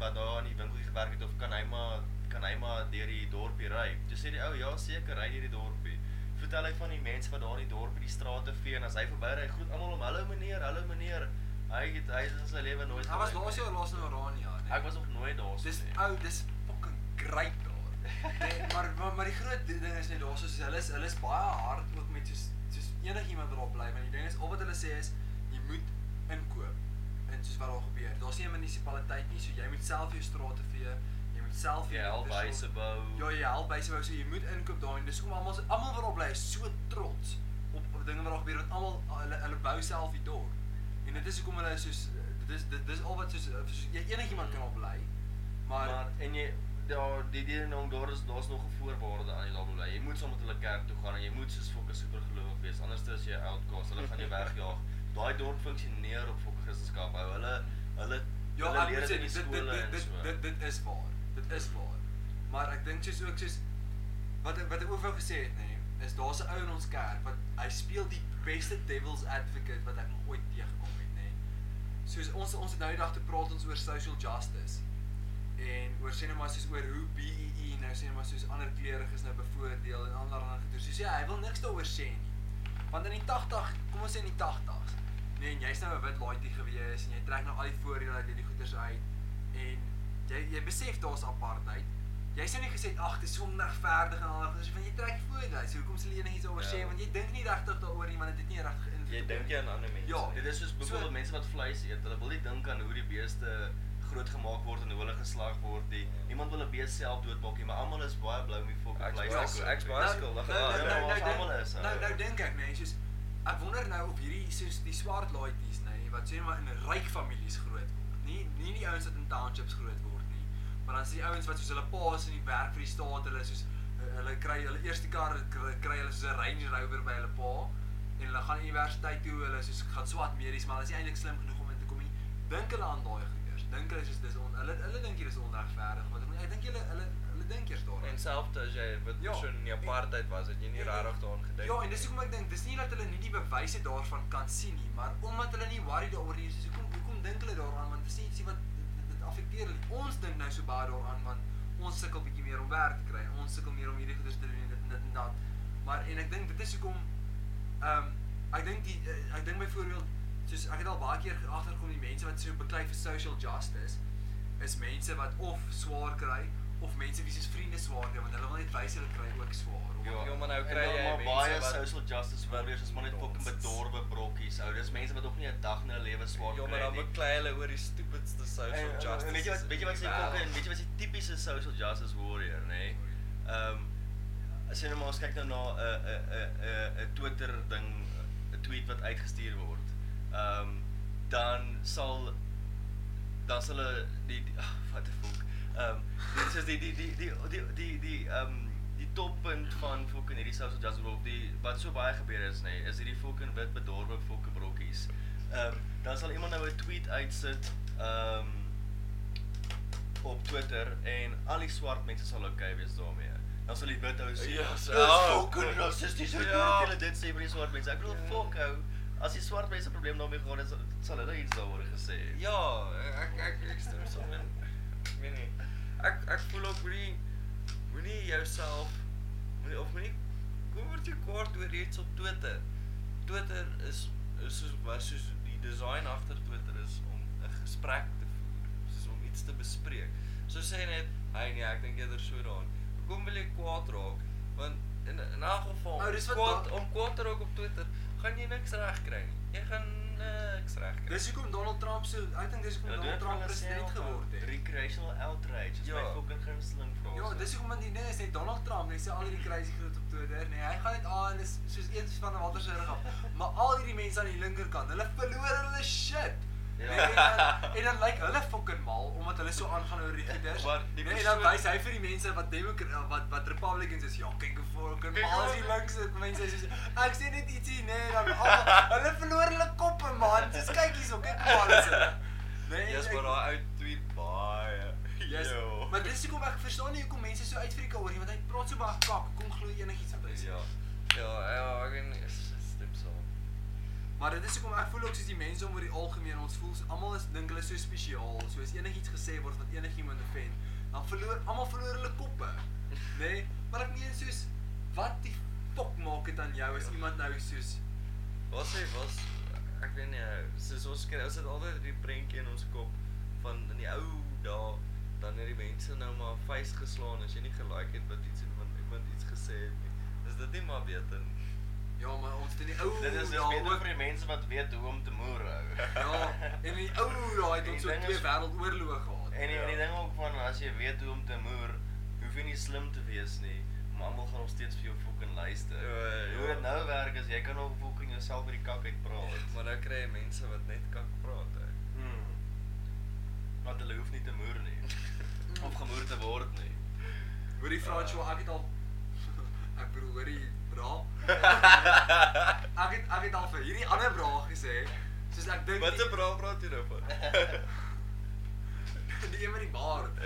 wat daar aan die winkeltjie gewerk het of kan hy maar kan hy maar deur die dorpie ry. Toe sê die ou ja seker ry deur die dorpie. Vertel hy van die mense wat daar in die dorp by die strate vee en as hy verbyry, hy groet almal om hallo meneer, hallo meneer. Hy het hy is in sy lewe nooit Hy was gery laas nie. jaar laas in Orania, nee. Ek was nog nooit daar so Dis nie. ou, dis fucking great daar. Nee, maar, maar maar die groot di- ding is net daar soos hulle is hulle is baie hard ook met soos soos enigiemand wat daar bly, want die ding is al wat hulle sê is jy moet inkoop en soos wat daar gebeur. Daar's nie 'n munisipaliteit nie, so jy moet self jou strate vee, jy moet self Jy help dis al- huise bou. Ja, jy help huise bou, so jy moet inkoop daarin. Dis hoekom almal so- almal wat daar bly is so trots op op dinge wat daar gebeur want almal hulle hulle bou self die dorp. En dit is hoekom hulle soos dit is dit dis al wat soos, eh, soos jy enigiemand kan daar bly. Maar, ja, maar en jy daar die die nou daar is daar's nog 'n voorwaarde aan jy daar moet bly. Jy moet saam met hulle kerk toe gaan en jy moet soos fokus supergelowig wees. Anders is jy outcast. Hulle gaan jou wegjaag. Daai dorp funksioneer op fokus Christendom. Hulle hulle Ja, Hulle ek leer moet dit in sê die dit dit skole en dit dit, so. dit dit is waar. Dit is waar. Maar ek dink soos ook soos wat ek- wat ek ook wou gesê het nê, is daar's 'n ou in ons kerk wat hy speel die beste devil's advocate wat ek nog ooit teëgekom het nê. Soos ons ons het nou die dag te praat ons oor social justice en oor sê net maar soos oor hoe BEE nou sê net maar soos ander kleuriges nou bevoordeel en ander ander gedoen. Soos ja, hy wil niks daaroor sê nie. Want in die 80, kom ons sê in die 80s, nee, en jy's nou 'n wit laaitjie gewees en jy trek nou al die voordele uit hierdie goeders uit en jy jy besef daar's apartheid. Jy sê nie gesê ag, dis so onregverdig en al daai goeders, want jy trek voordele uit. So hoekom sal jy enigiets daaroor Ja. sê want jy dink nie regtig daaroor nie, want dit het nie regtig geïnvloed Jy op dink jy aan ander mense. Ja. Dit Dit is soos So- byvoorbeeld mense wat vleis eet, hulle wil nie dink aan hoe die beeste grootgemaak word en hoe hulle geslag word nie. Niemand wil 'n bees self doodmaak nie, maar almal is baie blou om die Ek's fucking vleis baie te koop. sku- ek's baie Nou, skuldig Nou nou Ja, nou maar nou ons almal is, dink- nou eh. ou. nou dink ek mense soos ek wonder nou of hierdie soos die swart laaitjies nê wat sê maar in ryk families groot word. Nie nie die ouens wat in townships groot word nie, maar dan is die ouens wat soos hulle paas in die werk vir die staat, hulle is soos hu- hulle kry hulle eerste kar kry kry hulle soos 'n Range Rover by hulle pa en hulle gaan universiteit toe, hulle is soos gaan swat medies, maar hulle is nie eintlik slim genoeg om in te kom nie. Dink hulle aan daai goeders. Dink hulle soos dis on, hulle hulle dink hier is onregverdig, want ek- ek dink hulle hulle hulle dink eers daaraan. en selfs as jy wat Ja. ja. so in die apartheid was, het jy nie En- en- regtig daaraan gedink Ja, en dis hoekom ek dink dis nie dat hulle nie die bewyse daarvan kan sien nie, maar omdat hulle nie worry daaroor nie, soos hoekom hoekom dink hulle daaraan want dis nie ietsie wat dit- dit affekteer hulle. nie. Ons dink nou so baie daaraan want ons sukkel bietjie meer om werk te kry. Ons sukkel meer om hierdie goeders te doen en dit en dit en dat. Maar en ek dink dit is hoekom ehm um, ek dink die eh, ek dink byvoorbeeld soos ek het al baie keer agtergekom die mense wat so beklei vir social justice is mense wat of swaar kry of mense wie soos vriende swaar kry want hulle wil net wys hulle kry ook swaar. of- Ja, maar nou En kry dan jy maar mense baie wat- social justice warriors is maar net fucking bedorwe brokkies. Ou, dis mense wat nog nie 'n dag in hulle lewe swaar Ja, maar kry dan nie. beklei hulle oor die stupidste En- social en- en justice. Weet jy wat weet jy wat se in die wêreld. fucking weet jy wat se tipiese social justice warrior, nê? Ehm as jy nou maar ons kyk nou na 'n 'n 'n 'n 'n Twitter ding, 'n tweet wat uitgestuur word. Ehm dan sal dan sal hulle die, die ah, what the fuck. Ehm dit is die die die die die die die ehm die toppunt van fucking hierdie social justice warrior, die wat so baie gebeur is nê, nee, is hierdie fucking wit bedorwe fucking brokkies. Ehm dan sal iemand nou 'n tweet uitsit ehm op Twitter en al die swart mense sal oukei okay wees daarmee. Dan sal die wit ou sê, Ja, so- "Dis oh, fucking oh, rassisties hoe ja." doen hulle dit sê vir die swart mense." Ek bedoel, fuck ou. As die swart mense 'n probleem daarmee gehad het, sal hulle iets daaroor gesê het. Ja, ek ek ek stem saam en ek weet nie. Ek ek voel ook moenie moenie jouself moenie of moenie kom word jy kwaad oor iets op Twitter. Twitter is is soos was soos die design agter Twitter is om 'n gesprek te voer, soos om iets te bespreek. So sê net, "Hey nee, ek dink eerder so daaraan." Hoekom wil jy kwaad raak? Want in in 'n geval Ou, Oh, dis wat kwaad da- om kwaad te raak op Twitter, gaan jy niks reg kry nie. Jy gaan eh, niks reg kry. Dis hoekom Donald Trump so ek dink dis hoekom Hulle doen dit van Donald Trump Nou, president hulle self, geword man. het. Recreational outrage. Dis my Ja. fucking gunsteling vraag. Ja, dis hoekom want die ding is net Donald Trump, hy sê al hierdie crazy goed op Twitter, nee, hy gaan net aan en is soos eens van 'n water se rig af. Maar al hierdie mense aan die linkerkant, hulle verloor hulle shit. Ja. Nee, en dan, en dan lyk like hulle fucking mal omdat hulle so aangaan oor die goeders. Ja, Maar die Nee, en dan persoon- wys hy vir die mense wat Democrat eh, wat wat Republicans is, ja, kyk hoe fucking Kyk mal hoe- is die links is. Mense is soos ek sê net ietsie, nee, dan almal hulle verloor hulle koppe man. Dis kyk hierso, kyk hoe mal is hulle. Nee, en Yes, ek- maar daai ou tweet baie. Yes. Yo. Maar dis hoekom ek verstaan nie hoekom mense so uitfreek oor nie, want hy praat so baie kak. Kom glo enigiets wat hy sê. ja. Ja, ja, ek en stem saam. Maar dit is hoekom ek voel ook soos die mense om oor die algemeen ons voel so- almal is dink hulle is so spesiaal. So as enigiets gesê word wat enigiemand offend, dan verloor almal verloor hulle koppe. Nê? Nee? Maar ek meen soos wat die fok maak dit aan jou Ja. as iemand nou soos Wat sê was ek weet nie, soos ons kry, ons het altyd die prentjie in ons kop van in die ou dae dan het die mense nou maar face geslaan as jy nie gelike het wat iets en van iemand iets gesê het nie. Is dit nie maar beter nie? ja, maar ons het in die ou Dit is ja, ja, beter ook- vir die mense wat weet hoe om te moer hou. Ja, en in die ou daai En het die ons so ding twee is- wêreldoorloë gehad. En die, Ja. en die ding ook van as jy weet hoe om te moer, hoef jy nie slim te wees nie, maar almal gaan nog steeds vir jou fucking luister. Ja, ja. Hoe dit nou werk is jy kan nog fucking jouself by die kak uitpraat. Maar nou kry jy mense wat net kak praat. hè. Hmm. Want hulle hoef nie te moer nie. Hmm. of gemoer te word nie. Hoorie Francois, ek het al ek bedoel hoorie bra. ek het ek het al vir hierdie ander bra gesê, soos ek dink Wat die- 'n bra praat jy nou van? die een met die baard.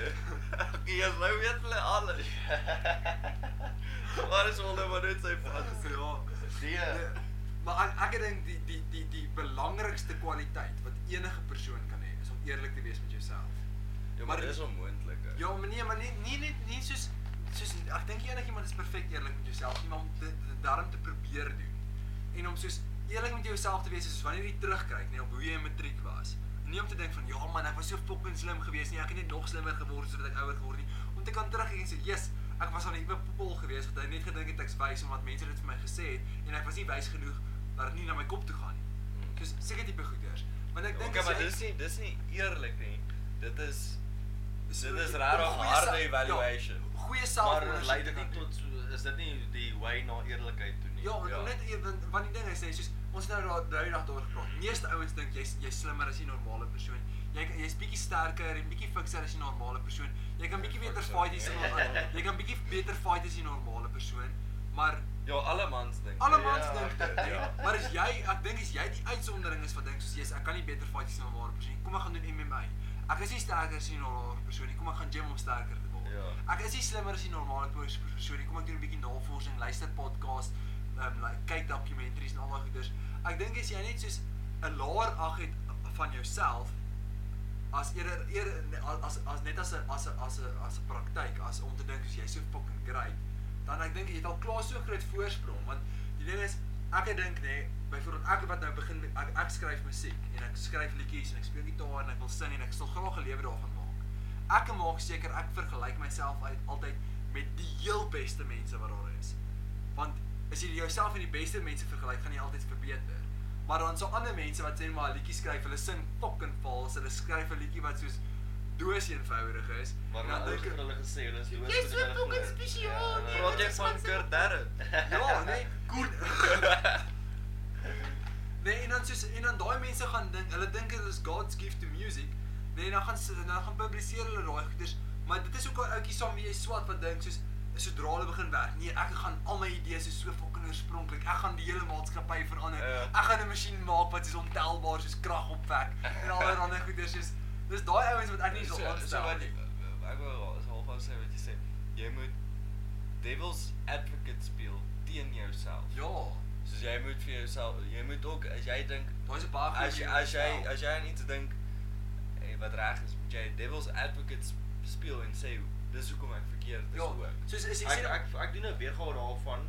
Eers nou weet hulle alles. Maar is hulle maar net sy Wat fans. is ja. Nee. Nee, Maar ek ek dink die die die die belangrikste kwaliteit wat enige persoon kan hê is om eerlik te wees met jouself. Ja, maar maar dis onmoontlik. hè. Ja, maar nee, maar nie nie nie, nie soos soos ek dink enigiemand is perfek eerlik met jouself, nie maar om dit dit daarom te probeer doen. En om soos eerlik met jouself te wees soos wanneer jy terugkyk, nee, op hoe jy in matriek was. Nie om te dink van ja man, ek was so fucking slim geweest nie, ek het net nog slimmer geword sodat ek ouer geword het nie. Om te kan terugkyk en sê, "Jesus, ek was aan 'n hippe poppel geweest wat ek net gedink het ek's wys omdat mense dit vir my gesê het en ek was nie wys genoeg dat dit nie na my kop toe gaan nie." Soos seker tipe goeders. Want ek dink Okay, as Hmm. Ja, maar jy- dis nie dis nie eerlik nie. Dit is so dit is jy- rarig goeie harde self- ja, evaluation. Goeie maar selfondersoek lei te dit kan nie doen. tot so is dit nie die way na eerlikheid toe nie. Ja, want ja. net ewen want die ding is net soos ons het nou daar nou eendag daar gepraat. Meeste ouens dink jy's jy's slimmer as 'n normale persoon. Jy kan- jy's bietjie sterker en bietjie fikser as 'n normale persoon. Jy kan bietjie beter Fikser, fight as 'n ja. normale. Jy kan bietjie beter fight as 'n normale persoon, maar ja, alle mans dink. alle dit. mans Ja, dink dit. ja. Ja. Maar as jy, ek dink as jy die uitsondering is wat dink soos jy's, ek kan nie beter fight as 'n normale persoon nie. Kom ek gaan doen MMA. Ek is nie sterker as 'n normale persoon nie. Kom ek gaan gym om sterker te word. Ja. Ek is nie slimmer as die normale pers- persoon nie. Kom ek doen 'n bietjie navorsing, luister podcast, ehm um, like, kyk dokumentaries en al daai goeders. Ek dink as jy net soos 'n laer ag het van jouself as eerder eerder as as net as 'n as 'n as 'n as 'n praktyk as om te dink as jy so fucking great, dan ek dink jy het al klaar so groot voorsprong want die ding is ek dink nê byvoorbeeld ek wat nou begin met ek, ek skryf musiek en ek skryf liedjies en ek speel gitaar en ek wil sing en ek sal graag 'n lewe daarvan maak ek kan maak seker ek vergelyk myself uit altyd met die heel beste mense wat daar is. Want as jy jouself met die beste mense vergelyk, gaan jy altyd verbeter. Maar dan so ander mense wat sê maar 'n liedjie skryf, hulle sing fucking vals, hulle skryf 'n liedjie wat soos doos eenvoudig is. Maar en nou Ja, dan dink dink ek ek hulle gesê hulle is dood. Jy's so fucking spesiaal, nee, Praat dit jy is van van so- Kurt Darren? ja, nee, goed. nee, en dan soos en dan daai mense gaan dink, hulle dink dit is God's gift to music. Nee, en dan gaan se- dan gaan publiseer hulle daai goeders, maar dit is ook 'n ouetjie saam wie jy swat wat dink soos sodra hulle begin werk. Nee, ek gaan al my idees is so fucking oorspronklik. Ek gaan die hele maatskappy verander. Ja. Ek gaan 'n masjien maak wat is ontelbaar soos krag opwek en allerlei ander goeders soos dis daai ouens wat ek nie Ja, so So- so aanstel wat- nie. Ek wil is half sê wat jy sê. Jy moet devil's advocate speel teen jouself. Ja, Soos jy moet vir jouself, jy moet ook as jy dink daar's 'n baie goeie as jy manier om as te jy stel. as jy aan iets dink eh, wat reg is, moet jy devil's advocate sp- speel en sê dis hoekom ek verkeerd is Ja, ook. soos is jy ek, sê ek ek doen 'n weergawe daarvan.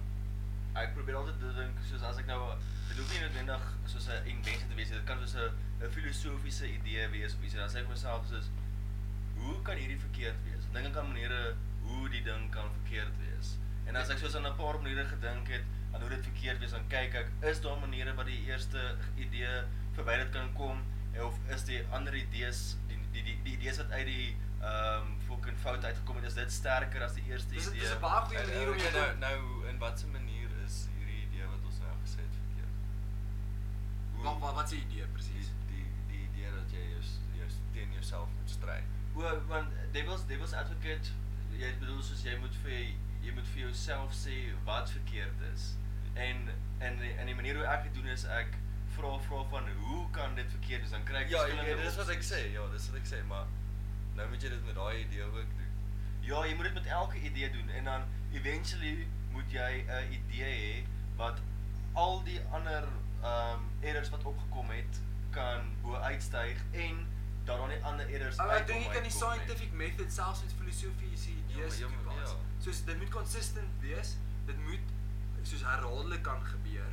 Ek probeer altyd te dink soos as ek nou dit hoef nie noodwendig soos 'n invensie te wees nie. Dit kan soos 'n 'n filosofiese idee wees of iets en dan sê ek vir myself soos hoe kan hierdie verkeerd wees? Dan Dink ek aan maniere hoe die ding kan verkeerd wees. En as ek soos aan 'n paar maniere gedink het aan hoe dit verkeerd wees, dan kyk ek is daar maniere wat die eerste idee verby dit kan kom eh, of is die ander idees die die die, die idees wat uit die ehm um, fucking fout uitgekom het, is dit sterker as die eerste Dis- idee? dis 'n baie goeie manier om jou nou te- nou in watter manier is hierdie idee wat ons nou gesê het verkeerd? Wat wat wat se idee presies? die die die idee dat jy jou jou teen jouself moet stry. O, want Devils Devils advocate, jy bedoel soos jy moet vir jy moet vir jouself sê wat verkeerd is. En in die- in die manier hoe ek dit doen is ek vra vra van hoe kan dit verkeerd wees? Dan kry ek Ja, verskillende ja, dis wat ek opsies. sê. Ja, dis wat ek sê, maar nou moet jy dit met daai idee ook doen. Ja, jy moet dit met elke idee doen en dan eventually moet jy 'n idee hê wat al die ander ehm um, errors wat opgekom het kan bo uitstyg en dat daar nie ander errors Maar ek uitkom dink jy kan die uitkom nie. scientific method selfs met filosofiese idees Ja, maar- ja, maar- toepas. ja. Soos dit moet consistent wees, dit moet soos herhaaldelik kan gebeur.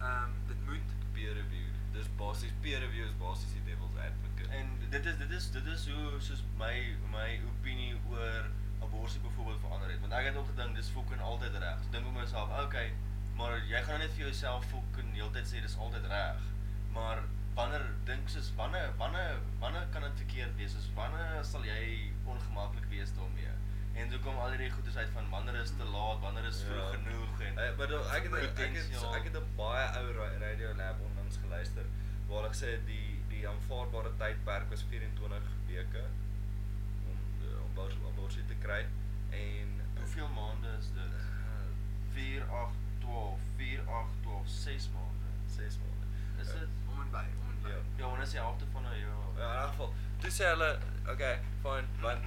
Ehm um, dit moet Peer review. Dis basies peer review is basies die devil's advocate. En dit is dit is dit is hoe soos my my opinie oor abortus byvoorbeeld verander het. Want ek het ook gedink dis fucking altyd reg. Ek dink vir myself, okay, maar jy gaan nou net vir jouself fucking heeltyd sê dis altyd reg. Maar wanneer dink soos wanneer wanneer wanneer kan dit verkeerd wees? Soos wanneer sal jy ongemaklik wees daarmee? En so kom al hierdie goedes uit van wanneer is te laat, wanneer is vroeg genoeg en Eh, maar dan- ek het ek het potensiaal. ek het 'n baie ou ra- Radio Lab onlangs geluister waar hulle gesê het die die aanvaarbare tydperk was 24 weke om eh, om bors- om borsie te kry en hoeveel maande is dit? Eh, 4 8 12 4 8 12 6 maande. 6 maande. Is dit om en by, om en by. Ja. Ja, want dit is die helfte van 'n jaar. Ja, in elk geval. Toe sê hulle okay, fine, want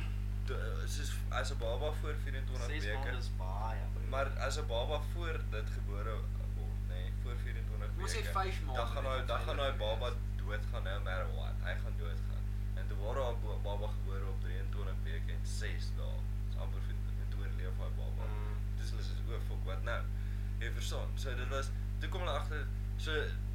d- soos as 'n baba voor 24 6 weke. maande is baie. Maar eh, as 'n baba voor dit gebore word, nê, nee, voor 24 weke. Ons sê 5 maande. Dan gaan daai dan gaan daai baba doodgaan nou maar wat. Hy gaan doodgaan. En toe word haar bo- baba gebore op 23 weke en 6 dae. Dis amper vir dit oorleef haar baba. Mm. Dis hulle sê o, fuck, wat nou? Jy verstaan. So dit was toe kom hulle agter so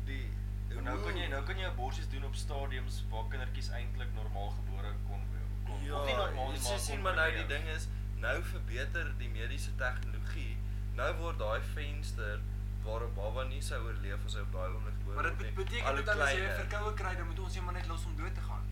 die En nou kan jy nou kan jy aborsies doen op stadiums waar kindertjies eintlik normaal gebore kon kon Ja, of nie normaal nie, jy maar sien kon maar nou die gebeur. ding is nou verbeter die mediese tegnologie. Nou word daai venster waar 'n baba nie sou oorleef as hy op daai oomblik gebore Maar dit bet- nie, beteken al dit hoe dan as jy 'n kleiner. verkoue kry, dan moet ons hom maar net los om dood te gaan.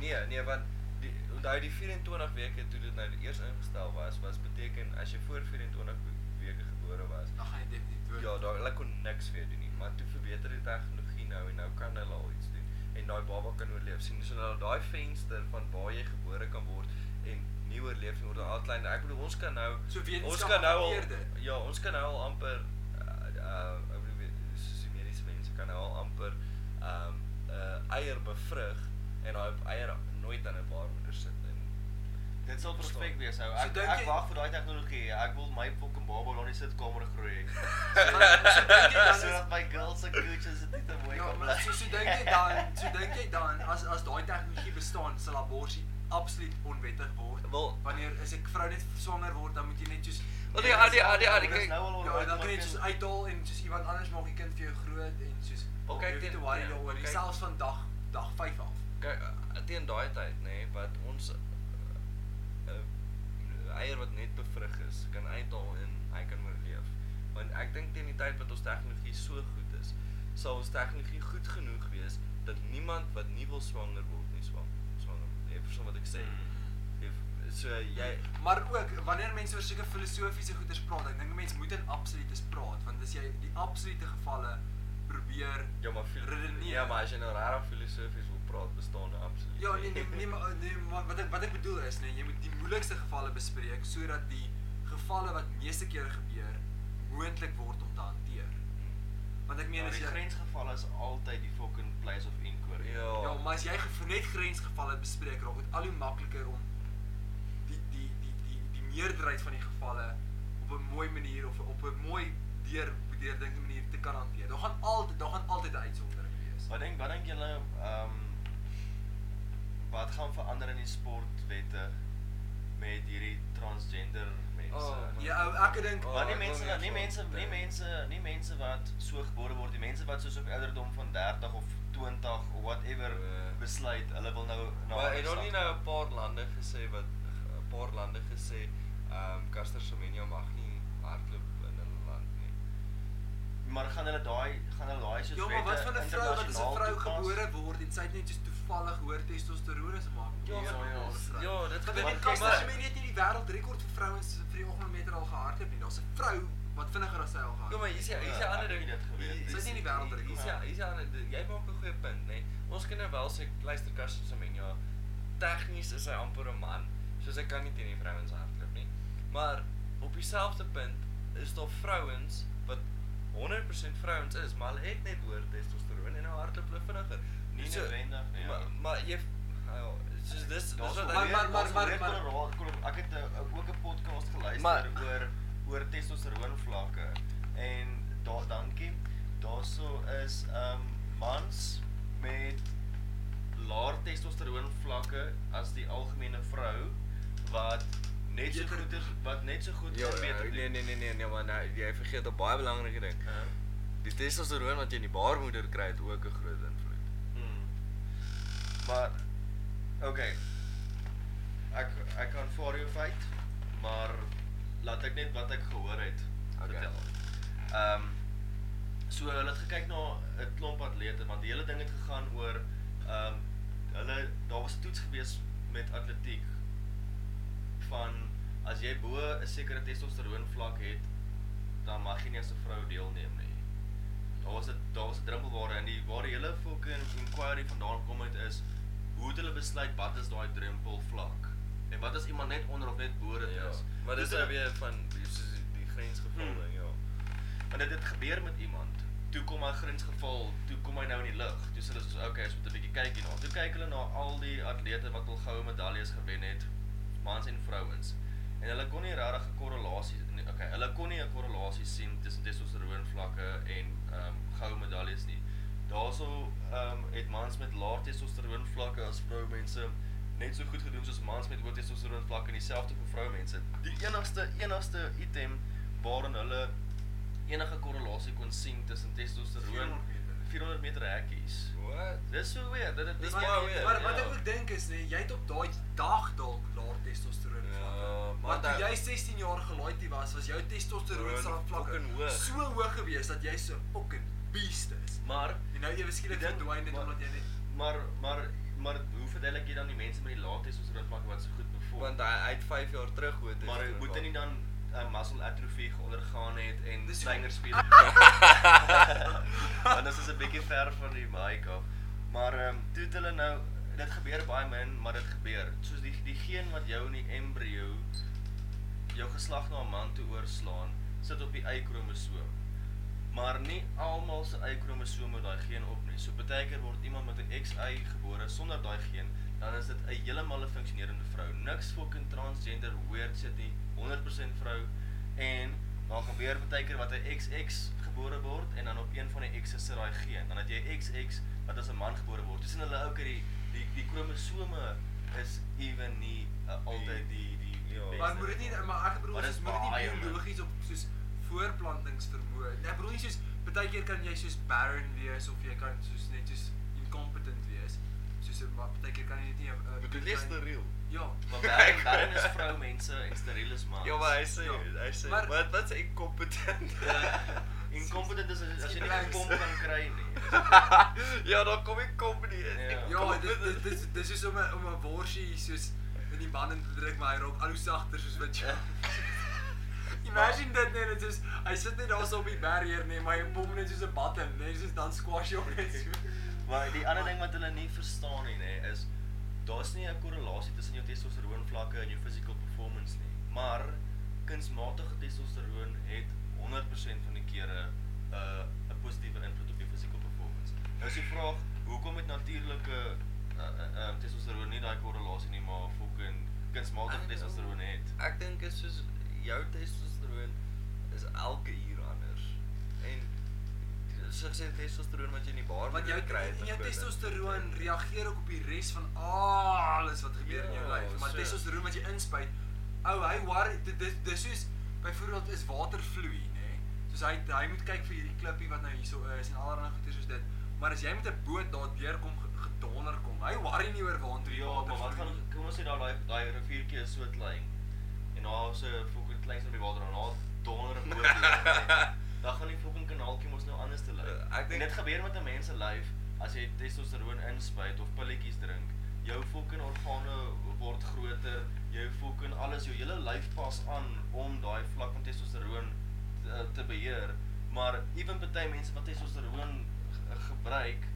Nee, nee, want die onthou die 24 weke toe dit nou eers ingestel was, was beteken as jy voor 24 weke gebore was, Dan gaan jy definitief dood. ja, daar hulle kon niks vir jou doen nie, maar toe verbeter die tegnologie nou en nou kan hulle al iets doen en daai baba kan oorleef. Sien, so nou daai venster van waar jy gebore kan word en nie oorleef nie word al al klein. Ek bedoel ons kan nou So wetenskap ons kan nou hanteer al, dit. ja, ons kan nou al amper uh, uh ek bedoel weet- soos die mediese mense kan nou al amper um uh eier bevrug en daai eier nooit aan 'n baarmoeder sit en Dit sal perfek Verstaan. wees ou. So Ek dink ek jy- wag vir daai tegnologie. Ek wil my fucking baba daar in die sitkamer groei. So Sodat my girls se coaches dit nie te mooi Ja, kan maar so so dink jy dan, so dink jy dan as as daai tegnologie bestaan, sal aborsie absoluut onwettig word. Wel- wanneer as 'n vrou net swanger word, dan moet jy net soos Wel, die- ah, die- ah, die- ah, die- Dit is kyk- nou al Ja, onwettig, dan kan maar jy soos kind- uithaal en soos iemand anders maak die kind vir jou groot en soos Wel, kyk, jy dit- te worry ja, daaroor, kyk- selfs van dag dag 5 af. kyk uh, teen daai tyd nê nee, wat ons 'n uh, uh, eier wat net bevrug is kan uithaal en hy kan oorleef. Want ek dink teen die tyd wat ons tegnologie so goed is, sal ons tegnologie goed genoeg wees dat niemand wat nie wil swanger word nie swanger swanger word. Jy verstaan wat ek sê? Jy, so Ja, jy Mm. Maar ook wanneer mense oor sulke filosofiese goeders praat, ek dink mense moet in absolutes praat want as jy die absolute gevalle probeer ja maar fil- Redeneer. ja maar as jy nou regtig filosofies wil praat, bestaan daar absoluut. Ja, nee nee nee, maar, nee maar wat ek wat ek bedoel is nee, jy moet die moeilikste gevalle bespreek sodat die gevalle wat meeste kere gebeur moontlik word om te hanteer. Want ek meen Ja, as die jy grensgevalle is altyd die fucking place of inquiry. Ja. Ja, maar as jy ge- net grensgevalle bespreek, raak dit al hoe makliker om die die die die die meerderheid van die gevalle op 'n mooi manier of op 'n mooi deur deurdink manier te kan hanteer. Daar gaan altyd daar gaan altyd 'n uitsondering wees. Wat dink wat dink julle ehm wat gaan verander in die sportwette met hierdie transgender mense? Oh, Ja, ou, ek dink Oh, Maar nie ek wil mense nie wat eens nie van mense nie dink. mense nie mense wat so gebore word, die mense wat soos op ouderdom van 30 of 20 of whatever Ja. besluit hulle wil nou na Maar het ander hulle nie nou stap. 'n paar lande gesê wat 'n paar lande gesê ehm um, Caster Semenya mag nie hardloop in 'n land nie. maar gaan hulle daai gaan hulle daai soos Ja, maar wat wette van 'n vrou wat as 'n internasionaal vrou toepas? gebore word en sy het net soos toevallig hoër testosteroon as maak. Ja, ja, ja. Ja, dit Dit gebeur is nie, kas maar- as jy net nie die wêreldrekord vir vrouens vir die oggendmeter al gehardloop nie. Daar's 'n vrou wat vinniger as sy al Ja, maar gehardloop. hier's 'n hier's 'n Ja, ander ek het ding nie dit geweet. Hier- Sy is nie die wêreldrekord. Hier's 'n hier's 'n ander ding. Jy maak 'n goeie punt, nê. Nee. Ons kan nou wel sê luister Caster Semenya tegnies is hy amper 'n man, soos hy kan nie teen die vrouens hardloop nie. Maar op dieselfde punt is daar vrouens wat 100% vrouens is, maar hulle het net hoër testosteroon en nou hardloop hulle vinniger. Nie So- noodwendig nie, ja. Maar maar jy oh, soos dis dis Daar's wat wel ek- maar maar maar maar- ek het 'n- ook 'n podcast geluister Maar- oor oor testosteroon vlakke en daar dankie. Daarso is um mans met laer testosteroon vlakke as die algemene vrou wat net so Beter- goed is wat net so goed Ja, kan beter nee nee nee nee nee, maar nou, jy vergeet 'n baie belangrike ding. Uh, Die testosteroon wat jy in die baarmoeder kry, het ook 'n groot invloed. Hmm. Maar okay. Ek ek aanvaar jou feit, maar laat ek net wat ek gehoor het Okay. vertel. Ehm so hulle het gekyk na 'n klomp atlete want die hele ding het gegaan oor ehm hulle daar was 'n toets gewees met atletiek van as jy bo 'n sekere testosteroon vlak het, dan mag jy nie as 'n vrou deelneem nie. Daar was 'n daar was 'n drempelware en die waar die hele fucking inquiry vandaan kom uit is hoe het hulle besluit wat is daai drempel vlak? En wat as iemand net onder of net bo dit Ja, is? maar dis Dit het- nou weer van soos die grensgeval Hmm. ding, ja. Want dit het gebeur met iemand toe kom hy grins geval, toe kom hy nou in die lig. Toe sê hulle soos okay, ons moet 'n bietjie kyk hierna. Toe kyk hulle na al die atlete wat al goue medaljes gewen het, mans en vrouens. En hulle kon nie regtig 'n korrelasie nee, okay, hulle kon nie 'n korrelasie sien tussen testosteroon vlakke en ehm um, goue medaljes nie. Daarso ehm um, het mans met lae testosteroon vlakke as vroumense net so goed gedoen soos mans met hoë testosteroon vlakke en dieselfde vir vroumense. Die enigste enigste item waarin hulle enige korrelasie kon sien tussen testosteroon 400 meter hekkies. What? Dis ja. so weird. Dit Dis dit baie weird, Maar wat ek ook dink is nee, jy het op daai dag dalk laer testosteroon Ja, vlakke. maar maar toe dat- jy 16 jaar gelaaidie was, was jou testosteroon Gewoon se vlakke fucking hoog. so hoog gewees dat jy so fucking beast is. Maar En nou ewe skielik Die ding- verdwyn dit maar- omdat jy net maar maar maar hoe verduidelik jy dan die mense met die lae testosteroon vlakke wat so goed perform? Want hy hy het 5 jaar terug hoor dit. Maar moet hy nie dan 'n uh, muscle atrofie ondergaan het en Dis- slingerspier. Want dit is 'n bietjie ver van die mic af. Maar ehm um, toe het hulle nou dit gebeur baie min, maar dit gebeur. Soos die die geen wat jou in die embrio jou geslag na 'n man toe oorslaan, sit op die Y-kromosoom. Maar nie almal se Y-kromosoom het daai geen op nie. So baie keer word iemand met 'n XY gebore sonder daai geen, dan is dit 'n heeltemal 'n funksionerende vrou. Niks fucking transgender weird shit nie. 100% vrou en dan gebeur baie keer wat 'n XX gebore word en dan op een van die X's sit daai geen. Dan het jy XX wat as 'n man gebore word. Dis sien hulle ook dat die die die kromosome is ewen nie uh, altyd die die, die Ja. beste Maar moet dit nie maar ek bedoel Oh, Maar soos dis moet dit baie, nie man. biologies op soos voorplantingsvermoë. Nee, Ek bedoel nie soos baie keer kan jy soos barren wees of jy kan soos net soos incompetent wees. Soos maar baie keer kan jy dit nie eh, Moet dit kan- net steriel. Ja. Maar Baron, Baron is vroumense en steriel is mans. Ja, maar hy sê Ja. hy sê Maar- wat wat's incompetent. Eh, incompetent is as, as jy nie Blanks. kom kan kry nie. ja, dan kom ek kom nie. in. Ja. Ja, dit dit dis dis is om 'n om 'n worsie soos in die bande te druk maar hy raak al hoe sagter soos wat Ja. jy Imagine dit net dit is hy sit net daar so op die barrier nee maar hy pom net soos 'n button nee soos dan squash jy hom net so. Maar die ander ding wat hulle nie verstaan nie, nê, is daar's nie 'n korrelasie tussen jou testosteroon vlakke en jou physical performance nie. Maar kunsmatige testosteroon het 100% van die kere 'n uh, 'n positiewe invloed op jou physical performance. Nou is die vraag, hoekom het natuurlike uh, uh, um, testosteroon nie daai korrelasie nie, maar fucking kunsmatige testosteroon het? Ek dink is soos jou testosteroon is elke uur anders. En so gesê testosteroon wat jy in die baar Want jou kry het, Ja. en jou is beter. testosteroon Ja, reageer ook op die res van alles wat gebeur in jou Ja, lyf. Maar so. testosteroon wat jy inspuit, ou hy war dit dis dis soos byvoorbeeld is water vloei, nê. Soos hy hy moet kyk vir hierdie klippie wat nou hierso is en allerlei goeie soos dit. Maar as jy met 'n boot daardeur kom ge- gedonder kom, hy worry nie oor waantoe die Ja, water maar wat gaan vloei. kom ons sê daar daai daai riviertjie is so klein. En daar is 'n fucking klein op die water en daar donder 'n boot. deur. Dan gaan die fucking kanaaltjie mos nou anders te lyk. Eh, ek En dink- dit gebeur met 'n mens se lyf as jy testosteroon inspuit of pilletjies drink. Jou fucking organe word groter, jou fucking alles, jou hele lyf pas aan om daai vlak van testosteroon te, te beheer. Maar ewen party mense wat testosteroon ge- gebruik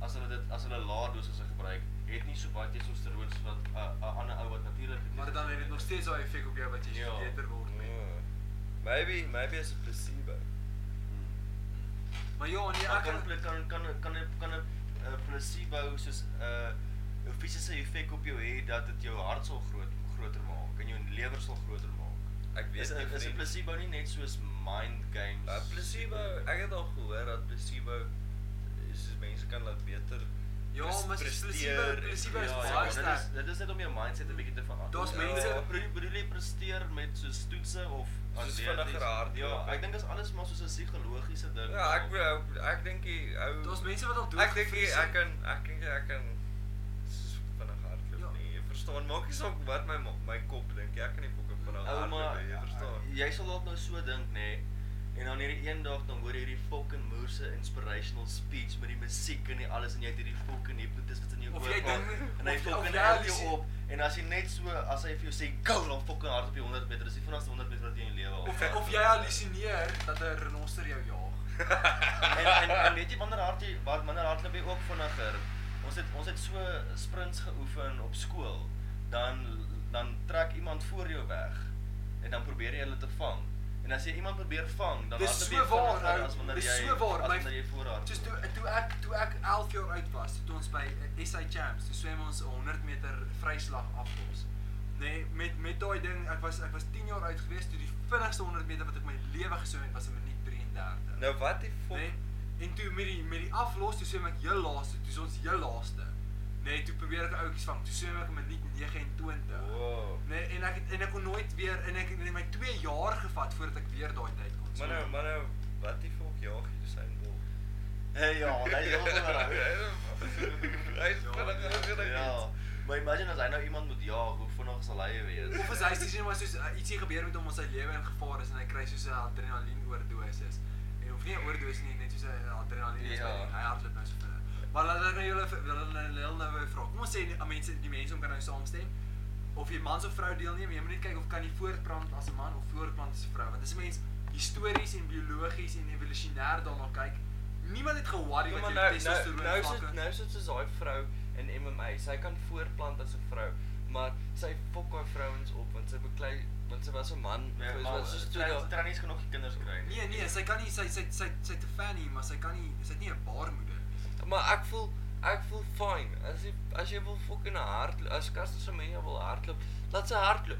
as hulle dit as hulle lae dosisse gebruik, het nie so baie testosteroon soos wat 'n uh, ander ou wat natuurlik Maar dan het dit nog steeds daai effek op jou wat jy Ja. ja. beter word met. Ja. Maybe maybe is 'n placebo. Hmm. Maar ja, nee, Maar ek kan dit kan kan kan dit- kan 'n uh, placebo soos 'n uh, fisiese effek op jou hê dat dit jou hart sal groot groter maak en jou lewer sal groter maak. Ek weet Is nie, is 'n vriend. placebo nie net soos mind games? Ja, Uh, placebo, ek het al gehoor dat placebo is soos mense kan laat beter Ja, pres- maar soos placebo- presteer en- placebo Ja, is ja, baie dit sterk. is dit is net om jou mindset 'n bietjie te verander. Daar's Ja. mense- bedoel bedoel jy presteer met soos toetse of Soos atleties? vinniger hardloop. Ja, ek dink dit is alles maar soos 'n psigologiese ding. Ja, ek wil- ek dink die ou Daar's mense wat al Ek dink nie, doodgevries ek het. kan ek dink nie, ek kan soos vinnig hardloop Ja. nie. Jy verstaan, maak nie saak wat my ma- my kop dink. nie, Ek kan nie fokus vinnig Ouma, hardloop nie. Jy Ja, verstaan. jy sal dalk nou so dink nê. En dan hierdie eendag dan hoor jy hierdie fucking moerse inspirational speech met die musiek en die alles en jy het hierdie fucking hipnotis wat in jou Of oor jy gaan, dink- en hy of- of fucking jy hou jou hallusi- op en as jy net so as hy vir jou sê go dan fucking hard op die 100 meter is die vinnigste 100 meter wat jy in jou lewe al Of gehad of het. jy hallusineer dat 'n renoster jou jaag. en, en en weet jy wanneer hard jy wat wanneer hardloop jy ook vinniger. Ons het ons het so sprints geoefen op skool. Dan dan trek iemand voor jou weg en dan probeer jy hulle te vang. En as jy iemand probeer vang, dan Dis hardloop so jy waar, vinniger ou. as wanneer Dis jy so waar, as my- wanneer jy voorhard. Soos toe toe ek toe ek 11 jaar oud was, toe ons by eh, SA Champs, toe swem ons 'n 100 meter vryslag aflos. Nee, met met daai ding, ek was ek was 10 jaar oud gewees toe die vinnigste 100 meter wat ek my lewe geswem het was 'n minuut 33. Nou wat die fok? Nee. En toe met die met die aflos, toe swem ek heel laaste, toe is ons heel laaste. Nee, toe probeer ek ouetjies vang. Toe swem ek 'n minuut 29. Wow. Nee, en ek het, en ek kon nooit weer en ek het my 2 jaar gevat voordat ek weer daai tyd kon. Maar swem. nou, maar nou, wat die fok jaag jy Usain Bolt? Hey ja, hy is vinniger. Hy is vinniger as hy jy ja. dink. Maar imagine as hy nou iemand moet jaag, hoe vinnig sal hy wees? Of as hy sien maar soos uh, ietsie gebeur met hom, ons sy lewe in gevaar is en hy kry soos 'n adrenalien oordosis. En of nie 'n oordosis nie, net soos 'n adrenalien is Ja. ja. hy hardloop nou so vinnig. Maar laat ek nou julle vir- wil hulle hulle nou wou vra. Kom ons sê die aan mense die mense om kan nou saamstem. Of jy mans of vrou deelneem, jy moet net kyk of kan jy voortbrand as 'n man of voortbrand as 'n vrou, want as 'n mens histories en biologies en evolusionêr daarna kyk, niemand het geworry Ja, wat maar jou nou nou testosteroon nou vlakke- sit nou sit soos daai vrou in MMA. Sy kan voortplant as 'n vrou, maar sy fok daai vrouens op want sy beklei want sy was 'n man. Ja, sy maar was soos toe trou- daar. trou nie genoeg kinders kry nie. Nee nee, sy kan nie sy sy sy sy te fan nie, maar sy kan nie sy het nie 'n baarmoeder nie. Maar ek voel ek voel fyn. As jy as jy wil fok in 'n hart as Castor se mense wil hardloop, laat sy hardloop.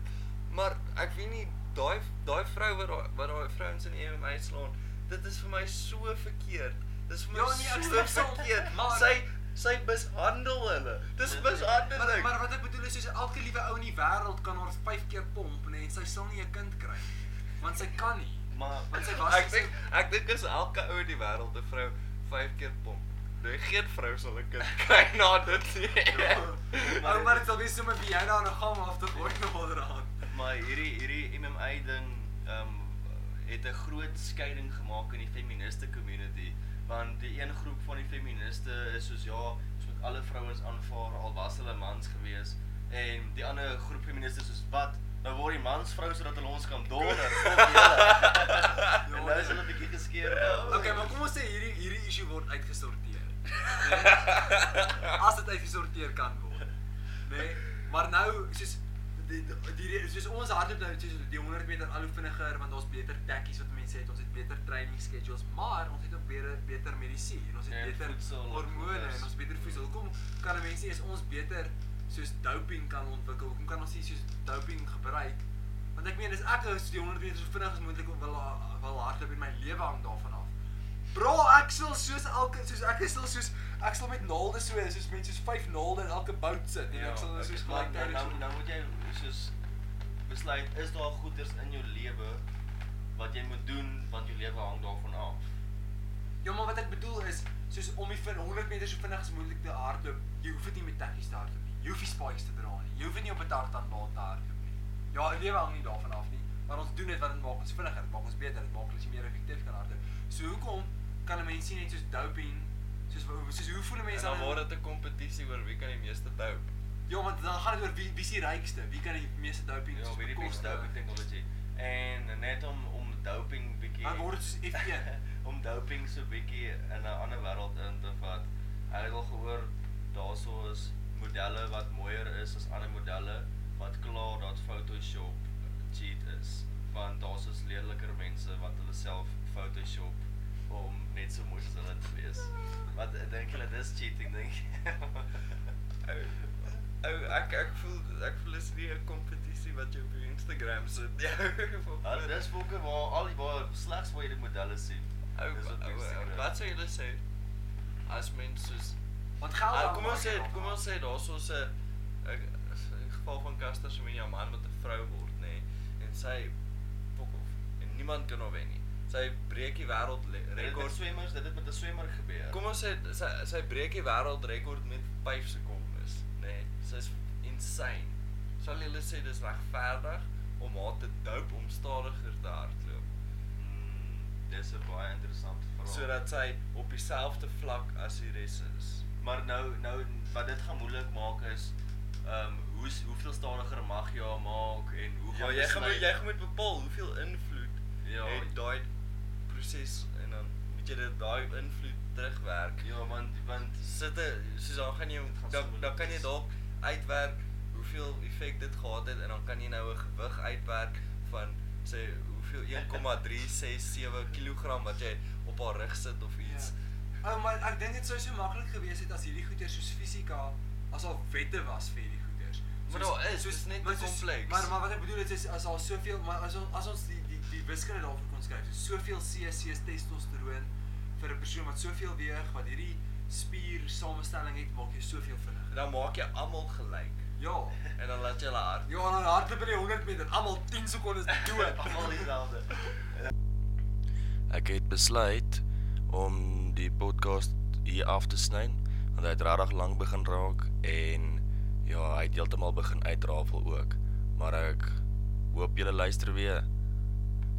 Maar ek weet nie daai daai vrou wat daai- wat daai vrouens in MMA slaan, dit is vir my so verkeerd. Dis vir my Ja, nee, ek so stem saam, verkeerd. maar- Sy sy mishandel hulle. Dis mishandeling. Maar maar wat ek bedoel is soos elke liewe ou in die wêreld kan haar 5 keer pomp nê en sy sal nie 'n kind kry nie. Want sy kan nie. Maar Want sy was Ek dink ek dink is elke ou in die wêreld 'n vrou 5 keer pomp. Nee, geen vrou sal 'n kind kry na dit nie. Ou maar dit sal wees sommer wie jy daar aan 'n gang af te gooi na haar aan. maar hierdie hierdie MMA ding ehm um, het 'n groot skeiding gemaak in die feministe community want die een groep van die feministe is soos ja, ons moet alle vrouens aanvaar al was hulle mans gewees en die ander groep feministe is soos wat nou word die mans vrouens sodat hulle ons kan donder. Fok julle. en nou is hulle 'n bietjie geskeer. nou. Okay, maar kom ons sê hierdie hierdie issue word uitgesorteer. As dit uitgesorteer kan word. Nee, maar nou soos die die soos ons hardloop nou soos die 100 meter al hoe vinniger want daar's beter tekkies wat mense het, ons het beter training schedules, maar ons het ook beter beter medisyne, en ons het En beter voedsel en hormone goeders. en ons beter voedsel. Hoekom kan 'n mens nie is ons beter soos doping kan ontwikkel? Hoekom kan ons nie soos doping gebruik? Want ek meen dis ek is die 100 meter so vinnig as moontlik wil wil hardloop en my lewe hang daarvan af. Bro, ek sal soos elke soos ek is sal soos ek sal met naalde so soos mense soos vyf naalde in elke bout sit en ek sal okay, soos maar nou gelyktyd nou nou moet jy soos besluit is daar goeders in jou lewe wat jy moet doen want jou lewe hang daarvan af. Ja, maar wat ek bedoel is soos om die vin- 100 meter so vinnig as moontlik te hardloop. Jy hoef dit nie met tekkies te hardloop nie. Jy hoef nie spikes te dra nie. Jy hoef dit nie op 'n tartanbaan te hardloop nie. Ja, die lewe hang nie daarvan af nie, maar ons doen dit want dit maak ons vinniger, dit maak ons beter, dit maak ons meer effektief kan hardloop. So hoekom kan 'n mens nie net soos doping soos wa- soos hoe voel 'n mens Mense dan word dit 'n kompetisie oor wie kan die meeste dope. Ja, want dan gaan dit oor wie wie is die rykste, wie kan die meeste doping Ja, soos weet die beste bekostig. doping tegnologie. En net om om doping bietjie Dan word dit soos F1. om doping so bietjie in 'n ander wêreld in te vat. Ek het al gehoor daarso is modelle wat mooier is as ander modelle wat klaar dat Photoshop cheat is. Want daar's is leliker mense wat hulle self Photoshop om net so mooi as hulle te wees. Wat dink julle dis cheating dink? jy? Ou ou ek ek voel ek voel is nie 'n kompetisie wat jy op jou Instagram sit nie. Hulle dis fokke waar al die waar slegs waar jy die modelle sien. Ou Dis op ou, Instagram. ou, wat sou julle sê as mens soos Want geld Ah, dan kom maak ons jy sê daarvan kom af. ons sê daar's ons 'n ek- in geval van Caster se menja man wat 'n vrou word nê nee, en sy pok of en niemand kan haar wen nie. Sy breek die wêreld le- Rekord rekord. swemmers, dit het met 'n swemmer gebeur. Kom ons sê sy sy breek die wêreld rekord met 5 sekondes nê. Nee, Sy's insane. Sal julle sê dis regverdig om haar te doop om stadiger te hardloop Mm, dis 'n baie interessante vraag. sodat sy op dieselfde vlak as die res is? maar nou nou wat dit gaan moeilik maak is ehm um, hoe hoeveel stadiger mag jy haar maak en hoe Ja, gaan jy gaan besluit- moet jy gaan moet bepaal hoeveel invloed Ja. het daai proses en dan moet jy dit daai invloed terugwerk. Ja, want want Sitte soos dan gaan jy Gaan so dan, moeilik dan kan jy wees. dalk uitwerk hoeveel effek dit gehad het en dan kan jy nou 'n gewig uitwerk van sê hoeveel 1,367 kg wat jy op haar rug sit of iets. Ja. Oh, maar ek dink dit sou so maklik gewees het as hierdie goeder soos fisika as al wette was vir hierdie goeders. Maar daar is, dit is net maar te soos- kompleks. Maar maar wat ek bedoel is is as al soveel maar as ons as ons die die die wiskunde daarvoor kon skryf, so soveel CC's testosteroon vir 'n persoon wat soveel weeg, wat hierdie spier samestelling het, maak jou soveel vinniger. Dan maak jy almal gelyk Ja. en dan laat jy hulle hard. Ja, dan hardloop in die 100 meter, almal 10 sekondes dood. Almal dieselfde. Ek het besluit om die podcast hier af te sny want hy het regtig lank begin raak en ja, hy het heeltemal begin uitrafel ook. Maar ek hoop julle luister weer.